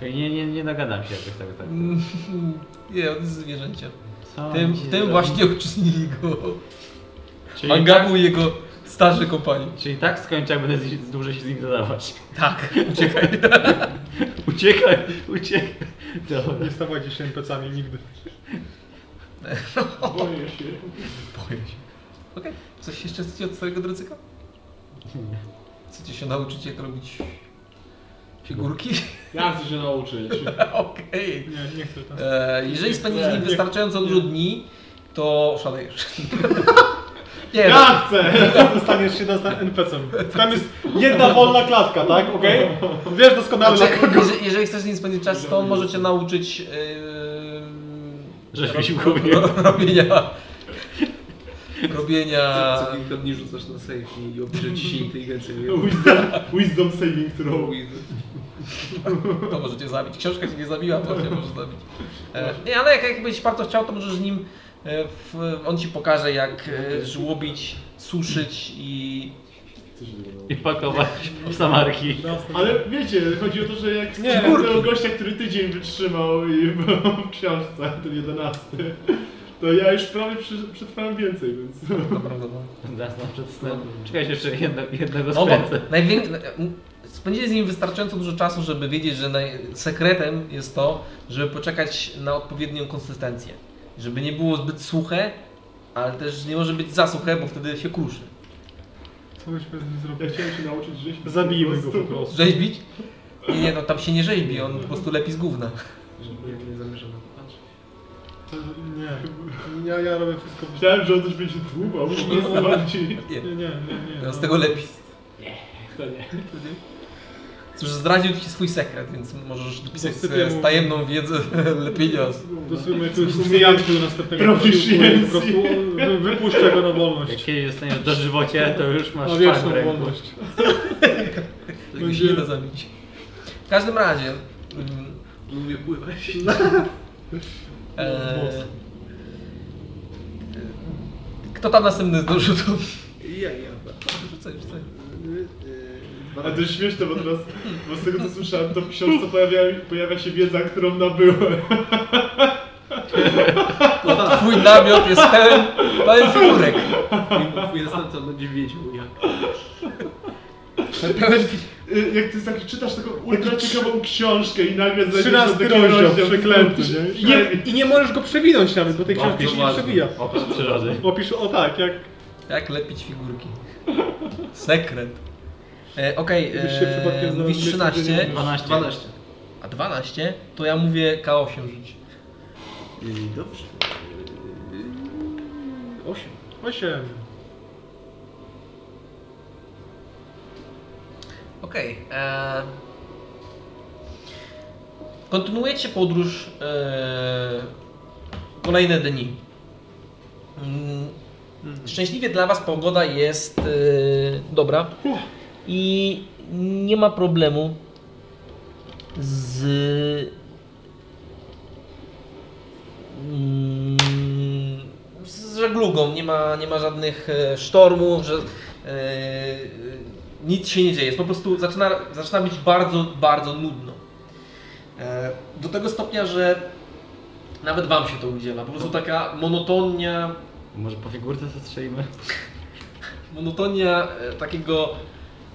Speaker 3: Czyli nie, nie, nie dogadam się jakoś tego tak.
Speaker 1: Nie, on jest zwierzęciem.
Speaker 3: Co
Speaker 1: Tym,
Speaker 3: on ci
Speaker 1: tym
Speaker 3: zrobi?
Speaker 1: właśnie uczynili go.
Speaker 3: Czyli tak,
Speaker 1: Mangabu jego starzy kompani.
Speaker 3: czyli tak skończę, jak będę z- dłużej się z nim dodawać.
Speaker 1: Tak, uciekaj.
Speaker 3: Uciekaj, uciekaj. Dobra.
Speaker 4: Nie stawajcie się NPC-ami nigdy.
Speaker 2: Boję się.
Speaker 1: Boję się. Okej, coś jeszcze chcecie od starego drycyka? Chcecie się nauczyć jak robić figurki?
Speaker 2: Ja chcę się nauczyć.
Speaker 1: Okej.
Speaker 4: Nie, nie chcę tam.
Speaker 1: E, Jeżeli spędzisz
Speaker 2: chcę,
Speaker 1: nim
Speaker 2: nie-
Speaker 1: wystarczająco dużo dni, to szalejesz. Nie, no,
Speaker 2: Ja chcę!
Speaker 4: Dostaniesz się dostan NPC-em. Tam jest jedna wolna klatka, tak? Okej? Wiesz doskonale
Speaker 1: znaczy,
Speaker 4: na No, kogo.
Speaker 1: jeżeli, jeżeli chcesz z nim spędzić czas, to on może cię nauczyć yy,
Speaker 3: Rzeźbić
Speaker 1: rob-
Speaker 3: głównie.
Speaker 1: robienia robienia...
Speaker 5: Co kilka dni rzucasz na sejf i obniżę ci się inteligencję.
Speaker 2: Wisdom, wisdom saving throw.
Speaker 1: To możecie zabić. Książka się nie zabiła, to się może zabić. E, nie, ale jak, jakbyś bardzo chciał, to możesz z nim. E, w, on ci pokaże, jak e, żłobić, suszyć i.
Speaker 3: I pakować w samarki.
Speaker 1: Znaczy-
Speaker 2: Ale wiecie, chodzi o to, że jak
Speaker 4: Nie.
Speaker 2: nie, tego gościa, który tydzień wytrzymał i był w książce, ten jedenasty, to ja już prawie przy, przetrwałem więcej, więc...
Speaker 1: Naprawdę, no.
Speaker 3: Zaraz nam przed snem. Czekaj, jeszcze jedno, jednego
Speaker 1: No bo
Speaker 3: skręcę.
Speaker 1: najwię... Spędzili z nim wystarczająco dużo czasu, żeby wiedzieć, że naj... sekretem jest to, żeby poczekać na odpowiednią konsystencję. Żeby nie było zbyt suche, ale też nie może być za suche, bo wtedy się kruszy.
Speaker 4: Co byśmy z nim
Speaker 2: Ja
Speaker 4: zrobili?
Speaker 2: chciałem się nauczyć żyć.
Speaker 4: Zabijmy go po prostu.
Speaker 1: Rzeźbić? Nie, nie, no tam się nie rzeźbi, on po prostu lepi z gówna.
Speaker 5: Ja nie zamierzam na to patrzeć.
Speaker 4: Nie. Ja, ja robię wszystko.
Speaker 2: Myślałem, że on też będzie dłubał, po bardziej.
Speaker 4: Nie, nie, nie. nie
Speaker 1: On z tego lepi.
Speaker 2: To nie.
Speaker 1: Cóż, zdradził ci swój sekret, więc możesz dopisać
Speaker 4: Zasypię
Speaker 1: z,
Speaker 4: mu-
Speaker 1: z tajemną wiedzę lepienia.
Speaker 4: Dosłownie jakiegoś umijantku do następnego.
Speaker 2: Proficiency.
Speaker 4: Po prostu wy- wypuszczę go na
Speaker 3: Jak
Speaker 4: wolność.
Speaker 3: kiedyś dostaniesz dożywocie, to już masz
Speaker 4: Na
Speaker 3: fakt w
Speaker 4: wieczną
Speaker 3: ręku.
Speaker 4: wolność.
Speaker 1: Tego się nie da zabić. W każdym razie... mm,
Speaker 5: Lubię pływać.
Speaker 1: e, Kto tam następny zdążył to?
Speaker 5: Ja, ja.
Speaker 1: Rzucaj, rzucaj.
Speaker 2: No, Ale to jest śmieszne, bo teraz, bo z tego co słyszałem, to w książce pojawia, pojawia się wiedza, którą nabyłem.
Speaker 1: No, twój namiot jest pełen, pełen figurek.
Speaker 5: Twój następca będzie wiedział jak.
Speaker 1: Pełen
Speaker 2: Y, Jak ty taki, czytasz taką ultra ciekawą książkę i nagle znajdziesz
Speaker 4: Trzynasty
Speaker 2: taki
Speaker 4: rozdział,
Speaker 2: rozdział
Speaker 4: przeklęty.
Speaker 2: nie?
Speaker 4: I nie, I nie możesz go przewinąć nawet, bo tej
Speaker 3: Bardzo
Speaker 4: książki się nie
Speaker 3: ważne.
Speaker 4: przewija.
Speaker 3: Opis przyrody.
Speaker 4: Opisz, o tak, jak
Speaker 1: Jak lepić figurki? Sekret. E, Okej,
Speaker 4: Jakbyś się przypadkiem
Speaker 1: e,
Speaker 4: znalazł
Speaker 1: mówisz
Speaker 4: w miejscu, gdzie
Speaker 1: 13,
Speaker 4: nie
Speaker 3: 12.
Speaker 5: 12.
Speaker 1: a 12, to ja mówię K8 rzuć.
Speaker 5: Yy, Dobrze. 8.
Speaker 4: 8.
Speaker 1: Okej. e, Kontynuujecie podróż e, kolejne dni. Mm, Szczęśliwie dla Was pogoda jest e, dobra i nie ma problemu z mm, z żeglugą. Nie ma, nie ma żadnych e, sztormów, że e, nic się nie dzieje. Jest po prostu zaczyna, zaczyna być bardzo, bardzo nudno. E, Do tego stopnia, że nawet Wam się to udziela. Po prostu taka monotonia,
Speaker 3: Może po figurce zastrzelimy?
Speaker 1: monotonia e, takiego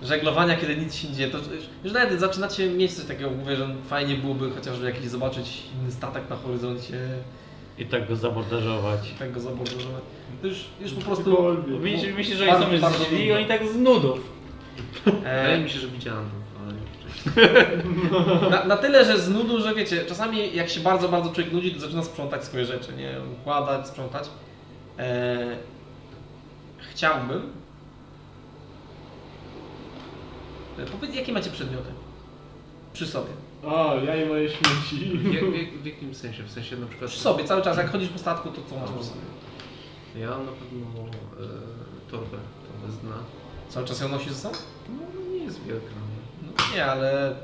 Speaker 1: żeglowania, kiedy nic się nie dzieje. To, już- już nawet zaczynacie mieć coś takiego, mówię, że fajnie byłoby chociażby jakiś zobaczyć inny statek na horyzoncie,
Speaker 3: I tak go zamordażować.
Speaker 1: tego zabordować. To już, już po prostu...
Speaker 2: Cokolwiek.
Speaker 3: Myślisz, myślisz, że
Speaker 1: Bardzo,
Speaker 3: oni są
Speaker 1: bardzo
Speaker 3: źli i
Speaker 1: nudno.
Speaker 3: oni tak z nudów.
Speaker 1: E,
Speaker 5: mi się, że widziałem tą falę.
Speaker 1: Na, na tyle, że z nudu, że wiecie, czasami jak się bardzo, bardzo człowiek nudzi, to zaczyna sprzątać swoje rzeczy, nie? Układać, sprzątać. Eee, chciałbym... E, Powiedz, jakie macie przedmioty przy sobie?
Speaker 2: A, ja i moje śmieci.
Speaker 5: W, w, w jakim sensie? W sensie na przykład...
Speaker 1: Przy sobie, cały czas, jak chodzisz po statku, to co masz przy sobie?
Speaker 5: Ja mam na pewno e, torbę, torbę z dna.
Speaker 1: Cały czas ją nosisz ze sobą?
Speaker 5: No nie jest wielka.
Speaker 1: No, nie, ale...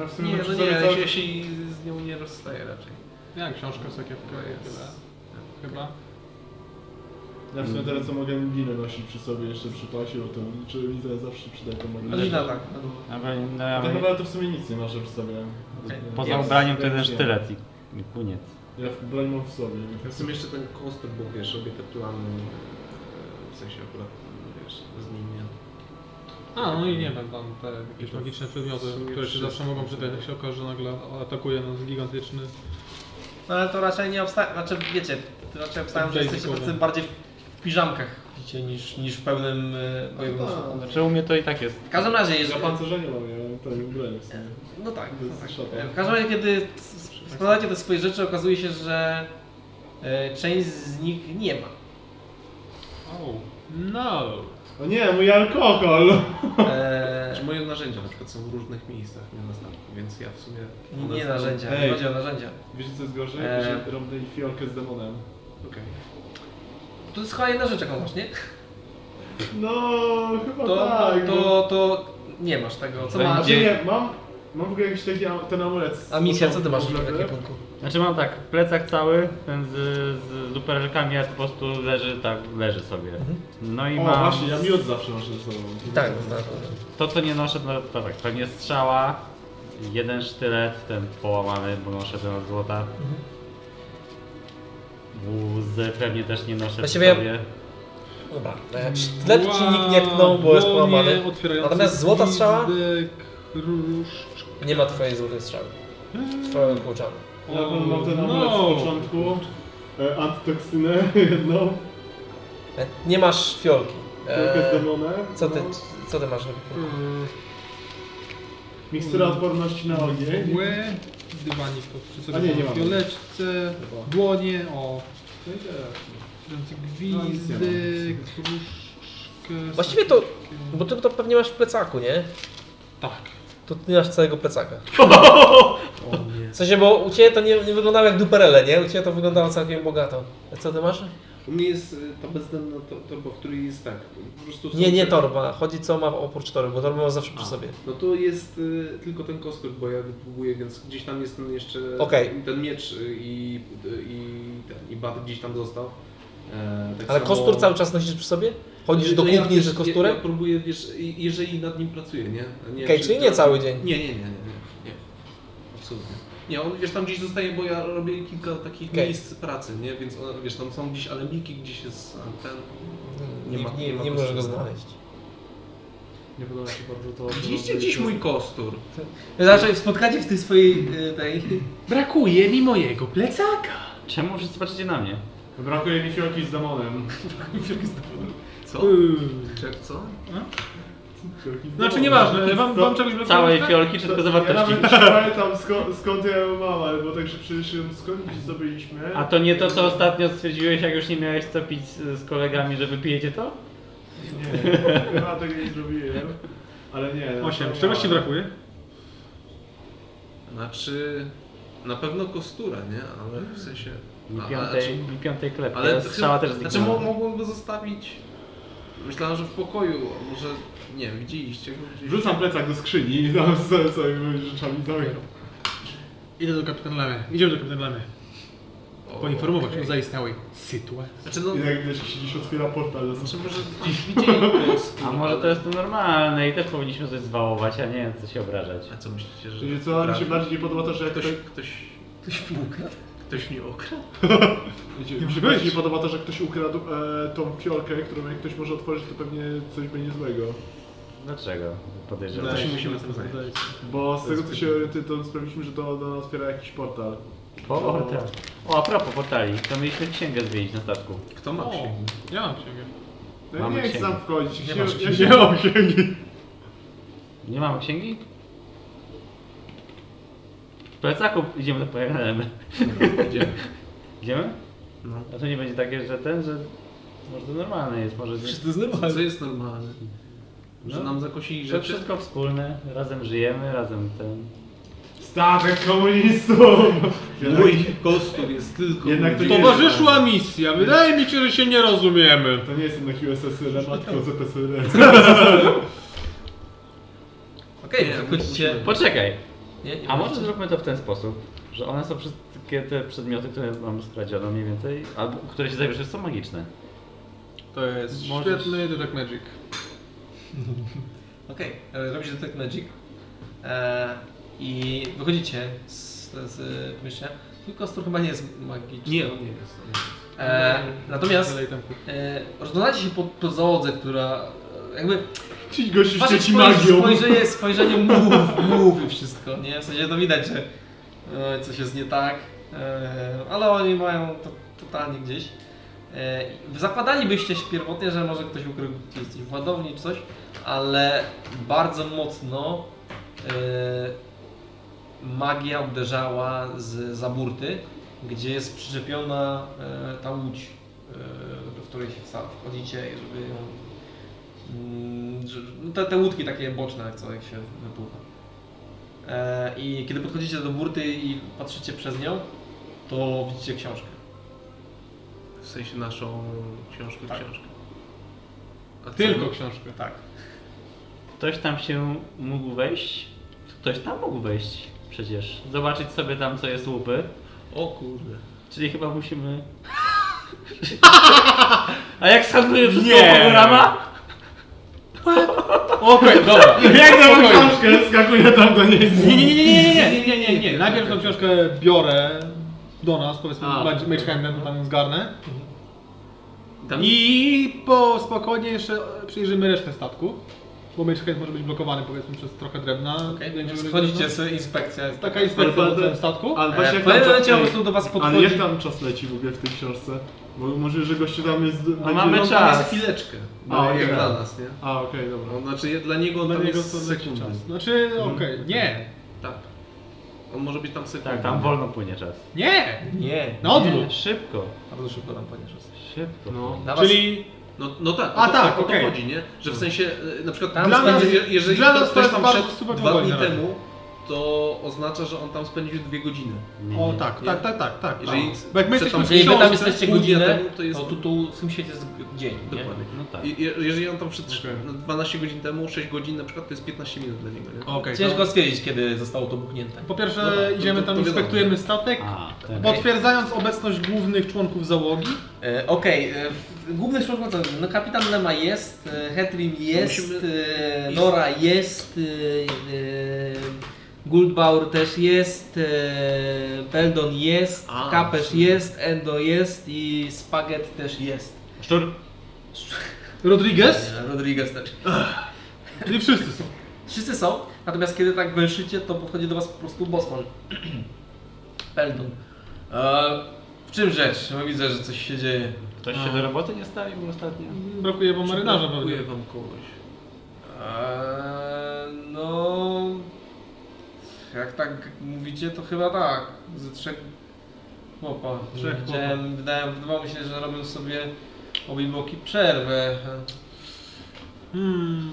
Speaker 2: Ja w sumie
Speaker 5: Nie,
Speaker 2: tak
Speaker 5: no
Speaker 2: przy
Speaker 5: nie,
Speaker 2: sobie
Speaker 5: ja
Speaker 2: cały-
Speaker 5: się, ja się z nią nie rozstaję raczej.
Speaker 4: Jak książka sakiewka
Speaker 5: To jest...
Speaker 4: chyba.
Speaker 2: Ja w sumie teraz co mogę linę nosić przy sobie jeszcze przy pasie, bo to czy widzę zawsze przydaje to mogę.
Speaker 1: Rodzina tak.
Speaker 3: No, bo- no,
Speaker 2: A
Speaker 3: ja
Speaker 2: tak naprawdę to w sumie nic nie masz przy sobie.
Speaker 1: Okej.
Speaker 3: Poza ubraniem to jeden sztylet i, i koniec.
Speaker 2: Ja w broń mam w sobie.
Speaker 5: Ja w sumie jeszcze ten kostur, bo wiesz, robię te plany, e, w sensie akurat, wiesz, z nim ja.
Speaker 4: A, no i nie wiem, tam te jakieś magiczne przedmioty,
Speaker 5: W sumie
Speaker 4: które się
Speaker 5: wszystko.
Speaker 4: zawsze mogą przydać, jak się okaże, że nagle atakuje nas gigantyczny...
Speaker 1: No ale to raczej nie obstawiam, znaczy wiecie, to raczej obstawiam, że
Speaker 4: Jason
Speaker 1: jesteście
Speaker 4: Bourne.
Speaker 1: tacy bardziej w- w piżamkach chodzicie niż, niż w pełnym e, bojowym sztuku.
Speaker 3: Znaczy u mnie to i tak jest.
Speaker 1: W każdym razie,
Speaker 2: Ja
Speaker 1: jeżeli,
Speaker 2: pancerzenie mam, ja mam ten broń w sumie.
Speaker 1: No tak,
Speaker 2: To
Speaker 1: no
Speaker 2: jest
Speaker 1: tak.
Speaker 2: szata.
Speaker 1: E, W każdym razie, kiedy s- s- składacie te swoje rzeczy, okazuje się, że e, część z nich nie ma.
Speaker 4: No!
Speaker 2: O nie, mój alkohol!
Speaker 1: E,
Speaker 5: Znaczy moje narzędzia na przykład są w różnych miejscach, nie na statku, więc ja w sumie... one
Speaker 1: nie
Speaker 5: są-
Speaker 1: narzędzia,
Speaker 2: Ej.
Speaker 1: nie chodzi o narzędzia. E.
Speaker 2: Wiecie co jest gorzej?
Speaker 1: Eee.
Speaker 2: Że robię fiolkę z demonem.
Speaker 5: Okej.
Speaker 1: to jest chyba jedna rzecz, jaką masz, nie?
Speaker 2: No, chyba
Speaker 1: To,
Speaker 2: tak. no.
Speaker 1: to, to nie masz tego, co masz.
Speaker 2: Znaczy nie, mam, mam w ogóle jakiś taki am- ten amulet. z-
Speaker 1: A misja, co ty masz w
Speaker 2: kompletny.
Speaker 1: takim punku?
Speaker 3: Znaczy mam tak, plecak cały, ten z, z luperelkami, a po prostu leży tak, leży sobie. No i
Speaker 2: O,
Speaker 3: mam
Speaker 2: właśnie, ja miód zawsze noszę ze sobą.
Speaker 1: Tak, tak.
Speaker 3: to co nie noszę, no to tak, pewnie strzała, jeden sztylet, ten połamany, bo noszę ten od złota. Wóz pewnie też nie noszę przy
Speaker 1: Właściwie-
Speaker 3: sobie.
Speaker 1: Dobra, e, sztylet ci nikt nie pnął, bo jest połamany. Natomiast złota strzała? Nie ma twojej złotej strzały. Twoją kłuczamy.
Speaker 2: Ja mam mam ten amulet
Speaker 4: No.
Speaker 2: z początku. E, antytoksynę jedną,
Speaker 1: Nie masz fiolki.
Speaker 2: e, z
Speaker 1: E,
Speaker 2: demonem.
Speaker 1: co, ty,
Speaker 2: no.
Speaker 1: co ty masz?
Speaker 2: Mikstura odporności na ogień.
Speaker 4: Mgły, dywanik to przy
Speaker 2: A
Speaker 4: sobie
Speaker 2: nie, nie
Speaker 4: mam
Speaker 2: mam.
Speaker 4: fioleczce, dłonie, o, kręcę
Speaker 2: No, nic nie mam.
Speaker 4: gwizdy, kruszkę...
Speaker 1: Właściwie to, bo ty to pewnie masz w plecaku, nie?
Speaker 4: Tak.
Speaker 1: To ty nie masz całego plecaka. W sensie, bo u Ciebie to nie, nie wyglądało jak duperele, nie? U Ciebie to wyglądało całkiem bogato. A co Ty masz?
Speaker 5: U mnie jest y, ta bezdenna to, torba, w której jest tak. Po prostu są
Speaker 1: Nie, nie
Speaker 5: te-
Speaker 1: torba. Chodzi co ma oprócz torby, bo torbę mam zawsze przy sobie.
Speaker 5: No to jest y, tylko ten kostur, bo ja wypróbuję, więc gdzieś tam jest ten jeszcze
Speaker 1: Okej.
Speaker 5: ten miecz y, i, i, ten, i bat gdzieś tam został. E, tak
Speaker 1: Ale
Speaker 5: samo-
Speaker 1: kostur cały czas nosisz przy sobie? Chodzisz do
Speaker 5: No ja
Speaker 1: kuchni
Speaker 5: też-
Speaker 1: z
Speaker 5: Ja, ja
Speaker 1: kosturem?
Speaker 5: próbuję, wiesz, i- jeżeli nad nim pracuję, nie? nie
Speaker 1: Okej,
Speaker 5: czy-
Speaker 1: czyli nie cały dzień.
Speaker 5: Nie, nie, nie, nie, nie, nie. Absolutnie. Nie, on wiesz, tam gdzieś zostaje, bo ja robię kilka takich
Speaker 1: Okej.
Speaker 5: miejsc pracy, nie? Więc on, wiesz, tam są gdzieś alemniki, gdzieś jest ten...
Speaker 1: Nie,
Speaker 5: Nie ma-
Speaker 1: nie,
Speaker 5: nie ma
Speaker 1: nie możesz go
Speaker 5: kostura.
Speaker 1: znaleźć.
Speaker 2: Nie podoba mi się bardzo to.
Speaker 5: Widzieliście gdzieś mój kostur?
Speaker 1: Znaczy, spotkacie w tej swojej
Speaker 7: y,
Speaker 1: tej...
Speaker 7: Brakuje mi mojego plecaka.
Speaker 3: Czemu wszyscy patrzycie na mnie?
Speaker 2: Brakuje mi fiolki z demonem.
Speaker 5: Co? Czek, co?
Speaker 2: Fiolki z
Speaker 4: Yy, Znaczy
Speaker 2: demonem.
Speaker 4: nieważne, wam, wam
Speaker 2: To-
Speaker 4: czegoś brakuje?
Speaker 3: Całej fiolki czy tylko
Speaker 2: No, Ja
Speaker 3: zawartości?
Speaker 2: nawet nie pamiętam skąd, skąd ja ją mam, ale bo tak, że przyszedłem skąd gdzieś zdobyliśmy.
Speaker 3: A to nie to, co ostatnio stwierdziłeś, jak już nie miałeś co pić z z kolegami, że wypijecie to?
Speaker 2: Nie, chyba tego nie zrobiłem. Ale nie. no,
Speaker 4: Osiem.
Speaker 2: to
Speaker 4: Czegoś ci
Speaker 2: mała.
Speaker 4: brakuje?
Speaker 5: Znaczy, na pewno kostura, nie? Ale w sensie...
Speaker 3: I
Speaker 5: a- a-
Speaker 3: piątej, i piątej klepki,
Speaker 5: No, Ale
Speaker 3: ale
Speaker 5: to
Speaker 3: strzała
Speaker 5: chyba-
Speaker 3: też
Speaker 5: Znaczy
Speaker 3: zniknęła.
Speaker 5: mo- mogłem go zostawić. Myślałem, że w pokoju, a może nie wiem, widzieliście go gdzieś.
Speaker 2: Wrzucam plecak do skrzyni i tam z moimi rzeczami zamykam.
Speaker 4: Idę do kapitan Lamy. Idziemy do kapitan Lamy.
Speaker 5: O,
Speaker 4: Poinformować
Speaker 5: okej.
Speaker 4: o zaistniałej sytuacji.
Speaker 5: Znaczy no,
Speaker 2: I tak wiesz, gdzieś otwiera portal.
Speaker 5: znaczy może gdzieś widzieli kostur,
Speaker 3: A może to
Speaker 5: ale-
Speaker 3: jest to normalne i też powinniśmy coś zwałować, a nie co się obrażać.
Speaker 5: A co myślicie, że...
Speaker 2: Czyli co mi się
Speaker 5: Prawie.
Speaker 2: bardziej nie podoba to, że jak
Speaker 5: Ktoś,
Speaker 2: ktoś...
Speaker 5: ktoś... Ktoś mi ukradł? Ktoś mi okradł?
Speaker 2: Mi się bardziej nie podoba to, że ktoś ukradł e, tą fiolkę, którą jak ktoś może otworzyć, to pewnie coś będzie złego.
Speaker 3: Dlaczego? Podejrzewam.
Speaker 5: To się musimy tym zająć.
Speaker 2: Bo z tego co się orientuję, to sprawdziliśmy, że to no, otwiera jakiś portal.
Speaker 3: Portal. O, a propos portali, to mieliśmy księgę zmienić na statku.
Speaker 5: Kto ma księgę?
Speaker 4: Ja mam księgę.
Speaker 2: No ja
Speaker 3: Mamy
Speaker 2: nie chcę
Speaker 3: księgę.
Speaker 2: tam wchodzić.
Speaker 1: Nie
Speaker 2: Ja
Speaker 1: masz
Speaker 2: się- Ja się nie mam księgi.
Speaker 3: Nie mamy księgi? W plecaku idziemy do pojechania.
Speaker 5: No, Idziemy.
Speaker 3: Idziemy?
Speaker 5: No.
Speaker 3: A to nie będzie takie, że ten, że... Może to normalne jest, może...
Speaker 5: Co, co jest normalne? Że
Speaker 3: No.
Speaker 5: nam zakosili
Speaker 3: Że
Speaker 5: rzeczy?
Speaker 3: wszystko wspólne, razem żyjemy, razem ten...
Speaker 2: Statek komunistów!
Speaker 5: Mój kostur jest tylko...
Speaker 2: Jednak to nie jest-
Speaker 4: Towarzyszyła misja. Wydaje mi się, że się nie rozumiemy.
Speaker 2: To nie jestem na QSSL, matko ZSL.
Speaker 1: Okej,
Speaker 5: Nie,
Speaker 1: wychodzicie...
Speaker 5: musimy-
Speaker 3: Poczekaj!
Speaker 1: Nie, nie
Speaker 3: A może
Speaker 1: możecie.
Speaker 3: zróbmy to w ten sposób, że one są wszystkie te przedmioty, które mam skradziono mniej więcej, albo które się zabierze są magiczne.
Speaker 4: To jest
Speaker 3: Możesz-
Speaker 4: świetny Detect Magic.
Speaker 1: Okej, okay. robicie detect tak magic e, i wychodzicie z, z e, pomieszczenia. Twój kostur chyba nie jest magiczny.
Speaker 5: Nie, on nie jest. on nie jest.
Speaker 1: E, natomiast
Speaker 4: Dalej tam-
Speaker 1: e, rozglądacie się po, po załodze, która e, jakby
Speaker 2: Ci gości
Speaker 1: wasze
Speaker 2: świeci
Speaker 1: spojrz-
Speaker 2: magią.
Speaker 1: spojrzenie, spojrzenie mów, mówi wszystko, nie? W sensie to widać, że e, coś jest nie tak, e, ale oni mają to totalnie gdzieś. E, zakładalibyście się pierwotnie, że może ktoś ukrył gdzieś coś w ładowni czy coś, ale bardzo mocno e, magia uderzała z zaburty, gdzie jest przyczepiona e, ta łódź, e, do której się wsa- wchodzicie, żeby ją Mm, że- no te, te łódki takie boczne, co jak się wypływa. E, I kiedy podchodzicie do burty i patrzycie przez nią, to widzicie książkę.
Speaker 8: W sensie naszą książkę,
Speaker 4: Tak.
Speaker 8: książkę. A co-
Speaker 2: Tylko książkę.
Speaker 8: Tak.
Speaker 3: Ktoś tam się mógł wejść? Ktoś tam mógł wejść przecież. Zobaczyć sobie tam, co jest łupy.
Speaker 8: O kurde.
Speaker 3: Czyli chyba musimy... A jak schanuję przez
Speaker 2: Nie.
Speaker 3: koło programa?
Speaker 2: Okej, dobra. Jak na Spokojnie. książkę skakuje tam do niej.
Speaker 4: Nie, nie, nie, nie, nie, nie, nie, nie, nie, nie. Najpierw tą książkę biorę do nas, powiedzmy,
Speaker 8: A.
Speaker 4: bardziej mage handem, tam ją zgarnę.
Speaker 8: Tam...
Speaker 4: I po spokojnie jeszcze przyjrzymy resztę statku. Bo mage hand może być blokowany, powiedzmy, przez trochę drewna. większego
Speaker 7: Schodzicie
Speaker 4: drewna.
Speaker 7: z inspekcja. Jest
Speaker 4: Taka inspekcja E, na całym statku.
Speaker 2: Ale
Speaker 7: E,
Speaker 2: właśnie jak
Speaker 7: w pewnym
Speaker 2: tam
Speaker 7: momencie
Speaker 2: czas-
Speaker 7: po prostu do was
Speaker 2: Ale
Speaker 7: podchodzi.
Speaker 2: jak tam czas leci w ogóle w tej książce? Bo może, że gościu tam jest... będzie-
Speaker 3: mamy
Speaker 2: on tam
Speaker 3: czas.
Speaker 2: jest-
Speaker 8: Chwileczkę.
Speaker 2: A,
Speaker 8: No, jak
Speaker 2: okej.
Speaker 8: dla nas, nie?
Speaker 2: A, okej, dobra.
Speaker 8: No, znaczy je- dla niego on
Speaker 2: Dla
Speaker 8: tam
Speaker 2: niego to
Speaker 8: jest
Speaker 2: leci
Speaker 8: sekundy.
Speaker 2: czas.
Speaker 4: Znaczy,
Speaker 8: Hmm.
Speaker 4: okej, nie,
Speaker 8: Tak. On może być tam sekundy.
Speaker 3: Tak, tam wolno płynie czas.
Speaker 4: nie,
Speaker 7: Nie.
Speaker 4: na odwrót.
Speaker 3: Nie, Szybko,
Speaker 7: Bardzo szybko tam poniesiesz.
Speaker 3: szybko.
Speaker 2: No.
Speaker 7: Na was
Speaker 4: Czyli
Speaker 8: No, no tak,
Speaker 4: A
Speaker 8: o to,
Speaker 4: tak,
Speaker 8: o to
Speaker 4: okej.
Speaker 8: chodzi, nie? Że w sensie, e, na przykład
Speaker 7: Tam
Speaker 8: dla nas,
Speaker 4: spędzi-
Speaker 8: jeżeli
Speaker 4: dla
Speaker 8: to-
Speaker 4: nas to
Speaker 8: ktoś
Speaker 4: jest
Speaker 8: tam
Speaker 4: bardzo
Speaker 8: szedł
Speaker 4: super
Speaker 8: dwa dni
Speaker 4: wygodne na
Speaker 8: temu, to oznacza, że on tam spędził dwie godziny.
Speaker 4: O tak, tak, tak, tak, tak.
Speaker 8: Jeżeli
Speaker 4: Bo jak my
Speaker 8: przed
Speaker 4: jesteśmy w
Speaker 7: Jeżeli wy tam
Speaker 4: książce,
Speaker 7: jesteście
Speaker 8: pół dnia
Speaker 7: godzinę,
Speaker 8: temu to jest-
Speaker 7: to tu, tu w tym świecie jest dzień. nie?
Speaker 8: Dokładnie.
Speaker 3: No tak.
Speaker 8: I, je- jeżeli on tam wszedł
Speaker 2: Okej.
Speaker 8: no, 12 godzin temu, 6 godzin na przykład, to jest 15 minut dla niego, nie?
Speaker 4: Okej, to-
Speaker 7: Ciężko stwierdzić, kiedy zostało to buchnięte.
Speaker 4: po pierwsze
Speaker 8: Dobra, to-
Speaker 4: idziemy
Speaker 8: to-
Speaker 4: tam,
Speaker 8: to wiadomo.
Speaker 4: inspektujemy statek,
Speaker 3: A, tak.
Speaker 4: potwierdzając obecność głównych członków załogi.
Speaker 7: E, Okej, e, w- główny szlak to no, kapitan Lema jest, e, Hetrim
Speaker 1: No
Speaker 7: jest,
Speaker 8: Musimy-
Speaker 7: e, Nora jest, e, e, Guldbaur też jest, e, Beldon jest,
Speaker 8: A,
Speaker 7: Kapesz jest, Endo jest i Spaghet też jest.
Speaker 3: Szczur?
Speaker 4: Rodriguez?
Speaker 7: E, Rodriguez też.
Speaker 4: Czyli wszyscy są.
Speaker 7: Wszyscy są, natomiast kiedy tak węszycie, to podchodzi do was po prostu Bosman. Beldon.
Speaker 1: E, w czym rzecz? No widzę, że coś się dzieje.
Speaker 3: Ktoś się do roboty nie stawił ostatnio?
Speaker 4: Brakuje wam marynarza pewnie.
Speaker 8: Dziękuję wam kogoś.
Speaker 1: E, no... Jak tak mówicie, to chyba tak. Ze trzech chłopa.
Speaker 4: Trzech chłopa.
Speaker 1: Widziałem, wydaje, wydawało mi się, że robią sobie obiboki przerwę.
Speaker 4: Hmm,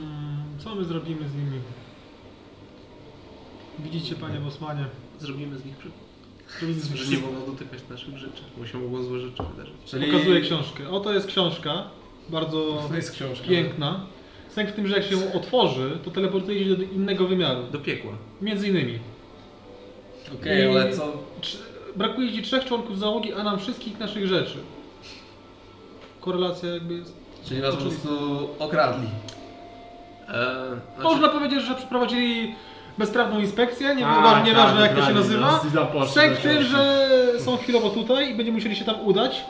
Speaker 4: co my zrobimy z nimi? Widzicie, panie Bosmanie,
Speaker 8: Zrobimy z nich przy...
Speaker 4: zrobimy z nich
Speaker 8: że nie wolno dotykać naszych rzeczy, bo się mogą złe rzeczy wydarzyć.
Speaker 1: Czyli...
Speaker 4: Pokazuję książkę. Oto jest książka. Bardzo
Speaker 1: To jest książka.
Speaker 4: piękna. Sęk w tym, że jak się ją otworzy, to teleportuje się do innego wymiaru.
Speaker 8: Do piekła.
Speaker 4: Między innymi.
Speaker 1: Okej, ale co?
Speaker 4: Trz- Brakuje ci trzech członków załogi, a nam wszystkich naszych rzeczy. Korelacja jakby jest.
Speaker 1: Czyli was po prostu okradli.
Speaker 8: E, znaczy,
Speaker 4: Można powiedzieć, że przeprowadzili bezprawną inspekcję, nie tak, nieważne jak to się
Speaker 2: no,
Speaker 4: nazywa. Sęk w tym, że są chwilowo tutaj i będziemy musieli się tam udać.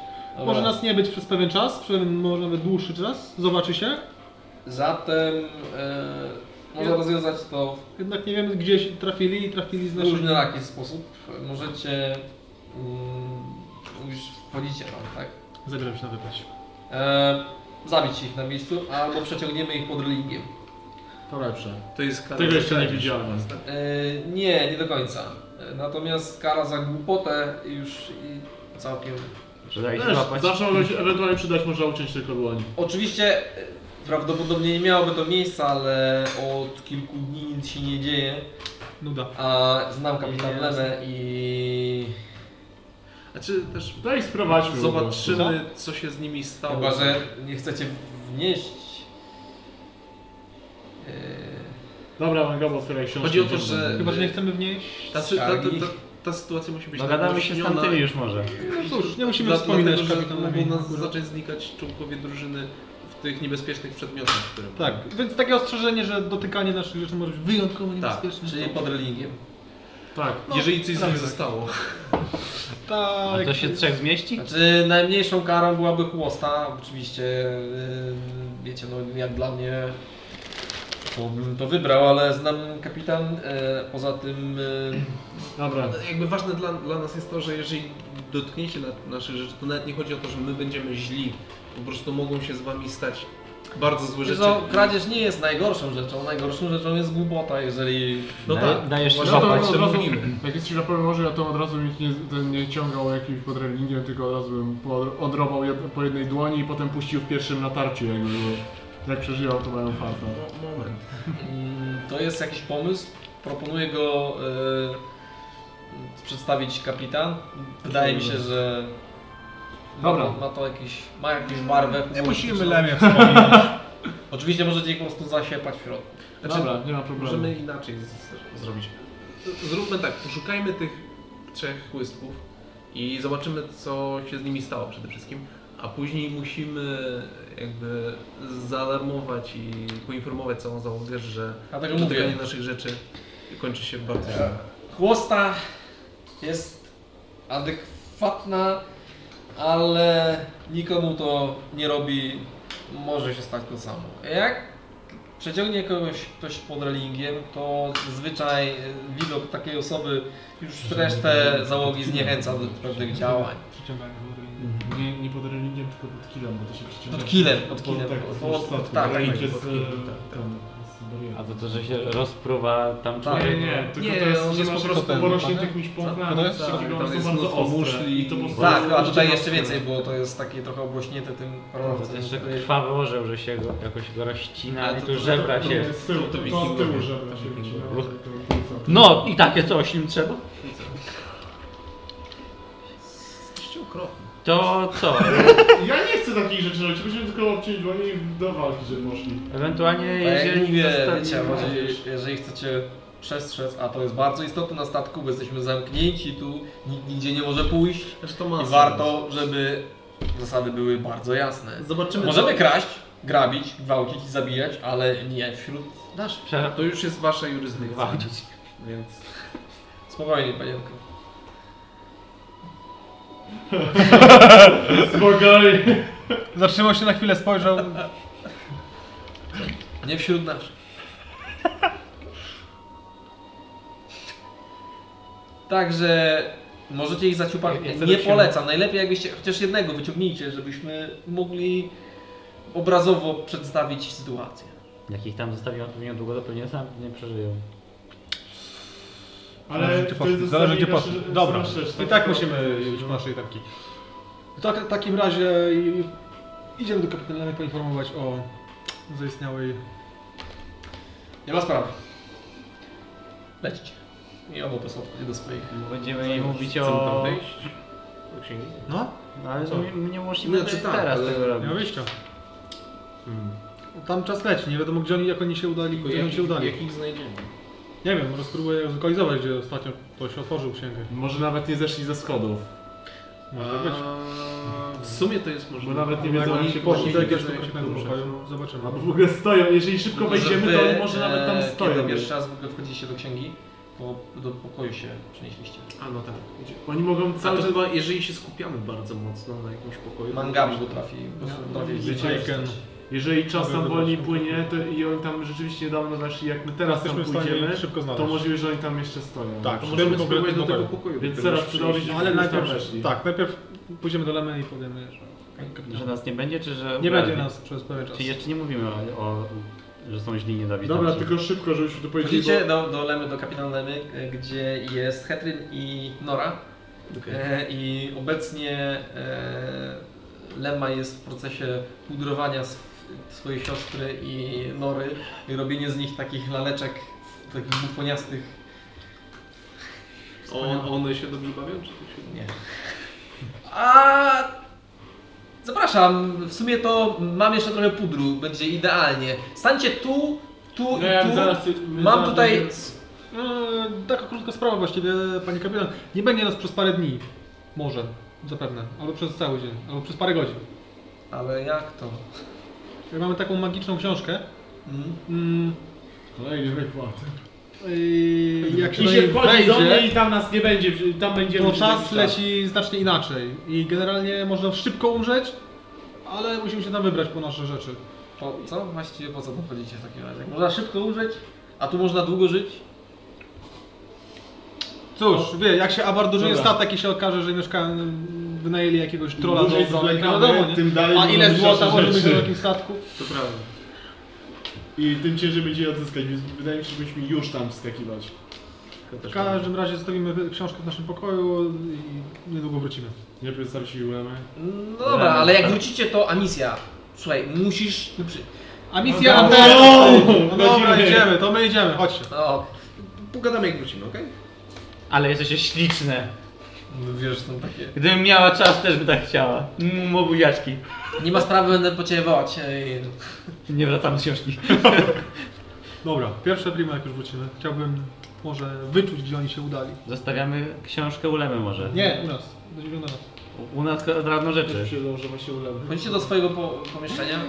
Speaker 4: Może nas nie być przez pewien czas, przez pewien, może nawet dłuższy czas. Zobaczy się.
Speaker 1: Zatem e, można
Speaker 4: Ja-
Speaker 1: rozwiązać to
Speaker 4: Jednak nie wiemy, gdzie się trafili i trafili z
Speaker 1: w
Speaker 4: naszych...
Speaker 1: różnoraki sposób. Możecie... Mm, już wchodzicie tam, tak?
Speaker 4: Zabieram się na wypaść.
Speaker 1: E, zabić ich na miejscu, albo przeciągniemy ich pod religiem.
Speaker 2: To lepsze.
Speaker 8: to jest kara
Speaker 2: Tego
Speaker 8: za
Speaker 2: jeszcze nie
Speaker 8: kradzież.
Speaker 2: widziałem.
Speaker 1: E, nie, nie do końca. E, Natomiast kara za głupotę już i całkiem...
Speaker 3: Że daj się
Speaker 2: Też,
Speaker 3: złapać.
Speaker 2: zawsze mogę się ewentualnie przydać, można uczyć tylko dłoni.
Speaker 1: Oczywiście e, prawdopodobnie nie miałoby to miejsca, ale od kilku dni nic się nie dzieje.
Speaker 4: Nuda.
Speaker 1: A znam kapitan Lemę i...
Speaker 8: Znaczy też
Speaker 2: No i sprowadźmy po prostu.
Speaker 8: zobaczymy, co się z nimi stało.
Speaker 1: Chyba, że nie chcecie wnieść... E,
Speaker 2: Dobra, Mangabo, otwieraj książkę.
Speaker 8: Chodzi o to,
Speaker 2: idziemy.
Speaker 8: że-
Speaker 4: Chyba, że nie chcemy wnieść.
Speaker 8: Yy. Ta, sy- ta, ta, ta, ta sytuacja musi być
Speaker 3: Dogadamy No się z
Speaker 8: nagłośniona.
Speaker 3: tamtymi już może.
Speaker 4: No cóż, nie musimy
Speaker 8: Dla-
Speaker 4: wspominać
Speaker 8: dlatego, że
Speaker 4: kapitanowi.
Speaker 8: mogą nas zacząć znikać członkowie drużyny w tych niebezpiecznych przedmiotach, które
Speaker 4: Tak, więc takie ostrzeżenie, że dotykanie naszych rzeczy może być wyjątkowo niebezpieczne.
Speaker 1: czyli pod religiem.
Speaker 2: Tak.
Speaker 8: Tak. Jeżeli coś z nich
Speaker 4: prawie tak.
Speaker 8: zostało.
Speaker 3: A
Speaker 4: Tak.
Speaker 3: to się trzech zmieści?
Speaker 1: Znaczy najmniejszą karą byłaby chłosta, oczywiście yy, wiecie, no jak dla mnie to bym to wybrał, ale znam kapitan, yy, poza tym yy,
Speaker 2: Dobra.
Speaker 8: Jakby ważne dla, dla nas jest to, że jeżeli dotkniecie na, naszych rzeczy, to nawet nie chodzi o to, że my będziemy źli. Po prostu mogą się z wami stać bardzo złe
Speaker 1: wiesz
Speaker 8: rzeczy.
Speaker 1: co, kradzież nie jest najgorszą rzeczą, najgorszą rzeczą jest głupota, jeżeli
Speaker 8: No
Speaker 3: Daj-
Speaker 8: tak.
Speaker 3: Dajesz się
Speaker 8: Może
Speaker 2: Ja to
Speaker 3: złapać.
Speaker 8: patrz,
Speaker 2: od razu,
Speaker 8: mówimy.
Speaker 2: jak jesteś na pewno może, ja to od razu bym nie, ten nie ciągał jakimś pod relingiem, tylko od razu bym po- odrobał jed, po jednej dłoni i potem puścił w pierwszym natarciu, jakby było. Jak przeżywał, to mają farta.
Speaker 8: Moment.
Speaker 1: Mm, To jest jakiś pomysł. Proponuję go e, y, przedstawić kapitan. Wydaje mi się, że
Speaker 2: Dobra.
Speaker 1: Ma, ma to jakieś, ma jakąś barwę.
Speaker 4: Nie musimy
Speaker 1: kolorystyczną.
Speaker 4: lemie wspominać.
Speaker 1: Oczywiście możecie ich po prostu zasiepać w środku.
Speaker 2: Dobra, nie ma problemu.
Speaker 5: Możemy inaczej z- zrobić. Z- Zróbmy tak, poszukajmy tych trzech chłystków i zobaczymy, co się z nimi stało przede wszystkim. A później musimy jakby zaalarmować i poinformować całą załogę, że
Speaker 1: Dlatego mówię,
Speaker 5: dotykanie naszych rzeczy kończy się bardzo źle.
Speaker 1: chłosta jest adekwatna, ale nikomu to nie robi, może się stać to samo. Jak przeciągnie kogoś ktoś pod relingiem, to zwyczaj y, widok takiej osoby już resztę załogi zniechęca do pewnych działań.
Speaker 4: Przyciągają do linii.
Speaker 2: Nie, nie pod religiem, tylko pod kilem, bo to się przeciąga.
Speaker 1: Pod kilem, pod
Speaker 2: Pod-
Speaker 1: kilem.
Speaker 2: Tak,
Speaker 1: Pod-
Speaker 2: pod
Speaker 1: pod-
Speaker 2: statku.
Speaker 1: tak,
Speaker 2: Reling
Speaker 1: tak,
Speaker 2: jest,
Speaker 1: pod
Speaker 2: e,
Speaker 1: kilem, tak,
Speaker 2: tam, jest barierą.
Speaker 3: A to to, że się rozpruwa tam
Speaker 1: Tak.
Speaker 2: Nie,
Speaker 3: człowiek.
Speaker 2: nie, tylko
Speaker 5: Nie,
Speaker 2: to jest,
Speaker 5: on
Speaker 2: że
Speaker 5: jest
Speaker 2: masz
Speaker 5: po
Speaker 2: po
Speaker 5: prostu
Speaker 2: prostu porośniętych niż
Speaker 5: Tak,
Speaker 2: pąknami,
Speaker 5: to jest-
Speaker 2: tak,
Speaker 5: tak,
Speaker 2: tak,
Speaker 5: tam
Speaker 2: są
Speaker 5: jest
Speaker 2: bardzo
Speaker 5: mnóstwo
Speaker 2: ostre
Speaker 5: muszli.
Speaker 2: i to po prostu...
Speaker 1: Tak,
Speaker 2: jest
Speaker 1: no, a tutaj
Speaker 2: bardzo
Speaker 1: jeszcze
Speaker 2: ostre.
Speaker 1: więcej było, to jest takie trochę obłośnięte tym
Speaker 3: To jest
Speaker 1: kolorem.
Speaker 3: jeszcze krwawy orzeł, że się go, jakoś go rozcina i tu żebra
Speaker 2: To
Speaker 3: się.
Speaker 2: jest z tyłu, to z tyłu żebra się wycina.
Speaker 3: No i takie coś im trzeba.
Speaker 5: Jesteście okropni.
Speaker 3: To co?
Speaker 2: Ja nie chcę takich rzeczy robić, musimy tylko obciąć dłonie i do walki, żeby poszli.
Speaker 3: Ewentualnie
Speaker 1: Tak jak
Speaker 3: jeżeli
Speaker 1: mówię,
Speaker 3: zostawi-
Speaker 1: wiecie, jeżeli, jeżeli chcecie przestrzec, a to jest bardzo istotne na statku, bo jesteśmy zamknięci tu, nikt nigdzie nie może pójść
Speaker 5: Zresztą ma
Speaker 1: i warto, żeby zasady były bardzo jasne.
Speaker 5: sens. Zobaczymy,
Speaker 1: Możemy kraść, grabić, gwałcić i zabijać, ale nie wśród naszych.
Speaker 5: co... To już jest wasza jurysdykcja, więc...
Speaker 1: Spokojnie, panienko.
Speaker 2: Spokojnie.
Speaker 4: Zatrzymał się na chwilę, spojrzał.
Speaker 1: Nie wśród naszych. Także możecie ich zaciupać.
Speaker 3: Ja- ja chcę
Speaker 1: nie
Speaker 3: tak się-
Speaker 1: polecam. Najlepiej jakbyście chociaż jednego wyciągnijcie, żebyśmy mogli obrazowo przedstawić sytuację.
Speaker 3: Jak ich tam zostawią pewnie długo, to pewnie sam nie przeżyją.
Speaker 2: Ale
Speaker 4: Zależy, gdzie
Speaker 2: to
Speaker 4: poszli.
Speaker 2: jest
Speaker 4: Zależy, gdzie
Speaker 2: nasz-
Speaker 4: poszli.
Speaker 2: nasz-
Speaker 4: Dobra.
Speaker 2: nasz rzecz,
Speaker 4: I tak musimy już w naszej tarki. W tak, takim razie idziemy do kapitana poinformować o zaistniałej...
Speaker 1: Nie ma sprawy. Lećcie. I obu posłodku do swoich.
Speaker 3: Będziemy jej mówić
Speaker 5: Chcemy tam
Speaker 3: o...
Speaker 5: wejść? Do księgi?
Speaker 4: No,
Speaker 3: No, ale
Speaker 5: Co?
Speaker 3: nie, nie musimy
Speaker 5: Znaczy
Speaker 3: te-
Speaker 5: tak,
Speaker 3: teraz
Speaker 5: ale-
Speaker 3: tego
Speaker 4: nie
Speaker 3: robić.
Speaker 4: ma wyjścia. Tam czas leci, nie wiadomo gdzie oni, jak oni się udali,
Speaker 5: Tylko
Speaker 4: gdzie oni
Speaker 5: jak,
Speaker 4: się udali.
Speaker 5: jak ich znajdziemy?
Speaker 4: Nie wiem, może spróbuję zlokalizować, gdzie ostatnio ktoś otworzył księgę.
Speaker 2: Może nawet nie zeszli ze schodów,
Speaker 4: Może tak być.
Speaker 5: W sumie to jest
Speaker 2: bo
Speaker 5: możliwe.
Speaker 2: nawet nie
Speaker 4: Jak
Speaker 2: wiedzą
Speaker 4: oni
Speaker 2: jak się
Speaker 4: poszli
Speaker 2: poszli.
Speaker 4: do jakiegoś
Speaker 5: wiedzą, jak się
Speaker 4: konkretnego
Speaker 5: poruszać.
Speaker 4: pokoju, no zobaczymy.
Speaker 2: Albo w ogóle stoją, jeżeli szybko wejdziemy, to oni może nawet tam
Speaker 1: e,
Speaker 2: stoją.
Speaker 1: Kiedy pierwszy raz w ogóle wchodziliście do księgi, to do pokoju się przenieśliście.
Speaker 5: A no tak. Idzie.
Speaker 2: Oni mogą
Speaker 5: A
Speaker 2: cały
Speaker 5: to
Speaker 2: czas...
Speaker 5: chyba, jeżeli się skupiamy bardzo mocno na jakimś pokoju...
Speaker 1: Mangami go trafi. Po
Speaker 5: No,
Speaker 1: prostu trafi.
Speaker 2: Wiecie,
Speaker 4: Aiken.
Speaker 2: Jeżeli czas tam wolniej płynie to i oni tam rzeczywiście niedawno weszli, jak my teraz tam
Speaker 4: Jesteśmy w stanie
Speaker 2: pójdziemy,
Speaker 4: szybko znaleźć.
Speaker 2: to możliwe, że oni tam jeszcze stoją.
Speaker 4: Tak,
Speaker 5: To
Speaker 4: w
Speaker 5: możemy
Speaker 4: tym
Speaker 5: spróbować do
Speaker 4: konkretnym pokoju.
Speaker 5: tego pokoju.
Speaker 2: Więc
Speaker 5: do
Speaker 2: zaraz
Speaker 5: którego
Speaker 2: przydałoby się,
Speaker 5: przyjść.
Speaker 4: No, Ale
Speaker 2: już tam
Speaker 4: najpierw,
Speaker 2: weszli.
Speaker 4: tak, najpierw pójdziemy do Lemy i powiemy, że...
Speaker 3: Że nas nie będzie, czy że...
Speaker 4: Nie będzie
Speaker 3: ubrali?
Speaker 4: nas przez pewien czas.
Speaker 3: Czy jeszcze nie mówimy o, o że są źli niedowidowi?
Speaker 2: Dobra, tylko szybko, żebyśmy to powiedzieli,
Speaker 1: Wchodzicie do, do Lemy, no, do kapitana Lemy, e, gdzie jest Hetryn i Nora. E, I obecnie e, Lema jest w procesie pudrowania sw- swojej siostry i Nory i robienie z nich takich laleczek, takich bufoniastych.
Speaker 5: On, one się dobrze bawią, czy to się...
Speaker 1: Nie. A zapraszam, w sumie to mam jeszcze trochę pudru, będzie idealnie. Stańcie tu, tu i
Speaker 2: No ja
Speaker 1: tu.
Speaker 2: zaraz-
Speaker 1: Mam
Speaker 2: zaraz
Speaker 1: tutaj
Speaker 2: będziemy-
Speaker 4: Eee, taka krótka sprawa właściwie, panie kapitan. Nie będzie nas przez parę dni. Może, zapewne. Albo przez cały dzień, albo przez parę godzin.
Speaker 1: Ale jak to?
Speaker 4: Jak mamy taką magiczną książkę.
Speaker 2: Mhm.
Speaker 1: Mm?
Speaker 4: Mm,
Speaker 2: Kolejny wykład.
Speaker 4: eee, jak się,
Speaker 2: I
Speaker 4: do
Speaker 2: się
Speaker 4: niej
Speaker 2: wchodzi do mnie
Speaker 4: wejdzie,
Speaker 2: i tam nas nie będzie, tam będziemy...
Speaker 4: to czas leci znacznie inaczej. I generalnie można szybko umrzeć, ale musimy się tam wybrać po nasze rzeczy.
Speaker 1: Po, co? Właściwie po co to chodzicie w takim razie? Można szybko umrzeć, a tu można długo żyć?
Speaker 4: Cóż, wie, jak się abardożyje
Speaker 2: Dobra.
Speaker 4: statek i się okaże, że mieszka, wynajęli jakiegoś trola
Speaker 2: Dłużej
Speaker 4: do obrony,
Speaker 2: zwlekamy,
Speaker 4: wiadomo, nie?
Speaker 2: tym dalej
Speaker 4: A
Speaker 2: będą
Speaker 4: ile
Speaker 2: myśleć
Speaker 4: złota
Speaker 2: o
Speaker 4: może być
Speaker 2: rzeczy.
Speaker 4: na takim statku?
Speaker 5: To prawda.
Speaker 2: I tym ciężej będzie je odzyskać, więc wydaje mi się, że powinniśmy już tam wskakiwać.
Speaker 5: To też
Speaker 4: W każdym razie zostawimy książkę w naszym pokoju i niedługo wrócimy.
Speaker 2: Nie przedstaw się Ulemy.
Speaker 1: No dobra, ale jak wrócicie to Amicia. Słuchaj, musisz... tu przy-
Speaker 4: A misja
Speaker 2: No
Speaker 4: no,
Speaker 2: dobra.
Speaker 4: no, dobra,
Speaker 2: Chodzimy.
Speaker 4: idziemy, to my idziemy, chodźcie.
Speaker 1: No,
Speaker 5: Pogadamy jak wrócimy, okej?
Speaker 3: Ale jesteście śliczne.
Speaker 1: No wiesz, że są takie.
Speaker 3: Gdybym miała czas, też by tak chciała. Mm, Mobuziaczki.
Speaker 1: Nie ma sprawy, będę e, po ciebie wołać. Ej,
Speaker 3: Nie wracam z książki.
Speaker 4: Dobra, pierwsze prima jak już wrócimy. Chciałbym może wyczuć, gdzie oni się udali.
Speaker 3: Zostawiamy książkę u Lemy może.
Speaker 4: Nie, u nas. Do 19 nas.
Speaker 3: U nas od rano rzeczy.
Speaker 8: Przyłożymy się ulewę.
Speaker 1: Chodzicie do swojego po, pomieszczenia.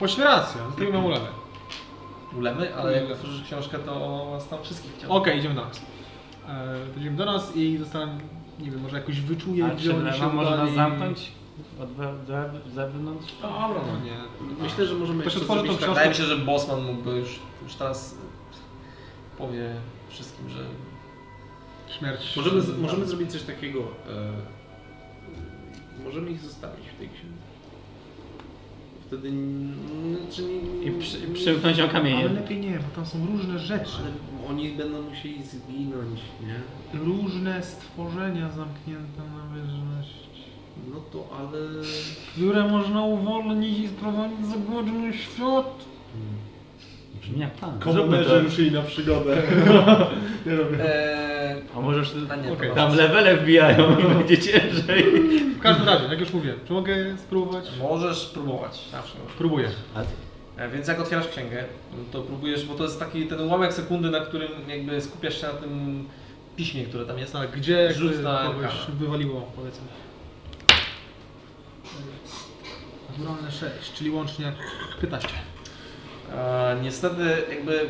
Speaker 4: Pośle racja, zrobimy mu lewę.
Speaker 1: Ulemy, ale jak otworzysz książkę, to was tam wszystkich
Speaker 4: Okej,
Speaker 1: chciał.
Speaker 4: idziemy do nas. E, Będziemy do nas i zostanę, nie wiem, może jakoś wyczuję,
Speaker 3: A czy
Speaker 4: gdzie oni
Speaker 3: Lema
Speaker 4: się udali.
Speaker 3: może nas zamknąć? Od we- ze- zewnątrz?
Speaker 4: Dobra, no nie.
Speaker 5: Myślę, że możemy
Speaker 4: Ktoś
Speaker 5: jeszcze
Speaker 4: otworzy tą
Speaker 5: zrobić
Speaker 4: książkę.
Speaker 1: Wydaje mi się, że Bosman mógłby już, już teraz powie wszystkim, że
Speaker 4: Śmierć.
Speaker 5: Możemy, z, możemy zrobić coś takiego. E, możemy ich zostawić w tej księdze. Wtedy. n- Znaczy, nie,
Speaker 3: I przy, przymknąć ją
Speaker 4: Ale
Speaker 3: kamieniem.
Speaker 4: lepiej nie, bo tam są różne rzeczy.
Speaker 5: Ale oni będą musieli zginąć, nie?
Speaker 4: Różne stworzenia zamknięte na wieżności.
Speaker 5: No to ale.
Speaker 4: Które można uwolnić i sprowadzić za godzinę świat.
Speaker 3: Brzmi jak plan. Zróbmy
Speaker 2: Komunerzy
Speaker 3: to.
Speaker 2: ruszyli na przygodę. Nie robię.
Speaker 1: Eee,
Speaker 3: A może już
Speaker 1: a nie,
Speaker 4: Okej.
Speaker 1: okay.
Speaker 3: tam levele wbijają i będzie ciężej.
Speaker 4: W każdym razie, jak już mówię, czy mogę spróbować?
Speaker 1: Możesz próbować, zawsze możesz.
Speaker 4: Próbuję.
Speaker 1: E, Więc jak otwierasz księgę, to próbujesz, bo to jest taki ten ułamek sekundy, na którym jakby skupiasz się na tym piśmie, które tam jest.
Speaker 4: Tak, gdzie jakby
Speaker 1: Rzuć na
Speaker 4: kogoś
Speaker 1: arkana.
Speaker 4: wywaliło, powiedzmy. Naturalne 6, czyli łącznie 15.
Speaker 1: E, niestety jakby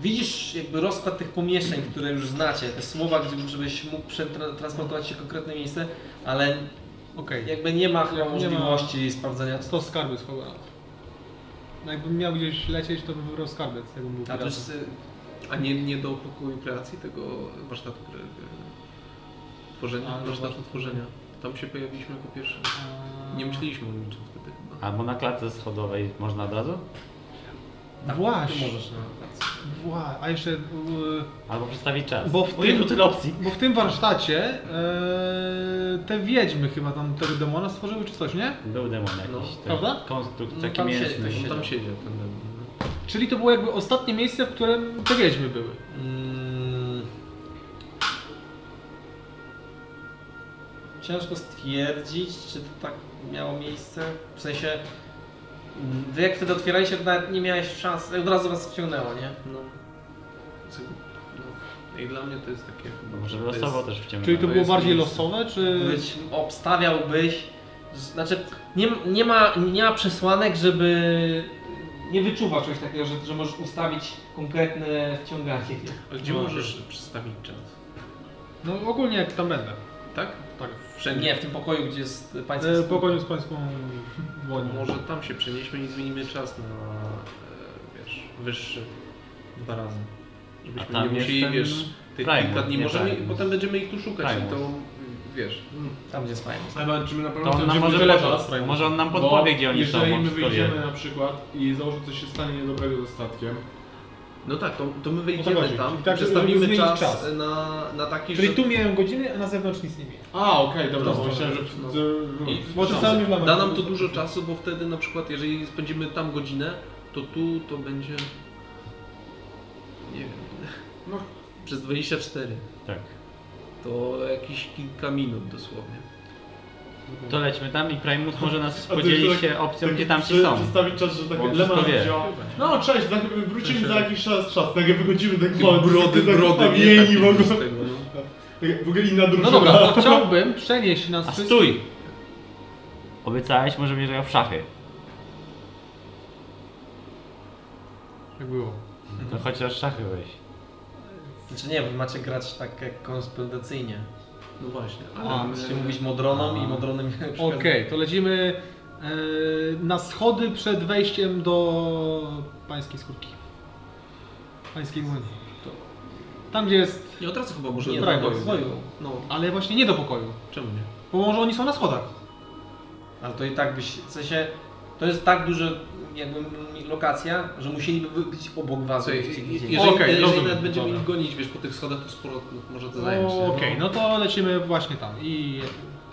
Speaker 1: widzisz jakby rozkład tych pomieszczeń, które już znacie, te słowa, gdzie- żebyś mógł przetransportować się w konkretne miejsce, ale
Speaker 4: Okej,
Speaker 1: jakby nie ma chyba
Speaker 4: Nie ma.
Speaker 1: możliwości sprawdzenia. co-
Speaker 4: to skarby schowałem. No jakbym miał gdzieś lecieć, to bym wybrał tak skarbiec, jakbym był
Speaker 1: A to
Speaker 4: piratem.
Speaker 1: jest, y,
Speaker 5: A nie, nie do pokoju kreacji tego warsztatu kre... tworzenia,
Speaker 4: A, no
Speaker 5: warsztatu
Speaker 4: właśnie.
Speaker 5: tworzenia. Tam się pojawiliśmy jako pierwszy. Nie myśleliśmy o niczym wtedy chyba.
Speaker 3: Albo na klatce schodowej można od razu?
Speaker 4: A, tak, Właśnie,
Speaker 1: Ty możesz
Speaker 5: no.
Speaker 1: na wakacje.
Speaker 4: wła- a jeszcze, yy,
Speaker 3: Albo przedstawić czas.
Speaker 4: Bo w
Speaker 3: O Jezu,
Speaker 4: tym-
Speaker 3: tyle opcji.
Speaker 4: bo w tym warsztacie yy, te wiedźmy chyba tam tego demona stworzyły czy coś, nie?
Speaker 3: Był demon jakiś. ten
Speaker 4: Prawda?
Speaker 3: Konstrukt
Speaker 1: No,
Speaker 3: taki
Speaker 1: tam się-
Speaker 3: mięsny.
Speaker 1: tam się-
Speaker 5: Tam siedzi ten demon. no.
Speaker 4: Czyli to było jakby ostatnie miejsce, w którym te wiedźmy były.
Speaker 1: Mm. Ciężko stwierdzić, czy to tak miało miejsce. W sensie, mm, wy jak wtedy otwieraliście, to nawet nie miałeś szans, od razu was wciągnęło, nie?
Speaker 5: No. no. I dla mnie to jest takie.
Speaker 3: Bo No Może
Speaker 5: to jest-
Speaker 3: losowo też wciągnął.
Speaker 4: Czyli to było
Speaker 5: No, jest
Speaker 4: bardziej
Speaker 5: miejsce.
Speaker 4: losowe, czy...
Speaker 1: Być, obstawiałbyś, znaczy nie, nie, ma, nie ma przesłanek, żeby nie wyczuwasz czegoś takiego, że, że możesz ustawić konkretne wciąganie.
Speaker 5: A gdzie
Speaker 1: No.
Speaker 5: możesz przestawić czas?
Speaker 4: No ogólnie jak tam będę.
Speaker 5: Tak?
Speaker 4: Tak.
Speaker 5: Wszędzie.
Speaker 1: Nie, w tym pokoju, gdzie jest pańska
Speaker 4: E,
Speaker 1: skórka.
Speaker 4: Pokoniu z pańską dłonią.
Speaker 5: Może tam się przenieśmy i zmienimy czas na e, wiesz, wyższy dwa razy.
Speaker 3: A
Speaker 5: Żebyśmy nie
Speaker 3: tam jest
Speaker 5: musieli,
Speaker 3: ten
Speaker 5: wiesz, tych
Speaker 3: Primus,
Speaker 5: kilka dni
Speaker 3: nie
Speaker 5: możemy,
Speaker 3: Primus.
Speaker 5: potem będziemy ich tu szukać i to
Speaker 3: Primus.
Speaker 5: wiesz.
Speaker 1: Tam, gdzie jest fajnie.
Speaker 2: Ale czy my na
Speaker 3: To
Speaker 2: pewno
Speaker 3: on nam
Speaker 2: będziemy
Speaker 3: może
Speaker 2: tyle
Speaker 3: podpowie,
Speaker 2: czas?
Speaker 3: może on nam
Speaker 2: Bo
Speaker 3: podpowie gdzie oni są,
Speaker 2: Jeżeli
Speaker 3: on
Speaker 2: my
Speaker 3: wszystko wie.
Speaker 2: wyjdziemy na przykład i założy coś się stanie niedobrego ze statkiem,
Speaker 5: No tak, to, to my
Speaker 4: O to
Speaker 5: wyjdziemy
Speaker 4: chodzi.
Speaker 5: tam,
Speaker 4: Czyli tak, żeby
Speaker 5: przestawimy
Speaker 4: zmienić
Speaker 5: czas,
Speaker 4: czas.
Speaker 5: Na, na taki,
Speaker 4: Czyli
Speaker 5: że...
Speaker 4: tu miałem godziny, a na zewnątrz nic nie miałem.
Speaker 2: A, okej, dobra,
Speaker 5: No,
Speaker 2: bo myślałem, że...
Speaker 5: no.
Speaker 2: że-
Speaker 5: I-
Speaker 4: Bo
Speaker 5: Czas.
Speaker 4: czasami mamy-
Speaker 5: Da nam to dużo czasu, bo wtedy na przykład jeżeli spędzimy tam godzinę, to tu to będzie... Nie wiem.
Speaker 2: No.
Speaker 5: Przez 24.
Speaker 3: Tak.
Speaker 5: To jakieś kilka minut dosłownie.
Speaker 3: To lećmy tam i Primus może nas
Speaker 2: A ty
Speaker 3: podzieli
Speaker 2: tak-
Speaker 3: się opcją,
Speaker 2: tak
Speaker 3: gdzie tam ci
Speaker 2: przy-
Speaker 3: są.
Speaker 2: Przedstawić czas, że tak
Speaker 3: Bo on
Speaker 2: Lema
Speaker 3: wszystko wie.
Speaker 2: wzięła. No cześć, tak, wrócimy za jakiś czas, czas, tak jak wychodzimy, tak
Speaker 5: Ty brody, brody, nie?
Speaker 2: pamięci
Speaker 5: Taki
Speaker 2: w ogóle.
Speaker 5: z tego, no.
Speaker 2: Tak, w ogóle inna drużyna.
Speaker 4: No dobra, to chciałbym przenieść nas
Speaker 3: A
Speaker 4: wszystkich-
Speaker 3: stój! Obiecałeś, może będziesz grał w szachy.
Speaker 4: Jak Tak było?
Speaker 3: To chociaż szachy weź.
Speaker 1: Znaczy nie, wy macie grać tak jak korespondencyjnie.
Speaker 5: No właśnie,
Speaker 4: A,
Speaker 5: ale my...
Speaker 1: Musicie mówić modronom i modronym
Speaker 4: Okej, to lecimy e, na schody przed wejściem do pańskiej skórki. Pańskiej dłoni. Tam gdzie jest...
Speaker 5: Nie od razu chyba może
Speaker 1: Nie,
Speaker 5: do
Speaker 1: tak,
Speaker 5: pokoju.
Speaker 1: do pokoju.
Speaker 5: No,
Speaker 4: Ale właśnie nie do pokoju.
Speaker 5: czemu nie?
Speaker 4: Bo może oni są na schodach.
Speaker 1: Ale to i tak byś, w sensie, to jest tak duża jakby m- lokacja, że musieliby wy- być obok was,
Speaker 5: Słuchaj,
Speaker 1: żebyście widzieli.
Speaker 5: jeżeli,
Speaker 4: Okej,
Speaker 5: jeżeli
Speaker 4: rozumiem,
Speaker 5: nawet będziemy
Speaker 4: dobra.
Speaker 5: ich gonić, wiesz, po tych schodach, to sporo no, może to
Speaker 4: Okej,
Speaker 5: zająć. nie?
Speaker 4: no to lecimy właśnie tam i...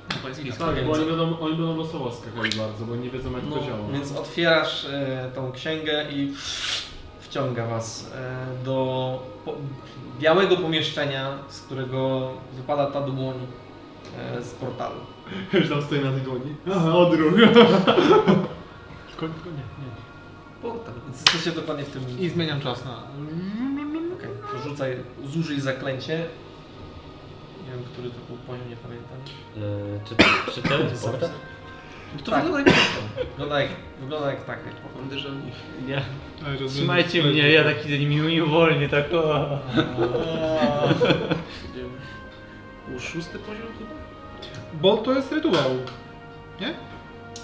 Speaker 5: No, pański
Speaker 2: Tak,
Speaker 5: skarb.
Speaker 2: bo oni będą, oni będą losowo
Speaker 3: No.
Speaker 2: skakali bardzo, bo nie wiedzą jak to działa.
Speaker 1: Więc otwierasz e, tą księgę i wciąga was e, do po, białego pomieszczenia, z którego wypada ta dłoń e, z portalu.
Speaker 2: Już tam stoi na tej dłoni. Aha, odruch.
Speaker 4: Tylko, tylko nie, nie.
Speaker 1: Portal. Jesteście dokładnie w tym...
Speaker 4: I zmieniam czas na...
Speaker 1: Okej, to rzucaj, zużyj zaklęcie. Nie wiem, który to był poziom, nie pamiętam.
Speaker 3: Yy, czy, to- czy to jest portal?
Speaker 1: No to wygląda jak Wygląda jak, wygląda jak tak.
Speaker 13: Ja,
Speaker 2: Ale rozumiem.
Speaker 13: trzymajcie mnie, ja taki mi mi uwolnię, tak o.
Speaker 8: Był szósty poziom chyba?
Speaker 4: Bo to jest rytuał. Nie?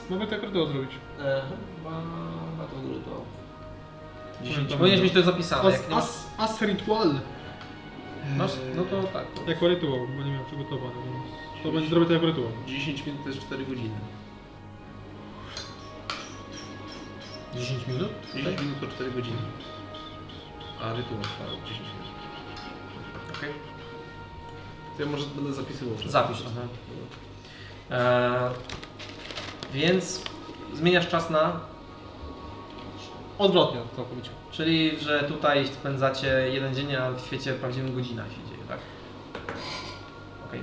Speaker 4: Mogę tak rytuał zrobić.
Speaker 8: E, chyba, chyba to grubo.
Speaker 4: Pamiętam.
Speaker 1: Powinieneś mieć to zapisane.
Speaker 4: As,
Speaker 1: Jak nie masz,
Speaker 4: as, as ritual.
Speaker 1: masz, no to tak. To
Speaker 4: Jako rytuał, bo nie miałem przygotowane, więc to będzie zrobię to jako rytuał.
Speaker 8: 10 minut to jest 4 godziny.
Speaker 1: 10 minut?
Speaker 8: 10 minut to 4 godziny. A rytuał trwał 10 minut.
Speaker 1: Okej.
Speaker 8: To ja może będę zapisywał.
Speaker 1: Zapisz. Aha. E, więc zmieniasz czas na
Speaker 4: Odwrotnie całkowicie.
Speaker 1: Czyli, że tutaj spędzacie jeden dzień, a w świecie prawdziwym godzina się dzieje, tak? Okej.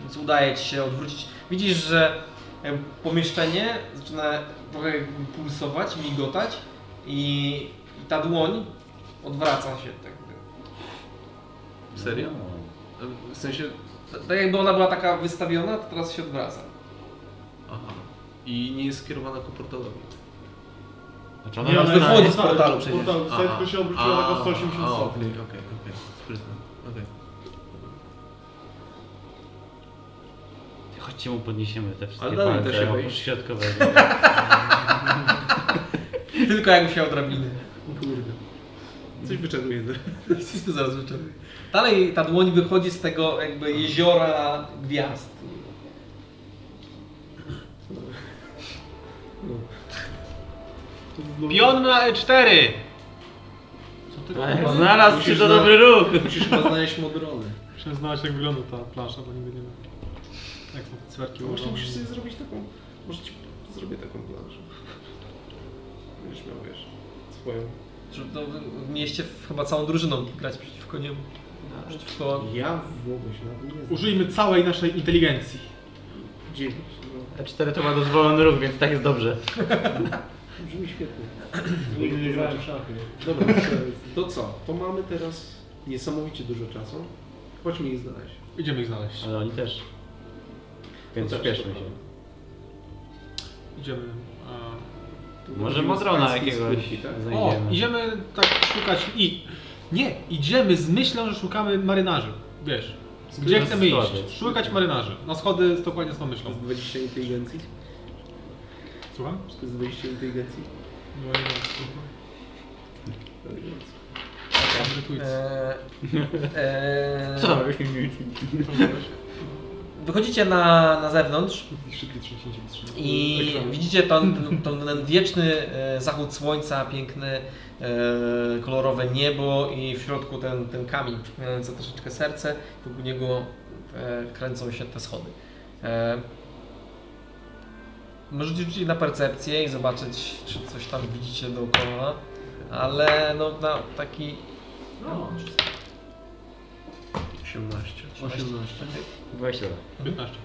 Speaker 1: Więc udaje Ci się odwrócić. Widzisz, że e, pomieszczenie zaczyna trochę pulsować, migotać i, i ta dłoń odwraca się. Tak, jakby.
Speaker 8: Serio? W sensie...
Speaker 1: T- tak jakby ona była taka wystawiona, to teraz się odwraca.
Speaker 8: Aha. I nie jest skierowana ku portalowi.
Speaker 3: Znaczy
Speaker 2: Nie,
Speaker 8: No
Speaker 3: ona
Speaker 2: ona
Speaker 3: nas
Speaker 2: jest-
Speaker 3: zna-
Speaker 1: Wychodzi z
Speaker 8: tak.
Speaker 1: portalu przecież.
Speaker 2: Portal,
Speaker 8: Aha.
Speaker 2: wtedy się obróciła
Speaker 8: A,
Speaker 2: na 180
Speaker 8: a,
Speaker 2: stopni.
Speaker 8: Okej, okej, okej. Sprytne. Okej.
Speaker 3: Chodźcie mu podniesiemy te wszystkie
Speaker 8: Ale dalej da się
Speaker 3: palce, oprócz
Speaker 8: wejść.
Speaker 3: środkowego.
Speaker 1: Tylko jakby się odrobiny.
Speaker 8: Kurde. Coś wyczerpuje.
Speaker 1: Coś tu zaraz wyczerpie. Dalej ta dłoń wychodzi z tego jakby jeziora gwiazd.
Speaker 13: Pion na
Speaker 3: E
Speaker 13: E4!
Speaker 4: Tak.
Speaker 8: No,
Speaker 13: Znalazł się
Speaker 8: musisz
Speaker 13: to
Speaker 8: na-
Speaker 13: dobry ruch!
Speaker 8: Musisz chyba znaleźć modrony.
Speaker 4: Chciałem znaleźć jak wygląda ta plansza, bo nigdy nie wiem. Jak są te cwerki
Speaker 8: Właśnie
Speaker 4: ułożone.
Speaker 8: musisz sobie zrobić taką... Może ci zrobię taką planszę. Będziesz miał, wiesz, swoją.
Speaker 1: Że to w- w mieście w- chyba całą drużyną grać przeciwko niemu. Przeciwko...
Speaker 8: Ja w ogóle się nawet nie znam.
Speaker 4: Użyjmy całej naszej inteligencji.
Speaker 8: Dziewięć. No,
Speaker 3: E
Speaker 13: E4 to ma dozwolony ruch, więc tak jest dobrze.
Speaker 8: brzmi świetnie.
Speaker 2: Nigdy nie grałem w szachy.
Speaker 8: Dobra, to co? To mamy teraz niesamowicie dużo czasu. Chodźmy ich znaleźć.
Speaker 4: Idziemy ich znaleźć.
Speaker 8: Tak.
Speaker 3: Ale oni też. Więc
Speaker 8: To też
Speaker 3: śpieszmy
Speaker 8: trzeba.
Speaker 3: się.
Speaker 4: Idziemy. a-
Speaker 8: Tu
Speaker 3: Może
Speaker 8: wchodzimy z
Speaker 3: Modrona
Speaker 8: pańskiej
Speaker 3: jakiegoś
Speaker 8: skórki, tak?
Speaker 4: O,
Speaker 3: znajdziemy.
Speaker 4: idziemy tak szukać i... Nie, idziemy z myślą, że szukamy marynarzy. Wiesz, gdzie
Speaker 3: Na
Speaker 4: chcemy
Speaker 3: schody.
Speaker 4: iść? Szukać marynarzy. Na schody z- dokładnie z tą
Speaker 8: To
Speaker 4: myślą.
Speaker 8: jest 20 inteligencji?
Speaker 4: Słucham?
Speaker 8: Czy to jest 20 inteligencji? Inteligencji.
Speaker 1: Eee, eee,
Speaker 3: No.
Speaker 13: Co?
Speaker 1: Wychodzicie na, na zewnątrz
Speaker 2: Szybkie trzęsięcie wytrzymało.
Speaker 1: i
Speaker 2: Ekranu.
Speaker 1: widzicie ten, ten, ten, ten wieczny e, zachód słońca, piękne e, kolorowe niebo i w środku ten, ten kamień przypominający troszeczkę serce. Wokół niego e, kręcą się te schody. E, Możecie rzucić na percepcję i zobaczyć, czy coś tam widzicie dookoła, ale no na taki... No,
Speaker 8: 18.
Speaker 1: 18.
Speaker 3: Weź dobra.
Speaker 4: 15.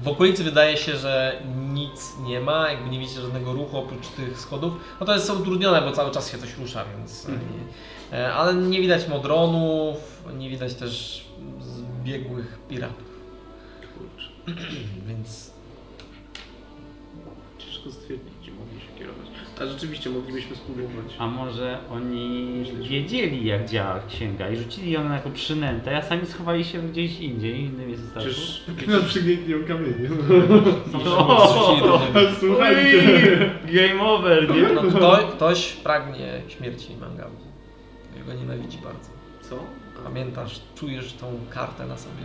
Speaker 1: W okolicy wydaje się, że nic nie ma, jakby nie widzicie żadnego ruchu oprócz tych schodów. No to jest utrudnione, bo cały czas się coś rusza, więc. e, Nie, e, ale nie widać modronów, nie widać też zbiegłych piratów. więc.
Speaker 8: Ciężko stwierdzić, gdzie mogli się kierować. A rzeczywiście moglibyśmy spróbować.
Speaker 3: A może oni wiedzieli jak działa księga i rzucili ją jako przynętę, a sami schowali się gdzieś indziej, w innym miejscu startu?
Speaker 8: Przecież
Speaker 2: Na przygniętnią kamienie.
Speaker 3: No.
Speaker 2: Słuchajcie.
Speaker 3: Ui, Game over, nie?
Speaker 1: No, kto, ktoś pragnie śmierci Mangabu. Ja go nienawidzi bardzo.
Speaker 8: co?
Speaker 1: Pamiętasz, czujesz tą kartę na sobie.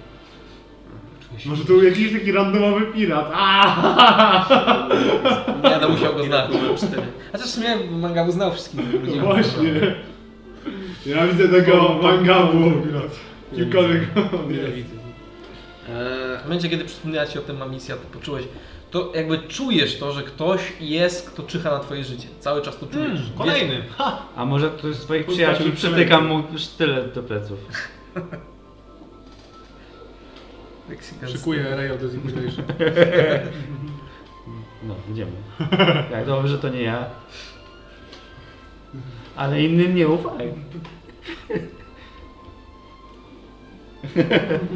Speaker 2: Może to był jakiś taki randomowy pirat. Aaaa!
Speaker 1: Nie, no musiał go znać.
Speaker 8: Numer 4.
Speaker 1: Chociaż w sumie Mangabu znał wszystkich ludzi.
Speaker 2: No Właśnie. Ja widzę tego mangabu. Kimkolwiek.
Speaker 8: Nienawidzę. Eee,
Speaker 1: W momencie, kiedy przypomniała Ci o tym ma misja, to poczułeś to jakby czujesz to, że ktoś jest, kto czyha na twoje życie. Cały czas to
Speaker 2: Hmm,
Speaker 1: czujesz. Wiesz-
Speaker 4: Kolejny.
Speaker 3: A może ktoś z twoich
Speaker 2: Ustawił
Speaker 3: przyjaciół przytyka mu sztylet do pleców.
Speaker 1: Mexican
Speaker 2: Szykuję Ray of Desimulation.
Speaker 3: No, idziemy. Tak, dobrze, że to nie ja. Ale innym nie ufaj.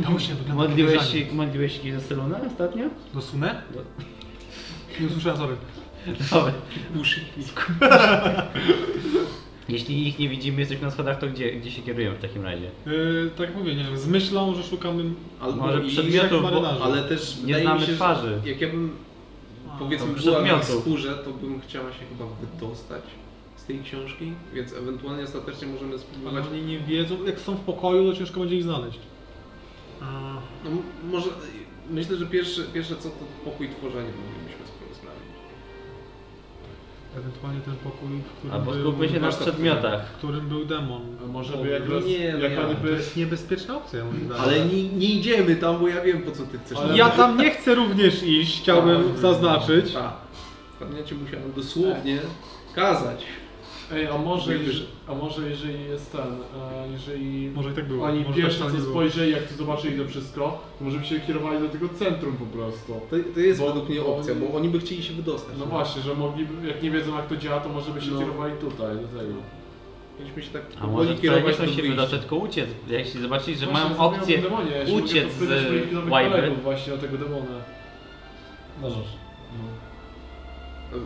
Speaker 4: To się wygląda
Speaker 3: No, Modliłeś
Speaker 4: podejrzanie.
Speaker 3: się, No. modliłeś się kiedyś za Seluna ostatnio?
Speaker 4: Do Sunę? Nie usłyszałem, sorry.
Speaker 3: Dobra. Jeśli ich nie widzimy, jesteśmy na schodach, to gdzie, gdzie się kierujemy w takim razie?
Speaker 4: Yy, tak jak mówię, nie wiem, z myślą, że szukamy...
Speaker 8: Albo
Speaker 3: Może
Speaker 8: i-
Speaker 3: przedmiotów, bo...
Speaker 4: marynarzy.
Speaker 8: Ale też
Speaker 3: Nie
Speaker 8: wydaje
Speaker 3: znamy
Speaker 8: mi się,
Speaker 3: twarzy.
Speaker 8: Że jak ja bym powiedzmy
Speaker 3: to
Speaker 8: była w ich
Speaker 3: przedmiotów.
Speaker 8: skórze, to bym chciała się chyba wydostać z tej książki, więc ewentualnie ostatecznie możemy
Speaker 4: Ale
Speaker 8: spróbować.
Speaker 4: oni nie wiedzą, jak są w pokoju, to ciężko będzie ich znaleźć.
Speaker 8: No, m- może myślę, że pierwsze, pierwsze co to pokój tworzenia moglibyśmy spro- sprawdzić.
Speaker 4: Ewentualnie ten pokój, w którym,
Speaker 3: Albo
Speaker 2: No,
Speaker 4: był,
Speaker 3: skupmy się na
Speaker 8: warsztat
Speaker 3: przedmiotach.
Speaker 4: w którym był demon.
Speaker 2: A Może
Speaker 8: O,
Speaker 2: by jak,
Speaker 8: no
Speaker 2: roz,
Speaker 8: nie, no
Speaker 2: jak
Speaker 8: ja-
Speaker 2: oni
Speaker 4: To
Speaker 2: by...
Speaker 4: jest niebezpieczna opcja, moim zdaniem.
Speaker 8: Ale nie, nie idziemy tam, bo ja wiem po co ty chcesz. Tak.
Speaker 2: Ale-
Speaker 4: Ja tam nie chcę również iść, chciałbym zaznaczyć.
Speaker 8: A, Ostatnio cię musiałem dosłownie kazać.
Speaker 2: Ej, a może,
Speaker 8: Jakby-
Speaker 2: jeż- a może jeżeli jest ten, e, jeżeli
Speaker 4: Może i tak było.
Speaker 2: oni
Speaker 4: Może
Speaker 2: pierwsze
Speaker 4: tak
Speaker 2: co
Speaker 4: nie było.
Speaker 2: spojrzeli, jak to zobaczyli to wszystko, to może by się kierowali do tego centrum po prostu.
Speaker 8: To, to jest
Speaker 2: Bo-
Speaker 8: według mnie opcja,
Speaker 2: bo-
Speaker 8: bo oni by chcieli się wydostać.
Speaker 2: No właśnie, że mogliby, jak nie wiedzą jak to działa, to może by się
Speaker 8: No.
Speaker 2: kierowali tutaj, do tego.
Speaker 8: Powinniśmy się tak
Speaker 3: A może
Speaker 8: powoli
Speaker 3: wcale nie
Speaker 8: kierować
Speaker 3: chcą
Speaker 8: do
Speaker 3: się
Speaker 8: wyjścia.
Speaker 3: wydostać, tylko uciec. Jeśli zobaczyli, że
Speaker 2: Właśnie,
Speaker 3: mają
Speaker 2: zapomniałem
Speaker 3: opcję
Speaker 2: o demonie, ja się
Speaker 3: uciec
Speaker 2: mogę podpytać moich
Speaker 3: z
Speaker 2: nowych
Speaker 3: Wiper.
Speaker 2: kolegów Właśnie o tego demona.
Speaker 1: Możesz.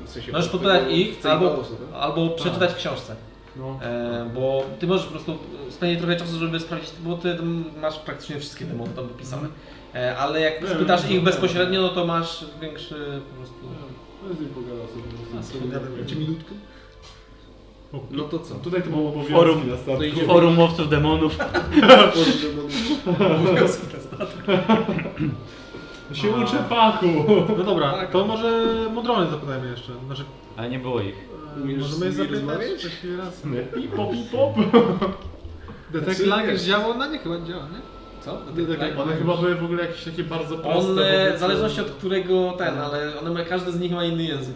Speaker 8: W sensie
Speaker 1: Możesz
Speaker 8: po-
Speaker 1: podpytać
Speaker 8: po-
Speaker 1: ich
Speaker 8: chcę po
Speaker 1: albo,
Speaker 8: prostu, tak?
Speaker 1: albo przeczytać w książce.
Speaker 2: No.
Speaker 1: E, bo ty możesz po prostu spędzić trochę czasu, żeby sprawdzić, bo ty tam masz praktycznie wszystkie demony tam wypisane. E, ale jak
Speaker 2: Nie,
Speaker 1: spytasz
Speaker 2: nie,
Speaker 1: ich
Speaker 2: nie.
Speaker 1: bezpośrednio, no to masz większy po prostu...
Speaker 2: No i z nim pogada sobie.
Speaker 1: A,
Speaker 2: Z nim sobie.
Speaker 8: minutkę? No to co?
Speaker 2: Tutaj to było obowiązki
Speaker 3: Forum.
Speaker 2: na
Speaker 8: To
Speaker 2: statku.
Speaker 8: idziemy.
Speaker 3: Forum łowców demonów.
Speaker 2: Ja Się uczę fachu.
Speaker 4: No
Speaker 3: Tak.
Speaker 4: dobra, to może Modrony zapytajmy jeszcze. Znaczy,
Speaker 3: Ale nie było
Speaker 2: Tak,
Speaker 3: ich.
Speaker 4: e,
Speaker 8: Umiesz
Speaker 4: możemy
Speaker 8: z nimi
Speaker 4: zapytać
Speaker 8: rozmawiać?
Speaker 4: taki raz.
Speaker 2: Pip, pop, pip, pop.
Speaker 4: Detect
Speaker 8: Znaczy,
Speaker 4: Lag
Speaker 8: wiesz.
Speaker 4: działa na nie chyba nie działa, nie?
Speaker 1: Co?
Speaker 4: Detect
Speaker 2: One chyba były w ogóle jakieś takie bardzo proste.
Speaker 1: One,
Speaker 2: powiedzmy.
Speaker 1: e, w zależności od którego ten, ale one ma, każdy z nich ma inny język.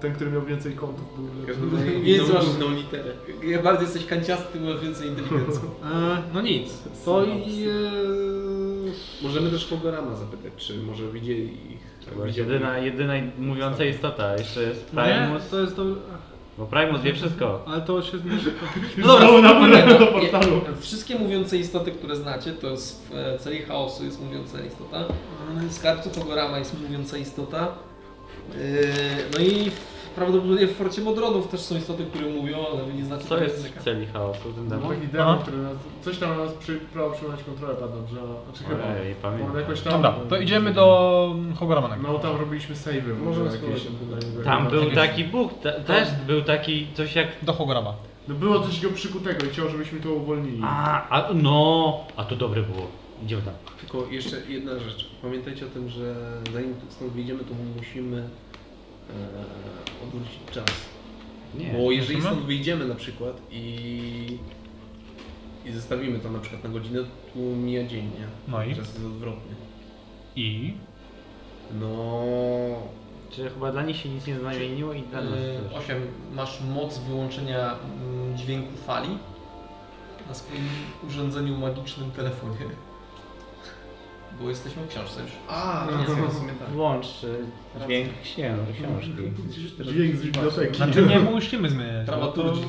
Speaker 2: Ten, który miał więcej kątów był lepszy.
Speaker 1: Więc masz
Speaker 8: Jedną literę.
Speaker 1: Jak bardziej jesteś kanciasty, tym masz więcej inteligencji.
Speaker 4: E, no nic. To i... E,
Speaker 8: Możemy też Kogorama zapytać, czy może widzieli ich.
Speaker 3: To była
Speaker 8: widział
Speaker 3: jedyna, jedyna
Speaker 2: Tak.
Speaker 3: mówiąca istota. Jeszcze jest
Speaker 2: No
Speaker 4: nie,
Speaker 3: Primus.
Speaker 4: to jest to...
Speaker 3: Bo Primus wie wszystko.
Speaker 4: Ale to się...
Speaker 2: No dobra, na do portalu.
Speaker 1: Wszystkie mówiące istoty, które znacie, to jest w e, celi chaosu jest mówiąca istota, w skarbcu Hogorama jest mówiąca istota, Yy, no i w- prawdopodobnie w Forcie Modronów też są istoty, które mówią, ale wy nie znacie
Speaker 3: Co
Speaker 1: tego
Speaker 3: jest
Speaker 1: języka.
Speaker 3: w celi chaosu? Ten
Speaker 2: No,
Speaker 3: demon?
Speaker 2: i demon, który nas, coś tam na nas przy, próbował przyjąć kontrolę tam dobrze, znaczy chyba.
Speaker 3: Ojej, pamiętam.
Speaker 2: Może jakoś tak tam.
Speaker 4: Dobra, to idziemy do Hogoramana.
Speaker 2: No tam robiliśmy save'y. w
Speaker 8: Możemy
Speaker 2: ogóle jakieś.
Speaker 3: Tam był taki Bóg, te, też był taki coś jak...
Speaker 4: Do Hogorama.
Speaker 2: No było coś go przykutego i chciał, żebyśmy to uwolnili.
Speaker 3: A, a, no, a to dobre było. Idziemy tam.
Speaker 8: Tylko jeszcze jedna rzecz. Pamiętajcie o tym, że zanim stąd wyjdziemy, to musimy e, odwrócić czas.
Speaker 3: Nie.
Speaker 8: Bo jeżeli
Speaker 4: Musimy?
Speaker 8: stąd wyjdziemy na przykład i, i zostawimy to na przykład na godzinę, tu mija dzień, nie?
Speaker 4: No i?
Speaker 8: Czas jest odwrotny.
Speaker 4: I?
Speaker 8: No...
Speaker 3: Czy chyba dla nich się nic nie zmieniło i dla nas
Speaker 1: Yy,
Speaker 3: też.
Speaker 1: 8. Masz moc wyłączenia mm, dźwięku fali na swoim urządzeniu magicznym telefonie. Bo jesteśmy w książce już.
Speaker 8: A, no, no, w sumie tak.
Speaker 3: Włącz y, dźwięk księ- książki.
Speaker 2: Dźwięk z biblioteki.
Speaker 4: Znaczy nie musimy zmieniać. bo to-
Speaker 1: Dramaturgii.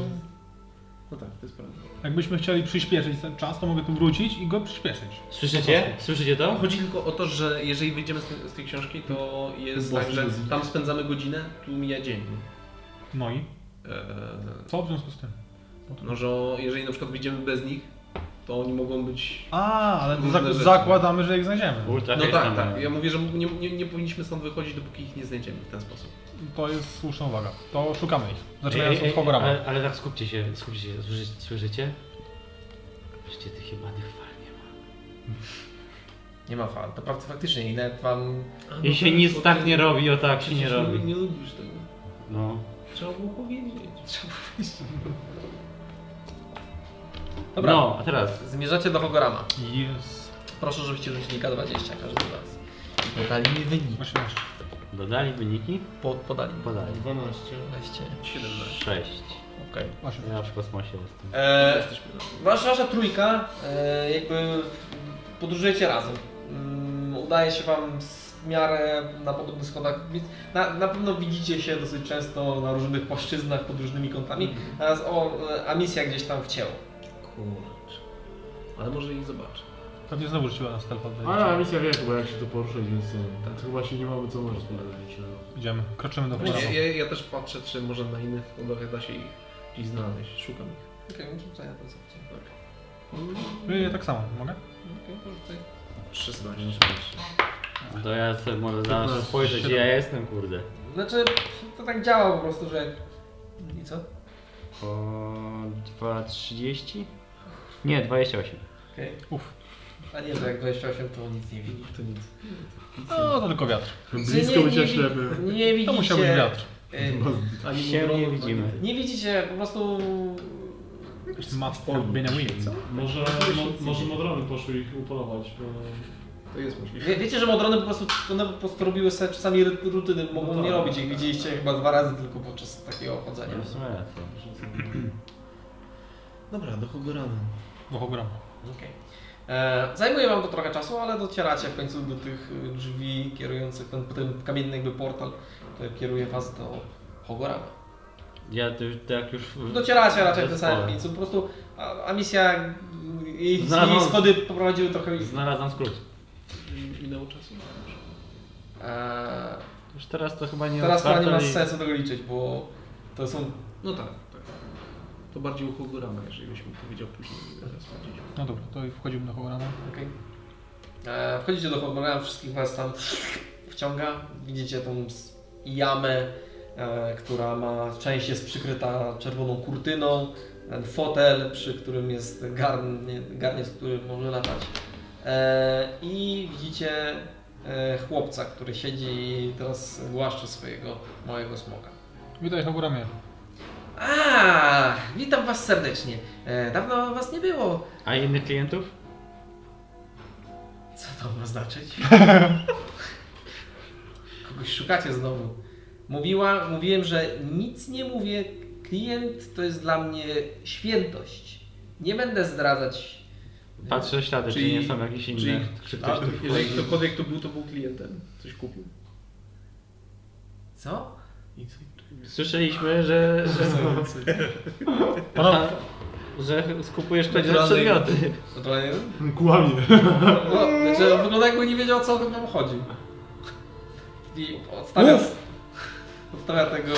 Speaker 8: No tak, to jest prawda.
Speaker 4: Jakbyśmy chcieli przyspieszyć ten czas, to mogę tu wrócić i go przyspieszyć.
Speaker 3: Słyszycie? Słyszycie to?
Speaker 8: Chodzi tylko o to, że jeżeli wyjdziemy z, te- z tej książki, to jest
Speaker 2: Bo
Speaker 8: tak, że
Speaker 2: wrzucę.
Speaker 8: tam spędzamy godzinę, tu mija dzień.
Speaker 4: No i?
Speaker 8: Eee,
Speaker 4: Co w związku z tym?
Speaker 8: No, że jeżeli na przykład wyjdziemy bez nich, to oni mogą być.
Speaker 4: A, ale
Speaker 8: Różne
Speaker 4: zak-
Speaker 8: rzeczy.
Speaker 4: zakładamy, że ich znajdziemy.
Speaker 3: Ultra
Speaker 8: No
Speaker 3: hejstam.
Speaker 8: tak, tak. Ja mówię, że nie, nie, nie powinniśmy stąd wychodzić, dopóki ich nie znajdziemy w ten sposób.
Speaker 4: To jest słuszna uwaga. To szukamy ich.
Speaker 3: Ej, ej,
Speaker 4: Zaczynając
Speaker 3: ej,
Speaker 4: od Hogorama.
Speaker 3: Ale, ale tak skupcie się, skupcie się, słyszycie? słyszycie? Słyszycie tych jebanych fal nie ma.
Speaker 1: Nie ma fal, to prawda faktycznie i nawet wam
Speaker 8: no
Speaker 3: I się nic tak nie robi, o tak się nie robi.
Speaker 8: Nie lubisz tego.
Speaker 3: No.
Speaker 8: Trzeba było powiedzieć.
Speaker 1: Dobra.
Speaker 3: No, a teraz.
Speaker 1: zmierzacie do Hogorama.
Speaker 4: e, Jest.
Speaker 1: Proszę, żebyście rzucili K20 każdy raz. I podali mi wynik.
Speaker 4: Właśnie,
Speaker 3: Dodali wyniki?
Speaker 1: Po, podali.
Speaker 3: Podali.
Speaker 2: 12.
Speaker 1: 12.
Speaker 3: 6.
Speaker 1: Okej.
Speaker 3: Ja w kosmosie jestem.
Speaker 1: E, wasza, wasza trójka, e, jakby podróżujecie razem. Mm, udaje się wam w miarę na podobnych schodach, więc na, na pewno widzicie się dosyć często na różnych płaszczyznach pod różnymi kątami, a, z- o, e, a misja gdzieś tam wcięła.
Speaker 8: Kurczę. Ale może ich zobaczę.
Speaker 4: Pewnie znowu rzuciła nas telefon.
Speaker 2: Ale ja misja wie chyba jak się tu poruszyć, więc e, tak. chyba się nie mamy co no. może
Speaker 4: Idziemy, kroczymy do chmura.
Speaker 8: Ja, ja, ja też patrzę, czy może na innych lądach da się ich gdzieś znaleźć. Szukam ich.
Speaker 1: Okej, okay, rzucaj na ten sobie.
Speaker 4: Ja tak samo, mogę?
Speaker 1: Okej, porzucaj.
Speaker 8: 16.
Speaker 3: To ja sobie może zaraz spojrzeć, gdzie ja jestem, kurde.
Speaker 1: Znaczy, to tak działa po prostu, że... I co?
Speaker 3: O 2,30? Nie, 28.
Speaker 1: Okej.
Speaker 4: Uf.
Speaker 1: A nie, że jak 28 to nic nie widzi.
Speaker 8: To nic.
Speaker 4: No to tylko wiatr.
Speaker 2: Blisko bycia ślepym.
Speaker 1: Nie, nie widzicie...
Speaker 4: To musiał być wiatr.
Speaker 1: e,
Speaker 8: Ani
Speaker 3: Się
Speaker 8: mu
Speaker 3: nie
Speaker 8: drodzy,
Speaker 3: widzimy.
Speaker 1: Nie widzicie, po prostu
Speaker 4: Must have been a win.
Speaker 2: Może, mo, może modrony poszły ich upolować. Bo...
Speaker 8: ani- To jest możliwe.
Speaker 1: Wie, wiecie, że modrony po prostu, one po prostu robiły sobie czasami ry- rutyny, mogą
Speaker 2: No tak.
Speaker 1: nie robić ich, widzieliście chyba dwa razy tylko podczas takiego chodzenia.
Speaker 3: No w sumie racja.
Speaker 8: Dobra, do Hogorana.
Speaker 4: Do Hogram.
Speaker 1: Okej. E, Zajmuje wam to trochę czasu, ale docieracie w końcu do tych y, drzwi kierujących ten, ten kamienny jakby portal, który kieruje was do Hogorama.
Speaker 3: Ja to już tak już...
Speaker 8: No
Speaker 1: Docieracie raczej w tym samym
Speaker 3: Zespole.
Speaker 1: miejscu, po prostu a, a misja i, i
Speaker 3: Znalazłem-
Speaker 1: schody poprowadziły trochę...
Speaker 3: Znalazłem skrót.
Speaker 8: Minęło czasu?
Speaker 1: E,
Speaker 3: Już teraz to chyba nie
Speaker 1: teraz chyba nie ma
Speaker 3: warto i-
Speaker 1: sensu tego liczyć, bo to są
Speaker 8: No tak, tak. To bardziej u Hogorana, jeżeli byś mi powiedział później. Teraz powiedzieć.
Speaker 4: No dobra, to i wchodzimy do Hograma.
Speaker 1: Okej. E, Wchodzicie do Hogwartu, wszystkich was tam wciąga. Widzicie tą s- jamę, e, która ma część jest przykryta czerwoną kurtyną, ten fotel, przy którym jest garnie, garnie z którym może latać. E, I widzicie e, chłopca, który siedzi i teraz głaszcze swojego małego smoka.
Speaker 4: Witaj Hoguramie.
Speaker 1: A, witam was serdecznie. E, dawno was nie było.
Speaker 3: A innych klientów?
Speaker 1: Co to ma znaczyć? Kogoś szukacie znowu. Mówiła, mówiłem, że nic nie mówię. Klient to jest dla mnie świętość. Nie będę zdradzać.
Speaker 3: Patrzę ślady, czy
Speaker 8: Czyli-
Speaker 3: nie są jakieś
Speaker 8: czyli-
Speaker 3: inne. Czy
Speaker 8: A,
Speaker 3: ktoś tu
Speaker 8: jeżeli ktokolwiek to był, to był klientem. Coś kupił.
Speaker 1: Co?
Speaker 3: Słyszeliśmy, że, że,
Speaker 4: Panowie,
Speaker 3: że skupujesz kradzione przedmioty.
Speaker 1: No to nie
Speaker 2: Kłamie.
Speaker 1: no, znaczy, on wygląda jakby nie wiedział o co tam chodzi. I odstawia, odstawia tego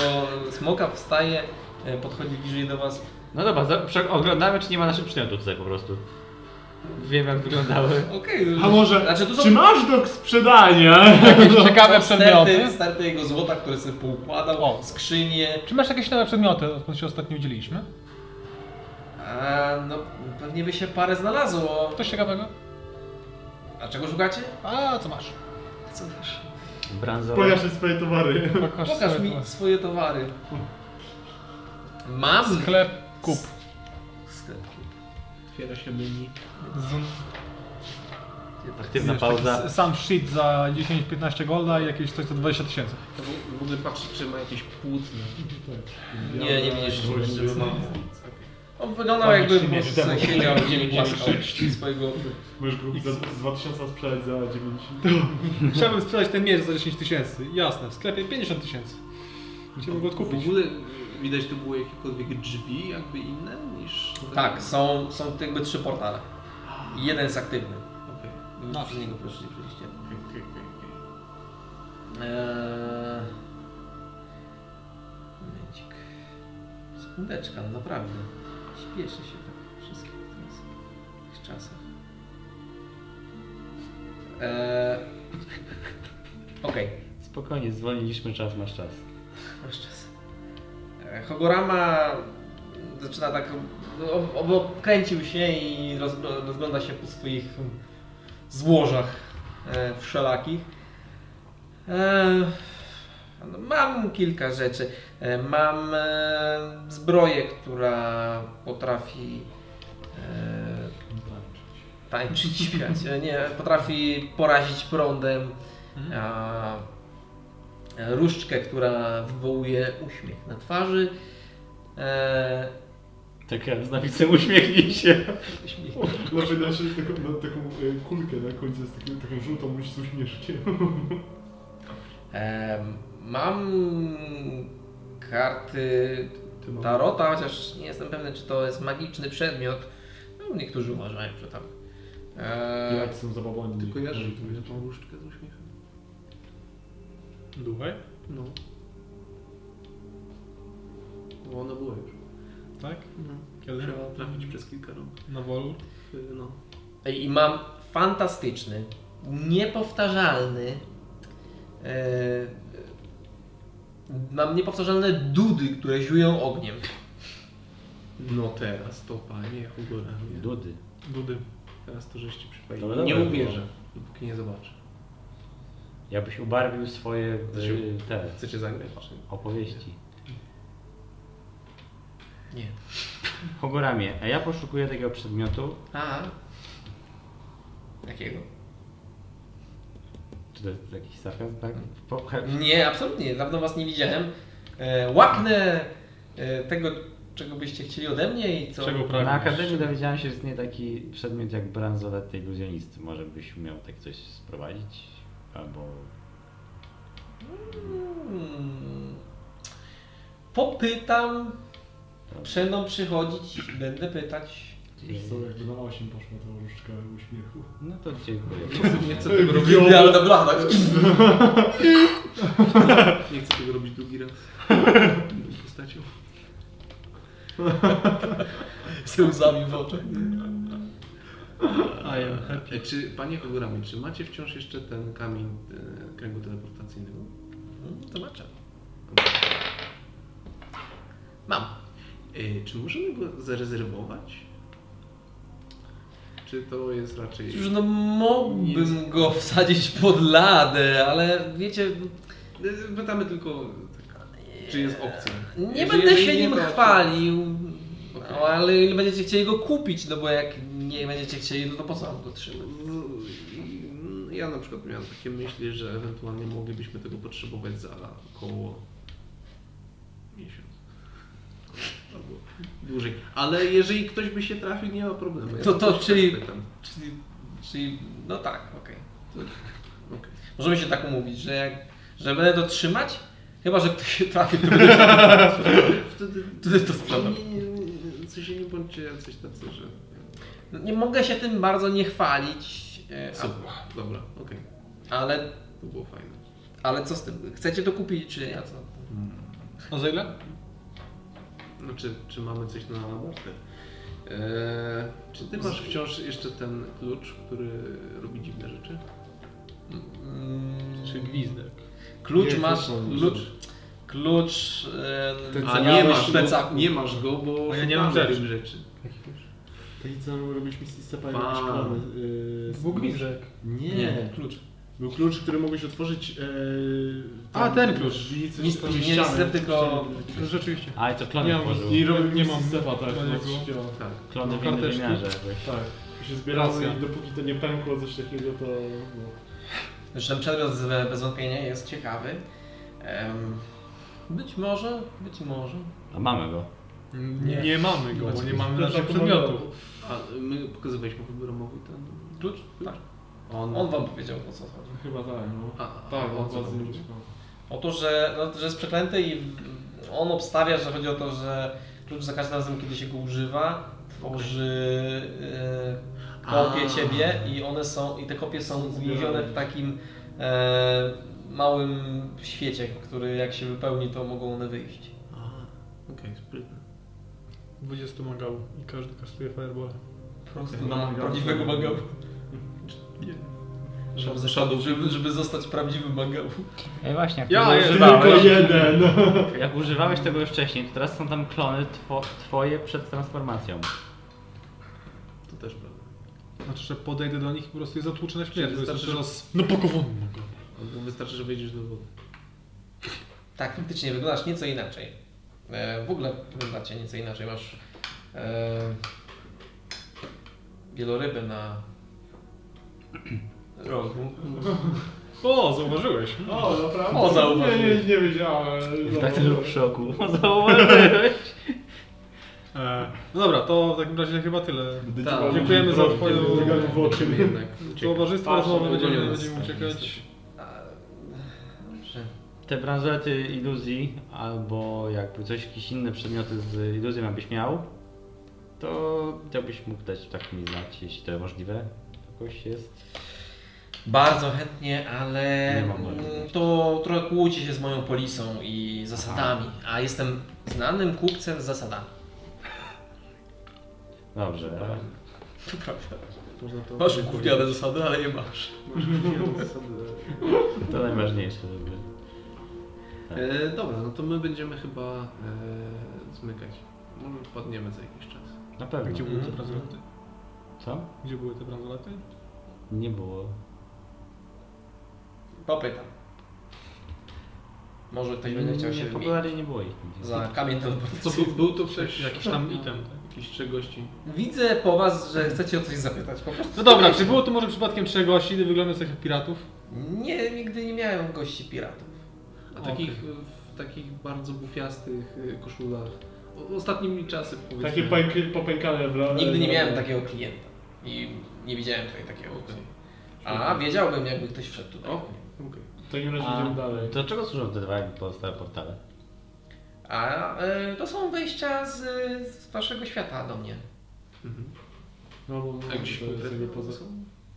Speaker 1: smoka, wstaje, e, podchodzi bliżej do was.
Speaker 3: No dobra, za- prze- oglądamy, czy nie ma naszych przedmiotów tutaj po prostu. Wiem, jak wyglądały.
Speaker 1: Okej,
Speaker 2: A może,
Speaker 1: Znaczy, tu są-
Speaker 2: czy masz do sprzedania?
Speaker 4: jakieś
Speaker 1: Sterty,
Speaker 4: ciekawe przedmioty?
Speaker 1: sterty jego złota, które sobie poukładał,
Speaker 4: O.
Speaker 1: skrzynie.
Speaker 4: Czy masz jakieś nowe przedmioty, odkąd się ostatnio widzieliśmy?
Speaker 1: A, no pewnie by się parę znalazło.
Speaker 4: Coś ciekawego?
Speaker 1: A czego szukacie?
Speaker 4: A, co masz?
Speaker 1: Co wiesz?
Speaker 3: Bransowe.
Speaker 2: Pokaż mi swoje towary.
Speaker 4: Pokaż,
Speaker 1: Pokaż
Speaker 4: sobie
Speaker 1: mi
Speaker 4: to.
Speaker 1: swoje towary. Mam.
Speaker 4: Sklep, kup.
Speaker 1: Sklep.
Speaker 8: Otwiera się menu.
Speaker 3: Aktywna
Speaker 4: Wiesz, taki
Speaker 3: pauza.
Speaker 4: s- Sam shit za 10-15 golda i jakieś coś za 20 tysięcy.
Speaker 8: To w- w ogóle patrzy, czy ma jakieś płótno.
Speaker 1: Nie, nie widzisz,
Speaker 2: Ja-
Speaker 1: żeby mam. On wyglądał jakby po prostu siedział i nie głaskał swojego.
Speaker 2: Możesz go za za 2000 sprzedać za 90.
Speaker 4: Chciałbym sprzedać ten miecz za 10 tysięcy. Jasne, w sklepie 50 tysięcy. Chciałbym go
Speaker 8: W
Speaker 4: odkupić.
Speaker 8: ogóle widać tu było jakiekolwiek drzwi jakby inne niż...
Speaker 1: Tak, są, są jakby trzy portale. Jeden jest aktywny.
Speaker 8: Okej.
Speaker 1: No, przez niego proszę, przyjście.
Speaker 8: okej, okej, okej, okej.
Speaker 1: Eee... Momencik. Sekundeczka, no naprawdę. Śpieszy się tak wszystkich teraz. W tych czasach. Eee... Okej,
Speaker 3: Spokojnie, zwolniliśmy czas, masz czas.
Speaker 1: masz czas.
Speaker 7: E,
Speaker 1: Eee, Hogorama zaczyna tak...
Speaker 7: no,
Speaker 1: ob- ob- Obkręcił się i roz, rozgląda się po swoich złożach e, wszelakich. E, no, Mam kilka rzeczy. E, Mam e, zbroję, która potrafi e, tańczyć,
Speaker 7: Mhm.
Speaker 1: śpiać. E, Nie, potrafi porazić prądem. A,
Speaker 7: e, różdżkę, która wywołuje uśmiech na twarzy. E,
Speaker 3: Taka z napisem uśmiechnij się.
Speaker 2: Lepiej na się taką, na taką e, kulkę na końcu, z taką, taką żółtą myśl z uśmieszkiem.
Speaker 7: Em, E, mam karty Tarota, chociaż nie jestem pewny, czy to jest magiczny przedmiot. No, niektórzy uważają, że tak. E,
Speaker 2: Jak są zabawani.
Speaker 8: Ty kojarzysz mi tą różdżkę z uśmiechem?
Speaker 4: Duchaj?
Speaker 8: No. Bo ono było już.
Speaker 4: Tak? Kiedy?
Speaker 8: No. Trzeba trafić przez kilka rąk.
Speaker 4: Na wolu?
Speaker 8: Y, No.
Speaker 7: I mam fantastyczny, niepowtarzalny. E, mam niepowtarzalne dudy, które ziują ogniem.
Speaker 8: No teraz to panie Hugo Ramię.
Speaker 3: Dudy.
Speaker 8: Dudy. Teraz to żeście przypali.
Speaker 3: Dobra,
Speaker 8: nie
Speaker 3: dobra,
Speaker 8: uwierzę, dopóki nie zobaczę.
Speaker 3: Jakbyś ubarwił swoje y, te
Speaker 8: Chcecie zagrać? Czy...
Speaker 3: opowieści.
Speaker 7: Nie.
Speaker 3: Hogoramie, a ja poszukuję takiego przedmiotu.
Speaker 7: A. Jakiego?
Speaker 3: Czy to jest jakiś sarkazm, tak? Po-
Speaker 7: Nie, absolutnie. Dawno was nie widziałem. E, łapnę e, tego, czego byście chcieli ode mnie i co.
Speaker 4: Czego
Speaker 3: Na
Speaker 4: pragniesz?
Speaker 3: Akademii dowiedziałem się, że istnieje taki przedmiot jak bransolet iluzjonisty. Może byś umiał tak coś sprowadzić? Albo...
Speaker 7: Mm. Popytam. Przędą przychodzić, będę pytać.
Speaker 2: Wiesz co, jakby na 8 poszła ta różdżka uśmiechu.
Speaker 3: No to dziękuję.
Speaker 8: Nie chcę tego robić.
Speaker 7: Ale dobra, tak.
Speaker 8: Nie chcę tego robić drugi raz. Z postacią.
Speaker 7: Z łzami w oczach.
Speaker 4: A ja.
Speaker 8: E, Czy, panie Hugo Ramię, czy macie wciąż jeszcze ten kamień e, kręgu teleportacyjnego?
Speaker 7: Zobaczę. Mam.
Speaker 8: E, Czy możemy go zarezerwować? Czy to jest raczej...
Speaker 7: Cóż, no mógłbym go wsadzić pod ladę, ale wiecie,
Speaker 8: E, Pytamy tylko, tak, czy jest opcja.
Speaker 7: nie
Speaker 8: Jeżeli-
Speaker 7: będę się
Speaker 8: jeżeli
Speaker 7: nim
Speaker 8: nie, to-
Speaker 7: chwalił.
Speaker 8: Okej.
Speaker 7: No, ale ile będziecie chcieli go kupić, no bo jak nie będziecie chcieli, no to po co mam go trzymać?
Speaker 8: W- Mm, Ja na przykład miałem takie myśli, że ewentualnie moglibyśmy tego potrzebować za około miesiąc. Albo dłużej. Ale jeżeli ktoś by się trafił, nie ma problemu. Ja
Speaker 7: To- to,
Speaker 8: też
Speaker 7: czyli-
Speaker 8: tak pytam.
Speaker 7: Czyli, czyli no tak, okej.
Speaker 8: Okej.
Speaker 7: Możemy się tak umówić, że jak że będę to trzymać, chyba że ktoś się trafi, to
Speaker 8: Wtedy
Speaker 7: wtedy to sprzedam.
Speaker 8: Nie, nie, nie, coś nie bądźcie jacyś tacy, że...
Speaker 7: No, Nie mogę się tym bardzo nie chwalić, e,
Speaker 8: Super, dobra, okej.
Speaker 7: a, ale,
Speaker 8: To było fajne.
Speaker 7: ale co z tym? Chcecie to kupić, czy ja co?
Speaker 4: No za ile?
Speaker 8: No czy, czy mamy coś na wartę? Eee, czy ty masz wciąż jeszcze ten klucz, który robi dziwne rzeczy?
Speaker 7: Mm,
Speaker 4: Czy gwizdek?
Speaker 7: Klucz
Speaker 2: Nie,
Speaker 7: masz,
Speaker 2: to są-
Speaker 7: klucz, klucz, e,
Speaker 2: Ten, co
Speaker 8: A nie
Speaker 2: miałeś
Speaker 8: masz, go,
Speaker 7: plecaku.
Speaker 8: nie masz go, bo
Speaker 4: A ja nie mam
Speaker 8: szukamy
Speaker 4: rzeczy.
Speaker 8: tych rzeczy.
Speaker 2: Taki co robiliśmy z Istapami
Speaker 8: Pan.
Speaker 2: szklany.
Speaker 4: Był gwizdek.
Speaker 2: y, Nie.
Speaker 7: nie, klucz.
Speaker 2: Był klucz, który mogłeś otworzyć. E,
Speaker 4: A, ten klucz.
Speaker 2: drzwi, coś
Speaker 7: Nic-
Speaker 2: tam,
Speaker 7: nie
Speaker 2: ścianę.
Speaker 7: jestem, tylko-
Speaker 4: Rzeczywiście.
Speaker 3: A, i to klony
Speaker 2: Nie mam
Speaker 3: tworzył.
Speaker 2: I robił
Speaker 4: Nie
Speaker 2: nie mam
Speaker 4: mam
Speaker 2: Stefa, tak.
Speaker 4: dla niego.
Speaker 2: no,
Speaker 8: Tak.
Speaker 3: Klony w innym
Speaker 2: karteczki.
Speaker 3: wymiarze jakoś.
Speaker 2: Tak. I się zbieramy
Speaker 4: Racja.
Speaker 2: i dopóki to nie pękło coś takiego, to. No.
Speaker 7: Zresztą przedmiot z- bez wątpienia jest ciekawy. Em, być może, być może.
Speaker 3: A mamy go.
Speaker 4: Nie, Znaczy, mamy go, bo nie mamy naszych
Speaker 2: Plecaku
Speaker 4: przedmiotów.
Speaker 2: mamy.
Speaker 8: A my pokazywaliśmy wybramowi ten...
Speaker 7: Klucz? Tak.
Speaker 8: On...
Speaker 7: On wam powiedział o co chodzi.
Speaker 2: Chyba tak, no.
Speaker 8: A, a,
Speaker 2: tak,
Speaker 8: o
Speaker 2: on
Speaker 8: co
Speaker 2: was nie
Speaker 8: chodzi?
Speaker 2: uciekał.
Speaker 7: O to, że, no, że jest przeklęty i on obstawia, że chodzi o to, że klucz za każdym razem, kiedy się go używa, tworzy e, kopie
Speaker 8: A.
Speaker 7: ciebie i one są, i te kopie są uwięzione w takim e, małym świecie, który jak się wypełni, to mogą one wyjść.
Speaker 8: A, Okej, sprytne.
Speaker 4: 20 magał i każdy kasztuje fireball.
Speaker 7: Po prostu na prawdziwego magabu. Żeby, żeby, żeby zostać prawdziwym magabu.
Speaker 3: Ej właśnie, jak,
Speaker 4: Ja
Speaker 3: tego
Speaker 4: jestem
Speaker 3: używałeś,
Speaker 2: Tylko jeden. no.
Speaker 3: jak używałeś tego już wcześniej, to teraz są tam klony two, twoje przed transformacją.
Speaker 8: To też prawda.
Speaker 4: Znaczy, że podejdę do nich i po prostu je zatłuczę na śmierć.
Speaker 8: Czyli
Speaker 4: bo
Speaker 8: wystarczy,
Speaker 4: jestem teraz... No pakowany go.
Speaker 8: Albo wystarczy, że wejdziesz do wody.
Speaker 7: Tak, faktycznie wyglądasz nieco inaczej. E, w ogóle wyglądacie nieco inaczej. Masz e, wielorybę na rogu.
Speaker 4: O, zauważyłeś.
Speaker 2: O, naprawdę.
Speaker 14: O, zauważyłeś.
Speaker 2: Nie, nie, nie wiedziałem.
Speaker 3: Tak też był w szoku. Zauważyłeś?
Speaker 4: E, no dobra, to w takim razie chyba tyle.
Speaker 2: Tak.
Speaker 4: Dziękujemy za twoją-
Speaker 2: Wygląda w oczy.
Speaker 8: jednak. uciekać.
Speaker 4: Towarzystwo
Speaker 8: Patrzę,
Speaker 4: rozmowy, będziemy,
Speaker 8: ogólnie nas
Speaker 4: będziemy
Speaker 8: tak
Speaker 4: uciekać.
Speaker 3: Te bransolety iluzji, albo jakby coś, jakieś inne przedmioty z iluzją jakbyś miał, to jakbyś mógł dać tak mi znać, jeśli to możliwe. Jakoś jest.
Speaker 7: Bardzo chętnie, ale
Speaker 3: Nie mam
Speaker 7: mm,
Speaker 3: możliwości.
Speaker 7: to trochę kłóci się z moją polisą i zasadami, a jestem znanym kupcem z zasadami.
Speaker 3: Dobrze.
Speaker 1: Można to...
Speaker 7: Masz gówniane zasady, ale nie masz.
Speaker 3: To najważniejsze, żeby.
Speaker 8: E, dobra, no to my będziemy chyba e, zmykać. Może wpadniemy za jakiś czas.
Speaker 3: Na
Speaker 4: A
Speaker 3: pewno.
Speaker 4: Gdzie były te bransolety?
Speaker 3: Co?
Speaker 4: Mhm. Gdzie były te bransolety?
Speaker 3: Nie było.
Speaker 7: Popytam. Może ktoś będzie chciał się
Speaker 3: Nie,
Speaker 7: wymienić
Speaker 3: popularnie nie było ich. nigdzie.
Speaker 7: za kamień teleportacyjny.
Speaker 8: Co, był, był to ktoś,
Speaker 4: Jakiś tam item. tak.
Speaker 8: jakiś trzy gości?
Speaker 7: Widzę po was, że chcecie o coś zapytać. Po prostu
Speaker 4: No dobra, czy było tu może przypadkiem czegoś, ile wyglądających jak piratów?
Speaker 7: Nie, nigdy nie miałem gości piratów.
Speaker 8: A takich, E, w takich bardzo bufiastych e, koszulach. O, ostatnimi czasy powiedzmy.
Speaker 2: Takie pęk- popękane w
Speaker 7: Nigdy nie miałem takiego klienta. I nie widziałem tutaj takiego. A wiedziałbym, jakby ktoś wszedł tutaj.
Speaker 8: O, okej.
Speaker 2: W takim razie
Speaker 3: A
Speaker 2: idziemy dalej.
Speaker 3: Do czego służą te dwa pozostałe portale?
Speaker 7: A e, to są wejścia z, z waszego świata do mnie.
Speaker 2: No, bo no,
Speaker 8: A gdzieś konkretnie
Speaker 2: poza...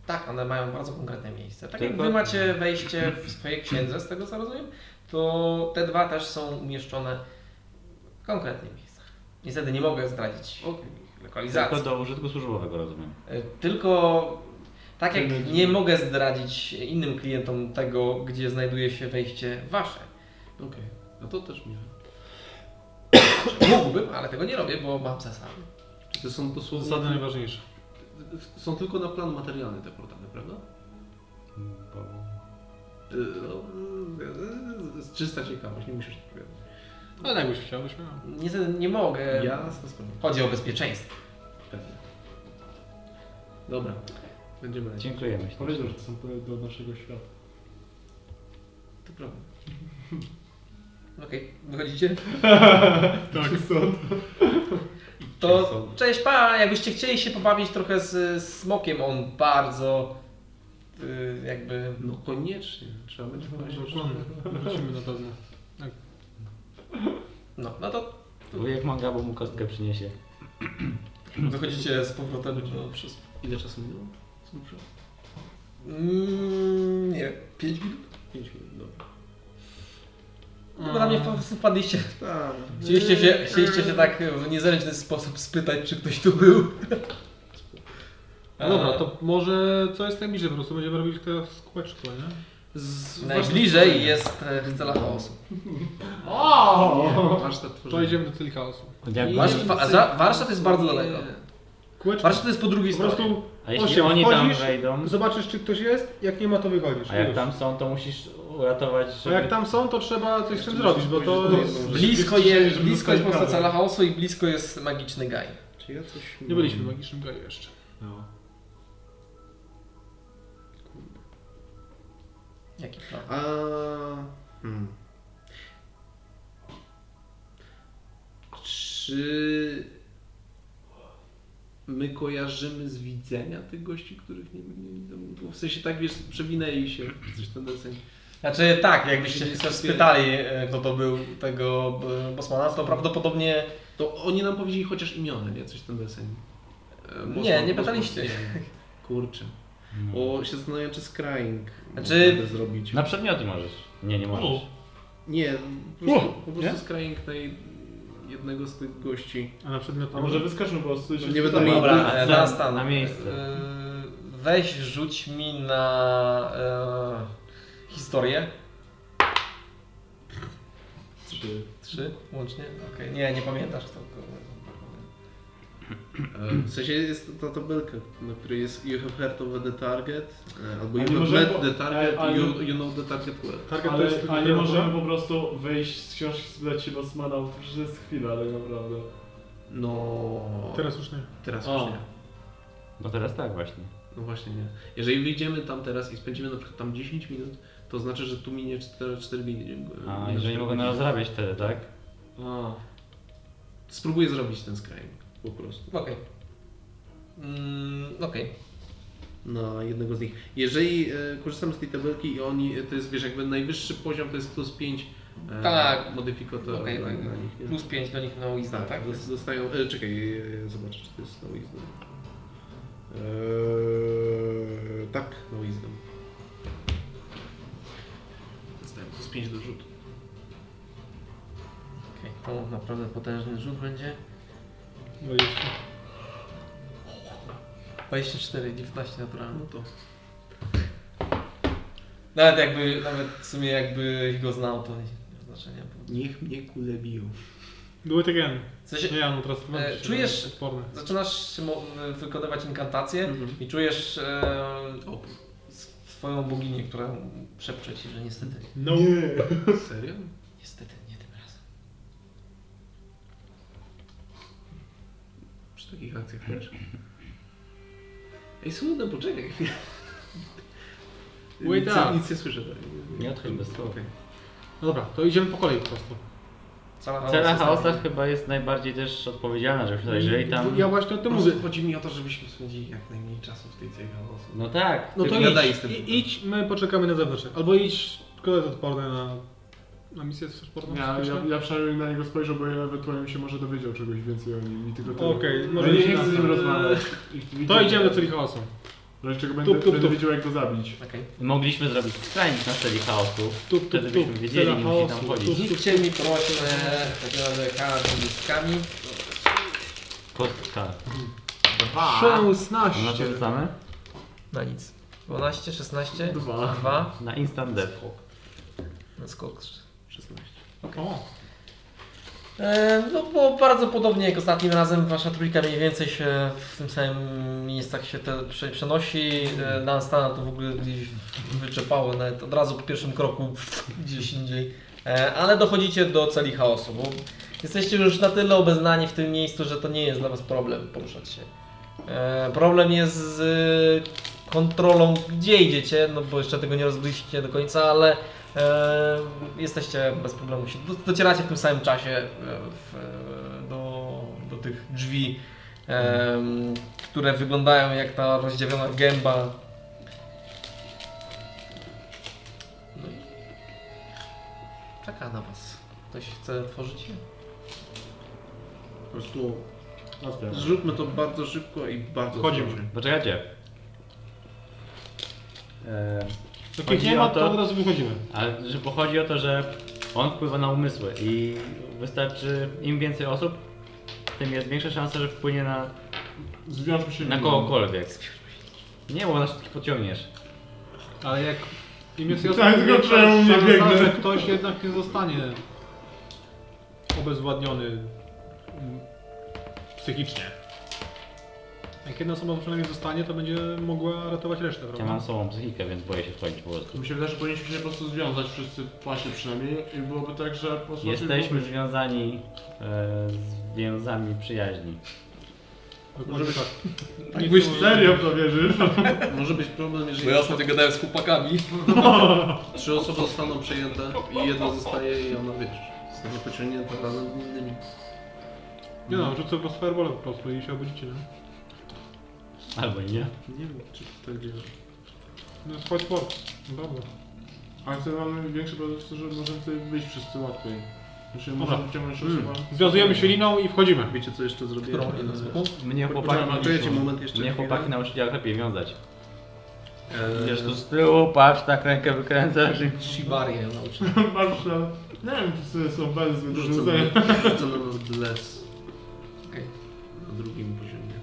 Speaker 7: Tak, one mają bardzo konkretne miejsce. Tak jak
Speaker 3: Tylko-
Speaker 7: wy macie wejście w swojej księdze, z tego co rozumiem, to te dwa też są umieszczone w konkretnych miejscach. Niestety nie mogę zdradzić
Speaker 8: Okej.
Speaker 7: lokalizacji.
Speaker 3: Tylko
Speaker 7: Tylko,
Speaker 3: do użytku służbowego, rozumiem.
Speaker 7: E, Tylko tak jak
Speaker 2: Tylko-
Speaker 7: nie mogę zdradzić innym klientom tego, gdzie znajduje się wejście wasze.
Speaker 8: Okej. No to też miałem.
Speaker 7: Znaczy, Mógłbym, ale tego nie robię, bo mam zasady.
Speaker 8: Czy to są dosłownie...
Speaker 4: Zasady najważniejsze.
Speaker 8: Są tylko na plan materialny te portale, prawda?
Speaker 3: Bo...
Speaker 8: Y, No, y, z- z- czysta ciekawość, nie musisz odpowiadać.
Speaker 4: Ale jakbyś chciał, byś miał.
Speaker 7: Niestety nie mogę.
Speaker 8: Jasna sprawa.
Speaker 7: Chodzi o bezpieczeństwo.
Speaker 8: Pewnie. Dobra. Będziemy lecieć.
Speaker 3: Dziękujemy. ślicznie.
Speaker 2: Powiedział, że to są pole do naszego świata.
Speaker 8: To prawda.
Speaker 7: Okej, wychodzicie?
Speaker 2: Tak, stąd.
Speaker 7: To cześć pa, jakbyście chcieli się pobawić trochę z smokiem, on bardzo y, jakby...
Speaker 8: No koniecznie. Trzeba będzie powiedzieć.
Speaker 4: Wrócimy na pewno.
Speaker 7: No, no to
Speaker 3: Wujek manga, bo mu kostkę przyniesie.
Speaker 7: Hmm. wychodzicie z powrotem no, do...
Speaker 8: Przez ile czasu minęło? Co muszę?
Speaker 7: Mm, nie, 5 minut?
Speaker 8: 5 minut, dobra.
Speaker 7: No bo na mnie po prostu wpadliście.
Speaker 8: Tak.
Speaker 7: Chcieliście się, chcieliście się tak w niezręczny sposób spytać, czy ktoś tu był.
Speaker 4: No dobra, to może co jest najbliżej, po prostu będziemy robić teraz kółeczko, nie?
Speaker 8: Z...
Speaker 7: Najbliżej jest e, cela chaosu.
Speaker 2: O!
Speaker 8: Warsztat
Speaker 4: To
Speaker 8: tworzenia.
Speaker 4: idziemy do celi chaosu.
Speaker 3: Jak
Speaker 7: Wasz, wa, za, warsztat jest bardzo daleko.
Speaker 4: Kółeczko.
Speaker 7: Warsztat jest po drugiej
Speaker 4: Po
Speaker 7: stronie.
Speaker 4: prostu
Speaker 3: A jeśli
Speaker 4: osiem,
Speaker 3: oni tam
Speaker 4: wchodzisz,
Speaker 3: wejdą,
Speaker 4: zobaczysz czy ktoś jest, jak nie ma to wychodzisz.
Speaker 3: a jak
Speaker 4: Już.
Speaker 3: tam są, to musisz uratować,
Speaker 4: A
Speaker 3: żeby...
Speaker 4: jak tam są, to trzeba coś z tym zrobić, bo to jest...
Speaker 7: Blisko jest, blisko jest po prostu cela chaosu i blisko jest magiczny gaj.
Speaker 1: Czy ja coś...
Speaker 4: Nie byliśmy w magicznym gaju jeszcze.
Speaker 7: Jaki plan?
Speaker 1: A... Hmm.
Speaker 8: Czy my kojarzymy z widzenia tych gości, których nie, nie, nie bo W sensie tak wiesz, przewinęli się coś ten deseń.
Speaker 7: Znaczy tak, jakbyście się spytali, e, kto to był tego e, Bosmana, to prawdopodobnie
Speaker 8: To oni nam powiedzieli chociaż imiona, nie? Coś ten deseń. E,
Speaker 7: Nie,
Speaker 8: Bosman-
Speaker 7: nie
Speaker 8: Bosman-
Speaker 7: pytaliście.
Speaker 8: nie. Kurczę.
Speaker 3: No.
Speaker 1: O, się zastanawiam, czy scrying
Speaker 7: Znaczy-
Speaker 1: mogę zrobić.
Speaker 2: No.
Speaker 3: Na przedmioty możesz. Nie, nie możesz.
Speaker 1: Nie,
Speaker 8: Po prostu,
Speaker 4: O,
Speaker 8: po prostu scrying naj... jednego z tych gości.
Speaker 4: A na przedmiot
Speaker 2: A może wyskoczmy po prostu.
Speaker 1: Nie będą
Speaker 2: spytamy.
Speaker 1: mieli-
Speaker 7: Dobra,
Speaker 1: Dobra,
Speaker 7: e,
Speaker 3: za-
Speaker 7: na stan.
Speaker 3: na miejsce.
Speaker 7: E, Weź rzuć mi na e, historię.
Speaker 2: Trzy.
Speaker 7: Trzy łącznie? Okej, nie, nie pamiętasz to.
Speaker 1: E, W sensie jest ta tabelka, na której jest you have heard of the target, e, albo
Speaker 2: A
Speaker 1: you have
Speaker 2: nie możemy
Speaker 1: met
Speaker 2: po-
Speaker 1: the target,
Speaker 2: ale-
Speaker 1: you, you know the target well.
Speaker 4: Target to
Speaker 2: Ale,
Speaker 4: jest
Speaker 2: a nie możemy po prostu wyjść z książki spytać się Bosmana, bo to przecież jest chwila, tak naprawdę.
Speaker 8: No.
Speaker 4: Teraz już nie.
Speaker 8: Teraz
Speaker 2: O.
Speaker 8: już nie.
Speaker 3: No teraz tak właśnie.
Speaker 8: No właśnie nie. Jeżeli wyjdziemy tam teraz i spędzimy na przykład tam 10 minut, to znaczy, że tu minie 4, 4 godziny.
Speaker 4: No,
Speaker 3: A, jeżeli mogę narozrabiać wtedy, tak?
Speaker 8: A. Spróbuję zrobić ten skrajnik, po prostu.
Speaker 1: Okej. Mm, Okej.
Speaker 8: Na jednego z nich. Jeżeli e, korzystam z tej tabelki i oni, e, to jest wiesz, jakby najwyższy poziom to jest plus 5 e,
Speaker 1: Tak.
Speaker 8: modyfikatorów
Speaker 1: Okej,
Speaker 8: na,
Speaker 1: tak.
Speaker 8: na nich. nie?
Speaker 1: Plus 5 do nich na Wisdom,
Speaker 8: Tak,
Speaker 1: tak?
Speaker 8: dos- dostają. E, czekaj, e, zobaczę, czy to jest na wisdom. Eee, tak, na wisdom. Dostają plus 5 do rzutu.
Speaker 1: Okej, to naprawdę potężny rzut będzie.
Speaker 4: 20.
Speaker 1: 24, 19 naturalnie.
Speaker 8: No to.
Speaker 1: Nawet jakby, nawet w sumie jakbyś go znał, to nie ma znaczenia. bo-
Speaker 8: Niech mnie kule biją.
Speaker 4: Do it again.
Speaker 1: W sensie,
Speaker 4: Nie, no teraz
Speaker 1: E, czujesz-
Speaker 4: odporny.
Speaker 1: zaczynasz się mo- wykonywać inkantację
Speaker 8: Mhm.
Speaker 1: i czujesz e,
Speaker 8: Opór.
Speaker 1: s- swoją boginię, która szepcze ci, że niestety,
Speaker 4: No.
Speaker 8: Serio?
Speaker 1: niestety nie tym razem.
Speaker 8: Przy takich akcjach też. Ej, smutno, poczekaj chwilę.
Speaker 4: Wait
Speaker 8: nic,
Speaker 4: up.
Speaker 8: nic nie słyszę. Tak.
Speaker 3: Nie odchodź bez słów.
Speaker 8: Okej.
Speaker 4: No dobra, to idziemy po kolei po prostu.
Speaker 1: Cała
Speaker 3: Cena
Speaker 1: chaos
Speaker 3: chaosa
Speaker 1: jest-
Speaker 3: chyba jest najbardziej też odpowiedzialna, że jeżeli tam...
Speaker 4: Ja właśnie o
Speaker 8: Po
Speaker 4: tym mówię.
Speaker 8: prostu chodzi mi o to, żebyśmy spędzili jak najmniej czasu w tej całej chaosu.
Speaker 3: No tak.
Speaker 4: No
Speaker 3: ty-
Speaker 4: to
Speaker 8: ja daję
Speaker 4: idź,
Speaker 8: z tym.
Speaker 4: I, idź, my poczekamy na zewnątrz. Albo idź, tylko jest odporny na, na misję z sportem.
Speaker 2: Ja, ja, ja przynajmniej na niego spojrzę, bo ja ewentualnie się może dowiedział czegoś więcej o nim i tylko tyle.
Speaker 4: Okej,
Speaker 2: Ja
Speaker 4: może
Speaker 2: No nie,
Speaker 4: się
Speaker 2: nie chcę z nim
Speaker 4: następny-
Speaker 2: rozmawiać.
Speaker 4: To idziemy do celi chaosu.
Speaker 2: Raczej czego będę,
Speaker 4: Tup, tup,
Speaker 2: będę
Speaker 4: tup.
Speaker 2: wiedział jak go zabić.
Speaker 1: Okej.
Speaker 3: Mogliśmy zrobić skrajnik na celi chaosu.
Speaker 4: Tu, tu,
Speaker 3: Wtedy
Speaker 4: tu.
Speaker 3: byśmy wiedzieli,
Speaker 4: Cela
Speaker 3: nie musieli tam
Speaker 4: chaosu.
Speaker 3: chodzić.
Speaker 1: Rzućcie mi proszę w takim razie kart z bliskami.
Speaker 3: Kostka.
Speaker 4: 16.
Speaker 3: tak. Na co rzucamy?
Speaker 1: Na nic. 12, 16,
Speaker 2: Dwa.
Speaker 1: 2,
Speaker 3: Na instant death.
Speaker 1: na skok.
Speaker 8: 16.
Speaker 4: O,
Speaker 1: E, No bo bardzo podobnie jak ostatnim razem wasza trójka mniej więcej się w tym samym miejscach się te prze- przenosi. E, Dunstana to w ogóle gdzieś wyczepało nawet od razu po pierwszym kroku gdzieś indziej. E, Ale dochodzicie do celi chaosu, bo jesteście już na tyle obeznani w tym miejscu, że to nie jest dla was problem poruszać się. E, Problem jest z e, kontrolą gdzie idziecie, no bo jeszcze tego nie rozbiliście do końca, ale E, jesteście bez problemu się. do- Docieracie w tym samym czasie e, w, e, do, do tych drzwi, em, które wyglądają jak ta rozdziawiona gęba. No i czeka na was. Ktoś chce tworzyć je?
Speaker 8: Po prostu
Speaker 2: Otwieram.
Speaker 8: zróbmy to bardzo szybko i bardzo
Speaker 4: Wchodzimy.
Speaker 8: ostrożnie.
Speaker 3: Poczekajcie. E,
Speaker 4: jak
Speaker 3: Chodzi
Speaker 4: ich nie
Speaker 3: o
Speaker 4: ma,
Speaker 3: to-
Speaker 4: to od razu wychodzimy.
Speaker 3: ale że bo chodzi o to, że on wpływa na umysły i wystarczy im więcej osób, tym jest większa szansa, że wpłynie na,
Speaker 2: Zwiążmy się.
Speaker 3: na kogokolwiek. Nie, bo nas wszystkich pociągniesz.
Speaker 4: Ale jak im jest
Speaker 2: Tak, tylko czemu nie biegnę?
Speaker 4: że ktoś jednak nie zostanie obezwładniony mm, psychicznie. Jak jedna osoba przynajmniej zostanie, to będzie mogła ratować resztę, prawda?
Speaker 3: Ja mam sobą psychikę, więc boję się wchodzić po prostu.
Speaker 2: Mi się wydaje, że powinniśmy się po prostu związać wszyscy właśnie przynajmniej i byłoby tak, że po prostu...
Speaker 3: Jesteśmy związani e, z więzami przyjaźni.
Speaker 4: Dokładnie tak. no,
Speaker 2: Tak byś serio w to wierzysz?
Speaker 8: Może być problem, jeżeli
Speaker 1: Bo ja ostatnio gadałem z chłopakami.
Speaker 8: trzy osoby zostaną przejęte i jedna zostaje i ona, wiesz, zostanie pociągnięta razem z innymi.
Speaker 4: Nie no, rzucę po prostu fireballem po prostu i się obudzicie, nie?
Speaker 3: Albo nie.
Speaker 8: Nie wiem, czy to tak działa.
Speaker 4: No jest fight force, dobra.
Speaker 2: Ale wtedy mamy większe prawdopodobieństwo, że możemy tutaj wyjść wszyscy łatwiej. Znaczy,
Speaker 4: Dobra.
Speaker 2: możemy ciągnąć
Speaker 8: Mm.
Speaker 2: mm.
Speaker 4: Związujemy się liną i wchodzimy.
Speaker 8: Wiecie, co jeszcze zrobiłem?
Speaker 1: Którą jedną zwykłą?
Speaker 3: Mnie
Speaker 8: Poczekaj,
Speaker 3: chłopaki,
Speaker 8: czekajcie moment jeszcze.
Speaker 3: mnie
Speaker 8: chwilę.
Speaker 3: chłopaki nauczyli jak lepiej wiązać.
Speaker 8: Eee,
Speaker 3: Wiesz, tu z tyłu, patrz, tak rękę wykręcasz i...
Speaker 1: Shibarię nauczyłem.
Speaker 2: Masz na... Nie wiem, czy są bez
Speaker 8: Rzucę
Speaker 2: wyrzucenia.
Speaker 8: na- rzucę na nas bless
Speaker 1: Okej.
Speaker 8: na drugim poziomie.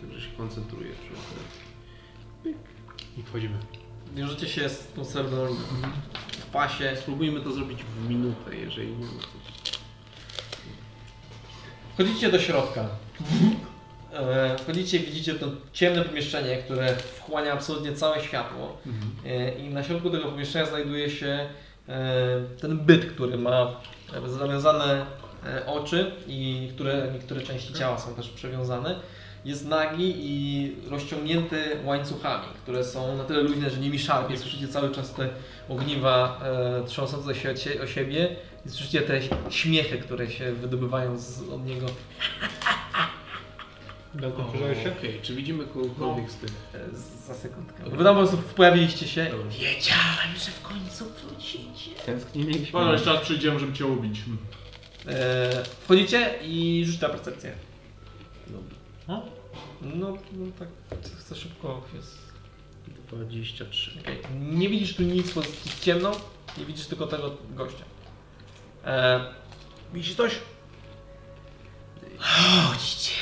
Speaker 8: Także się koncentruję przy okazji.
Speaker 4: I wchodzimy.
Speaker 1: Wiążecie się z tą srebrną linią. W pasie.
Speaker 8: Spróbujmy to zrobić w minutę, jeżeli nie ma coś.
Speaker 1: Wchodzicie do środka. E, Wchodzicie i widzicie to ciemne pomieszczenie, które wchłania absolutnie całe światło. E, I na środku tego pomieszczenia znajduje się e, ten byt, który ma e, zawiązane e, oczy i które, niektóre części ciała są też przewiązane. jest nagi i rozciągnięty łańcuchami, które są na tyle luźne, że nimi szarpie. Słyszycie cały czas te ogniwa e, trząsące się od sie- o siebie i słyszycie te śmiechy, które się wydobywają z, od niego.
Speaker 4: Belton,
Speaker 5: Okej,
Speaker 4: przyjrzałeś się?
Speaker 5: czy widzimy kogokolwiek z tych?
Speaker 1: E, z- za sekundkę. Wy tam po prostu pojawiliście się.
Speaker 7: Wiedziałem, że w końcu wrócicie.
Speaker 12: Tęskniliśmy.
Speaker 2: Wolę jeszcze raz przyjdziemy, żeby cię ubić.
Speaker 1: E, wchodzicie i rzuć na percepcję.
Speaker 2: No.
Speaker 1: No, no tak, chcę szybko jest.
Speaker 5: 23.
Speaker 1: Okej, Nie widzisz tu nic, bo jest ciemno. Nie widzisz tylko tego gościa. E,
Speaker 5: Widzisz coś?
Speaker 7: Chodźcie,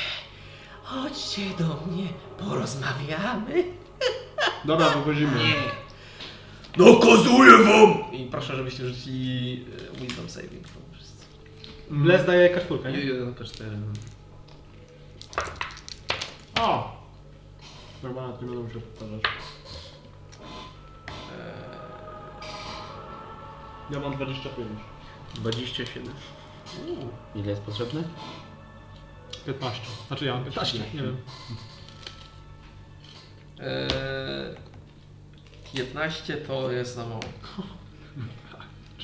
Speaker 7: chodźcie do mnie, porozmawiamy.
Speaker 2: Dobra, wychodzimy.
Speaker 6: Nakazuję wam!
Speaker 1: I proszę, żebyście rzucili e, Wisdom Saving. throw wszyscy.
Speaker 2: Mm.
Speaker 4: Bles daje kaszturkę, nie?
Speaker 5: 1K4.
Speaker 2: O! Dobra, nie będę musiał powtarzać.
Speaker 4: Eee.
Speaker 2: Ja mam 25.
Speaker 5: 27.
Speaker 12: Ile jest potrzebne?
Speaker 4: 15. Znaczy ja mam 15, nie wiem.
Speaker 1: E, 15 to jest za mało.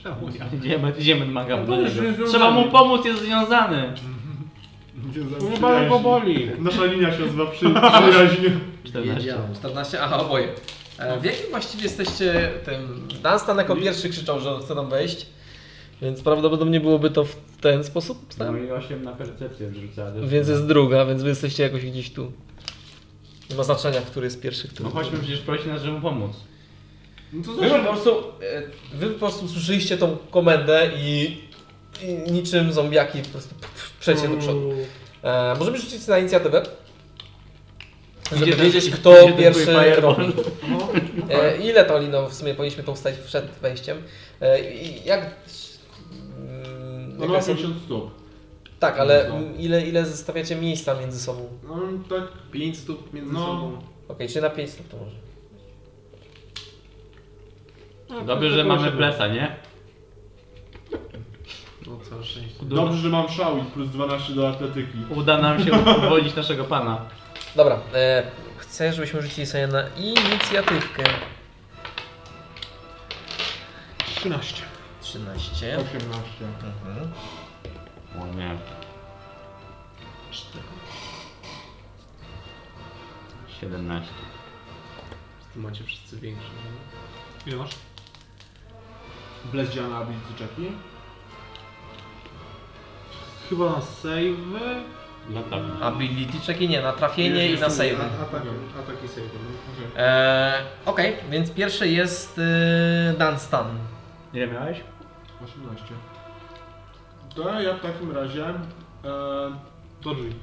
Speaker 4: Czemu ja?
Speaker 12: Idziemy, idziemy do manga.
Speaker 2: No dobrze, że jest
Speaker 12: Trzeba mu
Speaker 2: związany.
Speaker 12: pomóc, jest związany.
Speaker 2: Nie bardzo powoli. Nasza linia się nazywa przy, przyjaźnie.
Speaker 12: 14.
Speaker 1: 14, aha, oboje. E, w jakim właściwie jesteście tym... Dunstan jako pierwszy krzyczał, że chce tam wejść. Więc prawdopodobnie byłoby to w ten sposób.
Speaker 12: No i 8 na percepcję zrzuca.
Speaker 1: Więc jest druga, więc wy jesteście jakoś gdzieś tu. Nie ma znaczenia, który jest pierwszy, który
Speaker 12: No chodźmy, przecież prosi nas, żeby mu pomóc.
Speaker 2: No to
Speaker 1: Wy po
Speaker 2: znaczy,
Speaker 1: prostu, e, wy po prostu słyszeliście tą komendę i, i niczym zombiaki po prostu p- p- przecie do przodu.
Speaker 12: Mm.
Speaker 1: E, możemy rzucić na inicjatywę, żeby
Speaker 12: Gdzie ten-
Speaker 1: wiedzieć
Speaker 12: gdzie
Speaker 1: kto
Speaker 12: ten twój
Speaker 1: pierwszy
Speaker 12: fireball?
Speaker 1: robi. E, ile to lino w sumie powinniśmy tą wstać przed wejściem? E, i jak... Mm,
Speaker 2: no
Speaker 1: jaka
Speaker 2: ma
Speaker 1: jest-
Speaker 2: 50 stóp.
Speaker 1: tak, ale
Speaker 2: no.
Speaker 1: m, ile, ile zostawiacie miejsca między sobą? Okej,
Speaker 2: No tak,
Speaker 5: 5 stóp między
Speaker 2: No.
Speaker 5: sobą.
Speaker 1: czyli na 5 stóp to może.
Speaker 12: Dobrze, że mamy blesa, nie?
Speaker 5: No całe szczęście.
Speaker 2: dobrze, że mam szał i plus 12 do atletyki.
Speaker 12: Uda nam się uwolnić naszego pana.
Speaker 1: Dobra, e, chcę, żebyśmy rzucili sobie na inicjatywkę.
Speaker 4: 13.
Speaker 1: 13.
Speaker 2: 18.
Speaker 1: Mhm.
Speaker 12: O nie. 17.
Speaker 5: Ty macie wszyscy większe. no.
Speaker 4: Ile masz?
Speaker 2: Bless działa na ability checki.
Speaker 4: Chyba na save'y.
Speaker 12: No tak.
Speaker 1: Ability checki nie, na trafienie i na save.
Speaker 5: Ataki, ataki save.
Speaker 1: E, Okej, więc pierwszy jest e, Dunstan.
Speaker 12: Ile miałeś?
Speaker 2: 18. To ja w takim razie e,
Speaker 4: Do drzwi.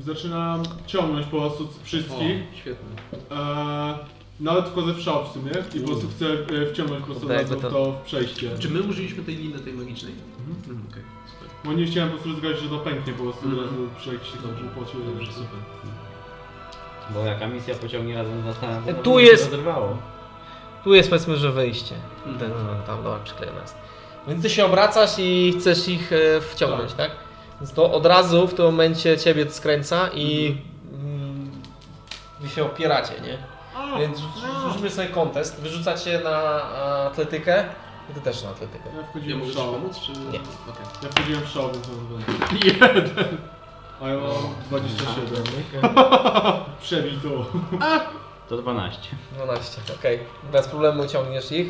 Speaker 2: zaczynam ciągnąć po prostu wszystkich.
Speaker 5: O, świetnie.
Speaker 2: E, nawet wchodzę w szał w sumie i po prostu chcę e, wciągnąć po prostu
Speaker 1: Kurde, jakby
Speaker 2: razem
Speaker 1: to-
Speaker 2: to... to w przejście.
Speaker 5: Czy my użyliśmy tej liny, tej magicznej? Mhm. Okej, super.
Speaker 2: Bo nie chciałem po prostu zgadzać, że to pęknie po prostu
Speaker 5: Mhm.
Speaker 2: mm przejście dobrze płaciło.
Speaker 5: Dobrze, super.
Speaker 12: Bo jaka misja pociągnie razem z nas na...
Speaker 1: E, tu
Speaker 12: to by
Speaker 1: jest-
Speaker 12: się Rozerwało.
Speaker 1: Tu jest powiedzmy, że wejście. Ten, tam, no, dobra, przyklejona jest. Więc ty się obracasz i chcesz ich e, wciągnąć, tak? Więc to od razu w tym momencie ciebie skręca i mm, wy się opieracie, nie? Więc zróbmy sobie kontest. Wyrzucacie na atletykę i ty też na atletykę.
Speaker 4: No.
Speaker 2: Ja
Speaker 5: Ja
Speaker 2: wchodziłem
Speaker 5: mogę
Speaker 2: w
Speaker 5: ci
Speaker 2: szał.
Speaker 5: pomóc, czy...
Speaker 1: Nie.
Speaker 5: Okej.
Speaker 2: Ja wchodziłem w szał, więc mam
Speaker 5: Jeden.
Speaker 2: A ja mam 27. Przebij to.
Speaker 12: To 12.
Speaker 1: 12, okej. Bez problemu ciągniesz ich.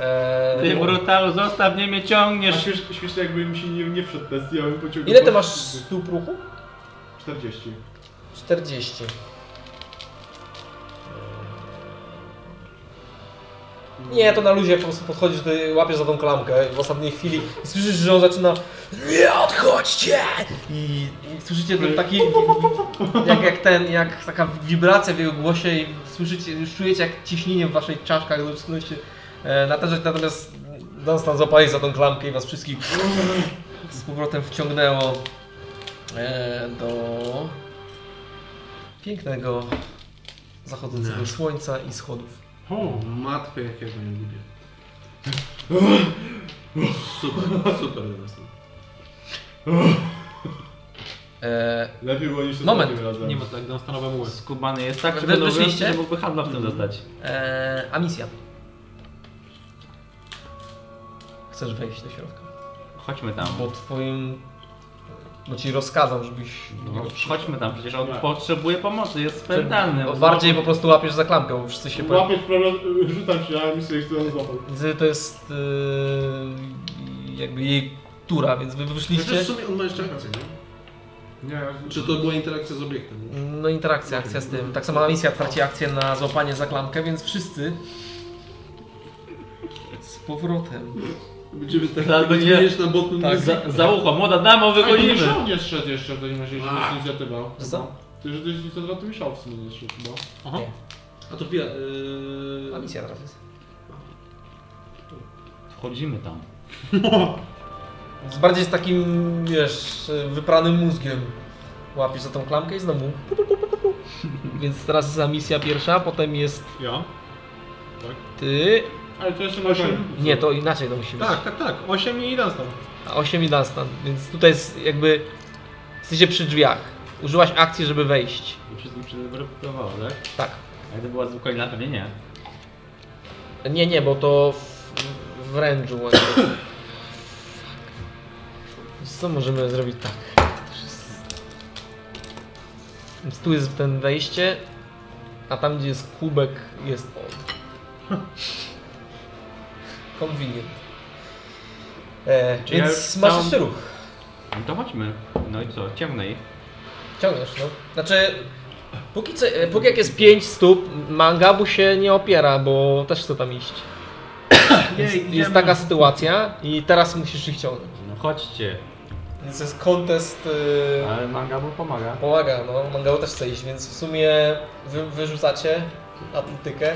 Speaker 1: Eee,
Speaker 12: Ty brutalu, zostaw mnie, mnie
Speaker 2: A
Speaker 12: ciągniesz.
Speaker 2: śmiesz, śmieszne jakby mi się nie, nie wszedł test, ja bym pociągnął.
Speaker 1: ile ty masz stóp ruchu?
Speaker 2: 40.
Speaker 1: 40. Nie, to na luzie po prostu podchodzisz, ty łapiesz za tą klamkę w ostatniej chwili i słyszysz, że on zaczyna Nie odchodźcie! I, i słyszycie ten taki, jak, jak ten, jak taka wibracja w jego głosie i słyszycie, już czujecie jak ciśnienie w waszych czaszkach zaczyna się e, natarzać, natomiast Dunstan zapalił za tą klamkę i was wszystkich z powrotem wciągnęło e, do pięknego zachodzącego słońca i schodów.
Speaker 5: O, matko, jak ja go nie lubię. Super, super. Jasne.
Speaker 1: E,
Speaker 2: Lepiej było niż
Speaker 1: Moment.
Speaker 2: ostatnim razem.
Speaker 12: Nie ma tak, dam stanowe muły. Skubany jest tak,
Speaker 1: Wy-
Speaker 12: żeby dobrze,
Speaker 1: wyszliście?
Speaker 12: że mógłby handla w tym dostać.
Speaker 1: e, a misja. Chcesz wejść do środka.
Speaker 12: Chodźmy tam.
Speaker 1: Bo twoim... Bo ci rozkazał, żebyś...
Speaker 12: No, chodźmy tam, przecież on
Speaker 2: Tak.
Speaker 12: potrzebuje pomocy, jest spętany.
Speaker 1: No, bardziej po prostu łapiesz za klamkę, bo wszyscy się... po-
Speaker 2: Łapiesz prawie, rzucam się, ale myślę, że chcę ją złapać.
Speaker 1: Z- To jest... E, jakby jej tura, więc wy
Speaker 8: Chociaż
Speaker 1: wyszliście...
Speaker 8: w sumie on ma jeszcze akcję, nie?
Speaker 2: Nie,
Speaker 8: Czy to była interakcja z obiektem? nie?
Speaker 1: No interakcja, akcja z tym. Tak samo na misja traci akcję na złapanie za klamkę, więc wszyscy z powrotem.
Speaker 8: Będziemy tak
Speaker 12: Zaraz będzie-
Speaker 8: zmieniać na boku.
Speaker 1: Tak,
Speaker 8: Tak,
Speaker 12: Za, za ucho, młoda damo,
Speaker 2: A,
Speaker 12: wychodzimy!
Speaker 2: to Michał nie szedł jeszcze w takim razie, że jest inicjatywa.
Speaker 1: Co?
Speaker 2: Ty, że to jest inicjatywa, to Michał w sumie nie szedł no. chyba.
Speaker 8: A to wie,
Speaker 1: A
Speaker 8: yy...
Speaker 1: misja Y, teraz jest.
Speaker 12: Wchodzimy tam.
Speaker 1: Z bardziej z takim, wiesz, wypranym mózgiem. Łapiesz za tą klamkę i znowu. pu, pu, pu, pu, pu. Więc teraz jest ta misja pierwsza, potem jest
Speaker 4: Ja?
Speaker 1: ty.
Speaker 2: Ale to jeszcze osiem.
Speaker 1: Nie, to inaczej to musi być.
Speaker 4: Tak, tak, tak. 8 i Dunstan.
Speaker 1: A 8 i Dunstan. Więc tutaj jest jakby. Jesteście przy drzwiach. Użyłaś akcji, żeby wejść.
Speaker 12: I wszystkim przedeportowało, tak?
Speaker 1: Tak.
Speaker 12: A gdyby była zwykła lina, pewnie nie.
Speaker 1: Nie, nie, bo to w, w range'u. jakby. Wiesz Co możemy zrobić tak? Więc tu jest ten wejście, a tam gdzie jest kubek jest on. Convenient. E,
Speaker 12: Czy ja
Speaker 1: więc
Speaker 12: już
Speaker 1: masz
Speaker 12: całą-
Speaker 1: jeszcze ruch.
Speaker 12: No to chodźmy. No i co, ciemno ich.
Speaker 1: Ciągniesz, no. Znaczy, póki, co, e, póki jak jest 5 stóp, Mangabu się nie opiera, bo też chce tam iść. Jest, jest taka sytuacja i teraz musisz ich ciągnąć.
Speaker 12: No chodźcie.
Speaker 1: Więc jest kontest. y,
Speaker 12: Ale manga mu pomaga.
Speaker 1: Pomaga, no. Mangabu też chce iść, więc w sumie wy, wyrzucacie atletykę.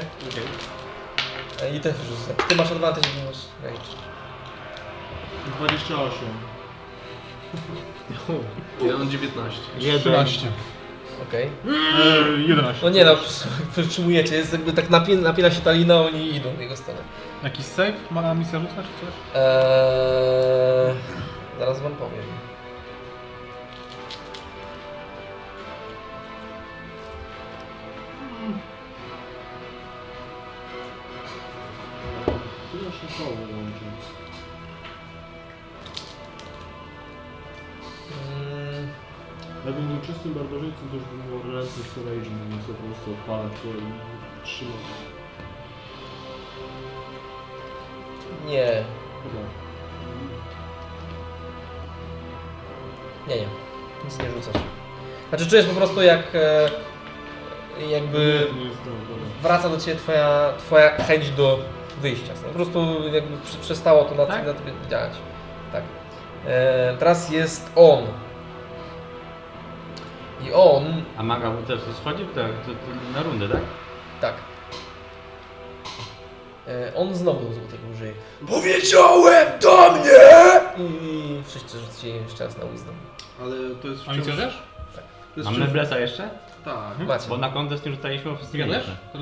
Speaker 1: E, I też wyrzucasz. Ty masz advantage, nie masz range.
Speaker 2: 28.
Speaker 8: Ja mam 19.
Speaker 4: 13.
Speaker 1: Okej.
Speaker 4: Eee, 11.
Speaker 1: No nie no, przytrzymujecie, jest jakby tak napina, napina się ta lina, oni idą w jego stronę.
Speaker 4: Jakiś save? Ma misja rzucać czy coś?
Speaker 1: Eee, zaraz wam powiem.
Speaker 2: Ty jeszcze koło wyłączył.
Speaker 1: Mm,
Speaker 2: Jakbym był czystym barbarzyńcą, to już bym miał ręce z Rage'em, nie chcę po prostu odpalać to i trzymać.
Speaker 1: nie,
Speaker 2: Dobra.
Speaker 1: nie, nie. Nic nie rzucasz. Znaczy czujesz po prostu jak e, jakby
Speaker 2: Nie jest to, dobra.
Speaker 1: wraca do ciebie twoja, twoja chęć do wyjścia. No, Po prostu jakby przy- przestało to na,
Speaker 12: Tak?
Speaker 1: na tobie działać. Tak. E, teraz jest on. I on,
Speaker 12: A manga mu też to schodzi? Tak, to, to na rundę, tak?
Speaker 1: tak. E, on znowu złotego użyje.
Speaker 6: Powiedziałem do mnie!
Speaker 1: I wszyscy rzuccie jeszcze raz na wisdom.
Speaker 8: Ale to jest
Speaker 4: A misja też?
Speaker 8: To jest
Speaker 12: Mamy
Speaker 8: wciąż...
Speaker 12: blesa jeszcze?
Speaker 8: Tak,
Speaker 1: Macie.
Speaker 12: Mhm. Bo na kontest nie rzucaliśmy oficjalnie.
Speaker 8: tak,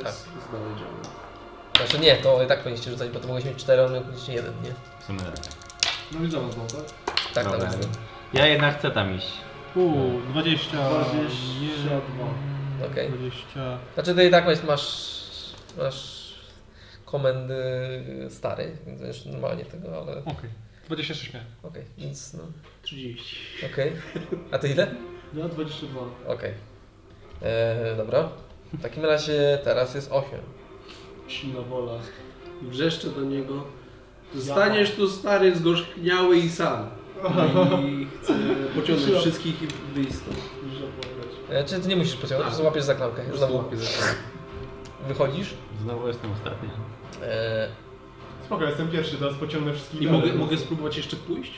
Speaker 8: bless tak. dalej działa.
Speaker 1: Znaczy nie, to i tak powinniście rzucać, bo to mogłeś mieć 4, a on miał faktycznie jeden, nie?
Speaker 12: W sumie tak.
Speaker 2: No widzę was, no tak?
Speaker 1: Tak,
Speaker 12: Dobra.
Speaker 1: na wisdom.
Speaker 12: Ja jednak chcę tam iść.
Speaker 4: Uuu, 20.
Speaker 2: 22.
Speaker 1: Okej.
Speaker 4: 20.
Speaker 1: Znaczy ty i tak masz, masz, masz komendy stary, więc wiesz, normalnie tego, ale okej,
Speaker 4: Okej. 26 miałem.
Speaker 1: więc no,
Speaker 8: 30.
Speaker 1: okej. A ty ile?
Speaker 2: Ja 22.
Speaker 1: Okej. Eee, dobra. W takim razie teraz jest 8.
Speaker 2: Silna wola.
Speaker 8: Wrzeszczę do niego. Zostaniesz tu stary, zgorzkniały i sam. No I chcę pociągnąć wszystkich i wyjść stąd.
Speaker 2: Duża wola.
Speaker 1: Eee, czy ty nie musisz pociągnąć,
Speaker 8: Tak.
Speaker 1: po łapiesz za klamkę.
Speaker 8: Po prostu
Speaker 1: Znowu
Speaker 8: łapię za szalę.
Speaker 1: wychodzisz.
Speaker 12: Znowu jestem ostatni.
Speaker 1: Eee,
Speaker 2: Spoko, jestem pierwszy, teraz pociągnę wszystkich.
Speaker 8: I
Speaker 2: dalej.
Speaker 8: mogę, mogę spróbować jeszcze pójść?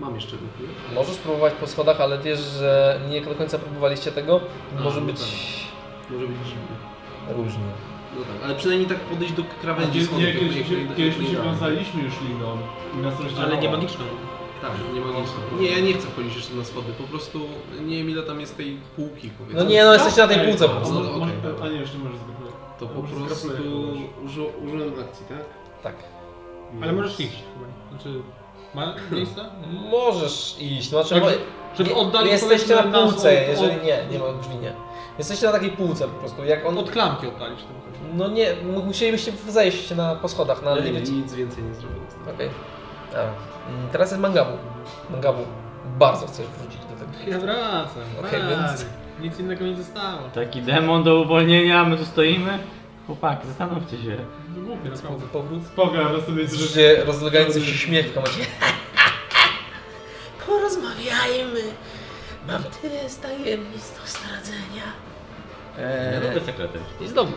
Speaker 8: Mam jeszcze grupy.
Speaker 1: możesz próbować po schodach, ale wiesz, że nie do końca próbowaliście tego.
Speaker 8: A,
Speaker 1: Może
Speaker 8: no
Speaker 1: być
Speaker 8: Może być dziwnie.
Speaker 1: różnie.
Speaker 8: No tak, ale przynajmniej tak podejść do krawędzi
Speaker 2: Kiedyś,
Speaker 8: schody.
Speaker 2: nie, kiedyś,
Speaker 8: jak-
Speaker 2: kiedyś my
Speaker 8: jak-
Speaker 2: się
Speaker 8: jak-
Speaker 2: wiązaliśmy już liną i nas rozdzielało.
Speaker 8: magiczną. Tak, nie magiczną. Nie, ja nie chcę wchodzić jeszcze na schody, po prostu nie wiem ile tam jest tej półki
Speaker 1: No
Speaker 8: powiedzmy.
Speaker 1: nie, no jesteś na tej
Speaker 2: Ej,
Speaker 1: półce po
Speaker 2: a
Speaker 1: prostu.
Speaker 8: No,
Speaker 2: może-
Speaker 8: okej,
Speaker 2: może-
Speaker 8: dobra.
Speaker 2: A nie, jeszcze możesz zgruplować.
Speaker 8: To po
Speaker 2: Dobrze,
Speaker 8: prostu
Speaker 2: skraplej,
Speaker 8: uży, użyłem akcji, tak?
Speaker 1: Tak.
Speaker 4: Ale możesz iść chyba. Znaczy, Ma miejsce?
Speaker 1: Możesz iść, no znaczy,
Speaker 4: Także,
Speaker 1: bo-
Speaker 4: żeby
Speaker 1: nie,
Speaker 4: oddalić
Speaker 1: nie jesteście na
Speaker 4: powiedzmy nas
Speaker 1: półce,
Speaker 4: od-
Speaker 1: jeżeli
Speaker 4: od-
Speaker 1: nie, nie ma drzwi, nie. Jesteście na takiej półce po prostu, jak on...
Speaker 4: Od klamki oddalić tym chodzi.
Speaker 1: No nie, mu- musielibyście zejść na, po schodach, no ale nie wiecie.
Speaker 5: Nic więcej nie zrobię.
Speaker 1: Okej. A, mm, Teraz jest mangabu. Mangabu, bardzo chcesz wrócić do tego.
Speaker 4: Ja wracam,
Speaker 1: Okej,
Speaker 4: wracam.
Speaker 1: więc-
Speaker 4: Nic innego nie zostało.
Speaker 12: Taki demon do uwolnienia, my tu stoimy. Chłopaki, zastanówcie się.
Speaker 4: No głupie, naprawdę.
Speaker 1: Powrót.
Speaker 2: Spoko, ale sobie że
Speaker 1: Słyszycie rozlegający się śmiech w kamacie.
Speaker 6: Porozmawiajmy. Mam tyle z tajemnic do stradzenia.
Speaker 1: E,
Speaker 12: Ja lubię sekrety.
Speaker 1: I znowu.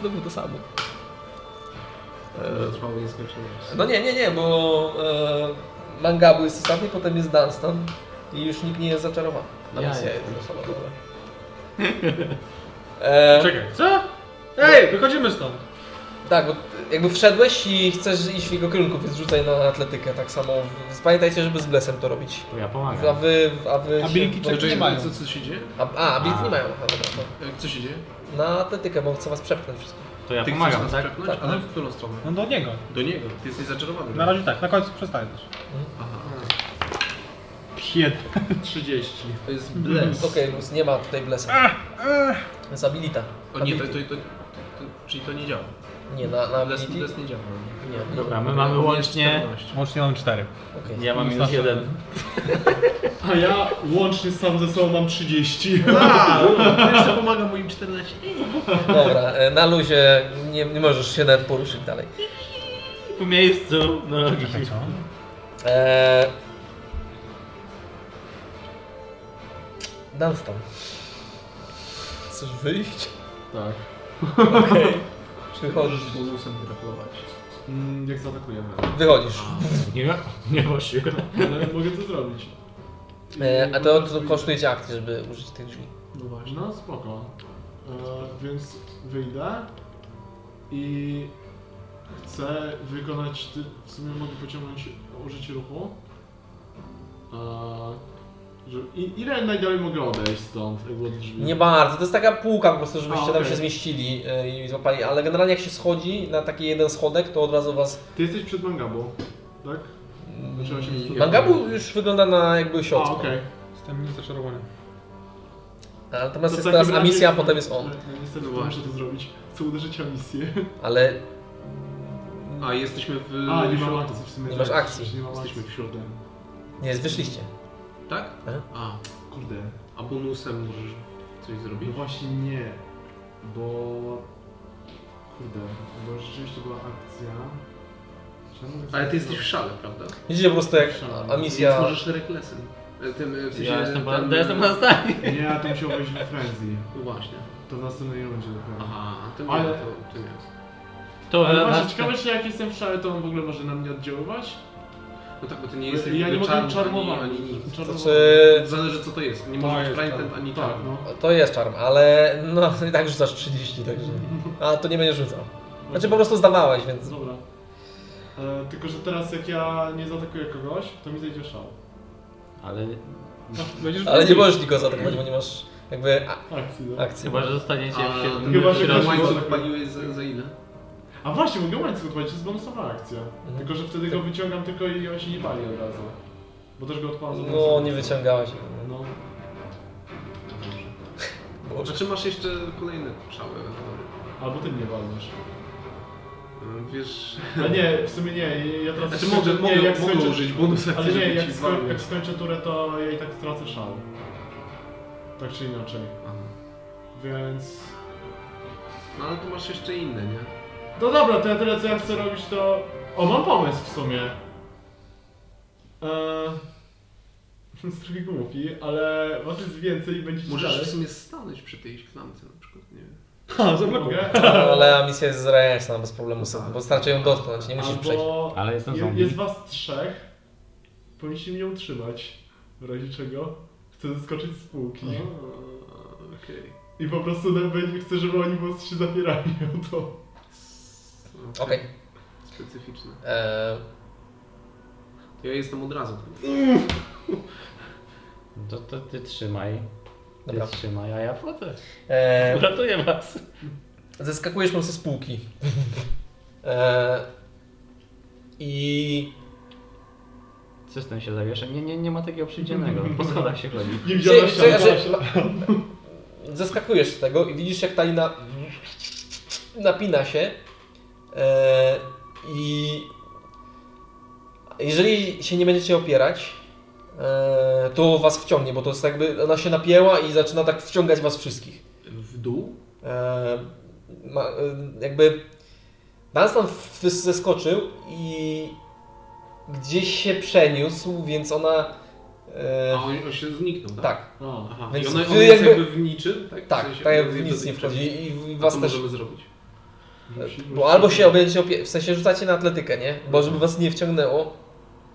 Speaker 1: Znowu to samo. E,
Speaker 5: To trwało nieskończoność.
Speaker 1: No nie, nie, nie, bo e, Mangabu jest ostatni, potem jest Dunstan i już nikt nie jest zaczarowany. No
Speaker 12: Ja
Speaker 1: więc ja
Speaker 12: jestem.
Speaker 1: jestem osoba, dobra. E,
Speaker 4: Czekaj, co?
Speaker 1: No.
Speaker 4: Ej, wychodzimy stąd.
Speaker 1: tak, bo jakby wszedłeś i chcesz iść w jego kierunku, więc rzucaj na atletykę tak samo. Więc Pamiętajcie, żeby z blesem to robić.
Speaker 12: To ja
Speaker 1: A
Speaker 12: pomagam.
Speaker 1: wy, a wy
Speaker 4: Ability
Speaker 1: się...
Speaker 4: check nie mają.
Speaker 5: Co, co się dzieje?
Speaker 1: A, a ability nie mają. No, dobra, no.
Speaker 5: E, Co się dzieje?
Speaker 1: Na atletykę, bo chcę was przepchnąć wszystko.
Speaker 12: To ja
Speaker 5: Ty chcesz
Speaker 12: pomagam,
Speaker 5: nas
Speaker 12: tak?
Speaker 5: przepchnąć?
Speaker 1: Tak.
Speaker 5: Ale w którą stronę?
Speaker 4: No do niego.
Speaker 5: Do niego. Ty jesteś zaczarowany.
Speaker 4: Na razie tak, na końcu przestajesz.
Speaker 5: Aha.
Speaker 2: 30.
Speaker 5: To jest bles.
Speaker 1: Okej, luz, nie ma tutaj blesa. Jest abilita.
Speaker 5: Ah, O nie, to, to,
Speaker 1: Ability.
Speaker 5: to, to, Czyli to nie działa.
Speaker 1: Nie, na, na
Speaker 5: Bles,
Speaker 1: ability?
Speaker 5: bles nie działa.
Speaker 1: Nie, nie.
Speaker 12: Dobra, my mamy łącznie...
Speaker 4: Łącznie mam cztery.
Speaker 1: Okej.
Speaker 12: Ja mam minus jeden.
Speaker 2: A ja łącznie sam ze sobą mam 30.
Speaker 5: Jeszcze pomaga moim 14.
Speaker 1: Dobra, e, na luzie nie, nie możesz się nawet poruszyć dalej.
Speaker 12: W miejscu, no logicznie.
Speaker 4: Co?
Speaker 1: Eee... Dunstan. Chcesz wyjść?
Speaker 2: Tak.
Speaker 1: Przychodzisz.
Speaker 5: Bonusem graplować.
Speaker 2: Mm, jak zaatakujemy.
Speaker 1: Wychodzisz.
Speaker 12: Nie, nie właśnie.
Speaker 2: Ale mogę to zrobić.
Speaker 1: E, a to, to kosztuje cię akcję, żeby użyć tych drzwi.
Speaker 2: No właśnie. No spoko. E, więc wyjdę i chcę wykonać. Ty, w sumie mogę pociągnąć użycie ruchu. E, że, i, ile najdalej mogę odejść stąd, jakby od drzwi?
Speaker 1: Nie bardzo, to jest taka półka po prostu, żebyście
Speaker 2: A,
Speaker 1: tam
Speaker 2: okej.
Speaker 1: się zmieścili e, i złapali, ale generalnie jak się schodzi na taki jeden schodek, to od razu was...
Speaker 2: Ty jesteś przed mangabą, tak? Znaczy on się po prostu-
Speaker 1: Mm, Mangabu już wygląda na jakby
Speaker 2: A,
Speaker 1: siodło.
Speaker 2: okej.
Speaker 4: Jestem nie zaczarowany.
Speaker 1: Natomiast
Speaker 2: To
Speaker 1: jest
Speaker 2: w
Speaker 1: teraz na
Speaker 2: takim
Speaker 1: misja, a
Speaker 2: razie-
Speaker 1: potem jest on.
Speaker 2: No, niestety to muszę to zrobić. Chcę uderzyć o misję.
Speaker 1: Ale
Speaker 5: A jesteśmy w.
Speaker 2: A, nie mam
Speaker 5: środku.
Speaker 2: akcji w sumie.
Speaker 1: Nie masz
Speaker 2: tak.
Speaker 1: akcji.
Speaker 2: Przecież Nie mam
Speaker 5: Jesteśmy w
Speaker 2: akcji.
Speaker 5: środku.
Speaker 1: nie, wyszliście.
Speaker 5: Tak?
Speaker 1: E?
Speaker 5: A,
Speaker 2: Kurde.
Speaker 5: a bonusem możesz coś zrobić?
Speaker 2: No właśnie nie, bo... Kurde, bo rzeczywiście była akcja... tak Czy ja mogę
Speaker 5: Ale ty
Speaker 2: sobie
Speaker 5: jesteś w
Speaker 2: zrobić?
Speaker 5: szale, prawda?
Speaker 1: Widzicie po prostu jak
Speaker 2: Szalony.
Speaker 1: a
Speaker 5: Więc
Speaker 1: misja...
Speaker 5: możesz reklesem. E, Tym, e, w sensie,
Speaker 12: Ja jestem,
Speaker 5: ten-
Speaker 12: ja jestem na stanie.
Speaker 2: Nie, to musiał wejść we frenzy.
Speaker 5: No właśnie.
Speaker 2: To w następnej rundzie dopiero.
Speaker 5: Aha, to nie,
Speaker 2: Ale-
Speaker 5: to, to nie.
Speaker 12: To
Speaker 2: Ale
Speaker 12: na,
Speaker 2: właśnie, ciekawe czy jak jestem w szale, to on w ogóle może na mnie oddziaływać?
Speaker 5: No tak, bo ty nie jesteś
Speaker 2: ja nie
Speaker 5: jakby
Speaker 2: mogę
Speaker 5: czarny, ani-
Speaker 2: czarmować.
Speaker 5: ani nic.
Speaker 1: To
Speaker 2: Czarmować.
Speaker 1: czy...
Speaker 5: Zależy co to jest. Nie
Speaker 2: To
Speaker 5: może być
Speaker 2: jest
Speaker 5: Prime
Speaker 2: czarny.
Speaker 5: ani
Speaker 2: Tak,
Speaker 5: czarny.
Speaker 2: no.
Speaker 1: To jest czarm, ale no i tak rzucasz 30, także... A, to nie będziesz rzucał. Znaczy po prostu zdawałeś, więc...
Speaker 2: Dobra. E, tylko, że teraz jak ja nie zaatakuję kogoś, to mi zejdzie szał.
Speaker 12: Ale
Speaker 4: Będziesz
Speaker 1: Ale nie możesz nikogo zaatakować, bo nie masz jakby a-
Speaker 2: Akcji, no.
Speaker 8: Tak.
Speaker 1: akcji.
Speaker 12: chyba, że zostaniecie w
Speaker 5: A,
Speaker 12: środku.
Speaker 2: Chyba,
Speaker 5: chyba,
Speaker 2: że
Speaker 5: że
Speaker 2: ktoś-
Speaker 5: łańcuch paliłeś za, za ile?
Speaker 2: A właśnie, mogę łańcuch odpalić, to jest bonusowa akcja.
Speaker 8: Mhm.
Speaker 2: Tylko, że wtedy
Speaker 8: Tak.
Speaker 2: go wyciągam tylko i on się nie pali od razu. Bo też go odpalam za
Speaker 1: No,
Speaker 2: bonusową
Speaker 1: nie
Speaker 2: akcją.
Speaker 1: wyciągałeś.
Speaker 2: No.
Speaker 1: Boże.
Speaker 5: Znaczy masz jeszcze kolejne szały ewentualnie.
Speaker 2: Albo ty mnie walniesz.
Speaker 5: Mm, Wiesz...
Speaker 2: A nie, w sumie nie, ja teraz...
Speaker 5: Znaczy mogę,
Speaker 2: nie,
Speaker 5: mogę,
Speaker 2: jak
Speaker 5: mogę
Speaker 2: skończę-
Speaker 5: użyć bonus akcji,
Speaker 2: Ale nie,
Speaker 5: żeby
Speaker 2: jak,
Speaker 5: ci
Speaker 2: skoń,
Speaker 5: zwalniać.
Speaker 2: jak skończę turę, to ja i tak stracę szał. Tak czy inaczej.
Speaker 5: Aha.
Speaker 2: Więc...
Speaker 5: No ale tu masz jeszcze inne, nie?
Speaker 2: No dobra, to ja tyle co ja chcę robić to... O, mam pomysł w sumie. Eee... Jest trochę głupi, ale was jest więcej i będziecie
Speaker 5: Możesz
Speaker 2: dalej.
Speaker 5: w sumie stanąć przy tej klamce na przykład, nie wiem.
Speaker 4: Ha, zabrakło.
Speaker 2: Mogę?
Speaker 1: Ale misja jest zrejestna bez problemu, bo starczy ją dotknąć, nie musisz przejść.
Speaker 2: Albo
Speaker 12: Ale jestem
Speaker 2: je-
Speaker 12: zombie.
Speaker 2: jest was trzech, powinniście mnie utrzymać, w razie czego chcę zeskoczyć z półki.
Speaker 5: Eee, Okej.
Speaker 2: I po prostu nawet chcę, żeby oni po prostu się zapierali o to.
Speaker 1: Okej.
Speaker 5: Specyficzne.
Speaker 1: Eee,
Speaker 5: To ja jestem od razu.
Speaker 12: To, to ty trzymaj. Ty
Speaker 1: Dobra.
Speaker 12: trzymaj, a ja wchodzę.
Speaker 1: eee,
Speaker 12: Uratuję was.
Speaker 1: Zeskakujesz po prostu z półki. E, I
Speaker 3: system się zawiesza. Nie, nie, nie ma takiego przyjdzianego. Po schodach się chodzi.
Speaker 2: Nie widziałem
Speaker 1: Czekaj,
Speaker 2: ściany.
Speaker 1: czekaj, znaczy, Zeskakujesz z tego i widzisz jak ta lina napina się e, i jeżeli się nie będziecie opierać, e, to was wciągnie, bo to jest jakby ona się napięła i zaczyna tak wciągać was wszystkich.
Speaker 5: W dół?
Speaker 1: E, ma, e, jakby Dunstan w- zeskoczył i gdzieś się przeniósł, więc ona...
Speaker 5: A
Speaker 1: E,
Speaker 5: on, on się zniknął, tak?
Speaker 1: tak.
Speaker 5: O, aha.
Speaker 1: Więc
Speaker 5: I ona,
Speaker 1: wy
Speaker 5: ona jest
Speaker 1: jakby-
Speaker 5: jakby w niczym? Tak,
Speaker 1: Tak,
Speaker 5: W sensie
Speaker 1: tak jak
Speaker 5: ona
Speaker 1: w
Speaker 5: jest bez
Speaker 1: nic nie
Speaker 5: niczego.
Speaker 1: wchodzi i
Speaker 5: A
Speaker 1: was
Speaker 5: to
Speaker 1: też...
Speaker 5: możemy zrobić. e,
Speaker 1: Bo albo się będziecie opie... w sensie rzucacie na atletykę, nie? Bo żeby was nie wciągnęło,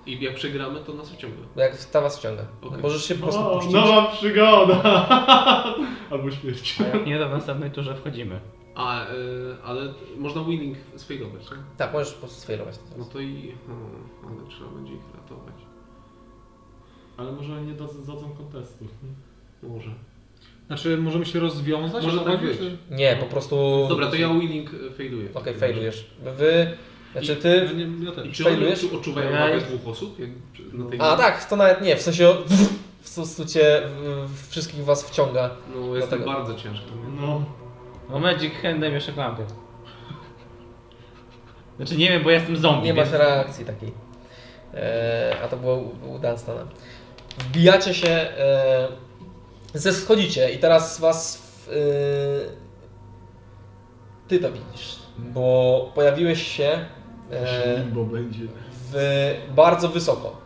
Speaker 5: I jak przegramy, to nas wciąga.
Speaker 1: bo jak ta was wciąga.
Speaker 5: Okej.
Speaker 1: Możesz się po prostu
Speaker 2: O,
Speaker 1: puścić.
Speaker 2: nowa przygoda! Albo śmierć.
Speaker 3: A jak nie, to w następnej turze wchodzimy.
Speaker 5: A, y, ale można winning sfejlować, tak?
Speaker 1: Tak, możesz po prostu sfejlować.
Speaker 5: No to i... Hmm, ale trzeba będzie ich ratować.
Speaker 2: Ale może nie dadzą dadzą kontestu.
Speaker 5: Może.
Speaker 4: Znaczy, możemy się rozwiązać?
Speaker 5: Może
Speaker 4: o to
Speaker 5: tak
Speaker 4: chodzi,
Speaker 5: być.
Speaker 4: czy-
Speaker 1: Nie, po prostu...
Speaker 5: Dobra, to ja winning e, failuję.
Speaker 1: Okej, failujesz. Wy... Znaczy ty...
Speaker 4: Ja nie- Ja też.
Speaker 5: I czy oni
Speaker 1: Failujesz?
Speaker 5: tu odczuwają
Speaker 3: Ja-
Speaker 5: wagę dwóch osób? Jak przy- na tej
Speaker 1: A tak, to nawet nie, w sensie... W prostu cię... w- Wszystkich was wciąga.
Speaker 5: No jest
Speaker 1: tak. Dlatego-
Speaker 5: to bardzo ciężko. nie?
Speaker 2: No.
Speaker 3: No Magic Handem jeszcze klamkę. Znaczy nie wiem, bo ja jestem zombie.
Speaker 1: Nie masz
Speaker 3: więc-
Speaker 1: reakcji takiej. E, a to było u u Dunstana. Wbijacie się, e, zeschodzicie i teraz was... W, e, ty to widzisz, bo pojawiłeś się e,
Speaker 2: Bo będzie.
Speaker 1: w, bardzo wysoko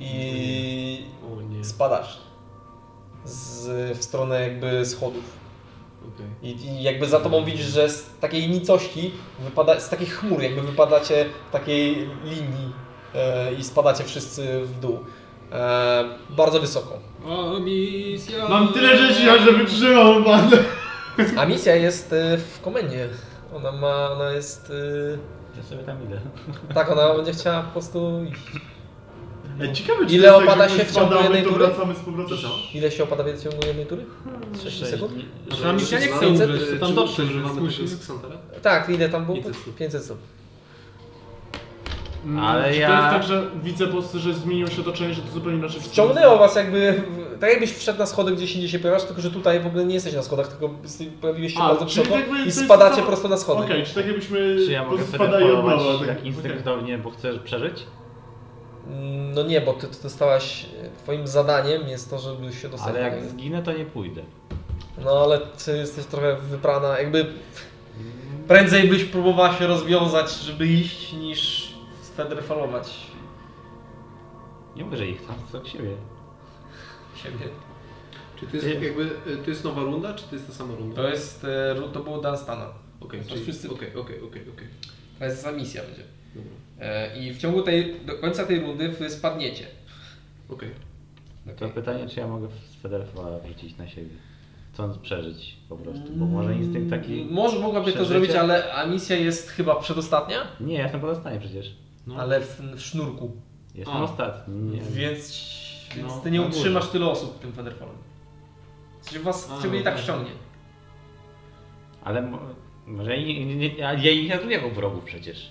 Speaker 1: i
Speaker 5: O nie,
Speaker 1: spadasz z, w stronę jakby schodów.
Speaker 5: okej.
Speaker 1: I, I jakby za tobą widzisz, że z takiej nicości, wypada, z takich chmur jakby wypadacie takiej linii e, i spadacie wszyscy w dół. E, bardzo wysoko.
Speaker 4: O, misja.
Speaker 2: Mam tyle życia, że wytrzymał pan.
Speaker 1: A misja jest e, w komendzie. Ona ma, ona jest...
Speaker 3: Ja sobie tam idę.
Speaker 1: E, tak, ona będzie chciała po prostu iść.
Speaker 2: Ej, ciekawe, czy
Speaker 1: Ile
Speaker 2: to jest
Speaker 1: opada
Speaker 2: tak, że
Speaker 1: się
Speaker 2: my
Speaker 1: w ciągu
Speaker 2: spadamy,
Speaker 1: jednej
Speaker 2: to
Speaker 1: tury?
Speaker 2: wracamy z powrotem.
Speaker 1: Ile się opada w ciągu jednej tury? 6
Speaker 3: Sześć
Speaker 1: sekund?
Speaker 3: dni.
Speaker 4: Znaczy, na misja nie chce
Speaker 1: Czy-
Speaker 4: umrzeć,
Speaker 5: Czy
Speaker 4: to tam dobrze, że
Speaker 5: używamy tego z
Speaker 4: musi.
Speaker 5: Xantara?
Speaker 1: Tak, ile tam było?
Speaker 5: 500 stóp.
Speaker 1: 500 stóp.
Speaker 2: Mm,
Speaker 3: Ale
Speaker 2: czy
Speaker 3: ja-
Speaker 2: to jest tak, że widzę po prostu, że zmieniło się otoczenie, że to zupełnie inaczej wszystko
Speaker 1: Ciągnęło was jakby, w- tak jakbyś wszedł na schody gdzieś indziej się pojawiasz, tylko że tutaj w ogóle nie jesteś na schodach, tylko pojawiłeś się
Speaker 2: A,
Speaker 1: bardzo
Speaker 2: czyli
Speaker 1: wysoko
Speaker 2: Znaczy, jakby to
Speaker 1: i
Speaker 2: jest
Speaker 1: spadacie
Speaker 2: samo-
Speaker 1: prosto na schody.
Speaker 2: Okej, czy tak jakbyśmy
Speaker 3: Czy ja
Speaker 2: po
Speaker 3: mogę
Speaker 2: prostu
Speaker 3: sobie
Speaker 2: spadali od nowa?
Speaker 3: polować
Speaker 2: tak-
Speaker 3: tak
Speaker 2: okej.
Speaker 3: instynktownie, bo chcesz przeżyć?
Speaker 1: No nie, bo ty to dostałaś, twoim zadaniem jest to, żeby się dostać.
Speaker 3: Ale
Speaker 1: do
Speaker 3: jak
Speaker 1: niej.
Speaker 3: zginę, to nie pójdę.
Speaker 1: No ale ty jesteś trochę wyprana, jakby prędzej byś próbowała się rozwiązać, żeby iść, niż sfederfalować
Speaker 3: Nie mówię, że ich tam co siebie.
Speaker 1: siebie.
Speaker 5: Czy to jest jakby, y, to jest nowa runda, czy to jest ta sama runda?
Speaker 1: To jest, e, ru- to było Dunstana.
Speaker 5: Okej,
Speaker 1: to
Speaker 5: czyli-
Speaker 1: wszyscy-
Speaker 5: okej, okej, okej, okej.
Speaker 1: To jest za misja będzie.
Speaker 5: Dobra.
Speaker 1: E, I w ciągu tej, do końca tej rundy wy spadniecie.
Speaker 5: Okej.
Speaker 3: To pytanie, czy ja mogę z Federfala wrzucić na siebie. Chcąc przeżyć po prostu,
Speaker 1: Mm.
Speaker 3: bo może instynkt taki...
Speaker 1: Może mogłaby to
Speaker 3: Przeżycie?
Speaker 1: zrobić, ale a misja jest chyba przedostatnia,
Speaker 3: Nie, ja jestem pozostanie przecież.
Speaker 5: No.
Speaker 1: ale w, w sznurku.
Speaker 3: Jestem
Speaker 5: A.
Speaker 3: ostatni. Nie.
Speaker 1: Więc, więc
Speaker 2: No,
Speaker 1: ty nie
Speaker 2: na górze.
Speaker 1: utrzymasz tyle osób tym Federfalem. Czyli was
Speaker 2: A,
Speaker 1: ciebie i
Speaker 2: no
Speaker 1: tak
Speaker 2: tak.
Speaker 1: wciągnie.
Speaker 3: Ale mo- może ja nie, nie, ja ja ich nie traktuję jako wrogów przecież.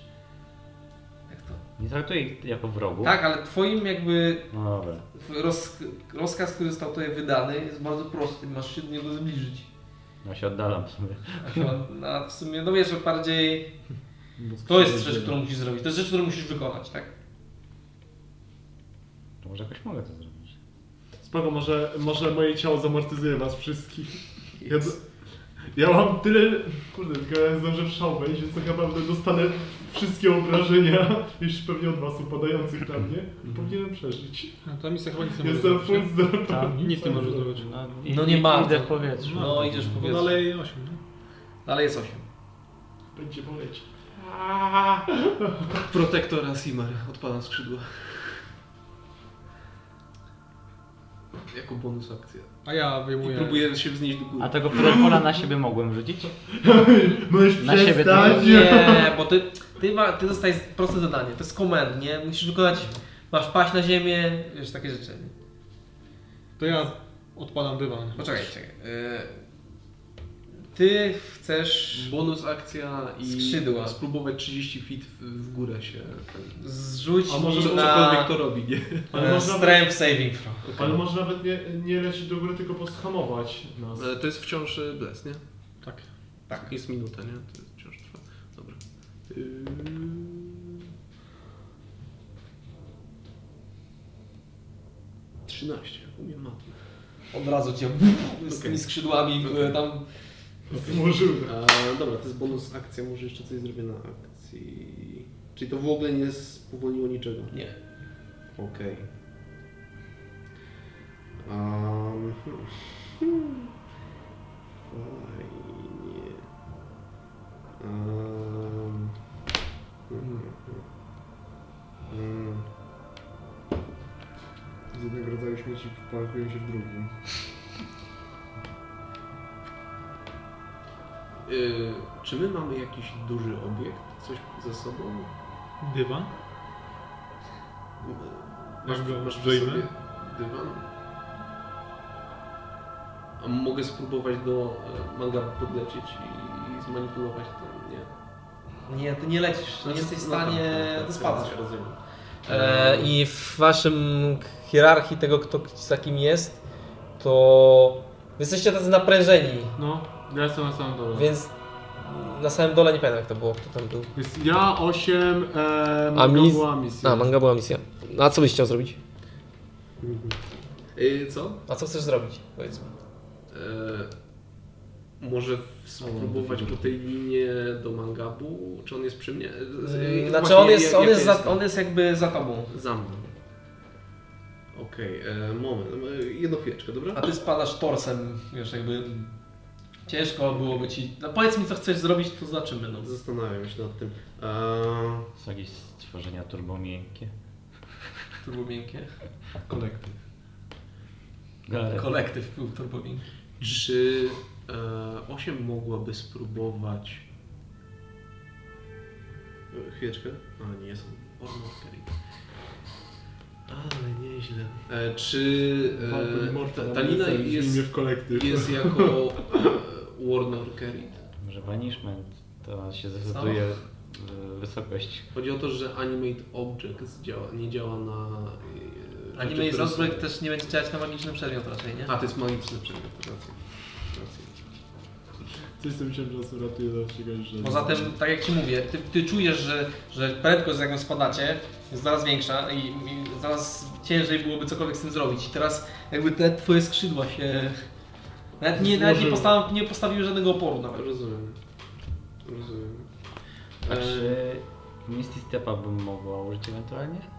Speaker 1: Jak to?
Speaker 3: Nie traktuję ich jako wrogów.
Speaker 1: Tak, ale twoim jakby
Speaker 3: No dobra.
Speaker 1: roz, rozkaz, który został tutaj wydany jest bardzo prosty. Masz się do niego zbliżyć.
Speaker 3: No się oddalam w sumie.
Speaker 1: A chyba- A w sumie, Tak, no wiesz, że bardziej to jest rzecz, którą musisz zrobić. To jest rzecz, którą musisz wykonać, tak?
Speaker 3: To może jakoś mogę to zrobić.
Speaker 2: Spoko, może, może moje ciało zamortyzuje was wszystkich. Ja, do... ja mam tyle... Kurde, tylko ja zdążę w szał wejść, więc tak naprawdę dostanę wszystkie obrażenia, już pewnie od was upadających na mnie.
Speaker 1: Mhm.
Speaker 2: Powinienem przeżyć.
Speaker 4: No, Ta misja chyba nic nie może
Speaker 2: Jestem
Speaker 4: zrobić.
Speaker 2: full
Speaker 4: nie?
Speaker 2: zdrowia.
Speaker 1: Tak.
Speaker 4: Tam Nic nie może zrobić.
Speaker 3: No,
Speaker 1: No nie bardzo.
Speaker 3: Idę w powietrzu.
Speaker 1: No idziesz
Speaker 4: Bo
Speaker 1: po dalej.
Speaker 4: dalej 8, nie?
Speaker 1: dalej jest 8.
Speaker 2: Będzie boleć.
Speaker 5: Protektora Simar, odpalam skrzydła. Jako bonus akcja.
Speaker 4: A ja
Speaker 5: I
Speaker 4: wyjmuję.
Speaker 5: próbuję się wznieść do góry.
Speaker 3: A tego Federfala na siebie mogłem wrzucić?
Speaker 2: Możesz
Speaker 3: Na siebie
Speaker 2: przestać.
Speaker 1: Nie, bo ty, ty, ma, ty dostajesz proste zadanie. To jest komend, nie? Musisz wykonać, masz paść na ziemię, wiesz, takie rzeczy.
Speaker 4: To ja odpadam dywan.
Speaker 1: Poczekaj, czekaj. Y, Ty chcesz
Speaker 8: Bonus akcja i
Speaker 1: Skrzydła.
Speaker 8: spróbować 30 feet w, w górę się. ten-
Speaker 1: zrzuć
Speaker 2: A
Speaker 1: mi
Speaker 2: może
Speaker 8: Cokolwiek
Speaker 1: na
Speaker 8: to robi, nie?
Speaker 2: Ale
Speaker 1: e,
Speaker 2: można-
Speaker 1: strength saving throw.
Speaker 2: Ale może nawet nie, nie lecieć do góry, tylko podhamować nas.
Speaker 8: E, To jest wciąż e, bles, nie?
Speaker 2: Tak.
Speaker 8: Tak. Jest minuta, nie? To jest wciąż trwa. Dobra. Yy... Trzynaście. Umiem matę.
Speaker 1: Od razu cię z tymi skrzydłami e, tam
Speaker 2: Zmurzył.
Speaker 8: E, dobra, to jest bonus akcja, może jeszcze coś zrobię na akcji. Czyli to w ogóle nie spowolniło niczego.
Speaker 1: Nie.
Speaker 8: Okej. Um, hmm. Fajnie. Um, hmm, hmm.
Speaker 2: Z jednego rodzaju śmieci parkują się w drugim.
Speaker 8: Y, czy my mamy jakiś duży obiekt? Coś ze sobą?
Speaker 4: Dywan?
Speaker 8: Masz,
Speaker 4: Jak go
Speaker 8: masz przy
Speaker 4: wyjmę?
Speaker 8: sobie dywan? A mogę spróbować do e, manga podlecieć i, i zmanipulować to? Nie.
Speaker 1: Nie, ty nie lecisz, nie
Speaker 8: Znaczy,
Speaker 1: jesteś w
Speaker 8: no tak,
Speaker 1: stanie,
Speaker 8: tak, tak,
Speaker 1: ty spadasz.
Speaker 8: tak, Rozumiem.
Speaker 1: E, I w waszym hierarchii tego, kto z kim jest, to wy jesteście tacy naprężeni,
Speaker 2: No, ja jestem na samym
Speaker 8: Mhm.
Speaker 2: dole.
Speaker 1: więc na samym dole nie pamiętam jak to było, kto tam był.
Speaker 2: Jest ja 8, e,
Speaker 1: A
Speaker 2: Manga
Speaker 1: mis-
Speaker 2: była misja.
Speaker 1: A, manga była misja. No, a co byś chciał zrobić?
Speaker 8: Y, co?
Speaker 1: A co chcesz zrobić? Powiedz mi.
Speaker 8: E, może spróbować po tej linie do mangabu? Czy on jest przy mnie? Z- y,
Speaker 1: Znaczy
Speaker 8: właśnie,
Speaker 1: on jest,
Speaker 8: jak-
Speaker 1: on,
Speaker 8: jak
Speaker 1: jest za, on jest jakby za tobą.
Speaker 8: za mną. Okej, e, moment. E, Jedną chwileczkę, dobra?
Speaker 1: A ty spadasz torsem, wiesz, jakby ciężko byłoby ci... No powiedz mi co chcesz zrobić, to zobaczymy. No.
Speaker 8: Zastanawiam się nad tym. E,
Speaker 12: Są jakieś stworzenia turbomiękkie.
Speaker 1: Turbo miękkie.
Speaker 2: Kolektyw. Tak.
Speaker 1: Kolektyw był turbo miękki.
Speaker 8: Czy e, 8 mogłaby spróbować. E, Chwileczkę. A nie są. Armor carry. Ale nieźle. E, czy e, ta, ta lina jest,
Speaker 2: w kolektyw.
Speaker 8: jest jako e, Warner carry?
Speaker 12: Może vanishment to się zdecyduje w wysokość.
Speaker 8: Chodzi o to, że Animate Object działa, nie działa na. e,
Speaker 1: Anime
Speaker 8: rzeczy,
Speaker 1: i
Speaker 8: które są-
Speaker 1: rozbrojek też nie będzie działać na magiczny przedmiot raczej, nie?
Speaker 8: A, to jest magiczny przedmiot, racja. racja.
Speaker 2: Coś z tym się czasem ratuje do czegoś, że...
Speaker 1: Poza tym, tak jak Ci mówię, Ty, ty czujesz, że, że prędkość, z jaką spadacie, jest coraz większa i, i coraz ciężej byłoby cokolwiek z tym zrobić. I teraz jakby te Twoje skrzydła się... Nawet nie, nawet nie,
Speaker 2: Złożyły.
Speaker 1: posta- nie postawiły żadnego oporu nawet.
Speaker 8: Rozumiem. Rozumiem.
Speaker 12: A czy Misty Stepa bym mogła użyć ewentualnie?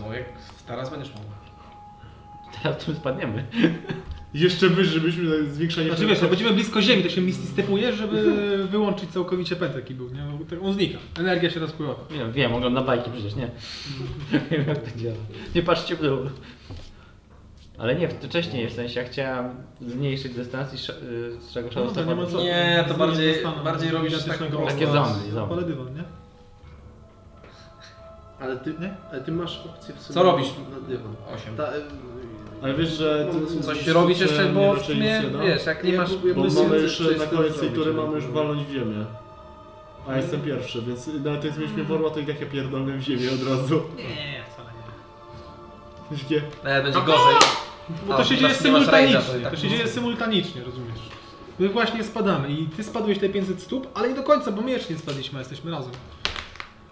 Speaker 1: No jak teraz będziesz mogła.
Speaker 12: Teraz tu spadniemy.
Speaker 2: Jeszcze wyżej, żebyśmy zwiększali...
Speaker 4: Znaczy wiesz, jak będziemy blisko ziemi, to się misty stepuje, żeby wyłączyć całkowicie pęd jaki był, nie? Bo tak On znika, energia się rozpływa.
Speaker 12: Wiem, wiem, oglądam bajki przecież, nie? Wiem jak to działa. Nie patrzcie w dół. Ale nie, wcześniej w sensie ja chciałem zmniejszyć dystans i sz- y, z czego szalał
Speaker 4: No,
Speaker 2: tak
Speaker 4: to nie ma co.
Speaker 1: Nie, to bardziej-
Speaker 4: Zmienia stanu
Speaker 1: bardziej robisz
Speaker 4: identycznego
Speaker 1: tak po
Speaker 12: prostu. Takie zombie, zombie.
Speaker 4: Odpalę dywan, nie?
Speaker 8: Ale ty,
Speaker 4: Nie?
Speaker 8: ale ty masz opcję w sumie
Speaker 1: Co robisz?
Speaker 8: na dywan.
Speaker 1: Osiem.
Speaker 8: Ta, y,
Speaker 2: Ale wiesz, że...
Speaker 8: Mamy
Speaker 2: ty-
Speaker 1: Coś
Speaker 2: ty-
Speaker 1: robisz
Speaker 2: że
Speaker 1: jeszcze,
Speaker 2: nie
Speaker 1: bo w
Speaker 2: raczej
Speaker 1: sumie,
Speaker 2: nic nie da?
Speaker 1: wiesz, Tak jak nie
Speaker 8: Ja
Speaker 1: masz...
Speaker 8: próbuję-
Speaker 2: no. Bo
Speaker 8: Myślę,
Speaker 2: mamy
Speaker 8: co- co
Speaker 2: jeszcze
Speaker 8: jest
Speaker 2: na
Speaker 8: tym
Speaker 2: koniec tej
Speaker 8: zrobić,
Speaker 2: tury
Speaker 8: no.
Speaker 2: mamy już walnąć w ziemię. A jestem pierwszy, więc nawet jak zmieśmy worła, to i tak ja pierdolę w ziemię od razu.
Speaker 4: Mm. Nie, wcale nie.
Speaker 2: Takie,
Speaker 1: Nawet będzie gorzej.
Speaker 4: Bo
Speaker 1: A,
Speaker 4: to się
Speaker 1: bo
Speaker 4: dzieje
Speaker 1: teraz nie masz rage'a,
Speaker 4: symultanicznie.
Speaker 1: to i tak
Speaker 4: To się dzieje symultanicznie, rozumiesz? My właśnie spadamy i ty spadłeś te 500 stóp, ale nie do końca, bo my jeszcze nie spadliśmy, a jesteśmy razem.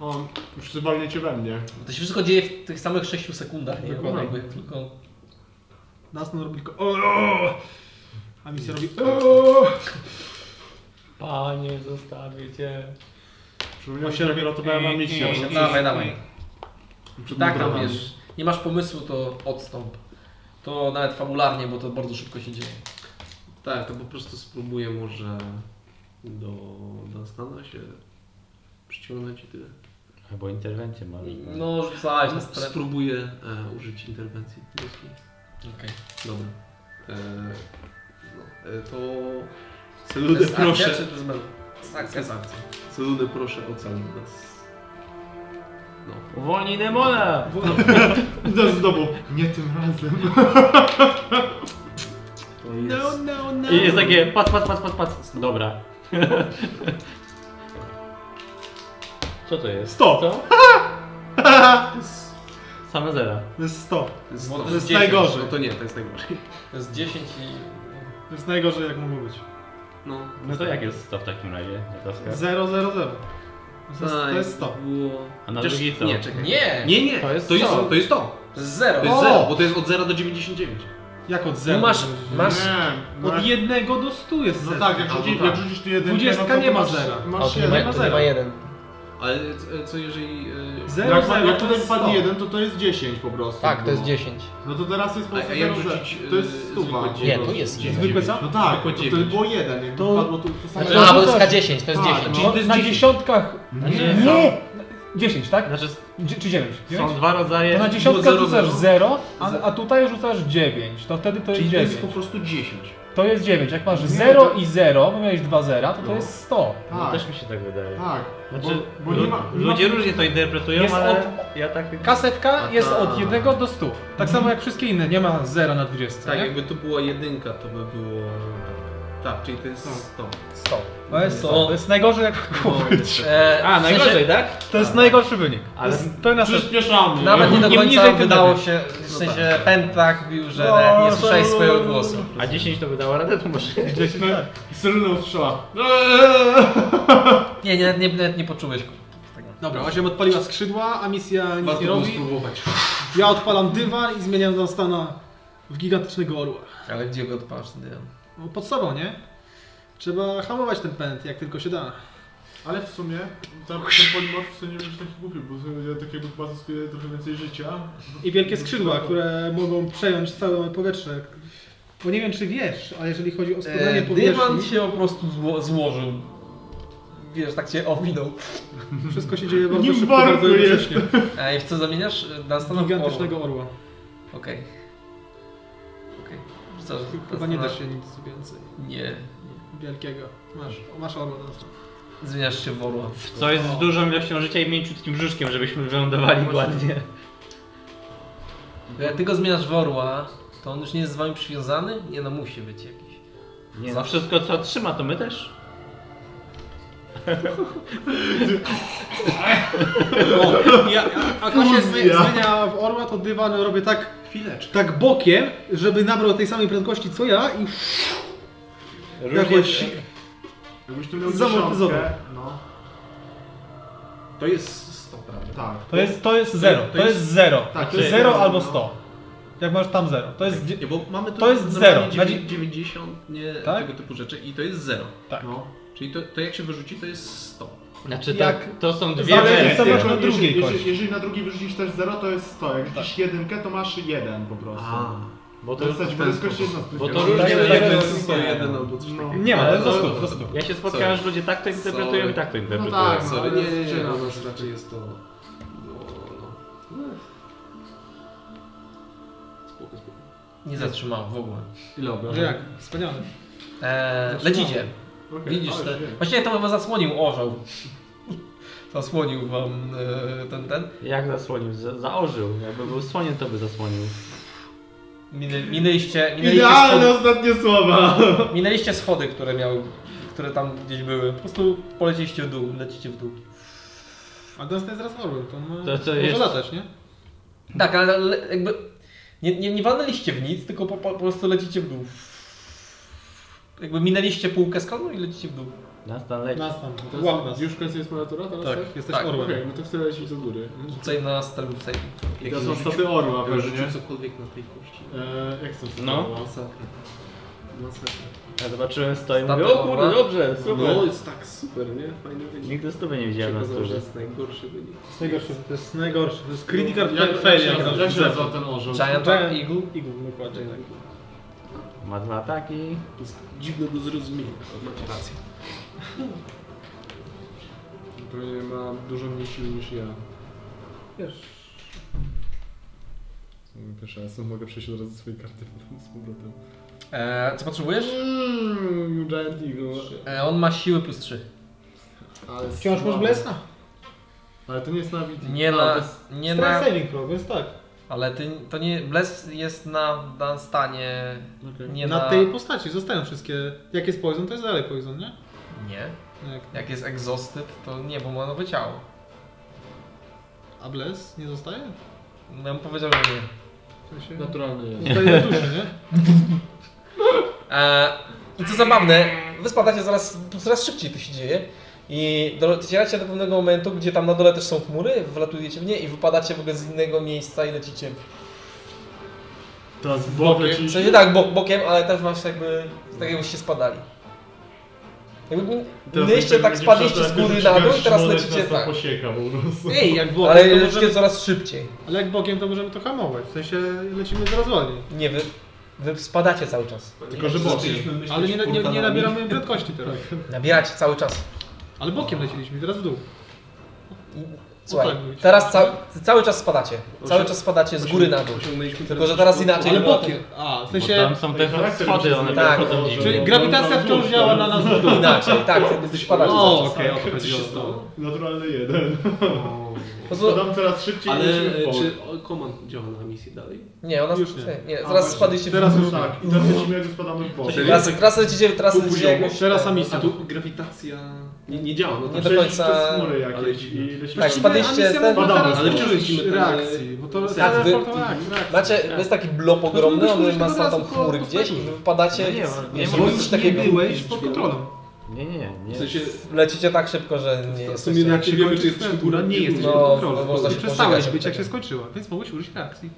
Speaker 2: O, już walniecie we mnie.
Speaker 1: No To się wszystko dzieje w tych samych 6 sekundach, nie?
Speaker 2: Dokładnie.
Speaker 1: Jakby tylko...
Speaker 4: Nas no robi tylko o, o, a misja robi o,
Speaker 12: Panie, zostawię cię.
Speaker 2: Przypomniałem się, dopiero to byłem na misję.
Speaker 1: Dawaj, dawaj.
Speaker 2: Przed
Speaker 1: Tak, tam
Speaker 2: mundurami.
Speaker 1: wiesz, nie masz pomysłu, to odstąp. To nawet fabularnie, bo to bardzo szybko się dzieje.
Speaker 8: tak, to po prostu spróbuję może do Dunstana się przyciągnąć i tyle.
Speaker 12: Albo interwencję może.
Speaker 1: No, rzucałeś na stronę.
Speaker 8: Spróbuję e, użyć interwencji ludzkiej.
Speaker 1: Okej.
Speaker 8: Dobra. E, no, e, to...
Speaker 1: To
Speaker 8: Seludę
Speaker 1: jest akcja,
Speaker 8: proszę.
Speaker 1: czy to jest menu? Akcja jest akcja.
Speaker 8: Seludę proszę ocali nas.
Speaker 12: Uwolnij demona!
Speaker 2: Idę z domu. Nie tym razem.
Speaker 8: To
Speaker 3: I jest, I jest takie, pac, pac, pac, pac, pac. Dobra. Co to jest?
Speaker 4: Sto.
Speaker 3: Co? Same zera.
Speaker 4: To jest 100.
Speaker 1: Bo
Speaker 4: To jest najgorzej.
Speaker 5: No to nie, to jest najgorzej.
Speaker 1: To jest 10 i...
Speaker 4: To jest najgorzej jak mogło być.
Speaker 5: No.
Speaker 3: No to jak jest 100 w takim razie? Jadowska?
Speaker 4: 0, 0, 0. To jest, to jest 100.
Speaker 5: Było...
Speaker 3: A na
Speaker 5: Chociaż-
Speaker 3: drugi co?
Speaker 5: Nie, czekaj.
Speaker 1: Nie!
Speaker 5: Nie, nie,
Speaker 3: To jest
Speaker 5: to jest
Speaker 3: sto.
Speaker 5: to. To jest to.
Speaker 1: To jest
Speaker 5: To
Speaker 1: zero.
Speaker 5: jest
Speaker 4: O!
Speaker 5: zero, bo to jest od 0 do 99.
Speaker 4: Jak od
Speaker 1: Tu
Speaker 4: 0?
Speaker 1: masz, masz...
Speaker 2: Nie,
Speaker 4: Od
Speaker 2: masz-
Speaker 4: 1 do 100 jest
Speaker 2: No
Speaker 4: 0.
Speaker 2: tak, jak
Speaker 5: Albo
Speaker 2: rzucisz,
Speaker 5: tak.
Speaker 2: jak rzucisz tu jeden.
Speaker 4: Dwudziestka nie ma zera.
Speaker 1: O,
Speaker 2: Masz
Speaker 1: tu nie
Speaker 2: jeden.
Speaker 1: ma,
Speaker 4: ma
Speaker 1: tu nie ma
Speaker 4: zero.
Speaker 1: jeden.
Speaker 5: Ale e, co jeżeli... e,
Speaker 4: 0,
Speaker 2: Jak, ma-
Speaker 4: 0
Speaker 2: jak
Speaker 4: to
Speaker 2: tutaj
Speaker 4: jest 100.
Speaker 2: wpadnie jeden, to to jest 10 po prostu.
Speaker 1: Tak, to jest
Speaker 2: No.
Speaker 1: 10.
Speaker 2: No to teraz jest po
Speaker 5: A-
Speaker 2: prostu
Speaker 5: a jak
Speaker 2: 0,
Speaker 5: rzucić,
Speaker 2: To
Speaker 5: y,
Speaker 2: jest stuwa.
Speaker 5: zwykłe
Speaker 1: Nie, tu jest jeden.
Speaker 4: Zwykłe co?
Speaker 2: No tak,
Speaker 5: Zwykłe
Speaker 2: to, to
Speaker 5: dziewięć.
Speaker 2: było jeden, jakby
Speaker 4: No To-
Speaker 2: wpadło tu, to samo.
Speaker 1: Znaczy, a, bo to jest
Speaker 4: rzucasz.
Speaker 1: K10, to jest
Speaker 2: Tak,
Speaker 1: 10.
Speaker 2: no.
Speaker 4: No, na dziesiątkach. Znaczy,
Speaker 3: Nie,
Speaker 4: Nie! 10, tak?
Speaker 3: Znaczy
Speaker 4: Dzie- Czy 9?
Speaker 3: są dwa rodzaje.
Speaker 4: To na dziesiątkach
Speaker 5: Było zero,
Speaker 4: rzucasz
Speaker 5: zero.
Speaker 4: 0, a, a tutaj rzucasz 9. To wtedy to jest
Speaker 5: Czyli to jest po
Speaker 4: 9.
Speaker 5: prostu 10.
Speaker 4: To jest 9. Jak masz 0 i 0, bo miałeś 2 zera, to to jest 100.
Speaker 3: No,
Speaker 2: Tak,
Speaker 3: też mi się tak wydaje.
Speaker 2: tak.
Speaker 3: Znaczy,
Speaker 2: bo, bo nie ma,
Speaker 3: lu-
Speaker 2: nie ma
Speaker 3: ludzie różnie to interpretują,
Speaker 4: Jest
Speaker 3: ale
Speaker 4: od-
Speaker 3: ja tak...
Speaker 4: Kasetka
Speaker 5: A
Speaker 4: jest
Speaker 5: tak.
Speaker 4: od 1 do 100. Tak samo jak wszystkie inne, nie ma 0 na 20.
Speaker 5: Tak,
Speaker 4: nie?
Speaker 5: jakby tu była jedynka, to by było... Tak, czyli to jest 100.
Speaker 1: 100.
Speaker 4: To jest,
Speaker 1: To-
Speaker 4: to jest najgorzej jak mogło być.
Speaker 1: E,
Speaker 3: A,
Speaker 1: w sensie
Speaker 3: najgorzej, tak?
Speaker 4: To jest najgorszy wynik.
Speaker 3: Ale-
Speaker 4: Ale to jest nasze...
Speaker 2: Przyspieszamy.
Speaker 1: Nawet nie do
Speaker 4: Im
Speaker 1: końca
Speaker 4: niżej, tym
Speaker 1: wydało
Speaker 4: lepiej.
Speaker 1: się, w sensie Pentak mówił, że
Speaker 4: No,
Speaker 1: nawet nie słyszałeś swojego głosu.
Speaker 3: A 10 to by dało radę, to może...
Speaker 2: Syrena ustrzała.
Speaker 1: Nie, nie, nawet nie, nawet nie poczułeś. tego.
Speaker 4: Dobra, osiem odpaliła skrzydła, a misja nic
Speaker 5: Warto
Speaker 4: nie
Speaker 5: było
Speaker 4: robi.
Speaker 5: spróbować.
Speaker 4: Ja odpalam dywan i zmieniam Dunstana w gigantycznego orła.
Speaker 1: Ale gdzie go odpalasz ten dywan?
Speaker 4: No, Pod sobą, nie? Trzeba hamować ten pęd, jak tylko się da.
Speaker 2: Ale w sumie, ten, ten polimorf w sumie nie będzie taki głupi, bo w sumie tak jakby chyba zyskuje trochę więcej życia.
Speaker 4: I wielkie skrzydła, które mogą przejąć całe powietrze. Bo nie wiem, czy wiesz, ale jeżeli chodzi o składanie
Speaker 1: E, dywan
Speaker 4: powierzchni,
Speaker 1: się po prostu zło, złożył. Wiesz, tak cię owinął.
Speaker 4: wszystko się dzieje bardzo
Speaker 2: Nim
Speaker 4: szybko,
Speaker 2: barku
Speaker 4: bardzo
Speaker 2: jest.
Speaker 4: jednocześnie.
Speaker 1: E, i w co zamieniasz? Dunstana w orła.
Speaker 4: Gigantycznego orła.
Speaker 1: Okej. Okej. Rzucasz
Speaker 4: Chyba nie da
Speaker 1: Dunstana-
Speaker 4: się nic więcej
Speaker 1: Nie. nie.
Speaker 4: wielkiego. Masz, masz orła Dunstan.
Speaker 1: Zmieniasz się w orła.
Speaker 3: Co jest z dużą ilością życia i mięciutkim brzuszkiem, żebyśmy wylądowali ładnie.
Speaker 1: Jak ty go E, zmieniasz w orła, to on już nie jest z wami przywiązany? Nie no, musi być jakiś.
Speaker 3: Nie, no
Speaker 1: Zawsze-
Speaker 3: wszystko co trzyma, to my też.
Speaker 4: Ja, a Kasia zmienia w orła, to dywan robię tak,
Speaker 5: Chwileczkę.
Speaker 4: tak bokiem, żeby nabrał tej samej prędkości co ja i jakoś...
Speaker 2: Jakbyś tu miał
Speaker 4: Zamortyzował.
Speaker 2: dziesiątkę, no.
Speaker 5: To jest 100, prawda?
Speaker 2: Tak.
Speaker 4: To jest, to jest 0, to jest 0.
Speaker 2: Tak,
Speaker 4: To
Speaker 2: to
Speaker 4: jest Tak. 0
Speaker 2: jest-
Speaker 4: albo
Speaker 2: no.
Speaker 4: 100. Jak masz tam 0. To jest...
Speaker 5: Nie,
Speaker 4: dzie-
Speaker 5: bo mamy tu
Speaker 4: To jest
Speaker 5: normalnie
Speaker 4: zero. Na
Speaker 5: dziewię-
Speaker 4: dzi-
Speaker 5: 90, nie
Speaker 4: Tak?
Speaker 5: tego typu rzeczy i to jest 0.
Speaker 4: Tak.
Speaker 2: No.
Speaker 5: Czyli to, to jak się wyrzuci, to jest 100.
Speaker 3: Znaczy to,
Speaker 4: Jak-
Speaker 3: to są dwie
Speaker 4: Zależy,
Speaker 3: wersje.
Speaker 4: co masz na
Speaker 2: Jeżeli-
Speaker 4: drugiej
Speaker 2: jeżeli,
Speaker 4: kości. Tak.
Speaker 2: jeżeli, na drugiej wyrzucisz też 0, to jest 100. Jak rzucisz jedynkę, to masz 1 po prostu.
Speaker 3: Bo
Speaker 2: To
Speaker 3: to,
Speaker 2: jest tak, prędkość jedna z tych
Speaker 3: bo to
Speaker 2: wielu.
Speaker 3: różnie No.
Speaker 4: Tak,
Speaker 5: to
Speaker 4: tak,
Speaker 5: jest
Speaker 4: tak.
Speaker 5: 101 albo coś takiego.
Speaker 4: Nie ma, to jest
Speaker 5: Ale-
Speaker 4: do 100, do 100.
Speaker 3: Ja się spotkałem,
Speaker 5: Sorry.
Speaker 3: że ludzie tak to interpretują i
Speaker 5: Sorry.
Speaker 3: tak to
Speaker 2: No
Speaker 3: interpretują.
Speaker 2: tak,
Speaker 5: Sorry,
Speaker 2: no,
Speaker 5: nie, nie, nie,
Speaker 2: no,
Speaker 5: u nas raczej jest to... No, no. Spoko, spoko.
Speaker 1: Nie zatrzymał w ogóle.
Speaker 5: Ile
Speaker 4: Że
Speaker 5: obrażeń?
Speaker 4: jak? Wspaniale.
Speaker 1: E, lecicie.
Speaker 2: Okej,
Speaker 1: Widzisz
Speaker 2: ale
Speaker 1: te...
Speaker 2: wiem.
Speaker 1: Właściwie to chyba zasłonił orzeł. Zasłonił wam e, ten, ten.
Speaker 3: Jak zasłonił? Za- Zaorzył. Jakby był słoniem, to by zasłonił.
Speaker 1: Minę, minęliście, minęliście,
Speaker 2: Idealne
Speaker 1: schody,
Speaker 2: ostatnie słowa.
Speaker 1: minęliście schody, które miały, które tam gdzieś były. Po prostu polecieliście w dół, lecicie w dół.
Speaker 4: A Dunstan jest teraz orłem, to on ma...
Speaker 3: To co
Speaker 4: może
Speaker 3: jest?
Speaker 4: latać, nie?
Speaker 1: Tak, ale le- jakby nie, nie, nie walnęliście w nic, tylko po, po, po prostu lecicie w dół. Jakby minęliście półkę skonu i lecicie w dół.
Speaker 3: Nas tam leci.
Speaker 4: Dunstan,
Speaker 2: To
Speaker 4: to łap nas.
Speaker 2: jest, już koniec jest moja tura teraz,
Speaker 4: Tak,
Speaker 2: tak?
Speaker 4: jesteś
Speaker 1: Tak,
Speaker 4: orłem.
Speaker 2: Okej, no to chcę lecieć do góry.
Speaker 1: Rzucaj na strzelbę w sejmie.
Speaker 2: I teraz mam staty orła
Speaker 5: Ja
Speaker 2: pewnie.
Speaker 5: rzucił cokolwiek na tej kości.
Speaker 2: Eee, jak chcę
Speaker 3: No.
Speaker 5: Masakra. Masakra.
Speaker 3: Ja zobaczyłem stoi i mówię,
Speaker 1: Staty
Speaker 3: o kurde,
Speaker 1: orła.
Speaker 3: dobrze, super.
Speaker 5: No, jest tak super, nie? Fajny wynik.
Speaker 3: Nigdy stówy nie
Speaker 5: Się
Speaker 3: widziałem na
Speaker 5: okazało, że
Speaker 3: stórze.
Speaker 5: jest najgorszy wynik.
Speaker 4: To jest najgorszy, to jest najgorszy, to jest critical
Speaker 2: No, Jak,
Speaker 4: fail-
Speaker 2: jak,
Speaker 4: fail.
Speaker 2: się
Speaker 4: jak
Speaker 2: nazywa-
Speaker 4: tam-
Speaker 2: jak się nazywa ten orzeł?
Speaker 1: Giant Eagle?
Speaker 4: Eagle, dokładnie tak.
Speaker 3: Ma dwa ataki.
Speaker 5: To jest dziwne do zrozumienia. Macie rację.
Speaker 2: Pewnie ma dużo mniej siły niż ja.
Speaker 4: Wiesz,
Speaker 2: Pierwszy raz mogę przejść od razu swojej karty potem z powrotem.
Speaker 1: E, co potrzebujesz?
Speaker 2: Mmm, Giant Eagle.
Speaker 1: E, on ma siły plus 3.
Speaker 2: Ale
Speaker 4: wciąż masz
Speaker 2: słaby.
Speaker 4: blesna.
Speaker 2: Ale to nie jest na wid-
Speaker 1: Nie
Speaker 2: A, to
Speaker 1: na...
Speaker 2: jest-
Speaker 1: Nie
Speaker 4: Nie
Speaker 1: na...
Speaker 4: saving throw, więc tak.
Speaker 1: Ale ty, to nie, Bles jest na Dunstanie, nie
Speaker 4: na,
Speaker 1: na...
Speaker 4: tej postaci zostają wszystkie. Jak jest poison, to jest dalej poison, nie?
Speaker 1: Nie.
Speaker 4: Jak...
Speaker 1: Jak jest egzostyt, to nie, bo ma nowe ciało.
Speaker 4: A Bless nie zostaje?
Speaker 1: No ja mu powiedział, że nie.
Speaker 4: W sensie...
Speaker 2: Naturalny jest.
Speaker 4: Zostaje na duszy, nie?
Speaker 1: E, I co zabawne, wy spadacie zaraz, coraz szybciej to się dzieje. I do- docieracie do pewnego momentu, gdzie tam na dole też są chmury, wlatujecie w nie i wypadacie w ogóle z innego miejsca i lecicie.
Speaker 2: Teraz w ogóle
Speaker 1: W
Speaker 2: ci...
Speaker 1: sensie tak, bok, bokiem, ale też masz jakby, tak jakbyście spadali. Jakby
Speaker 2: Teraz
Speaker 1: minęliście,
Speaker 2: będzie-
Speaker 1: tak
Speaker 2: będzie
Speaker 1: spadliście
Speaker 2: trzeba
Speaker 1: z góry
Speaker 2: jakoś
Speaker 1: na dół i teraz
Speaker 2: trzymać,
Speaker 1: lecicie
Speaker 2: nas tam
Speaker 1: tak.
Speaker 2: posieka po prostu.
Speaker 4: Ej, jak bokiem,
Speaker 1: Ale
Speaker 4: to
Speaker 1: lecicie
Speaker 4: możemy...
Speaker 1: coraz szybciej.
Speaker 4: Ale jak bokiem, to możemy to hamować. W sensie lecimy coraz wolniej.
Speaker 1: Nie, wy, wy spadacie cały czas.
Speaker 2: Tylko, że bokiem.
Speaker 4: Ale nie, nie, nie nabieramy prędkości teraz.
Speaker 1: Nabieracie cały czas.
Speaker 4: Ale bokiem leciliśmy, teraz w dół.
Speaker 1: Słuchaj,
Speaker 4: tak być.
Speaker 1: teraz ca cały czas spadacie. Cały czas spadacie z góry na dół. Tylko, że teraz inaczej.
Speaker 4: Ale bokiem. A, w
Speaker 12: Bo
Speaker 4: sensie...
Speaker 12: tam są te schody, one
Speaker 1: Tak.
Speaker 12: tak.
Speaker 4: Czyli grawitacja wciąż działa na nas w dół.
Speaker 1: Inaczej, tak, jakby spadacie. cały
Speaker 4: O,
Speaker 1: czas.
Speaker 4: okej, o to chodziło.
Speaker 1: Tak,
Speaker 2: Naturalny jeden.
Speaker 1: Po
Speaker 2: To
Speaker 1: prostu,
Speaker 2: dam coraz szybciej
Speaker 8: Ale
Speaker 2: lecimy w
Speaker 8: e,
Speaker 2: pole.
Speaker 8: czy o, komand działa na misji dalej?
Speaker 1: nie, ona
Speaker 4: Już nie.
Speaker 1: nie. nie,
Speaker 2: A,
Speaker 1: zaraz spadliście w
Speaker 2: Teraz już
Speaker 1: górę.
Speaker 2: tak. I teraz lecimy jakby spadamy w bok.
Speaker 1: Teraz, teraz lecicie, teraz lecicie jakoś.
Speaker 4: Teraz
Speaker 1: tak.
Speaker 4: amisja.
Speaker 8: A tu grawitacja nie, nie działa, no to
Speaker 1: Nie do
Speaker 2: Przejść
Speaker 1: końca-
Speaker 2: przez chmury
Speaker 8: Ale
Speaker 2: jakieś
Speaker 8: dziwne.
Speaker 2: i lecimy.
Speaker 1: Tak, spadliście z ten.
Speaker 2: Badamy,
Speaker 4: Teraz
Speaker 8: ale
Speaker 4: użyć
Speaker 8: wciąż lecimy ten,
Speaker 4: reakcji, bo to
Speaker 8: sen.
Speaker 4: teleport
Speaker 1: Wy-
Speaker 4: reakcji.
Speaker 1: Macie, to jest taki blop ogromny,
Speaker 4: byśmy
Speaker 1: on
Speaker 4: już
Speaker 1: ma
Speaker 4: od
Speaker 1: są
Speaker 4: razu
Speaker 1: tam
Speaker 4: po-
Speaker 1: chmury
Speaker 4: po
Speaker 1: gdzieś i
Speaker 4: wpadku.
Speaker 1: wy wpadacie.
Speaker 12: No nie,
Speaker 1: Nie,
Speaker 12: no
Speaker 1: nie,
Speaker 12: nie
Speaker 4: Bo
Speaker 1: nie,
Speaker 4: już nie
Speaker 1: takiego.
Speaker 4: byłeś pod kontrolą.
Speaker 12: Nie, nie, nie.
Speaker 8: W sensie,
Speaker 1: Lecicie tak szybko, że nie
Speaker 8: w sumie
Speaker 1: jesteście.
Speaker 8: jak się wiemy, czy jest góra, nie jest
Speaker 1: No, no, można się
Speaker 4: Nie przestałeś
Speaker 1: pożegać
Speaker 4: być, jak
Speaker 1: tego.
Speaker 4: się skończyła, więc mogłeś użyć reakcji.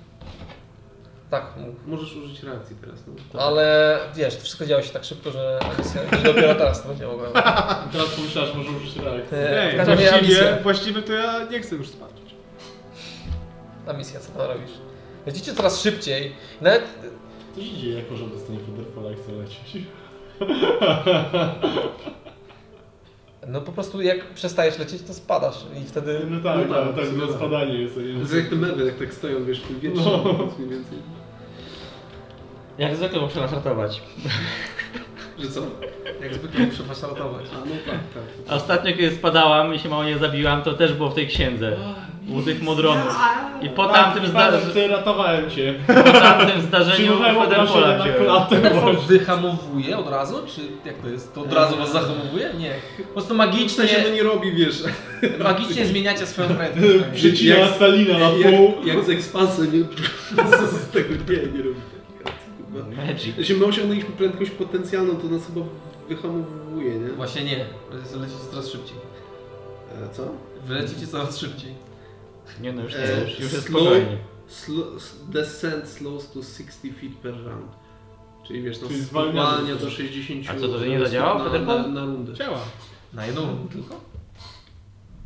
Speaker 1: Tak,
Speaker 8: Możesz użyć reakcji teraz. No.
Speaker 1: ale wiesz, to wszystko działo się tak szybko, że Amisja- dopiero teraz to będzie mogła.
Speaker 2: Teraz pomyślałaś, może użyć reakcji.
Speaker 1: E, W
Speaker 4: Ej,
Speaker 1: każdym razie
Speaker 4: właściwie,
Speaker 1: Amisja.
Speaker 4: właściwie to ja nie chcę już spać.
Speaker 1: Amisja, co tam robisz? Lecicie coraz szybciej. Nawet
Speaker 2: To się dzieje, jak może dostanie Federpola i chce lecieć.
Speaker 1: No po prostu jak przestajesz lecieć, to spadasz i wtedy...
Speaker 2: No tak,
Speaker 8: No
Speaker 2: tak,
Speaker 8: tak,
Speaker 2: tak,
Speaker 8: no
Speaker 2: na
Speaker 8: tak.
Speaker 2: spadanie jest. nie?
Speaker 8: To jest jak te mewy, jak tak stoją, wiesz, w tym wietrze,
Speaker 2: No.
Speaker 8: no. mniej więcej.
Speaker 12: Jak zwykle muszę nas ratować.
Speaker 8: Że co?
Speaker 1: Jak zwykle muszę was ratować.
Speaker 8: A no tak, tak.
Speaker 12: A Ostatnio kiedy spadałam i się mało nie zabiłam, to też było w tej księdze. U tych modronów. I po
Speaker 2: Tak,
Speaker 12: tamtym, zda
Speaker 2: Patrz, ty, ratowałem cię.
Speaker 12: po tamtym zdarzeniu
Speaker 2: Przyjmowałem
Speaker 12: Federpola
Speaker 2: obrażenia na
Speaker 12: wziąłem.
Speaker 2: klatę.
Speaker 1: Telefon
Speaker 2: Boże.
Speaker 1: wyhamowuje od razu, czy jak to jest? To od razu was zahamowuje? Nie. Po prostu
Speaker 8: Eee. W sensie to
Speaker 1: magicznie,
Speaker 8: nie robi, wiesz,
Speaker 1: magicznie zmieniacie swoją prędkość.
Speaker 2: Przycina
Speaker 8: Tak. Jak-
Speaker 2: Stalina na pół.
Speaker 8: jak, jak z ekspansem, nie? Z tego nie, nie robi takich reakcji, chyba.
Speaker 12: Magic.
Speaker 8: Jeśli my osiągnęliśmy prędkość potencjalną, to nas chyba wyhamowuje, nie?
Speaker 1: Właśnie nie. Lecicie coraz szybciej.
Speaker 8: E, co?
Speaker 1: Wy lecicie coraz szybciej.
Speaker 12: Nie no, już nie,
Speaker 8: E,
Speaker 12: już, już jest
Speaker 8: slow-
Speaker 12: spokojnie.
Speaker 8: Slo- s- descent slows to 60 feet per round. Czyli wiesz, no
Speaker 2: Czyli zwalnia
Speaker 8: zwalnia
Speaker 2: do-
Speaker 8: do 60
Speaker 12: A co, to, że nie zadziałało,
Speaker 8: na,
Speaker 12: Federpol?
Speaker 8: na, na rundę.
Speaker 4: Działa.
Speaker 1: Na jedną rundę tylko?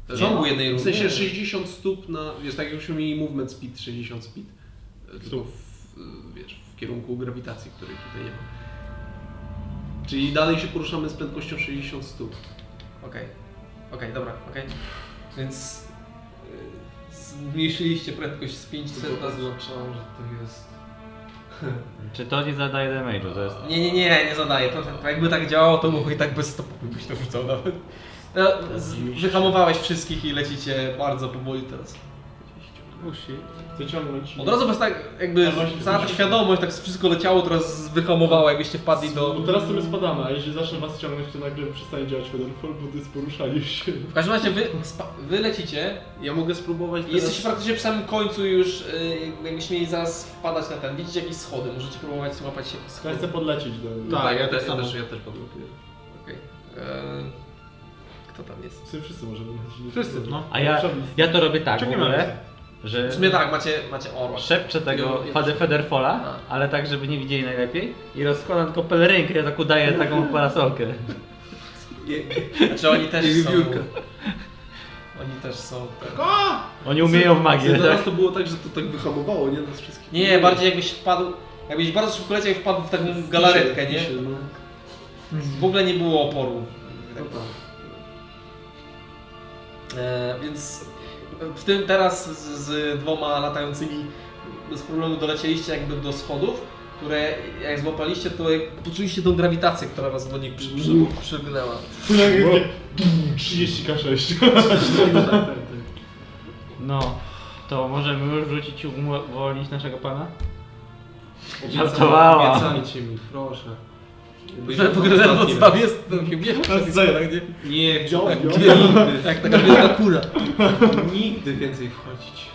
Speaker 1: W ciągu jednej
Speaker 8: W
Speaker 1: rundy?
Speaker 8: sensie 60 stóp na, wiesz, tak jakbyśmy mieli movement speed 60 speed. e, Tylko w, e, wiesz, w kierunku grawitacji, której tutaj nie ma. Czyli dalej się poruszamy z prędkością 60 stóp.
Speaker 1: Okej. Okej, dobra, okej. Więc... y, Zmniejszyliście prędkość z 500 na zł.
Speaker 8: Zobaczyłam, że to jest...
Speaker 12: Czy to nie zadaje damage'u? To jest...
Speaker 1: Nie, nie, nie, nie zadaję. To, to jakby tak działało, to mógł i tak bez stopu byś to rzucał nawet. No, z, wyhamowałeś wszystkich i lecicie bardzo powoli teraz.
Speaker 4: Musi.
Speaker 2: Chcę ciągnąć.
Speaker 1: Od razu was tak jakby
Speaker 2: A właśnie,
Speaker 1: cała ta
Speaker 2: to się-
Speaker 1: świadomość, tak wszystko leciało, teraz wyhamowało, jakbyście wpadli
Speaker 2: No, Bo
Speaker 1: do...
Speaker 2: teraz sobie spadamy, a jeśli zacznę was ciągnąć, to nagle przestanie działać Federpol, bo to jest poruszanie się.
Speaker 1: W każdym razie wy, spa- wy lecicie
Speaker 8: Ja mogę spróbować
Speaker 1: i jesteście praktycznie przy samym końcu już, y, jakbyście mieli zaraz wpadać na ten. Widzicie jakieś schody, możecie próbować złapać się
Speaker 2: Ja
Speaker 1: schody.
Speaker 2: chcę podlecieć do
Speaker 8: Tak,
Speaker 4: Tak,
Speaker 8: ja,
Speaker 4: ja
Speaker 8: te-
Speaker 4: tak
Speaker 8: ja
Speaker 4: samo.
Speaker 8: też, ja też podlokuję.
Speaker 1: Okej. Ehm, Kto tam jest?
Speaker 2: W sumie wszyscy możemy lecieć.
Speaker 4: Wszyscy, no.
Speaker 12: A ja, ja to robię tak w
Speaker 4: Ciągniemy
Speaker 12: ogóle, że
Speaker 1: W sumie tak, macie, macie orła.
Speaker 12: szepczę tego
Speaker 1: Ja- ja-
Speaker 12: Fade Federfola,
Speaker 1: A.
Speaker 12: ale tak, żeby nie widzieli najlepiej i rozkładam tylko pelerynkę, ja tak udaję taką parasolkę.
Speaker 1: Znaczy oni też
Speaker 8: I
Speaker 1: są...
Speaker 8: wiewiórka.
Speaker 1: Oni też są...
Speaker 12: Oni umieją w
Speaker 8: Dla
Speaker 12: magię, tak?
Speaker 8: nas to było tak, że to tak wyhamowało, nie? Nas wszystkich.
Speaker 1: Nie, bardziej jakbyś wpadł, jakbyś bardzo szybko leciał i wpadł w taką galaretkę, nie?
Speaker 8: Się, no.
Speaker 1: W ogóle nie było oporu.
Speaker 8: No tak.
Speaker 1: E, więc w tym teraz z, z dwoma latającymi bez problemu dolecieliście jakby do schodów, które jak złapaliście, to jak poczuliście tą grawitację, która was do nich przy, przy,
Speaker 5: Mm.
Speaker 1: przygnęła.
Speaker 2: Bo- 30 k 6.
Speaker 12: No.
Speaker 3: To możemy już wrócić i uwolnić naszego pana?
Speaker 5: Obiecaj-
Speaker 3: Żartowała.
Speaker 5: Obiecajcie mi, proszę.
Speaker 1: Że w ogóle Wrocław jest, no,
Speaker 5: Nie,
Speaker 2: Dziobio.
Speaker 5: nigdy,
Speaker 1: jak taka wielka kula.
Speaker 5: nigdy więcej wchodzić.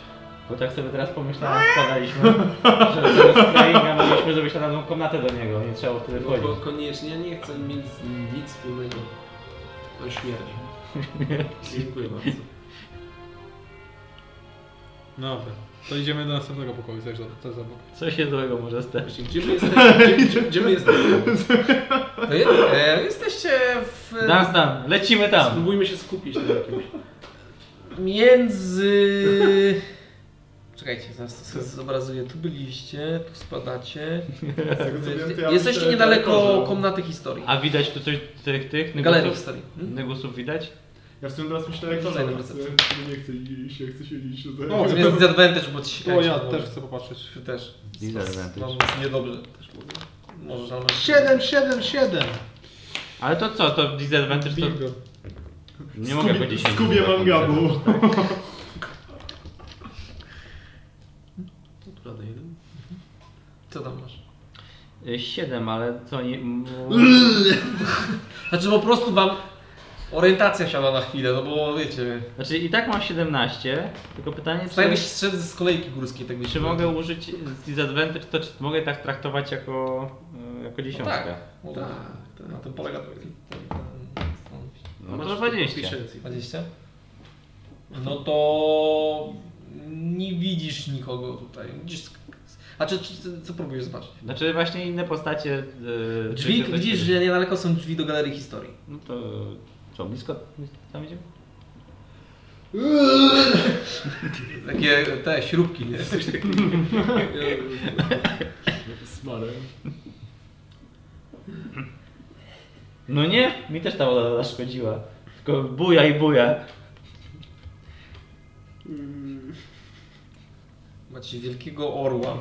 Speaker 3: Bo tak sobie teraz pomyślałem, składaliśmy, że do Skyringa mieliśmy zrobić razem komnatę do niego, nie trzeba było wtedy
Speaker 1: No,
Speaker 5: Bo,
Speaker 3: wchodzić.
Speaker 5: bo koniecznie ja nie chcę mieć z nim nic wspólnego. On śmierdzi. Dziękuję bardzo.
Speaker 4: Dobra, to idziemy do następnego pokoju, co jest za- co jest za pokój.
Speaker 3: Co się złego może stać?
Speaker 5: Właśnie, gdzie my jesteśmy? Gdzie, gdzie, gdzie my jesteśmy?
Speaker 1: To je, e, jesteście w
Speaker 3: Nas tam, lecimy tam!
Speaker 5: Spróbujmy się skupić na jakimś.
Speaker 1: między... Czekajcie, zaraz to sobie zobrazuję. Tu byliście, tu spadacie.
Speaker 2: Tak,
Speaker 1: Jesteście niedaleko komnaty historii.
Speaker 3: A widać tu coś tych, tych
Speaker 1: Galerii
Speaker 3: negusów?
Speaker 1: historii. Hmm?
Speaker 3: Negusów widać?
Speaker 2: Ja w sumie teraz myślę jak to
Speaker 1: Rzucaj na
Speaker 2: nawet,
Speaker 1: percepcję.
Speaker 2: nie- Nie chcę iść, ja chcę siedzieć tutaj.
Speaker 4: O,
Speaker 1: To jest disadvantage, bo ci się
Speaker 4: O, ja też chcę popatrzeć.
Speaker 1: Ty też.
Speaker 12: Disadvantage.
Speaker 1: Mam niedobrze też mówię. Możesz, ale masz...
Speaker 4: 7, 7, 7!
Speaker 3: Ale to co, to disadvantage to...
Speaker 4: Bingo.
Speaker 12: Nie mogę po 10.
Speaker 2: Skubie mam gabu.
Speaker 5: Prawda, jeden?
Speaker 1: Co tam masz?
Speaker 3: 7, Y, ale co nie... m-
Speaker 1: Znaczy po prostu wam orientacja siada na chwilę, no bo wiecie...
Speaker 3: Znaczy i tak mam 17, tylko pytanie
Speaker 1: Wstaję byś
Speaker 3: czy...
Speaker 1: strzedł z kolejki górskiej tak
Speaker 3: Czy
Speaker 1: byś
Speaker 3: mogę użyć z disadvantage, to czy mogę tak traktować jako, e, jako dziesiątkę?
Speaker 1: No tak. tak. Na tym polega to. to-
Speaker 12: No to 20.
Speaker 5: Piszę
Speaker 1: 20? No to nie widzisz nikogo tutaj. Widzisz... A czy, czy co- co próbujesz zobaczyć?
Speaker 3: Znaczy właśnie inne postacie... e,
Speaker 1: Drzwi,
Speaker 3: czy-
Speaker 1: widzisz, że niedaleko są drzwi do galerii historii.
Speaker 12: No to co, blisko?
Speaker 3: Tam idziemy?
Speaker 1: Takie te śrubki, nie?
Speaker 2: Smarem.
Speaker 3: No nie, mi też ta woda zaszkodziła. Tylko buja i buja.
Speaker 1: Macie wielkiego orła.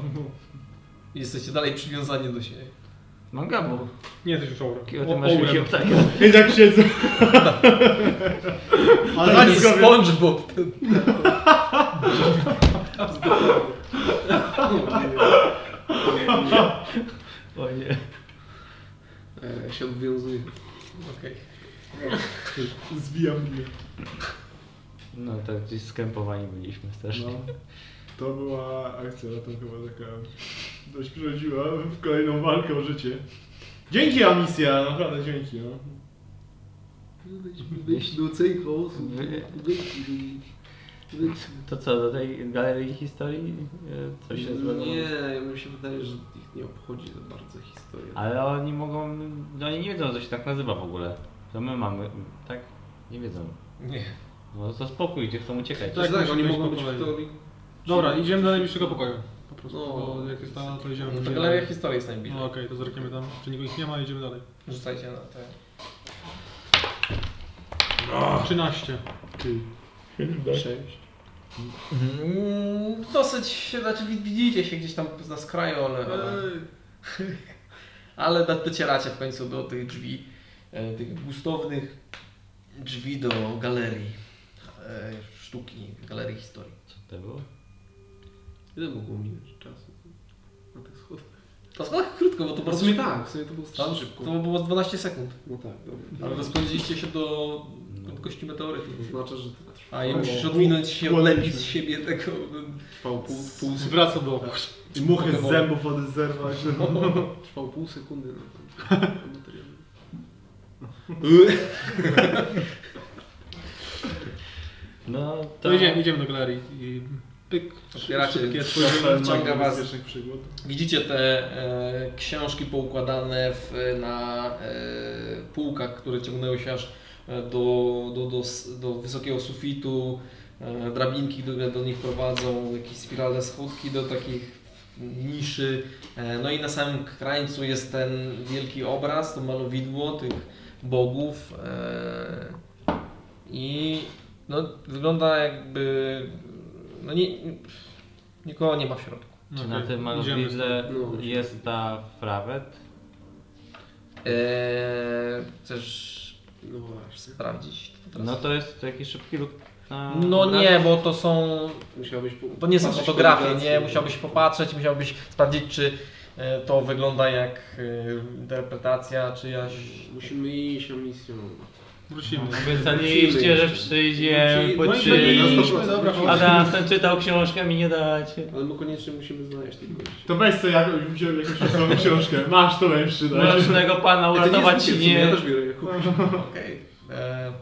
Speaker 1: I jesteście dalej przywiązani do siebie.
Speaker 3: Mam gabu.
Speaker 4: Nie jesteś już aura.
Speaker 3: Jakiego ty masz wielkiego ptaka?
Speaker 2: I tak siedzę. Ale
Speaker 1: Taki
Speaker 2: tak go
Speaker 1: SpongeBob.
Speaker 3: O nie.
Speaker 5: e, się odwiązuje.
Speaker 1: Okej.
Speaker 2: Zbijam mnie.
Speaker 3: No to gdzieś skępowani byliśmy strasznie.
Speaker 2: No. To była akcja, to chyba taka dość przerodziła w kolejną walkę o życie. Dzięki Amisja, naprawdę dzięki. No.
Speaker 5: Wyjdź No, do cejka osób.
Speaker 3: Wy-
Speaker 5: Wyjdź do...
Speaker 3: To co, do tej galerii historii? E, Co się zrobiło?
Speaker 5: Nie, mi się wydaje, że ich nie obchodzi za bardzo historia.
Speaker 3: Ale oni mogą... No oni nie wiedzą, co się tak nazywa w ogóle. To my mamy, tak? Nie wiedzą.
Speaker 1: Nie.
Speaker 3: No to spokój, gdzie chcą uciekać.
Speaker 5: Tak,
Speaker 4: Tak,
Speaker 5: tak, oni
Speaker 4: musi
Speaker 5: mogą
Speaker 4: być
Speaker 5: być
Speaker 4: po
Speaker 5: w
Speaker 4: kolei.
Speaker 5: teorii.
Speaker 4: Dobra, idziemy do najbliższego pokoju. Po prostu,
Speaker 5: No.
Speaker 4: bo jak jest tam, to idziemy.
Speaker 1: No to galeria historii jest najbliżej.
Speaker 4: No okej, to zerkniemy tam, czy nikogo ich nie ma, idziemy dalej.
Speaker 1: Rzucajcie na te.
Speaker 4: 13.
Speaker 5: Sześć.
Speaker 1: Mm, Dosyć, znaczy wid- widzicie się gdzieś tam na skraju, ale, ale, ale do- docieracie w końcu do tych drzwi, e, tych gustownych drzwi do galerii e, sztuki, galerii historii.
Speaker 3: Co to było?
Speaker 5: Ile mogło minąć czasu? Na tych schodach.
Speaker 1: To schodach krótko, bo to
Speaker 5: W
Speaker 1: bardzo
Speaker 5: sumie tak, w sumie to było
Speaker 1: Tam,
Speaker 5: strasznie szybko.
Speaker 1: to było z 12 sekund,
Speaker 5: No No. tak, dobra.
Speaker 1: ale rozpędziliście się do prędkości meteorytu.
Speaker 5: To Oznacza, że to
Speaker 1: A ja musisz odwinąć się, odlepić z siebie tego...
Speaker 5: trwało pół, pół, sek-
Speaker 4: Wraca do
Speaker 2: I muchy z zębów wody zerwać.
Speaker 5: trwało pół sekundy no. na ten materiał.
Speaker 3: No to...
Speaker 4: To idziemy, idziemy do galerii i pyk.
Speaker 1: Otwieracie
Speaker 4: Szybkie
Speaker 1: z-
Speaker 4: spojrzenie.
Speaker 1: Wciąga was.
Speaker 2: pierwszych przygód.
Speaker 1: Widzicie te e, książki poukładane w, na e, półkach, które ciągnęły się aż e, do, do, do, s- do wysokiego sufitu, e, drabinki, które do nich prowadzą, jakieś spiralne schodki do takich niszy. E, no i na samym krańcu jest ten wielki obraz, to malowidło tych bogów. E, I no, wygląda jakby... No nie, nikogo nie ma w środku.
Speaker 3: Czy na tym
Speaker 4: No Idziemy.
Speaker 3: malowidle
Speaker 5: No.
Speaker 3: jest ta frawet?
Speaker 1: Eee, chcesz
Speaker 5: No właśnie.
Speaker 1: Eee,
Speaker 5: No
Speaker 1: sprawdzić to teraz?
Speaker 3: No to jest to jakiś szybki luk. na...
Speaker 1: No
Speaker 3: obraz?
Speaker 1: nie, bo to są.
Speaker 5: Musiałbyś po-
Speaker 1: To nie są
Speaker 5: patrzeć
Speaker 1: fotografie,
Speaker 5: kombinacje.
Speaker 1: nie? Musiałbyś popatrzeć, musiałbyś sprawdzić, czy e, to wygląda jak e, interpretacja czyjaś.
Speaker 5: Musimy iść o misją.
Speaker 4: Wrócimy.
Speaker 8: No,
Speaker 5: Musimy
Speaker 3: Obiecaliście, że przyjdzie,
Speaker 5: Musimy-
Speaker 3: po
Speaker 5: No i
Speaker 3: czym...
Speaker 5: byliśmy, dobra,
Speaker 3: A Dunstan czytał książkę, mi nie dacie.
Speaker 5: Ale my koniecznie musimy znaleźć tych gości.
Speaker 2: To weź sobie jakąś, wziąłem jakąś osobną książkę. Masz, tak? to będzie przydać.
Speaker 3: Mrocznego pana
Speaker 5: Ej, to nie
Speaker 3: uratować
Speaker 5: jest
Speaker 3: nie...
Speaker 5: kupiec, Ja też biorę je. Kupię.
Speaker 1: Okej. E,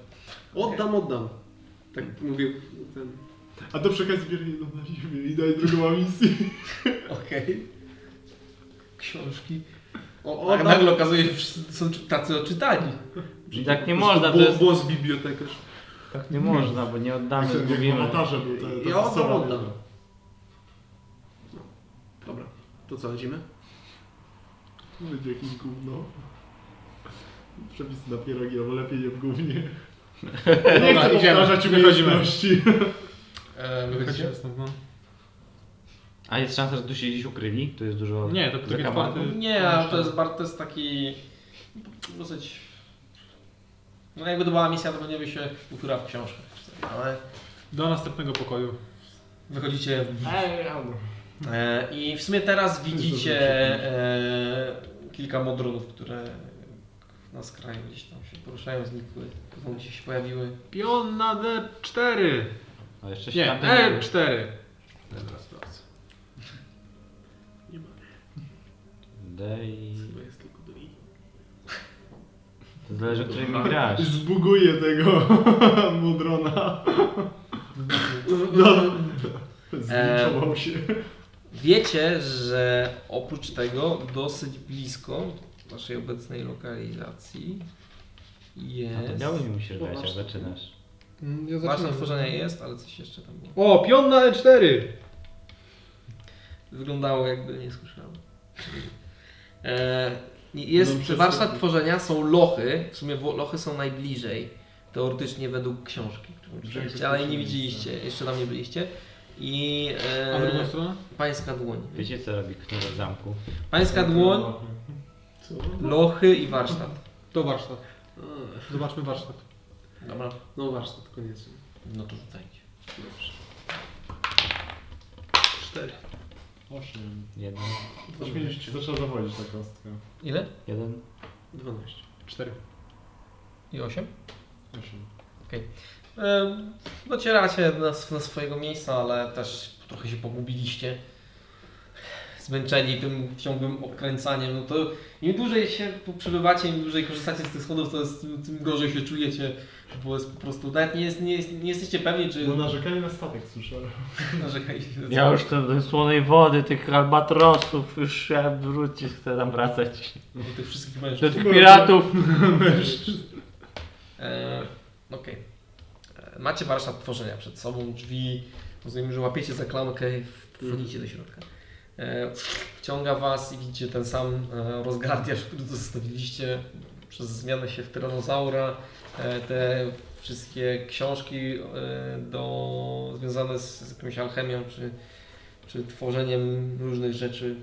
Speaker 5: Oddam, oddam. Tak mówię ten.
Speaker 2: A to przy okazji bierz jedną na siebie i daj drugą misję.
Speaker 5: Okej.
Speaker 1: Książki.
Speaker 5: O,
Speaker 1: A
Speaker 5: oddam.
Speaker 1: tak nagle okazuje się, że wszyscy są czy- tacy oczytani.
Speaker 3: I tak nie można, to
Speaker 5: Bo-
Speaker 3: jest...
Speaker 5: Bo z bibliotekarz.
Speaker 3: Tak nie można, bo nie oddamy,
Speaker 2: Tak,
Speaker 3: zgubimy.
Speaker 2: komentarze były te- te
Speaker 5: Ja oddam,
Speaker 2: stosowane.
Speaker 5: oddam. Dobra, to co, lecimy?
Speaker 2: Będzie jakieś gówno. Przepis na pierogi, ale lepiej nie w gównie. Nie chcę powtarzać umiejętności.
Speaker 1: E,
Speaker 4: Wychodzimy stąd, no.
Speaker 3: A jest szansa, że tu się gdzieś ukryli? Tu jest dużo...
Speaker 8: No.
Speaker 4: Nie, to drugi
Speaker 3: zakamaków?
Speaker 4: otwarty.
Speaker 1: Nie, ale to jest, bar- to jest taki dosyć... No jakby to była misja, to pewnie by się ukryła w książkach. czy coś, Ale
Speaker 4: Do następnego pokoju.
Speaker 1: wychodzicie e, i w sumie teraz widzicie e, kilka modronów, które na skraju gdzieś tam się poruszają, znikły, znowu gdzieś się pojawiły.
Speaker 2: Pion na D4.
Speaker 3: A jeszcze się
Speaker 2: Nie,
Speaker 3: tamten
Speaker 4: E
Speaker 3: był.
Speaker 2: E4.
Speaker 5: Teraz sprawdzę.
Speaker 3: D i...
Speaker 5: Bo jest tylko do i.
Speaker 3: To zależy, którymi grasz.
Speaker 2: Zbuguję tego modrona.
Speaker 4: No.
Speaker 2: Zliczował się.
Speaker 1: Wiecie, że oprócz tego dosyć blisko waszej obecnej lokalizacji
Speaker 3: A to
Speaker 1: jest...
Speaker 3: biały mi musisz dać, jak zaczynasz.
Speaker 4: Ja
Speaker 1: Właśnie otworzenie jest, ale coś jeszcze tam było.
Speaker 4: O, pion na E E4!
Speaker 1: Wyglądało jakby nie słyszałem. E, jest
Speaker 2: No,
Speaker 1: warsztat
Speaker 2: przez-
Speaker 1: tworzenia, są lochy. W sumie wo- lochy są najbliżej. Teoretycznie według książki, którą czytaliście, ale jej nie widzieliście, jeszcze tam nie byliście. I
Speaker 4: A w drugą
Speaker 1: e,
Speaker 4: stronę?
Speaker 1: pańska dłoń.
Speaker 3: Wiecie, co robi knur w zamku?
Speaker 1: Pańska dłoń,
Speaker 5: Co?
Speaker 1: lochy i warsztat.
Speaker 4: To warsztat.
Speaker 5: A,
Speaker 4: Zobaczmy warsztat.
Speaker 1: Dobra.
Speaker 5: No warsztat, koniecznie.
Speaker 1: No to rzucajcie.
Speaker 5: Dobrze.
Speaker 2: Osiem.
Speaker 3: Jeden.
Speaker 2: Ośmieliście, zaczęła zawodzić ta kostka.
Speaker 1: Ile?
Speaker 3: Jeden.
Speaker 5: 12.
Speaker 4: 4.
Speaker 1: I osiem?
Speaker 2: Osiem.
Speaker 1: E, Docieracie na, s- na swojego miejsca, ale też trochę się pogubiliście. Zmęczeni tym ciągłym okręcaniem. No to im dłużej się tu przebywacie, im dłużej korzystacie z tych schodów, to jest, no, tym tym gorzej się czujecie. Bo jest po prostu nawet nie, jest, nie, jest, nie jesteście pewni, czy
Speaker 2: No narzekanie na statek słyszałem.
Speaker 1: narzekaliście.
Speaker 3: Ja już ten, ten słonej wody, tych albatrosów, już ja wrócić, chcę tam wracać.
Speaker 1: Do tych wszystkich
Speaker 3: Do
Speaker 1: mężczyzn.
Speaker 3: tych piratów.
Speaker 1: E, Okej. E, Macie warsztat tworzenia przed sobą, drzwi. Rozumiem, że łapiecie za klamkę i wchodzicie do środka. E, Wciąga was i widzicie ten sam e, rozgardiasz, który zostawiliście przez zmianę się w tyranozaura. E, Te wszystkie książki e, do, związane z, z jakąś alchemią czy, czy tworzeniem różnych rzeczy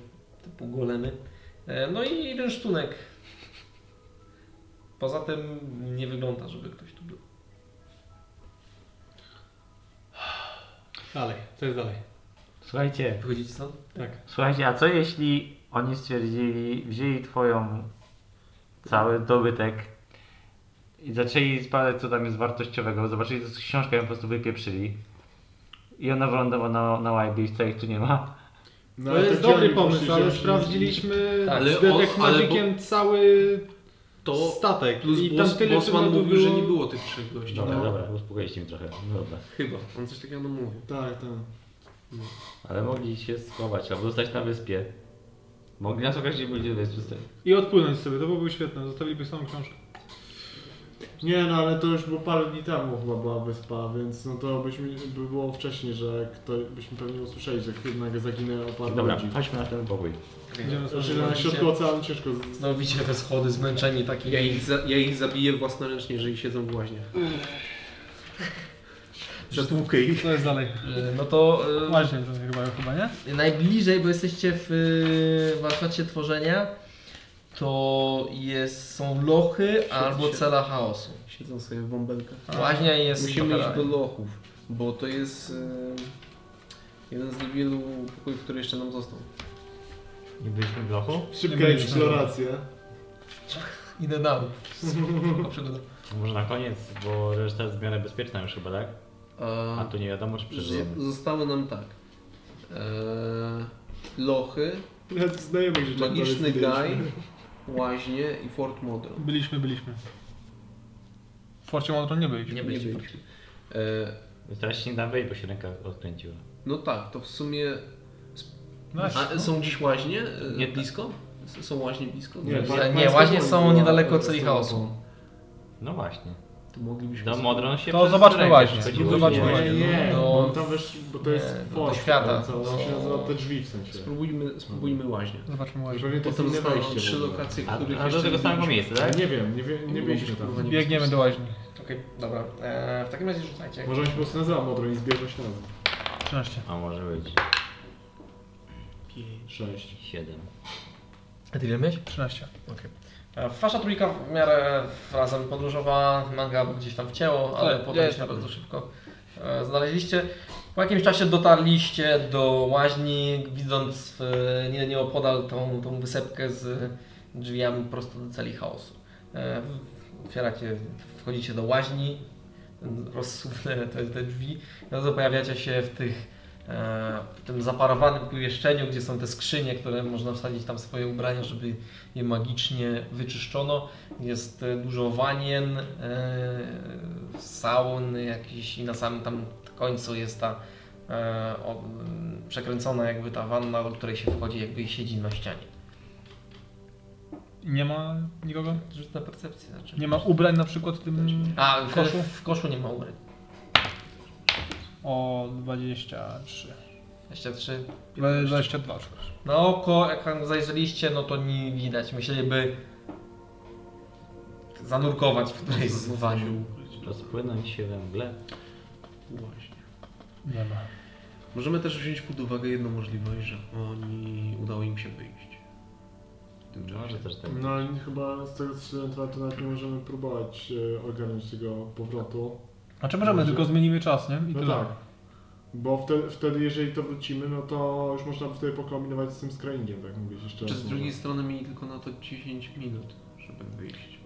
Speaker 1: typu golemy. E, No i jeden sztunek Poza tym nie wygląda, żeby ktoś tu był.
Speaker 4: Dalej, co jest dalej?
Speaker 3: Słuchajcie,
Speaker 1: Wychodzicie stąd?
Speaker 4: Tak.
Speaker 3: słuchajcie, a co jeśli oni stwierdzili, wzięli twoją cały dobytek i zaczęli sprawdzać, co tam jest wartościowego, zobaczyli, co jest książka i ją po prostu wypieprzyli. I ona wylądowała na, na łajbie i wcale ich tu nie ma.
Speaker 2: No,
Speaker 4: To jest dobry pomysł, ale sprawdziliśmy
Speaker 1: Tak,
Speaker 4: z
Speaker 8: ale o-
Speaker 4: Detect
Speaker 8: ale
Speaker 4: Magiciem cały
Speaker 8: To
Speaker 4: statek.
Speaker 8: plus
Speaker 4: I tam
Speaker 8: Bos,
Speaker 4: tyle
Speaker 8: Bosman
Speaker 4: przedmiotów
Speaker 8: mówił, że nie było tych trzech gości.
Speaker 3: Dobra,
Speaker 8: No.
Speaker 3: dobra, uspokoiliście mnie trochę. No Dobra.
Speaker 8: Chyba, on coś takiego nam mówił.
Speaker 2: Tak, tak.
Speaker 3: Ale mogli się schować albo zostać na wyspie. Mogli nas określić, że byli na wyspie.
Speaker 4: I odpłynąć sobie, to byłoby świetne. Zostawiliby samą książkę.
Speaker 2: Nie no, ale to już było parę dni temu chyba była wyspa, więc no to byśmy, by było wcześniej, że kto, byśmy pewnie usłyszeli, że jednak zaginęło parę
Speaker 3: Dobra,
Speaker 2: ludzi.
Speaker 3: chodźmy na ten pokój.
Speaker 4: Idziemy sobie.
Speaker 2: Znaczy na środku oceanu ciężko z...
Speaker 1: Znowu widzicie te schody zmęczeni taki.
Speaker 5: Ja ich, za, ja ich zabiję własnoręcznie, jeżeli siedzą w łaźnie. Zatłukę ich.
Speaker 4: Co jest dalej?
Speaker 1: Y, No to
Speaker 4: Właśnie, to chyba, chyba nie?
Speaker 1: y, najbliżej, bo jesteście w y, warsztacie tworzenia, to jest, są lochy albo cela chaosu.
Speaker 5: Siedzą sobie w bąbelkach.
Speaker 4: Tak.
Speaker 1: Łaźnia jest
Speaker 5: Musimy
Speaker 1: opera.
Speaker 5: iść do lochów.
Speaker 8: Bo to jest e, jeden z niewielu pokojów, który jeszcze nam został.
Speaker 3: Nie byliśmy w lochu?
Speaker 2: Szybka eksploracja.
Speaker 1: Idę dalej. Szybka przygoda.
Speaker 3: Może na koniec, bo reszta jest w miarę bezpieczna już chyba, tak? A
Speaker 8: A
Speaker 3: tu nie wiadomo, czy przeżyjemy.
Speaker 8: z- zostały nam tak. E, lochy,
Speaker 2: Nawet znajomych rzeczy.
Speaker 8: magiczny
Speaker 2: nawet
Speaker 8: gaj,
Speaker 2: widzieliśmy.
Speaker 8: łaźnie i Fort Modern.
Speaker 4: Byliśmy, byliśmy. W Forcie Modron nie byliśmy.
Speaker 8: Nie byliśmy. E,
Speaker 3: I Teraz się nie da wejść, bo się ręka odkręciła.
Speaker 8: no tak, to w sumie...
Speaker 4: No,
Speaker 8: A są gdzieś łaźnie? E,
Speaker 3: Nie
Speaker 8: nie blisko? S- Są łaźnie blisko?
Speaker 2: Nie,
Speaker 8: Dobrze.
Speaker 2: pa-
Speaker 1: Nie,
Speaker 2: pańska
Speaker 1: łaźnie
Speaker 2: woń
Speaker 1: są
Speaker 2: była
Speaker 1: niedaleko
Speaker 2: pod
Speaker 1: celi
Speaker 2: stołą.
Speaker 1: chaosu.
Speaker 3: No właśnie.
Speaker 8: To moglibyśmy...
Speaker 3: Do Modron się
Speaker 4: To
Speaker 3: przez
Speaker 4: zobaczmy
Speaker 3: rękę
Speaker 4: właśnie.
Speaker 3: przechodziło,
Speaker 4: Zobaczmy
Speaker 3: nie?
Speaker 4: właśnie.
Speaker 2: Nie, nie,
Speaker 1: No,
Speaker 2: bo tam wiesz, bo to jest
Speaker 1: nie, no, do
Speaker 2: port,
Speaker 1: świata.
Speaker 2: To, to się nazywa te drzwi w sensie.
Speaker 8: Spróbujmy, spróbujmy łaźnie.
Speaker 4: Zobaczmy łaźnie.
Speaker 2: Pewnie to jest
Speaker 8: Potem
Speaker 2: inne
Speaker 8: zostają
Speaker 2: wejście.
Speaker 8: trzy
Speaker 2: w ogóle.
Speaker 8: lokacje,
Speaker 3: A,
Speaker 8: których
Speaker 3: a do
Speaker 8: jeszcze
Speaker 3: tego
Speaker 8: nie
Speaker 3: samego miejsca, tak?
Speaker 2: Nie wiem, nie, wie, nie byliśmy
Speaker 8: kurwa,
Speaker 2: tam.
Speaker 8: nie
Speaker 4: Biegniemy do łaźni.
Speaker 1: Okej, dobra. E, w takim razie rzucajcie.
Speaker 2: Może on się po prostu nazywa Modron i zbierze się nazwę.
Speaker 4: 13.
Speaker 3: A może być.
Speaker 2: 6.
Speaker 3: Siedem.
Speaker 1: A ty ile miałeś?
Speaker 4: 13.
Speaker 1: E, Wasza trójka w miarę razem podróżowała, manga gdzieś tam wcięło, No, ale
Speaker 4: Tak,
Speaker 1: podaliście
Speaker 4: jest.
Speaker 1: bardzo szybko. e, Znaleźliście. Po jakimś czasie dotarliście do łaźni, widząc e, nie, nieopodal tą, tą wysepkę z drzwiami prosto do celi chaosu. E, Otwieracie, wchodzicie do łaźni, rozsuwne te, te drzwi, no to pojawiacie się w tych e, w tym zaparowanym pomieszczeniu, gdzie są te skrzynie, które można wsadzić tam swoje ubrania, żeby je magicznie wyczyszczono. Jest e, dużo wanien, e, saun jakiś i na samym tam końcu jest ta e, o, m, przekręcona jakby ta wanna, do której się wchodzi jakby i siedzi na ścianie.
Speaker 4: Nie ma nikogo?
Speaker 1: Rzut na percepcję. Znaczy.
Speaker 4: Nie ma ubrań na przykład w tym...
Speaker 1: A, w
Speaker 4: koszu?
Speaker 1: koszu? W koszu nie ma ubrań.
Speaker 4: O, 23.
Speaker 1: 23.
Speaker 4: 22, przepraszam.
Speaker 1: Na oko, jak tam zajrzeliście, no to nie widać. Musieliby zanurkować w którejś z waniu.
Speaker 3: Rozpłynąć się we mgle.
Speaker 8: Właśnie.
Speaker 4: Nie ma.
Speaker 8: Możemy też wziąć pod uwagę jedną możliwość, że oni udało im się wyjść. W tym czasie.
Speaker 3: Może też tak.
Speaker 2: No i chyba z tego co się to, to nawet nie możemy próbować e, ogarnąć tego powrotu.
Speaker 4: Znaczy możemy,
Speaker 2: Może.
Speaker 4: tylko zmienimy czas, nie? I
Speaker 2: No
Speaker 4: tyle.
Speaker 2: tak. Bo wtedy, wtedy, jeżeli to wrócimy, no to już można by wtedy pokombinować z tym scryingiem, tak mówisz jeszcze
Speaker 8: Czy
Speaker 2: raz
Speaker 8: z
Speaker 2: może.
Speaker 8: drugiej strony mieli tylko na to 10 minut, żeby wyjść.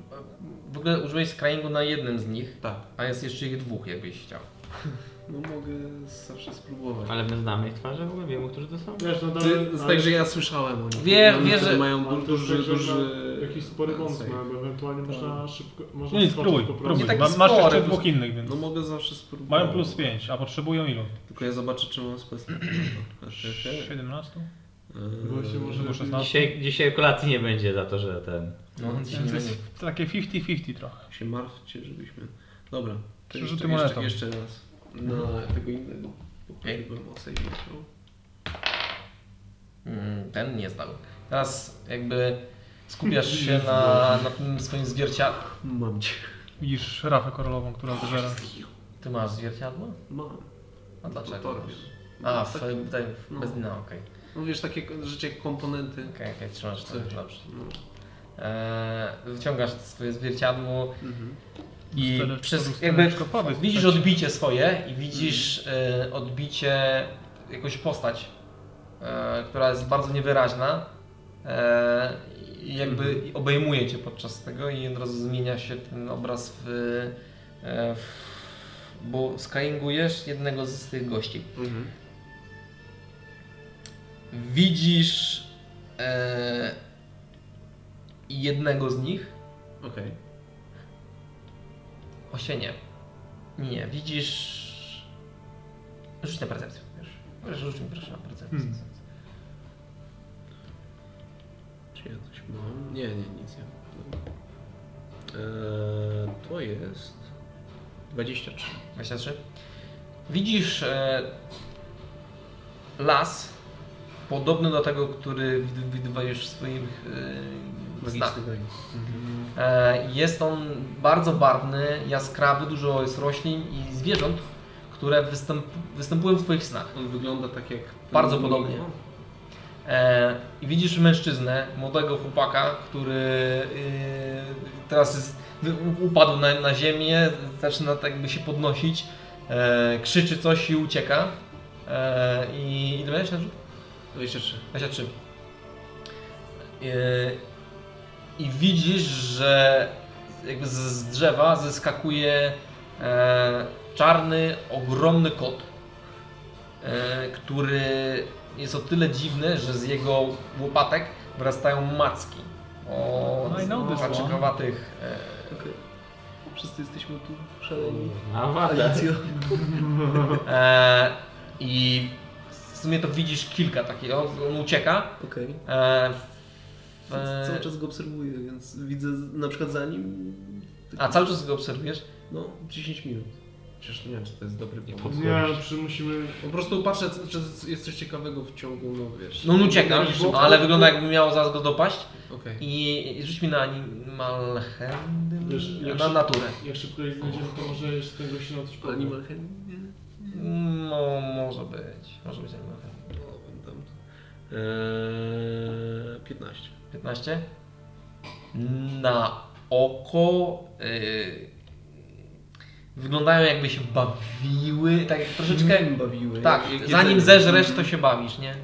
Speaker 1: W ogóle użyłeś scryingu na jednym z nich,
Speaker 8: Tak.
Speaker 1: a jest jeszcze ich dwóch, jakbyś chciał.
Speaker 8: No mogę zawsze spróbować.
Speaker 3: Ale my znamy ich twarze w ogóle, wiemy, którzy to są.
Speaker 2: Wiesz, no dalej,
Speaker 8: Ty, z
Speaker 2: ale-
Speaker 8: tak, że ja słyszałem o nich.
Speaker 1: Wie-
Speaker 8: Oni
Speaker 1: wie,
Speaker 8: wtedy
Speaker 1: że-
Speaker 8: mają
Speaker 2: ale to
Speaker 8: du-
Speaker 2: jest
Speaker 8: duży,
Speaker 2: tak, że
Speaker 8: duży...
Speaker 2: na Jakiś spory bądź,
Speaker 8: save.
Speaker 2: bo ewentualnie można szybko... Można
Speaker 4: Nie, nie,
Speaker 2: skoczyć
Speaker 4: No spróbuj,
Speaker 2: po prostu. tak-
Speaker 4: spróbuj.
Speaker 1: taki
Speaker 4: Ma, masz
Speaker 1: spory,
Speaker 4: jeszcze
Speaker 1: po
Speaker 4: dwóch innych, więc...
Speaker 8: No mogę zawsze spróbować.
Speaker 4: Mają plus 5, a potrzebują ilu?
Speaker 8: Tylko ja zobaczę, czy mam specjalny.
Speaker 4: 17?
Speaker 8: Tak.
Speaker 2: Bo się może
Speaker 4: Albo
Speaker 2: lepiej-
Speaker 4: 16?
Speaker 3: Dzisiaj, dzisiaj kolacji nie będzie za to, że ten...
Speaker 1: No, on
Speaker 4: Więc jest takie 50-50 trochę.
Speaker 8: się martwcie, żebyśmy... Dobra. To
Speaker 4: Przerzuty
Speaker 8: jeszcze,
Speaker 4: monetą.
Speaker 8: jeszcze, jeszcze raz. Na tego innego. Poprosiłbym o save.
Speaker 1: Mm, Ten nie zdał. Teraz jakby skupiasz się na, na tym swoim zwierciadle.
Speaker 8: Mam cię.
Speaker 4: Widzisz szrafę korolową, która zżera.
Speaker 1: Ty masz zwierciadło?
Speaker 8: Mam.
Speaker 1: A dlaczego?
Speaker 8: Torbie.
Speaker 1: A, w, tutaj
Speaker 8: No.
Speaker 1: bez dna, okej.
Speaker 8: No wiesz, takie rzeczy jak komponenty.
Speaker 1: Okej, okej, trzymasz to,
Speaker 8: Coś.
Speaker 1: dobrze.
Speaker 8: No.
Speaker 1: Eee, wyciągasz swoje zwierciadło,
Speaker 8: Mhm.
Speaker 1: I
Speaker 4: Stele-
Speaker 1: przez,
Speaker 4: stele-
Speaker 1: jakby
Speaker 4: stele- stele-
Speaker 1: widzisz
Speaker 4: stele-
Speaker 1: odbicie swoje i widzisz e, odbicie, jakąś postać, e, która jest bardzo niewyraźna e, i jakby obejmuje cię podczas tego i od razu zmienia się ten obraz w... E, w bo skyingujesz jednego z tych gości.
Speaker 8: Mhm.
Speaker 1: Widzisz e, jednego z nich,
Speaker 8: Okej.
Speaker 1: Osie nie. Nie, widzisz. Rzuć na percepcję. wiesz. Proszę, rzuć mi proszę na percepcję.
Speaker 4: Hmm.
Speaker 8: Czy ja coś mam? Nie, nie, nic nie mam. Eee, to jest 23.
Speaker 1: 23. Widzisz e, las podobny do tego, który wid- widywałeś w swoim e, snach.
Speaker 8: Magiczny daje. Mhm.
Speaker 1: E, Jest on bardzo barwny, jaskrawy, dużo jest roślin i zwierząt, które występ, występują w Twoich snach.
Speaker 8: On wygląda tak jak... ten
Speaker 1: Bardzo
Speaker 8: mój-
Speaker 1: podobnie. E, I widzisz mężczyznę, młodego chłopaka, który y, yy, teraz jest, wy- upadł na, na ziemię, zaczyna tak jakby się podnosić. E, krzyczy coś i ucieka. E, I ile miałeś na rzut?
Speaker 8: 23.
Speaker 1: 23. Yy, I widzisz, że jakby z, z drzewa zeskakuje e, czarny, ogromny kot, e, który jest o tyle dziwny, że z jego łopatek wyrastają macki o e,
Speaker 4: I know this one.
Speaker 1: paczykowatych
Speaker 8: Wszyscy jesteśmy tu szaleni.
Speaker 3: Awada.
Speaker 1: e, e, i w sumie to widzisz kilka takich, on, on ucieka.
Speaker 8: Okej.
Speaker 1: E, w-
Speaker 8: Cały czas go obserwuję, więc widzę z- na przykład za nim.
Speaker 1: A cały czas go obserwujesz?
Speaker 8: No, 10 minut. Przecież nie wiem, czy to jest dobry pomysł.
Speaker 2: Nie, przy, musimy...
Speaker 8: Po prostu patrzę, co- czy jest coś ciekawego w ciągu, no wiesz.
Speaker 1: No on ucieka,
Speaker 8: Widzisz, bo-
Speaker 1: ale wygląda jakby miał zaraz go dopaść.
Speaker 8: Okej.
Speaker 1: I i rzuć mi na animal
Speaker 2: Wiesz,
Speaker 1: handling,
Speaker 2: jak
Speaker 1: na
Speaker 2: się-
Speaker 1: naturę.
Speaker 2: Jak szybko je znajdziemy, to może jeszcze tego się na coś
Speaker 8: Okay.
Speaker 2: powiem.
Speaker 8: Animal Handling? Nie.
Speaker 1: No, może być, może być animal handling.
Speaker 8: No, tam. Eee, 15.
Speaker 1: 15. Na oko yy, wyglądają jakby się bawiły, tak jak troszeczkę...
Speaker 8: Mnie bawiły.
Speaker 1: Tak,
Speaker 8: Jak- jak
Speaker 1: zanim
Speaker 8: jedzenie.
Speaker 1: zeżresz to się bawisz, nie?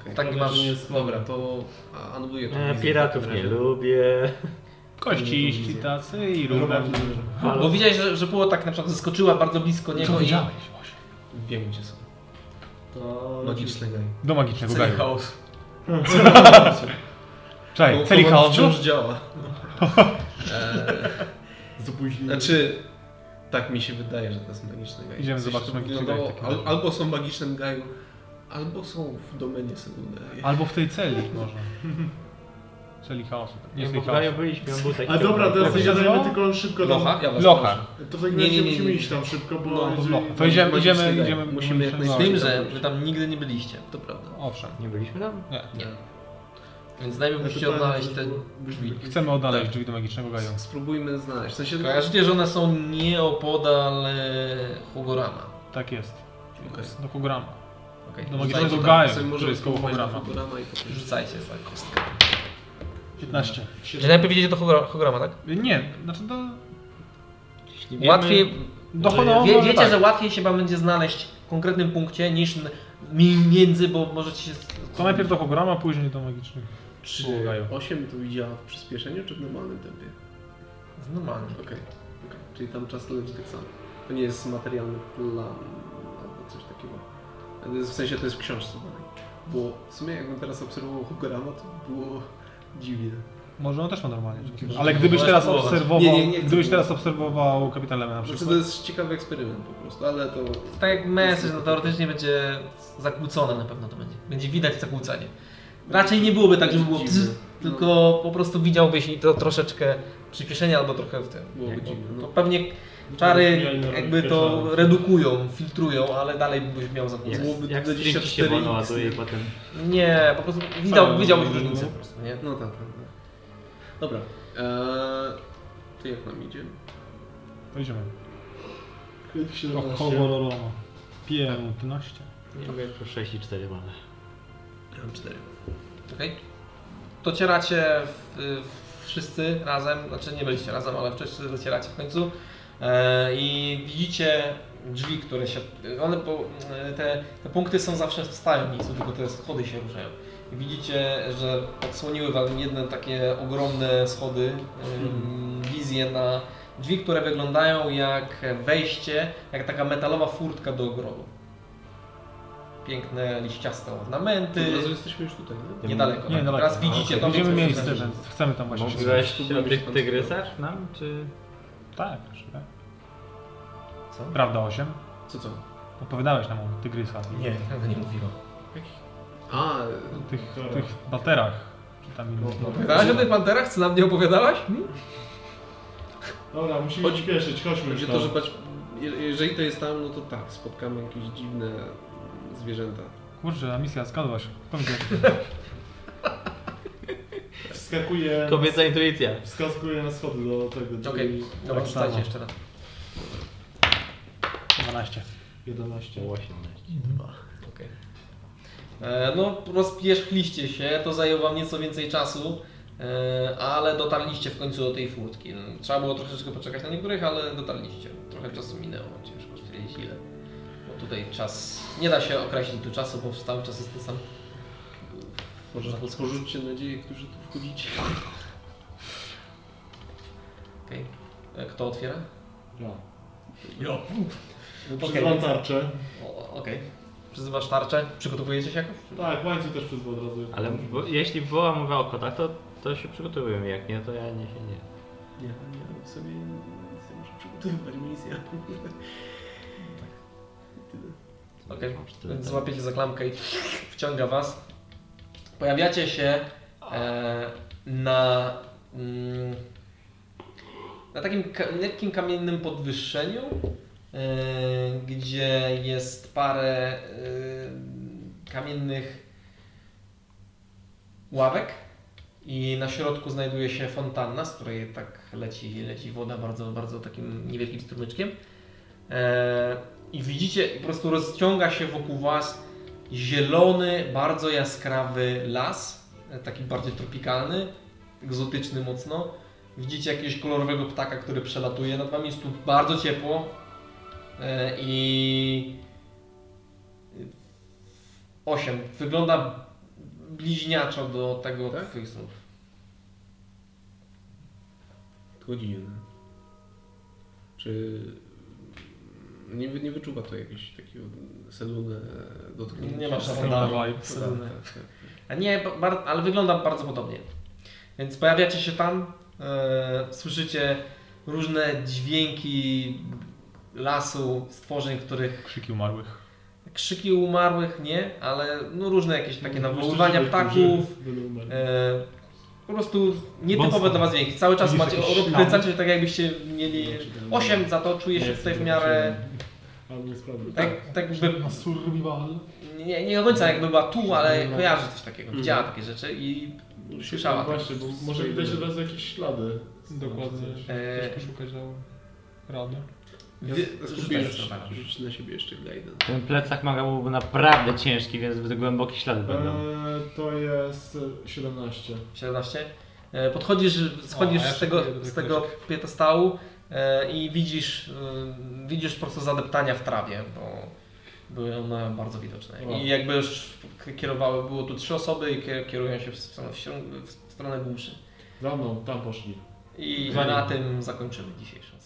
Speaker 8: Okej.
Speaker 1: Tak
Speaker 2: Mam
Speaker 1: masz...
Speaker 2: wrażenie, że-
Speaker 8: Dobra, to a, anuluję to.
Speaker 3: E, Piratów nie lubię.
Speaker 4: Kościści tacy i
Speaker 2: Dobra,
Speaker 4: rubel.
Speaker 1: Bo widziałeś, że, że było tak na przykład zeskoczyła bardzo blisko niego i...
Speaker 8: Wiem gdzie są.
Speaker 2: To...
Speaker 8: Magiczne gaj.
Speaker 4: Do magicznego
Speaker 1: Celi
Speaker 4: gaju.
Speaker 1: chaos.
Speaker 4: Czekaj, celi
Speaker 8: To- to
Speaker 4: chaosu?
Speaker 8: wciąż działa.
Speaker 2: Z opóźnieniem.
Speaker 8: Znaczy, tak mi się wydaje, że to jest magiczny gaj.
Speaker 4: Idziemy
Speaker 8: Coś
Speaker 4: zobaczyć
Speaker 8: tam
Speaker 4: magiczny
Speaker 8: wyglądało-
Speaker 4: gaj w takim
Speaker 8: al, Albo są w magicznym gaju, albo są w domenie sekundarnej.
Speaker 4: Albo w tej celi może. Celi chaosu. Nie
Speaker 3: Nie,
Speaker 4: jest
Speaker 3: bo
Speaker 4: tej
Speaker 3: w Gaju
Speaker 4: chaosu.
Speaker 3: byliśmy, on był taki...
Speaker 2: A dobra, teraz
Speaker 4: się
Speaker 2: idziemy
Speaker 4: nazywało?
Speaker 2: tylko szybko tam.
Speaker 8: Locha? Ja was
Speaker 4: Locha.
Speaker 2: To w takim
Speaker 1: Nie,
Speaker 2: razie
Speaker 1: nie, nie,
Speaker 2: musimy
Speaker 1: nie.
Speaker 2: iść tam szybko, bo...
Speaker 4: No, to
Speaker 2: jeżeli-
Speaker 4: loch. To idziemy,
Speaker 8: magiczny
Speaker 4: idziemy,
Speaker 8: gaj.
Speaker 4: idziemy.
Speaker 8: Musimy jak
Speaker 4: zobaczyć.
Speaker 1: Z tym, że wy tam nigdy nie byliście.
Speaker 8: To prawda.
Speaker 4: Owszem.
Speaker 3: Nie byliśmy tam?
Speaker 1: Więc najpierw
Speaker 2: Znaczy,
Speaker 1: musicie
Speaker 2: to-
Speaker 1: odnaleźć
Speaker 2: to-
Speaker 1: te
Speaker 2: to-
Speaker 1: drzwi.
Speaker 4: Chcemy
Speaker 3: Tak.
Speaker 4: odnaleźć drzwi do magicznego gaju.
Speaker 8: Spróbujmy znaleźć. W sensie,
Speaker 1: Kojarzycie, że one są nieopodal e, Hugorama.
Speaker 4: Tak jest.
Speaker 8: Okej.
Speaker 4: Do Hograma.
Speaker 1: Okay.
Speaker 4: Do
Speaker 8: Rzucajcie
Speaker 4: magicznego
Speaker 8: tam,
Speaker 4: gaju,
Speaker 8: sobie
Speaker 4: który
Speaker 8: możemy
Speaker 4: jest koło
Speaker 8: spróbować na
Speaker 4: Hograma.
Speaker 8: Hogorama i potem-
Speaker 1: Rzucajcie za kostkę.
Speaker 4: 15.
Speaker 1: Czyli najpierw idziecie do Hugora- Hugorama, tak?
Speaker 4: Nie, znaczy do...
Speaker 3: Wiemy-
Speaker 1: łatwiej,
Speaker 4: Do
Speaker 1: wie,
Speaker 4: honoru
Speaker 1: wiecie,
Speaker 4: tak.
Speaker 1: że łatwiej się wam będzie znaleźć w konkretnym punkcie niż n- między, bo możecie się...
Speaker 4: To najpierw do Hograma, później do magicznych.
Speaker 8: Czy
Speaker 4: Koło gaju.
Speaker 8: 8 tu działa w przyspieszeniu, czy w normalnym tempie?
Speaker 1: Normalnie.
Speaker 8: Okej. Okej. Czyli tam czas leci tak samo. To nie jest materialny plan albo coś takiego. To jest- W sensie to jest w książce dalej. Bo w sumie jakbym teraz obserwował Hogorama, to było dziwnie.
Speaker 4: Może on też ma normalnie. Ale gdybyś teraz
Speaker 1: spróbować.
Speaker 4: obserwował,
Speaker 8: Nie, nie, nie chcę
Speaker 4: gdybyś teraz
Speaker 8: próbować.
Speaker 4: obserwował Kapitan Lemon na
Speaker 8: Znaczy, to
Speaker 4: przykład.
Speaker 8: jest ciekawy eksperyment po prostu, ale to...
Speaker 1: Tak jak message, no teoretycznie będzie zakłócone na pewno to będzie. Będzie widać zakłócenie. Raczej nie byłoby tak, żeby było
Speaker 8: Dziwne.
Speaker 1: bzz, tylko po prostu widziałbyś i to troszeczkę przyspieszenie albo trochę w tym.
Speaker 8: Byłoby dziwne.
Speaker 1: To
Speaker 8: No.
Speaker 1: pewnie czary
Speaker 2: Zmieniamy
Speaker 1: jakby to
Speaker 2: rozpieszamy.
Speaker 1: redukują, filtrują, ale dalej byś miał
Speaker 3: Jak,
Speaker 1: zakłócenie.
Speaker 3: jak stringi się
Speaker 8: 24x,
Speaker 3: wolno
Speaker 8: nie?
Speaker 3: ładuje i potem...
Speaker 1: Nie, po prostu widział,
Speaker 4: Ale-
Speaker 1: widziałbyś różnicę po prostu, nie?
Speaker 8: no tak, tak, tak. Dobra. Eee, to jak nam idzie?
Speaker 4: To idziemy. Do
Speaker 2: 17.
Speaker 4: Hogorama. 15.
Speaker 3: Nie no, wiem, po 6 i 4 mamy.
Speaker 8: Ja mam 4.
Speaker 1: Okej. To cieracie w, w, wszyscy razem, znaczy nie byliście razem, ale wszyscy docieracie w końcu e, i widzicie drzwi, które się, one, po, e, te, te punkty są zawsze w stałym miejscu, tylko te schody się ruszają. I Widzicie, że odsłoniły wam jedne takie ogromne schody, ym, wizję na drzwi, które wyglądają jak wejście, jak taka metalowa furtka do ogrodu. Piękne liściaste ornamenty.
Speaker 8: Od razu jesteśmy już tutaj, nie?
Speaker 1: Niedaleko.
Speaker 4: Nie,
Speaker 1: tak.
Speaker 4: daleko.
Speaker 1: Teraz widzicie
Speaker 4: no Okej,
Speaker 1: tam
Speaker 4: Widzimy
Speaker 1: coś
Speaker 4: miejsce,
Speaker 1: znaczy.
Speaker 4: więc chcemy tam właśnie się
Speaker 3: Mówiłeś o tych tygrysach nam, czy...
Speaker 4: Tak, już, tak.
Speaker 1: Co?
Speaker 4: Prawda 8?
Speaker 8: Co co?
Speaker 4: Opowiadałeś nam o tygrysach. i
Speaker 1: Nie, tego nie mówiłam.
Speaker 8: A,
Speaker 4: Tych, tych baterach. Czy tam innych.
Speaker 1: Opowiadałaś o tych panterach? Co nam nie opowiadałaś?
Speaker 2: Dobra, musimy
Speaker 8: Chodź-
Speaker 2: śpieszyć, chodźmy już
Speaker 8: Będzie
Speaker 2: tam.
Speaker 8: to, że patrz, je- jeżeli to jest tam, no to tak, spotkamy jakieś dziwne zwierzęta.
Speaker 4: Kurczę, a misja skadła się. Powiedz,
Speaker 2: Wskakuje...
Speaker 3: Kobieca intuicja.
Speaker 2: Wskakuje na schody do tego.
Speaker 1: Okej,
Speaker 2: czyli
Speaker 1: dobra,
Speaker 4: tak
Speaker 1: wstajcie No,
Speaker 4: samo.
Speaker 1: jeszcze raz.
Speaker 4: 12.
Speaker 2: 11.
Speaker 3: 18.
Speaker 1: Okej. E, No, rozpierzchliście się, to zajęło wam nieco więcej czasu, e, ale dotarliście w końcu do tej furtki. No, Trzeba było troszeczkę poczekać na niektórych, ale dotarliście. Trochę czasu minęło, ciężko stwierdzić. y, źle. Bo tutaj czas, nie da się określić tu czasu, bo cały czas jest ten sam.
Speaker 5: Może porzućcie nadzieję, którzy tu wchodzicie.
Speaker 1: Okej. E, Kto otwiera?
Speaker 2: Ja.
Speaker 1: Jo.
Speaker 2: Przyzywam tarczę.
Speaker 1: Okej. Przyzywasz tarczę? Przygotowujecie się jakoś?
Speaker 2: Tak, w łańcuch też przyzwę od razu.
Speaker 12: Ale bo, jeśli była mowa o kotach, to, to się przygotowujemy. Jak nie, to ja nie się nie.
Speaker 5: Nie, nie, w sobie nic nie muszę przygotowywać, misja.
Speaker 1: Okej.
Speaker 12: Mam cztery
Speaker 3: Tak.
Speaker 1: Więc
Speaker 12: tarcze.
Speaker 1: złapiecie za klamkę i wciąga was. Pojawiacie się e, na, mm, na takim ka- lekkim kamiennym podwyższeniu, e, gdzie jest parę e, kamiennych ławek i na środku znajduje się fontanna, z której tak leci, leci woda bardzo, bardzo takim niewielkim strumyczkiem. E, i widzicie, po prostu rozciąga się wokół Was zielony, bardzo jaskrawy las, taki bardziej tropikalny, egzotyczny mocno. Widzicie jakiegoś kolorowego ptaka, który przelatuje nad Wami, jest tu bardzo ciepło E, i... osiem Wygląda bliźniaczo do tego
Speaker 5: Tak?
Speaker 1: Twoich snów.
Speaker 5: Godziny.
Speaker 8: Y,
Speaker 5: Czy... Nie, wy- nie wyczuwa to jakiegoś takiego
Speaker 8: e,
Speaker 5: sedlone dotknięcia?
Speaker 1: Nie ma
Speaker 5: Tak,
Speaker 1: szafandala.
Speaker 5: tak, tak.
Speaker 1: A nie, ba- bar, ale wygląda bardzo podobnie. Więc pojawiacie się tam, e, słyszycie różne dźwięki lasu, stworzeń, których
Speaker 4: Krzyki umarłych.
Speaker 1: krzyki umarłych nie, ale no różne jakieś takie nawoływania
Speaker 2: Wyszczęście
Speaker 1: ptaków.
Speaker 2: będzie w tym, że będą umarli.
Speaker 1: E, po prostu nietypowe
Speaker 4: Monster.
Speaker 1: dla Was dźwięki. Cały czas
Speaker 4: Widzisz
Speaker 1: macie,
Speaker 4: jakieś
Speaker 1: odkręcacie się tak jakbyście mieli 8 za to, czuję się tutaj w miarę
Speaker 2: Ale nie sprawdzę.
Speaker 1: tak, tak by
Speaker 4: A survival?
Speaker 1: nie, nie do końca jakby była tu, ale
Speaker 4: No,
Speaker 1: kojarzy coś
Speaker 4: Mhm.
Speaker 1: takiego, widziała takie rzeczy i słyszała. tak.
Speaker 2: Właśnie, bo może widać od razu jakieś ślady.
Speaker 4: Dokładnie.
Speaker 1: E,
Speaker 4: Coś poszukać dało. Radę.
Speaker 5: Ja
Speaker 1: Wy-
Speaker 5: z-
Speaker 1: rzucaj
Speaker 5: skupiłem rzuć,
Speaker 1: survival.
Speaker 5: rzuć na siebie jeszcze Gliden.
Speaker 12: Ten plecak maga byłby naprawdę ciężki, więc głębokie ślady będą.
Speaker 2: Eee, to jest e, 17.
Speaker 1: 17. E, Podchodzisz, schodzisz
Speaker 4: O, a ja
Speaker 1: z tego,
Speaker 4: szykuję do tych
Speaker 1: z tego piedestału e, i widzisz, e, widzisz po prostu zadeptania w trawie, bo były one bardzo widoczne.
Speaker 2: Wow.
Speaker 1: I jakby już k- kierowały, było tu trzy osoby i kier- kierują się w stronę, w śrą- w stronę głuszy.
Speaker 2: Za mną, tam poszli.
Speaker 1: I
Speaker 2: Za nim.
Speaker 1: na tym zakończymy dzisiejszą.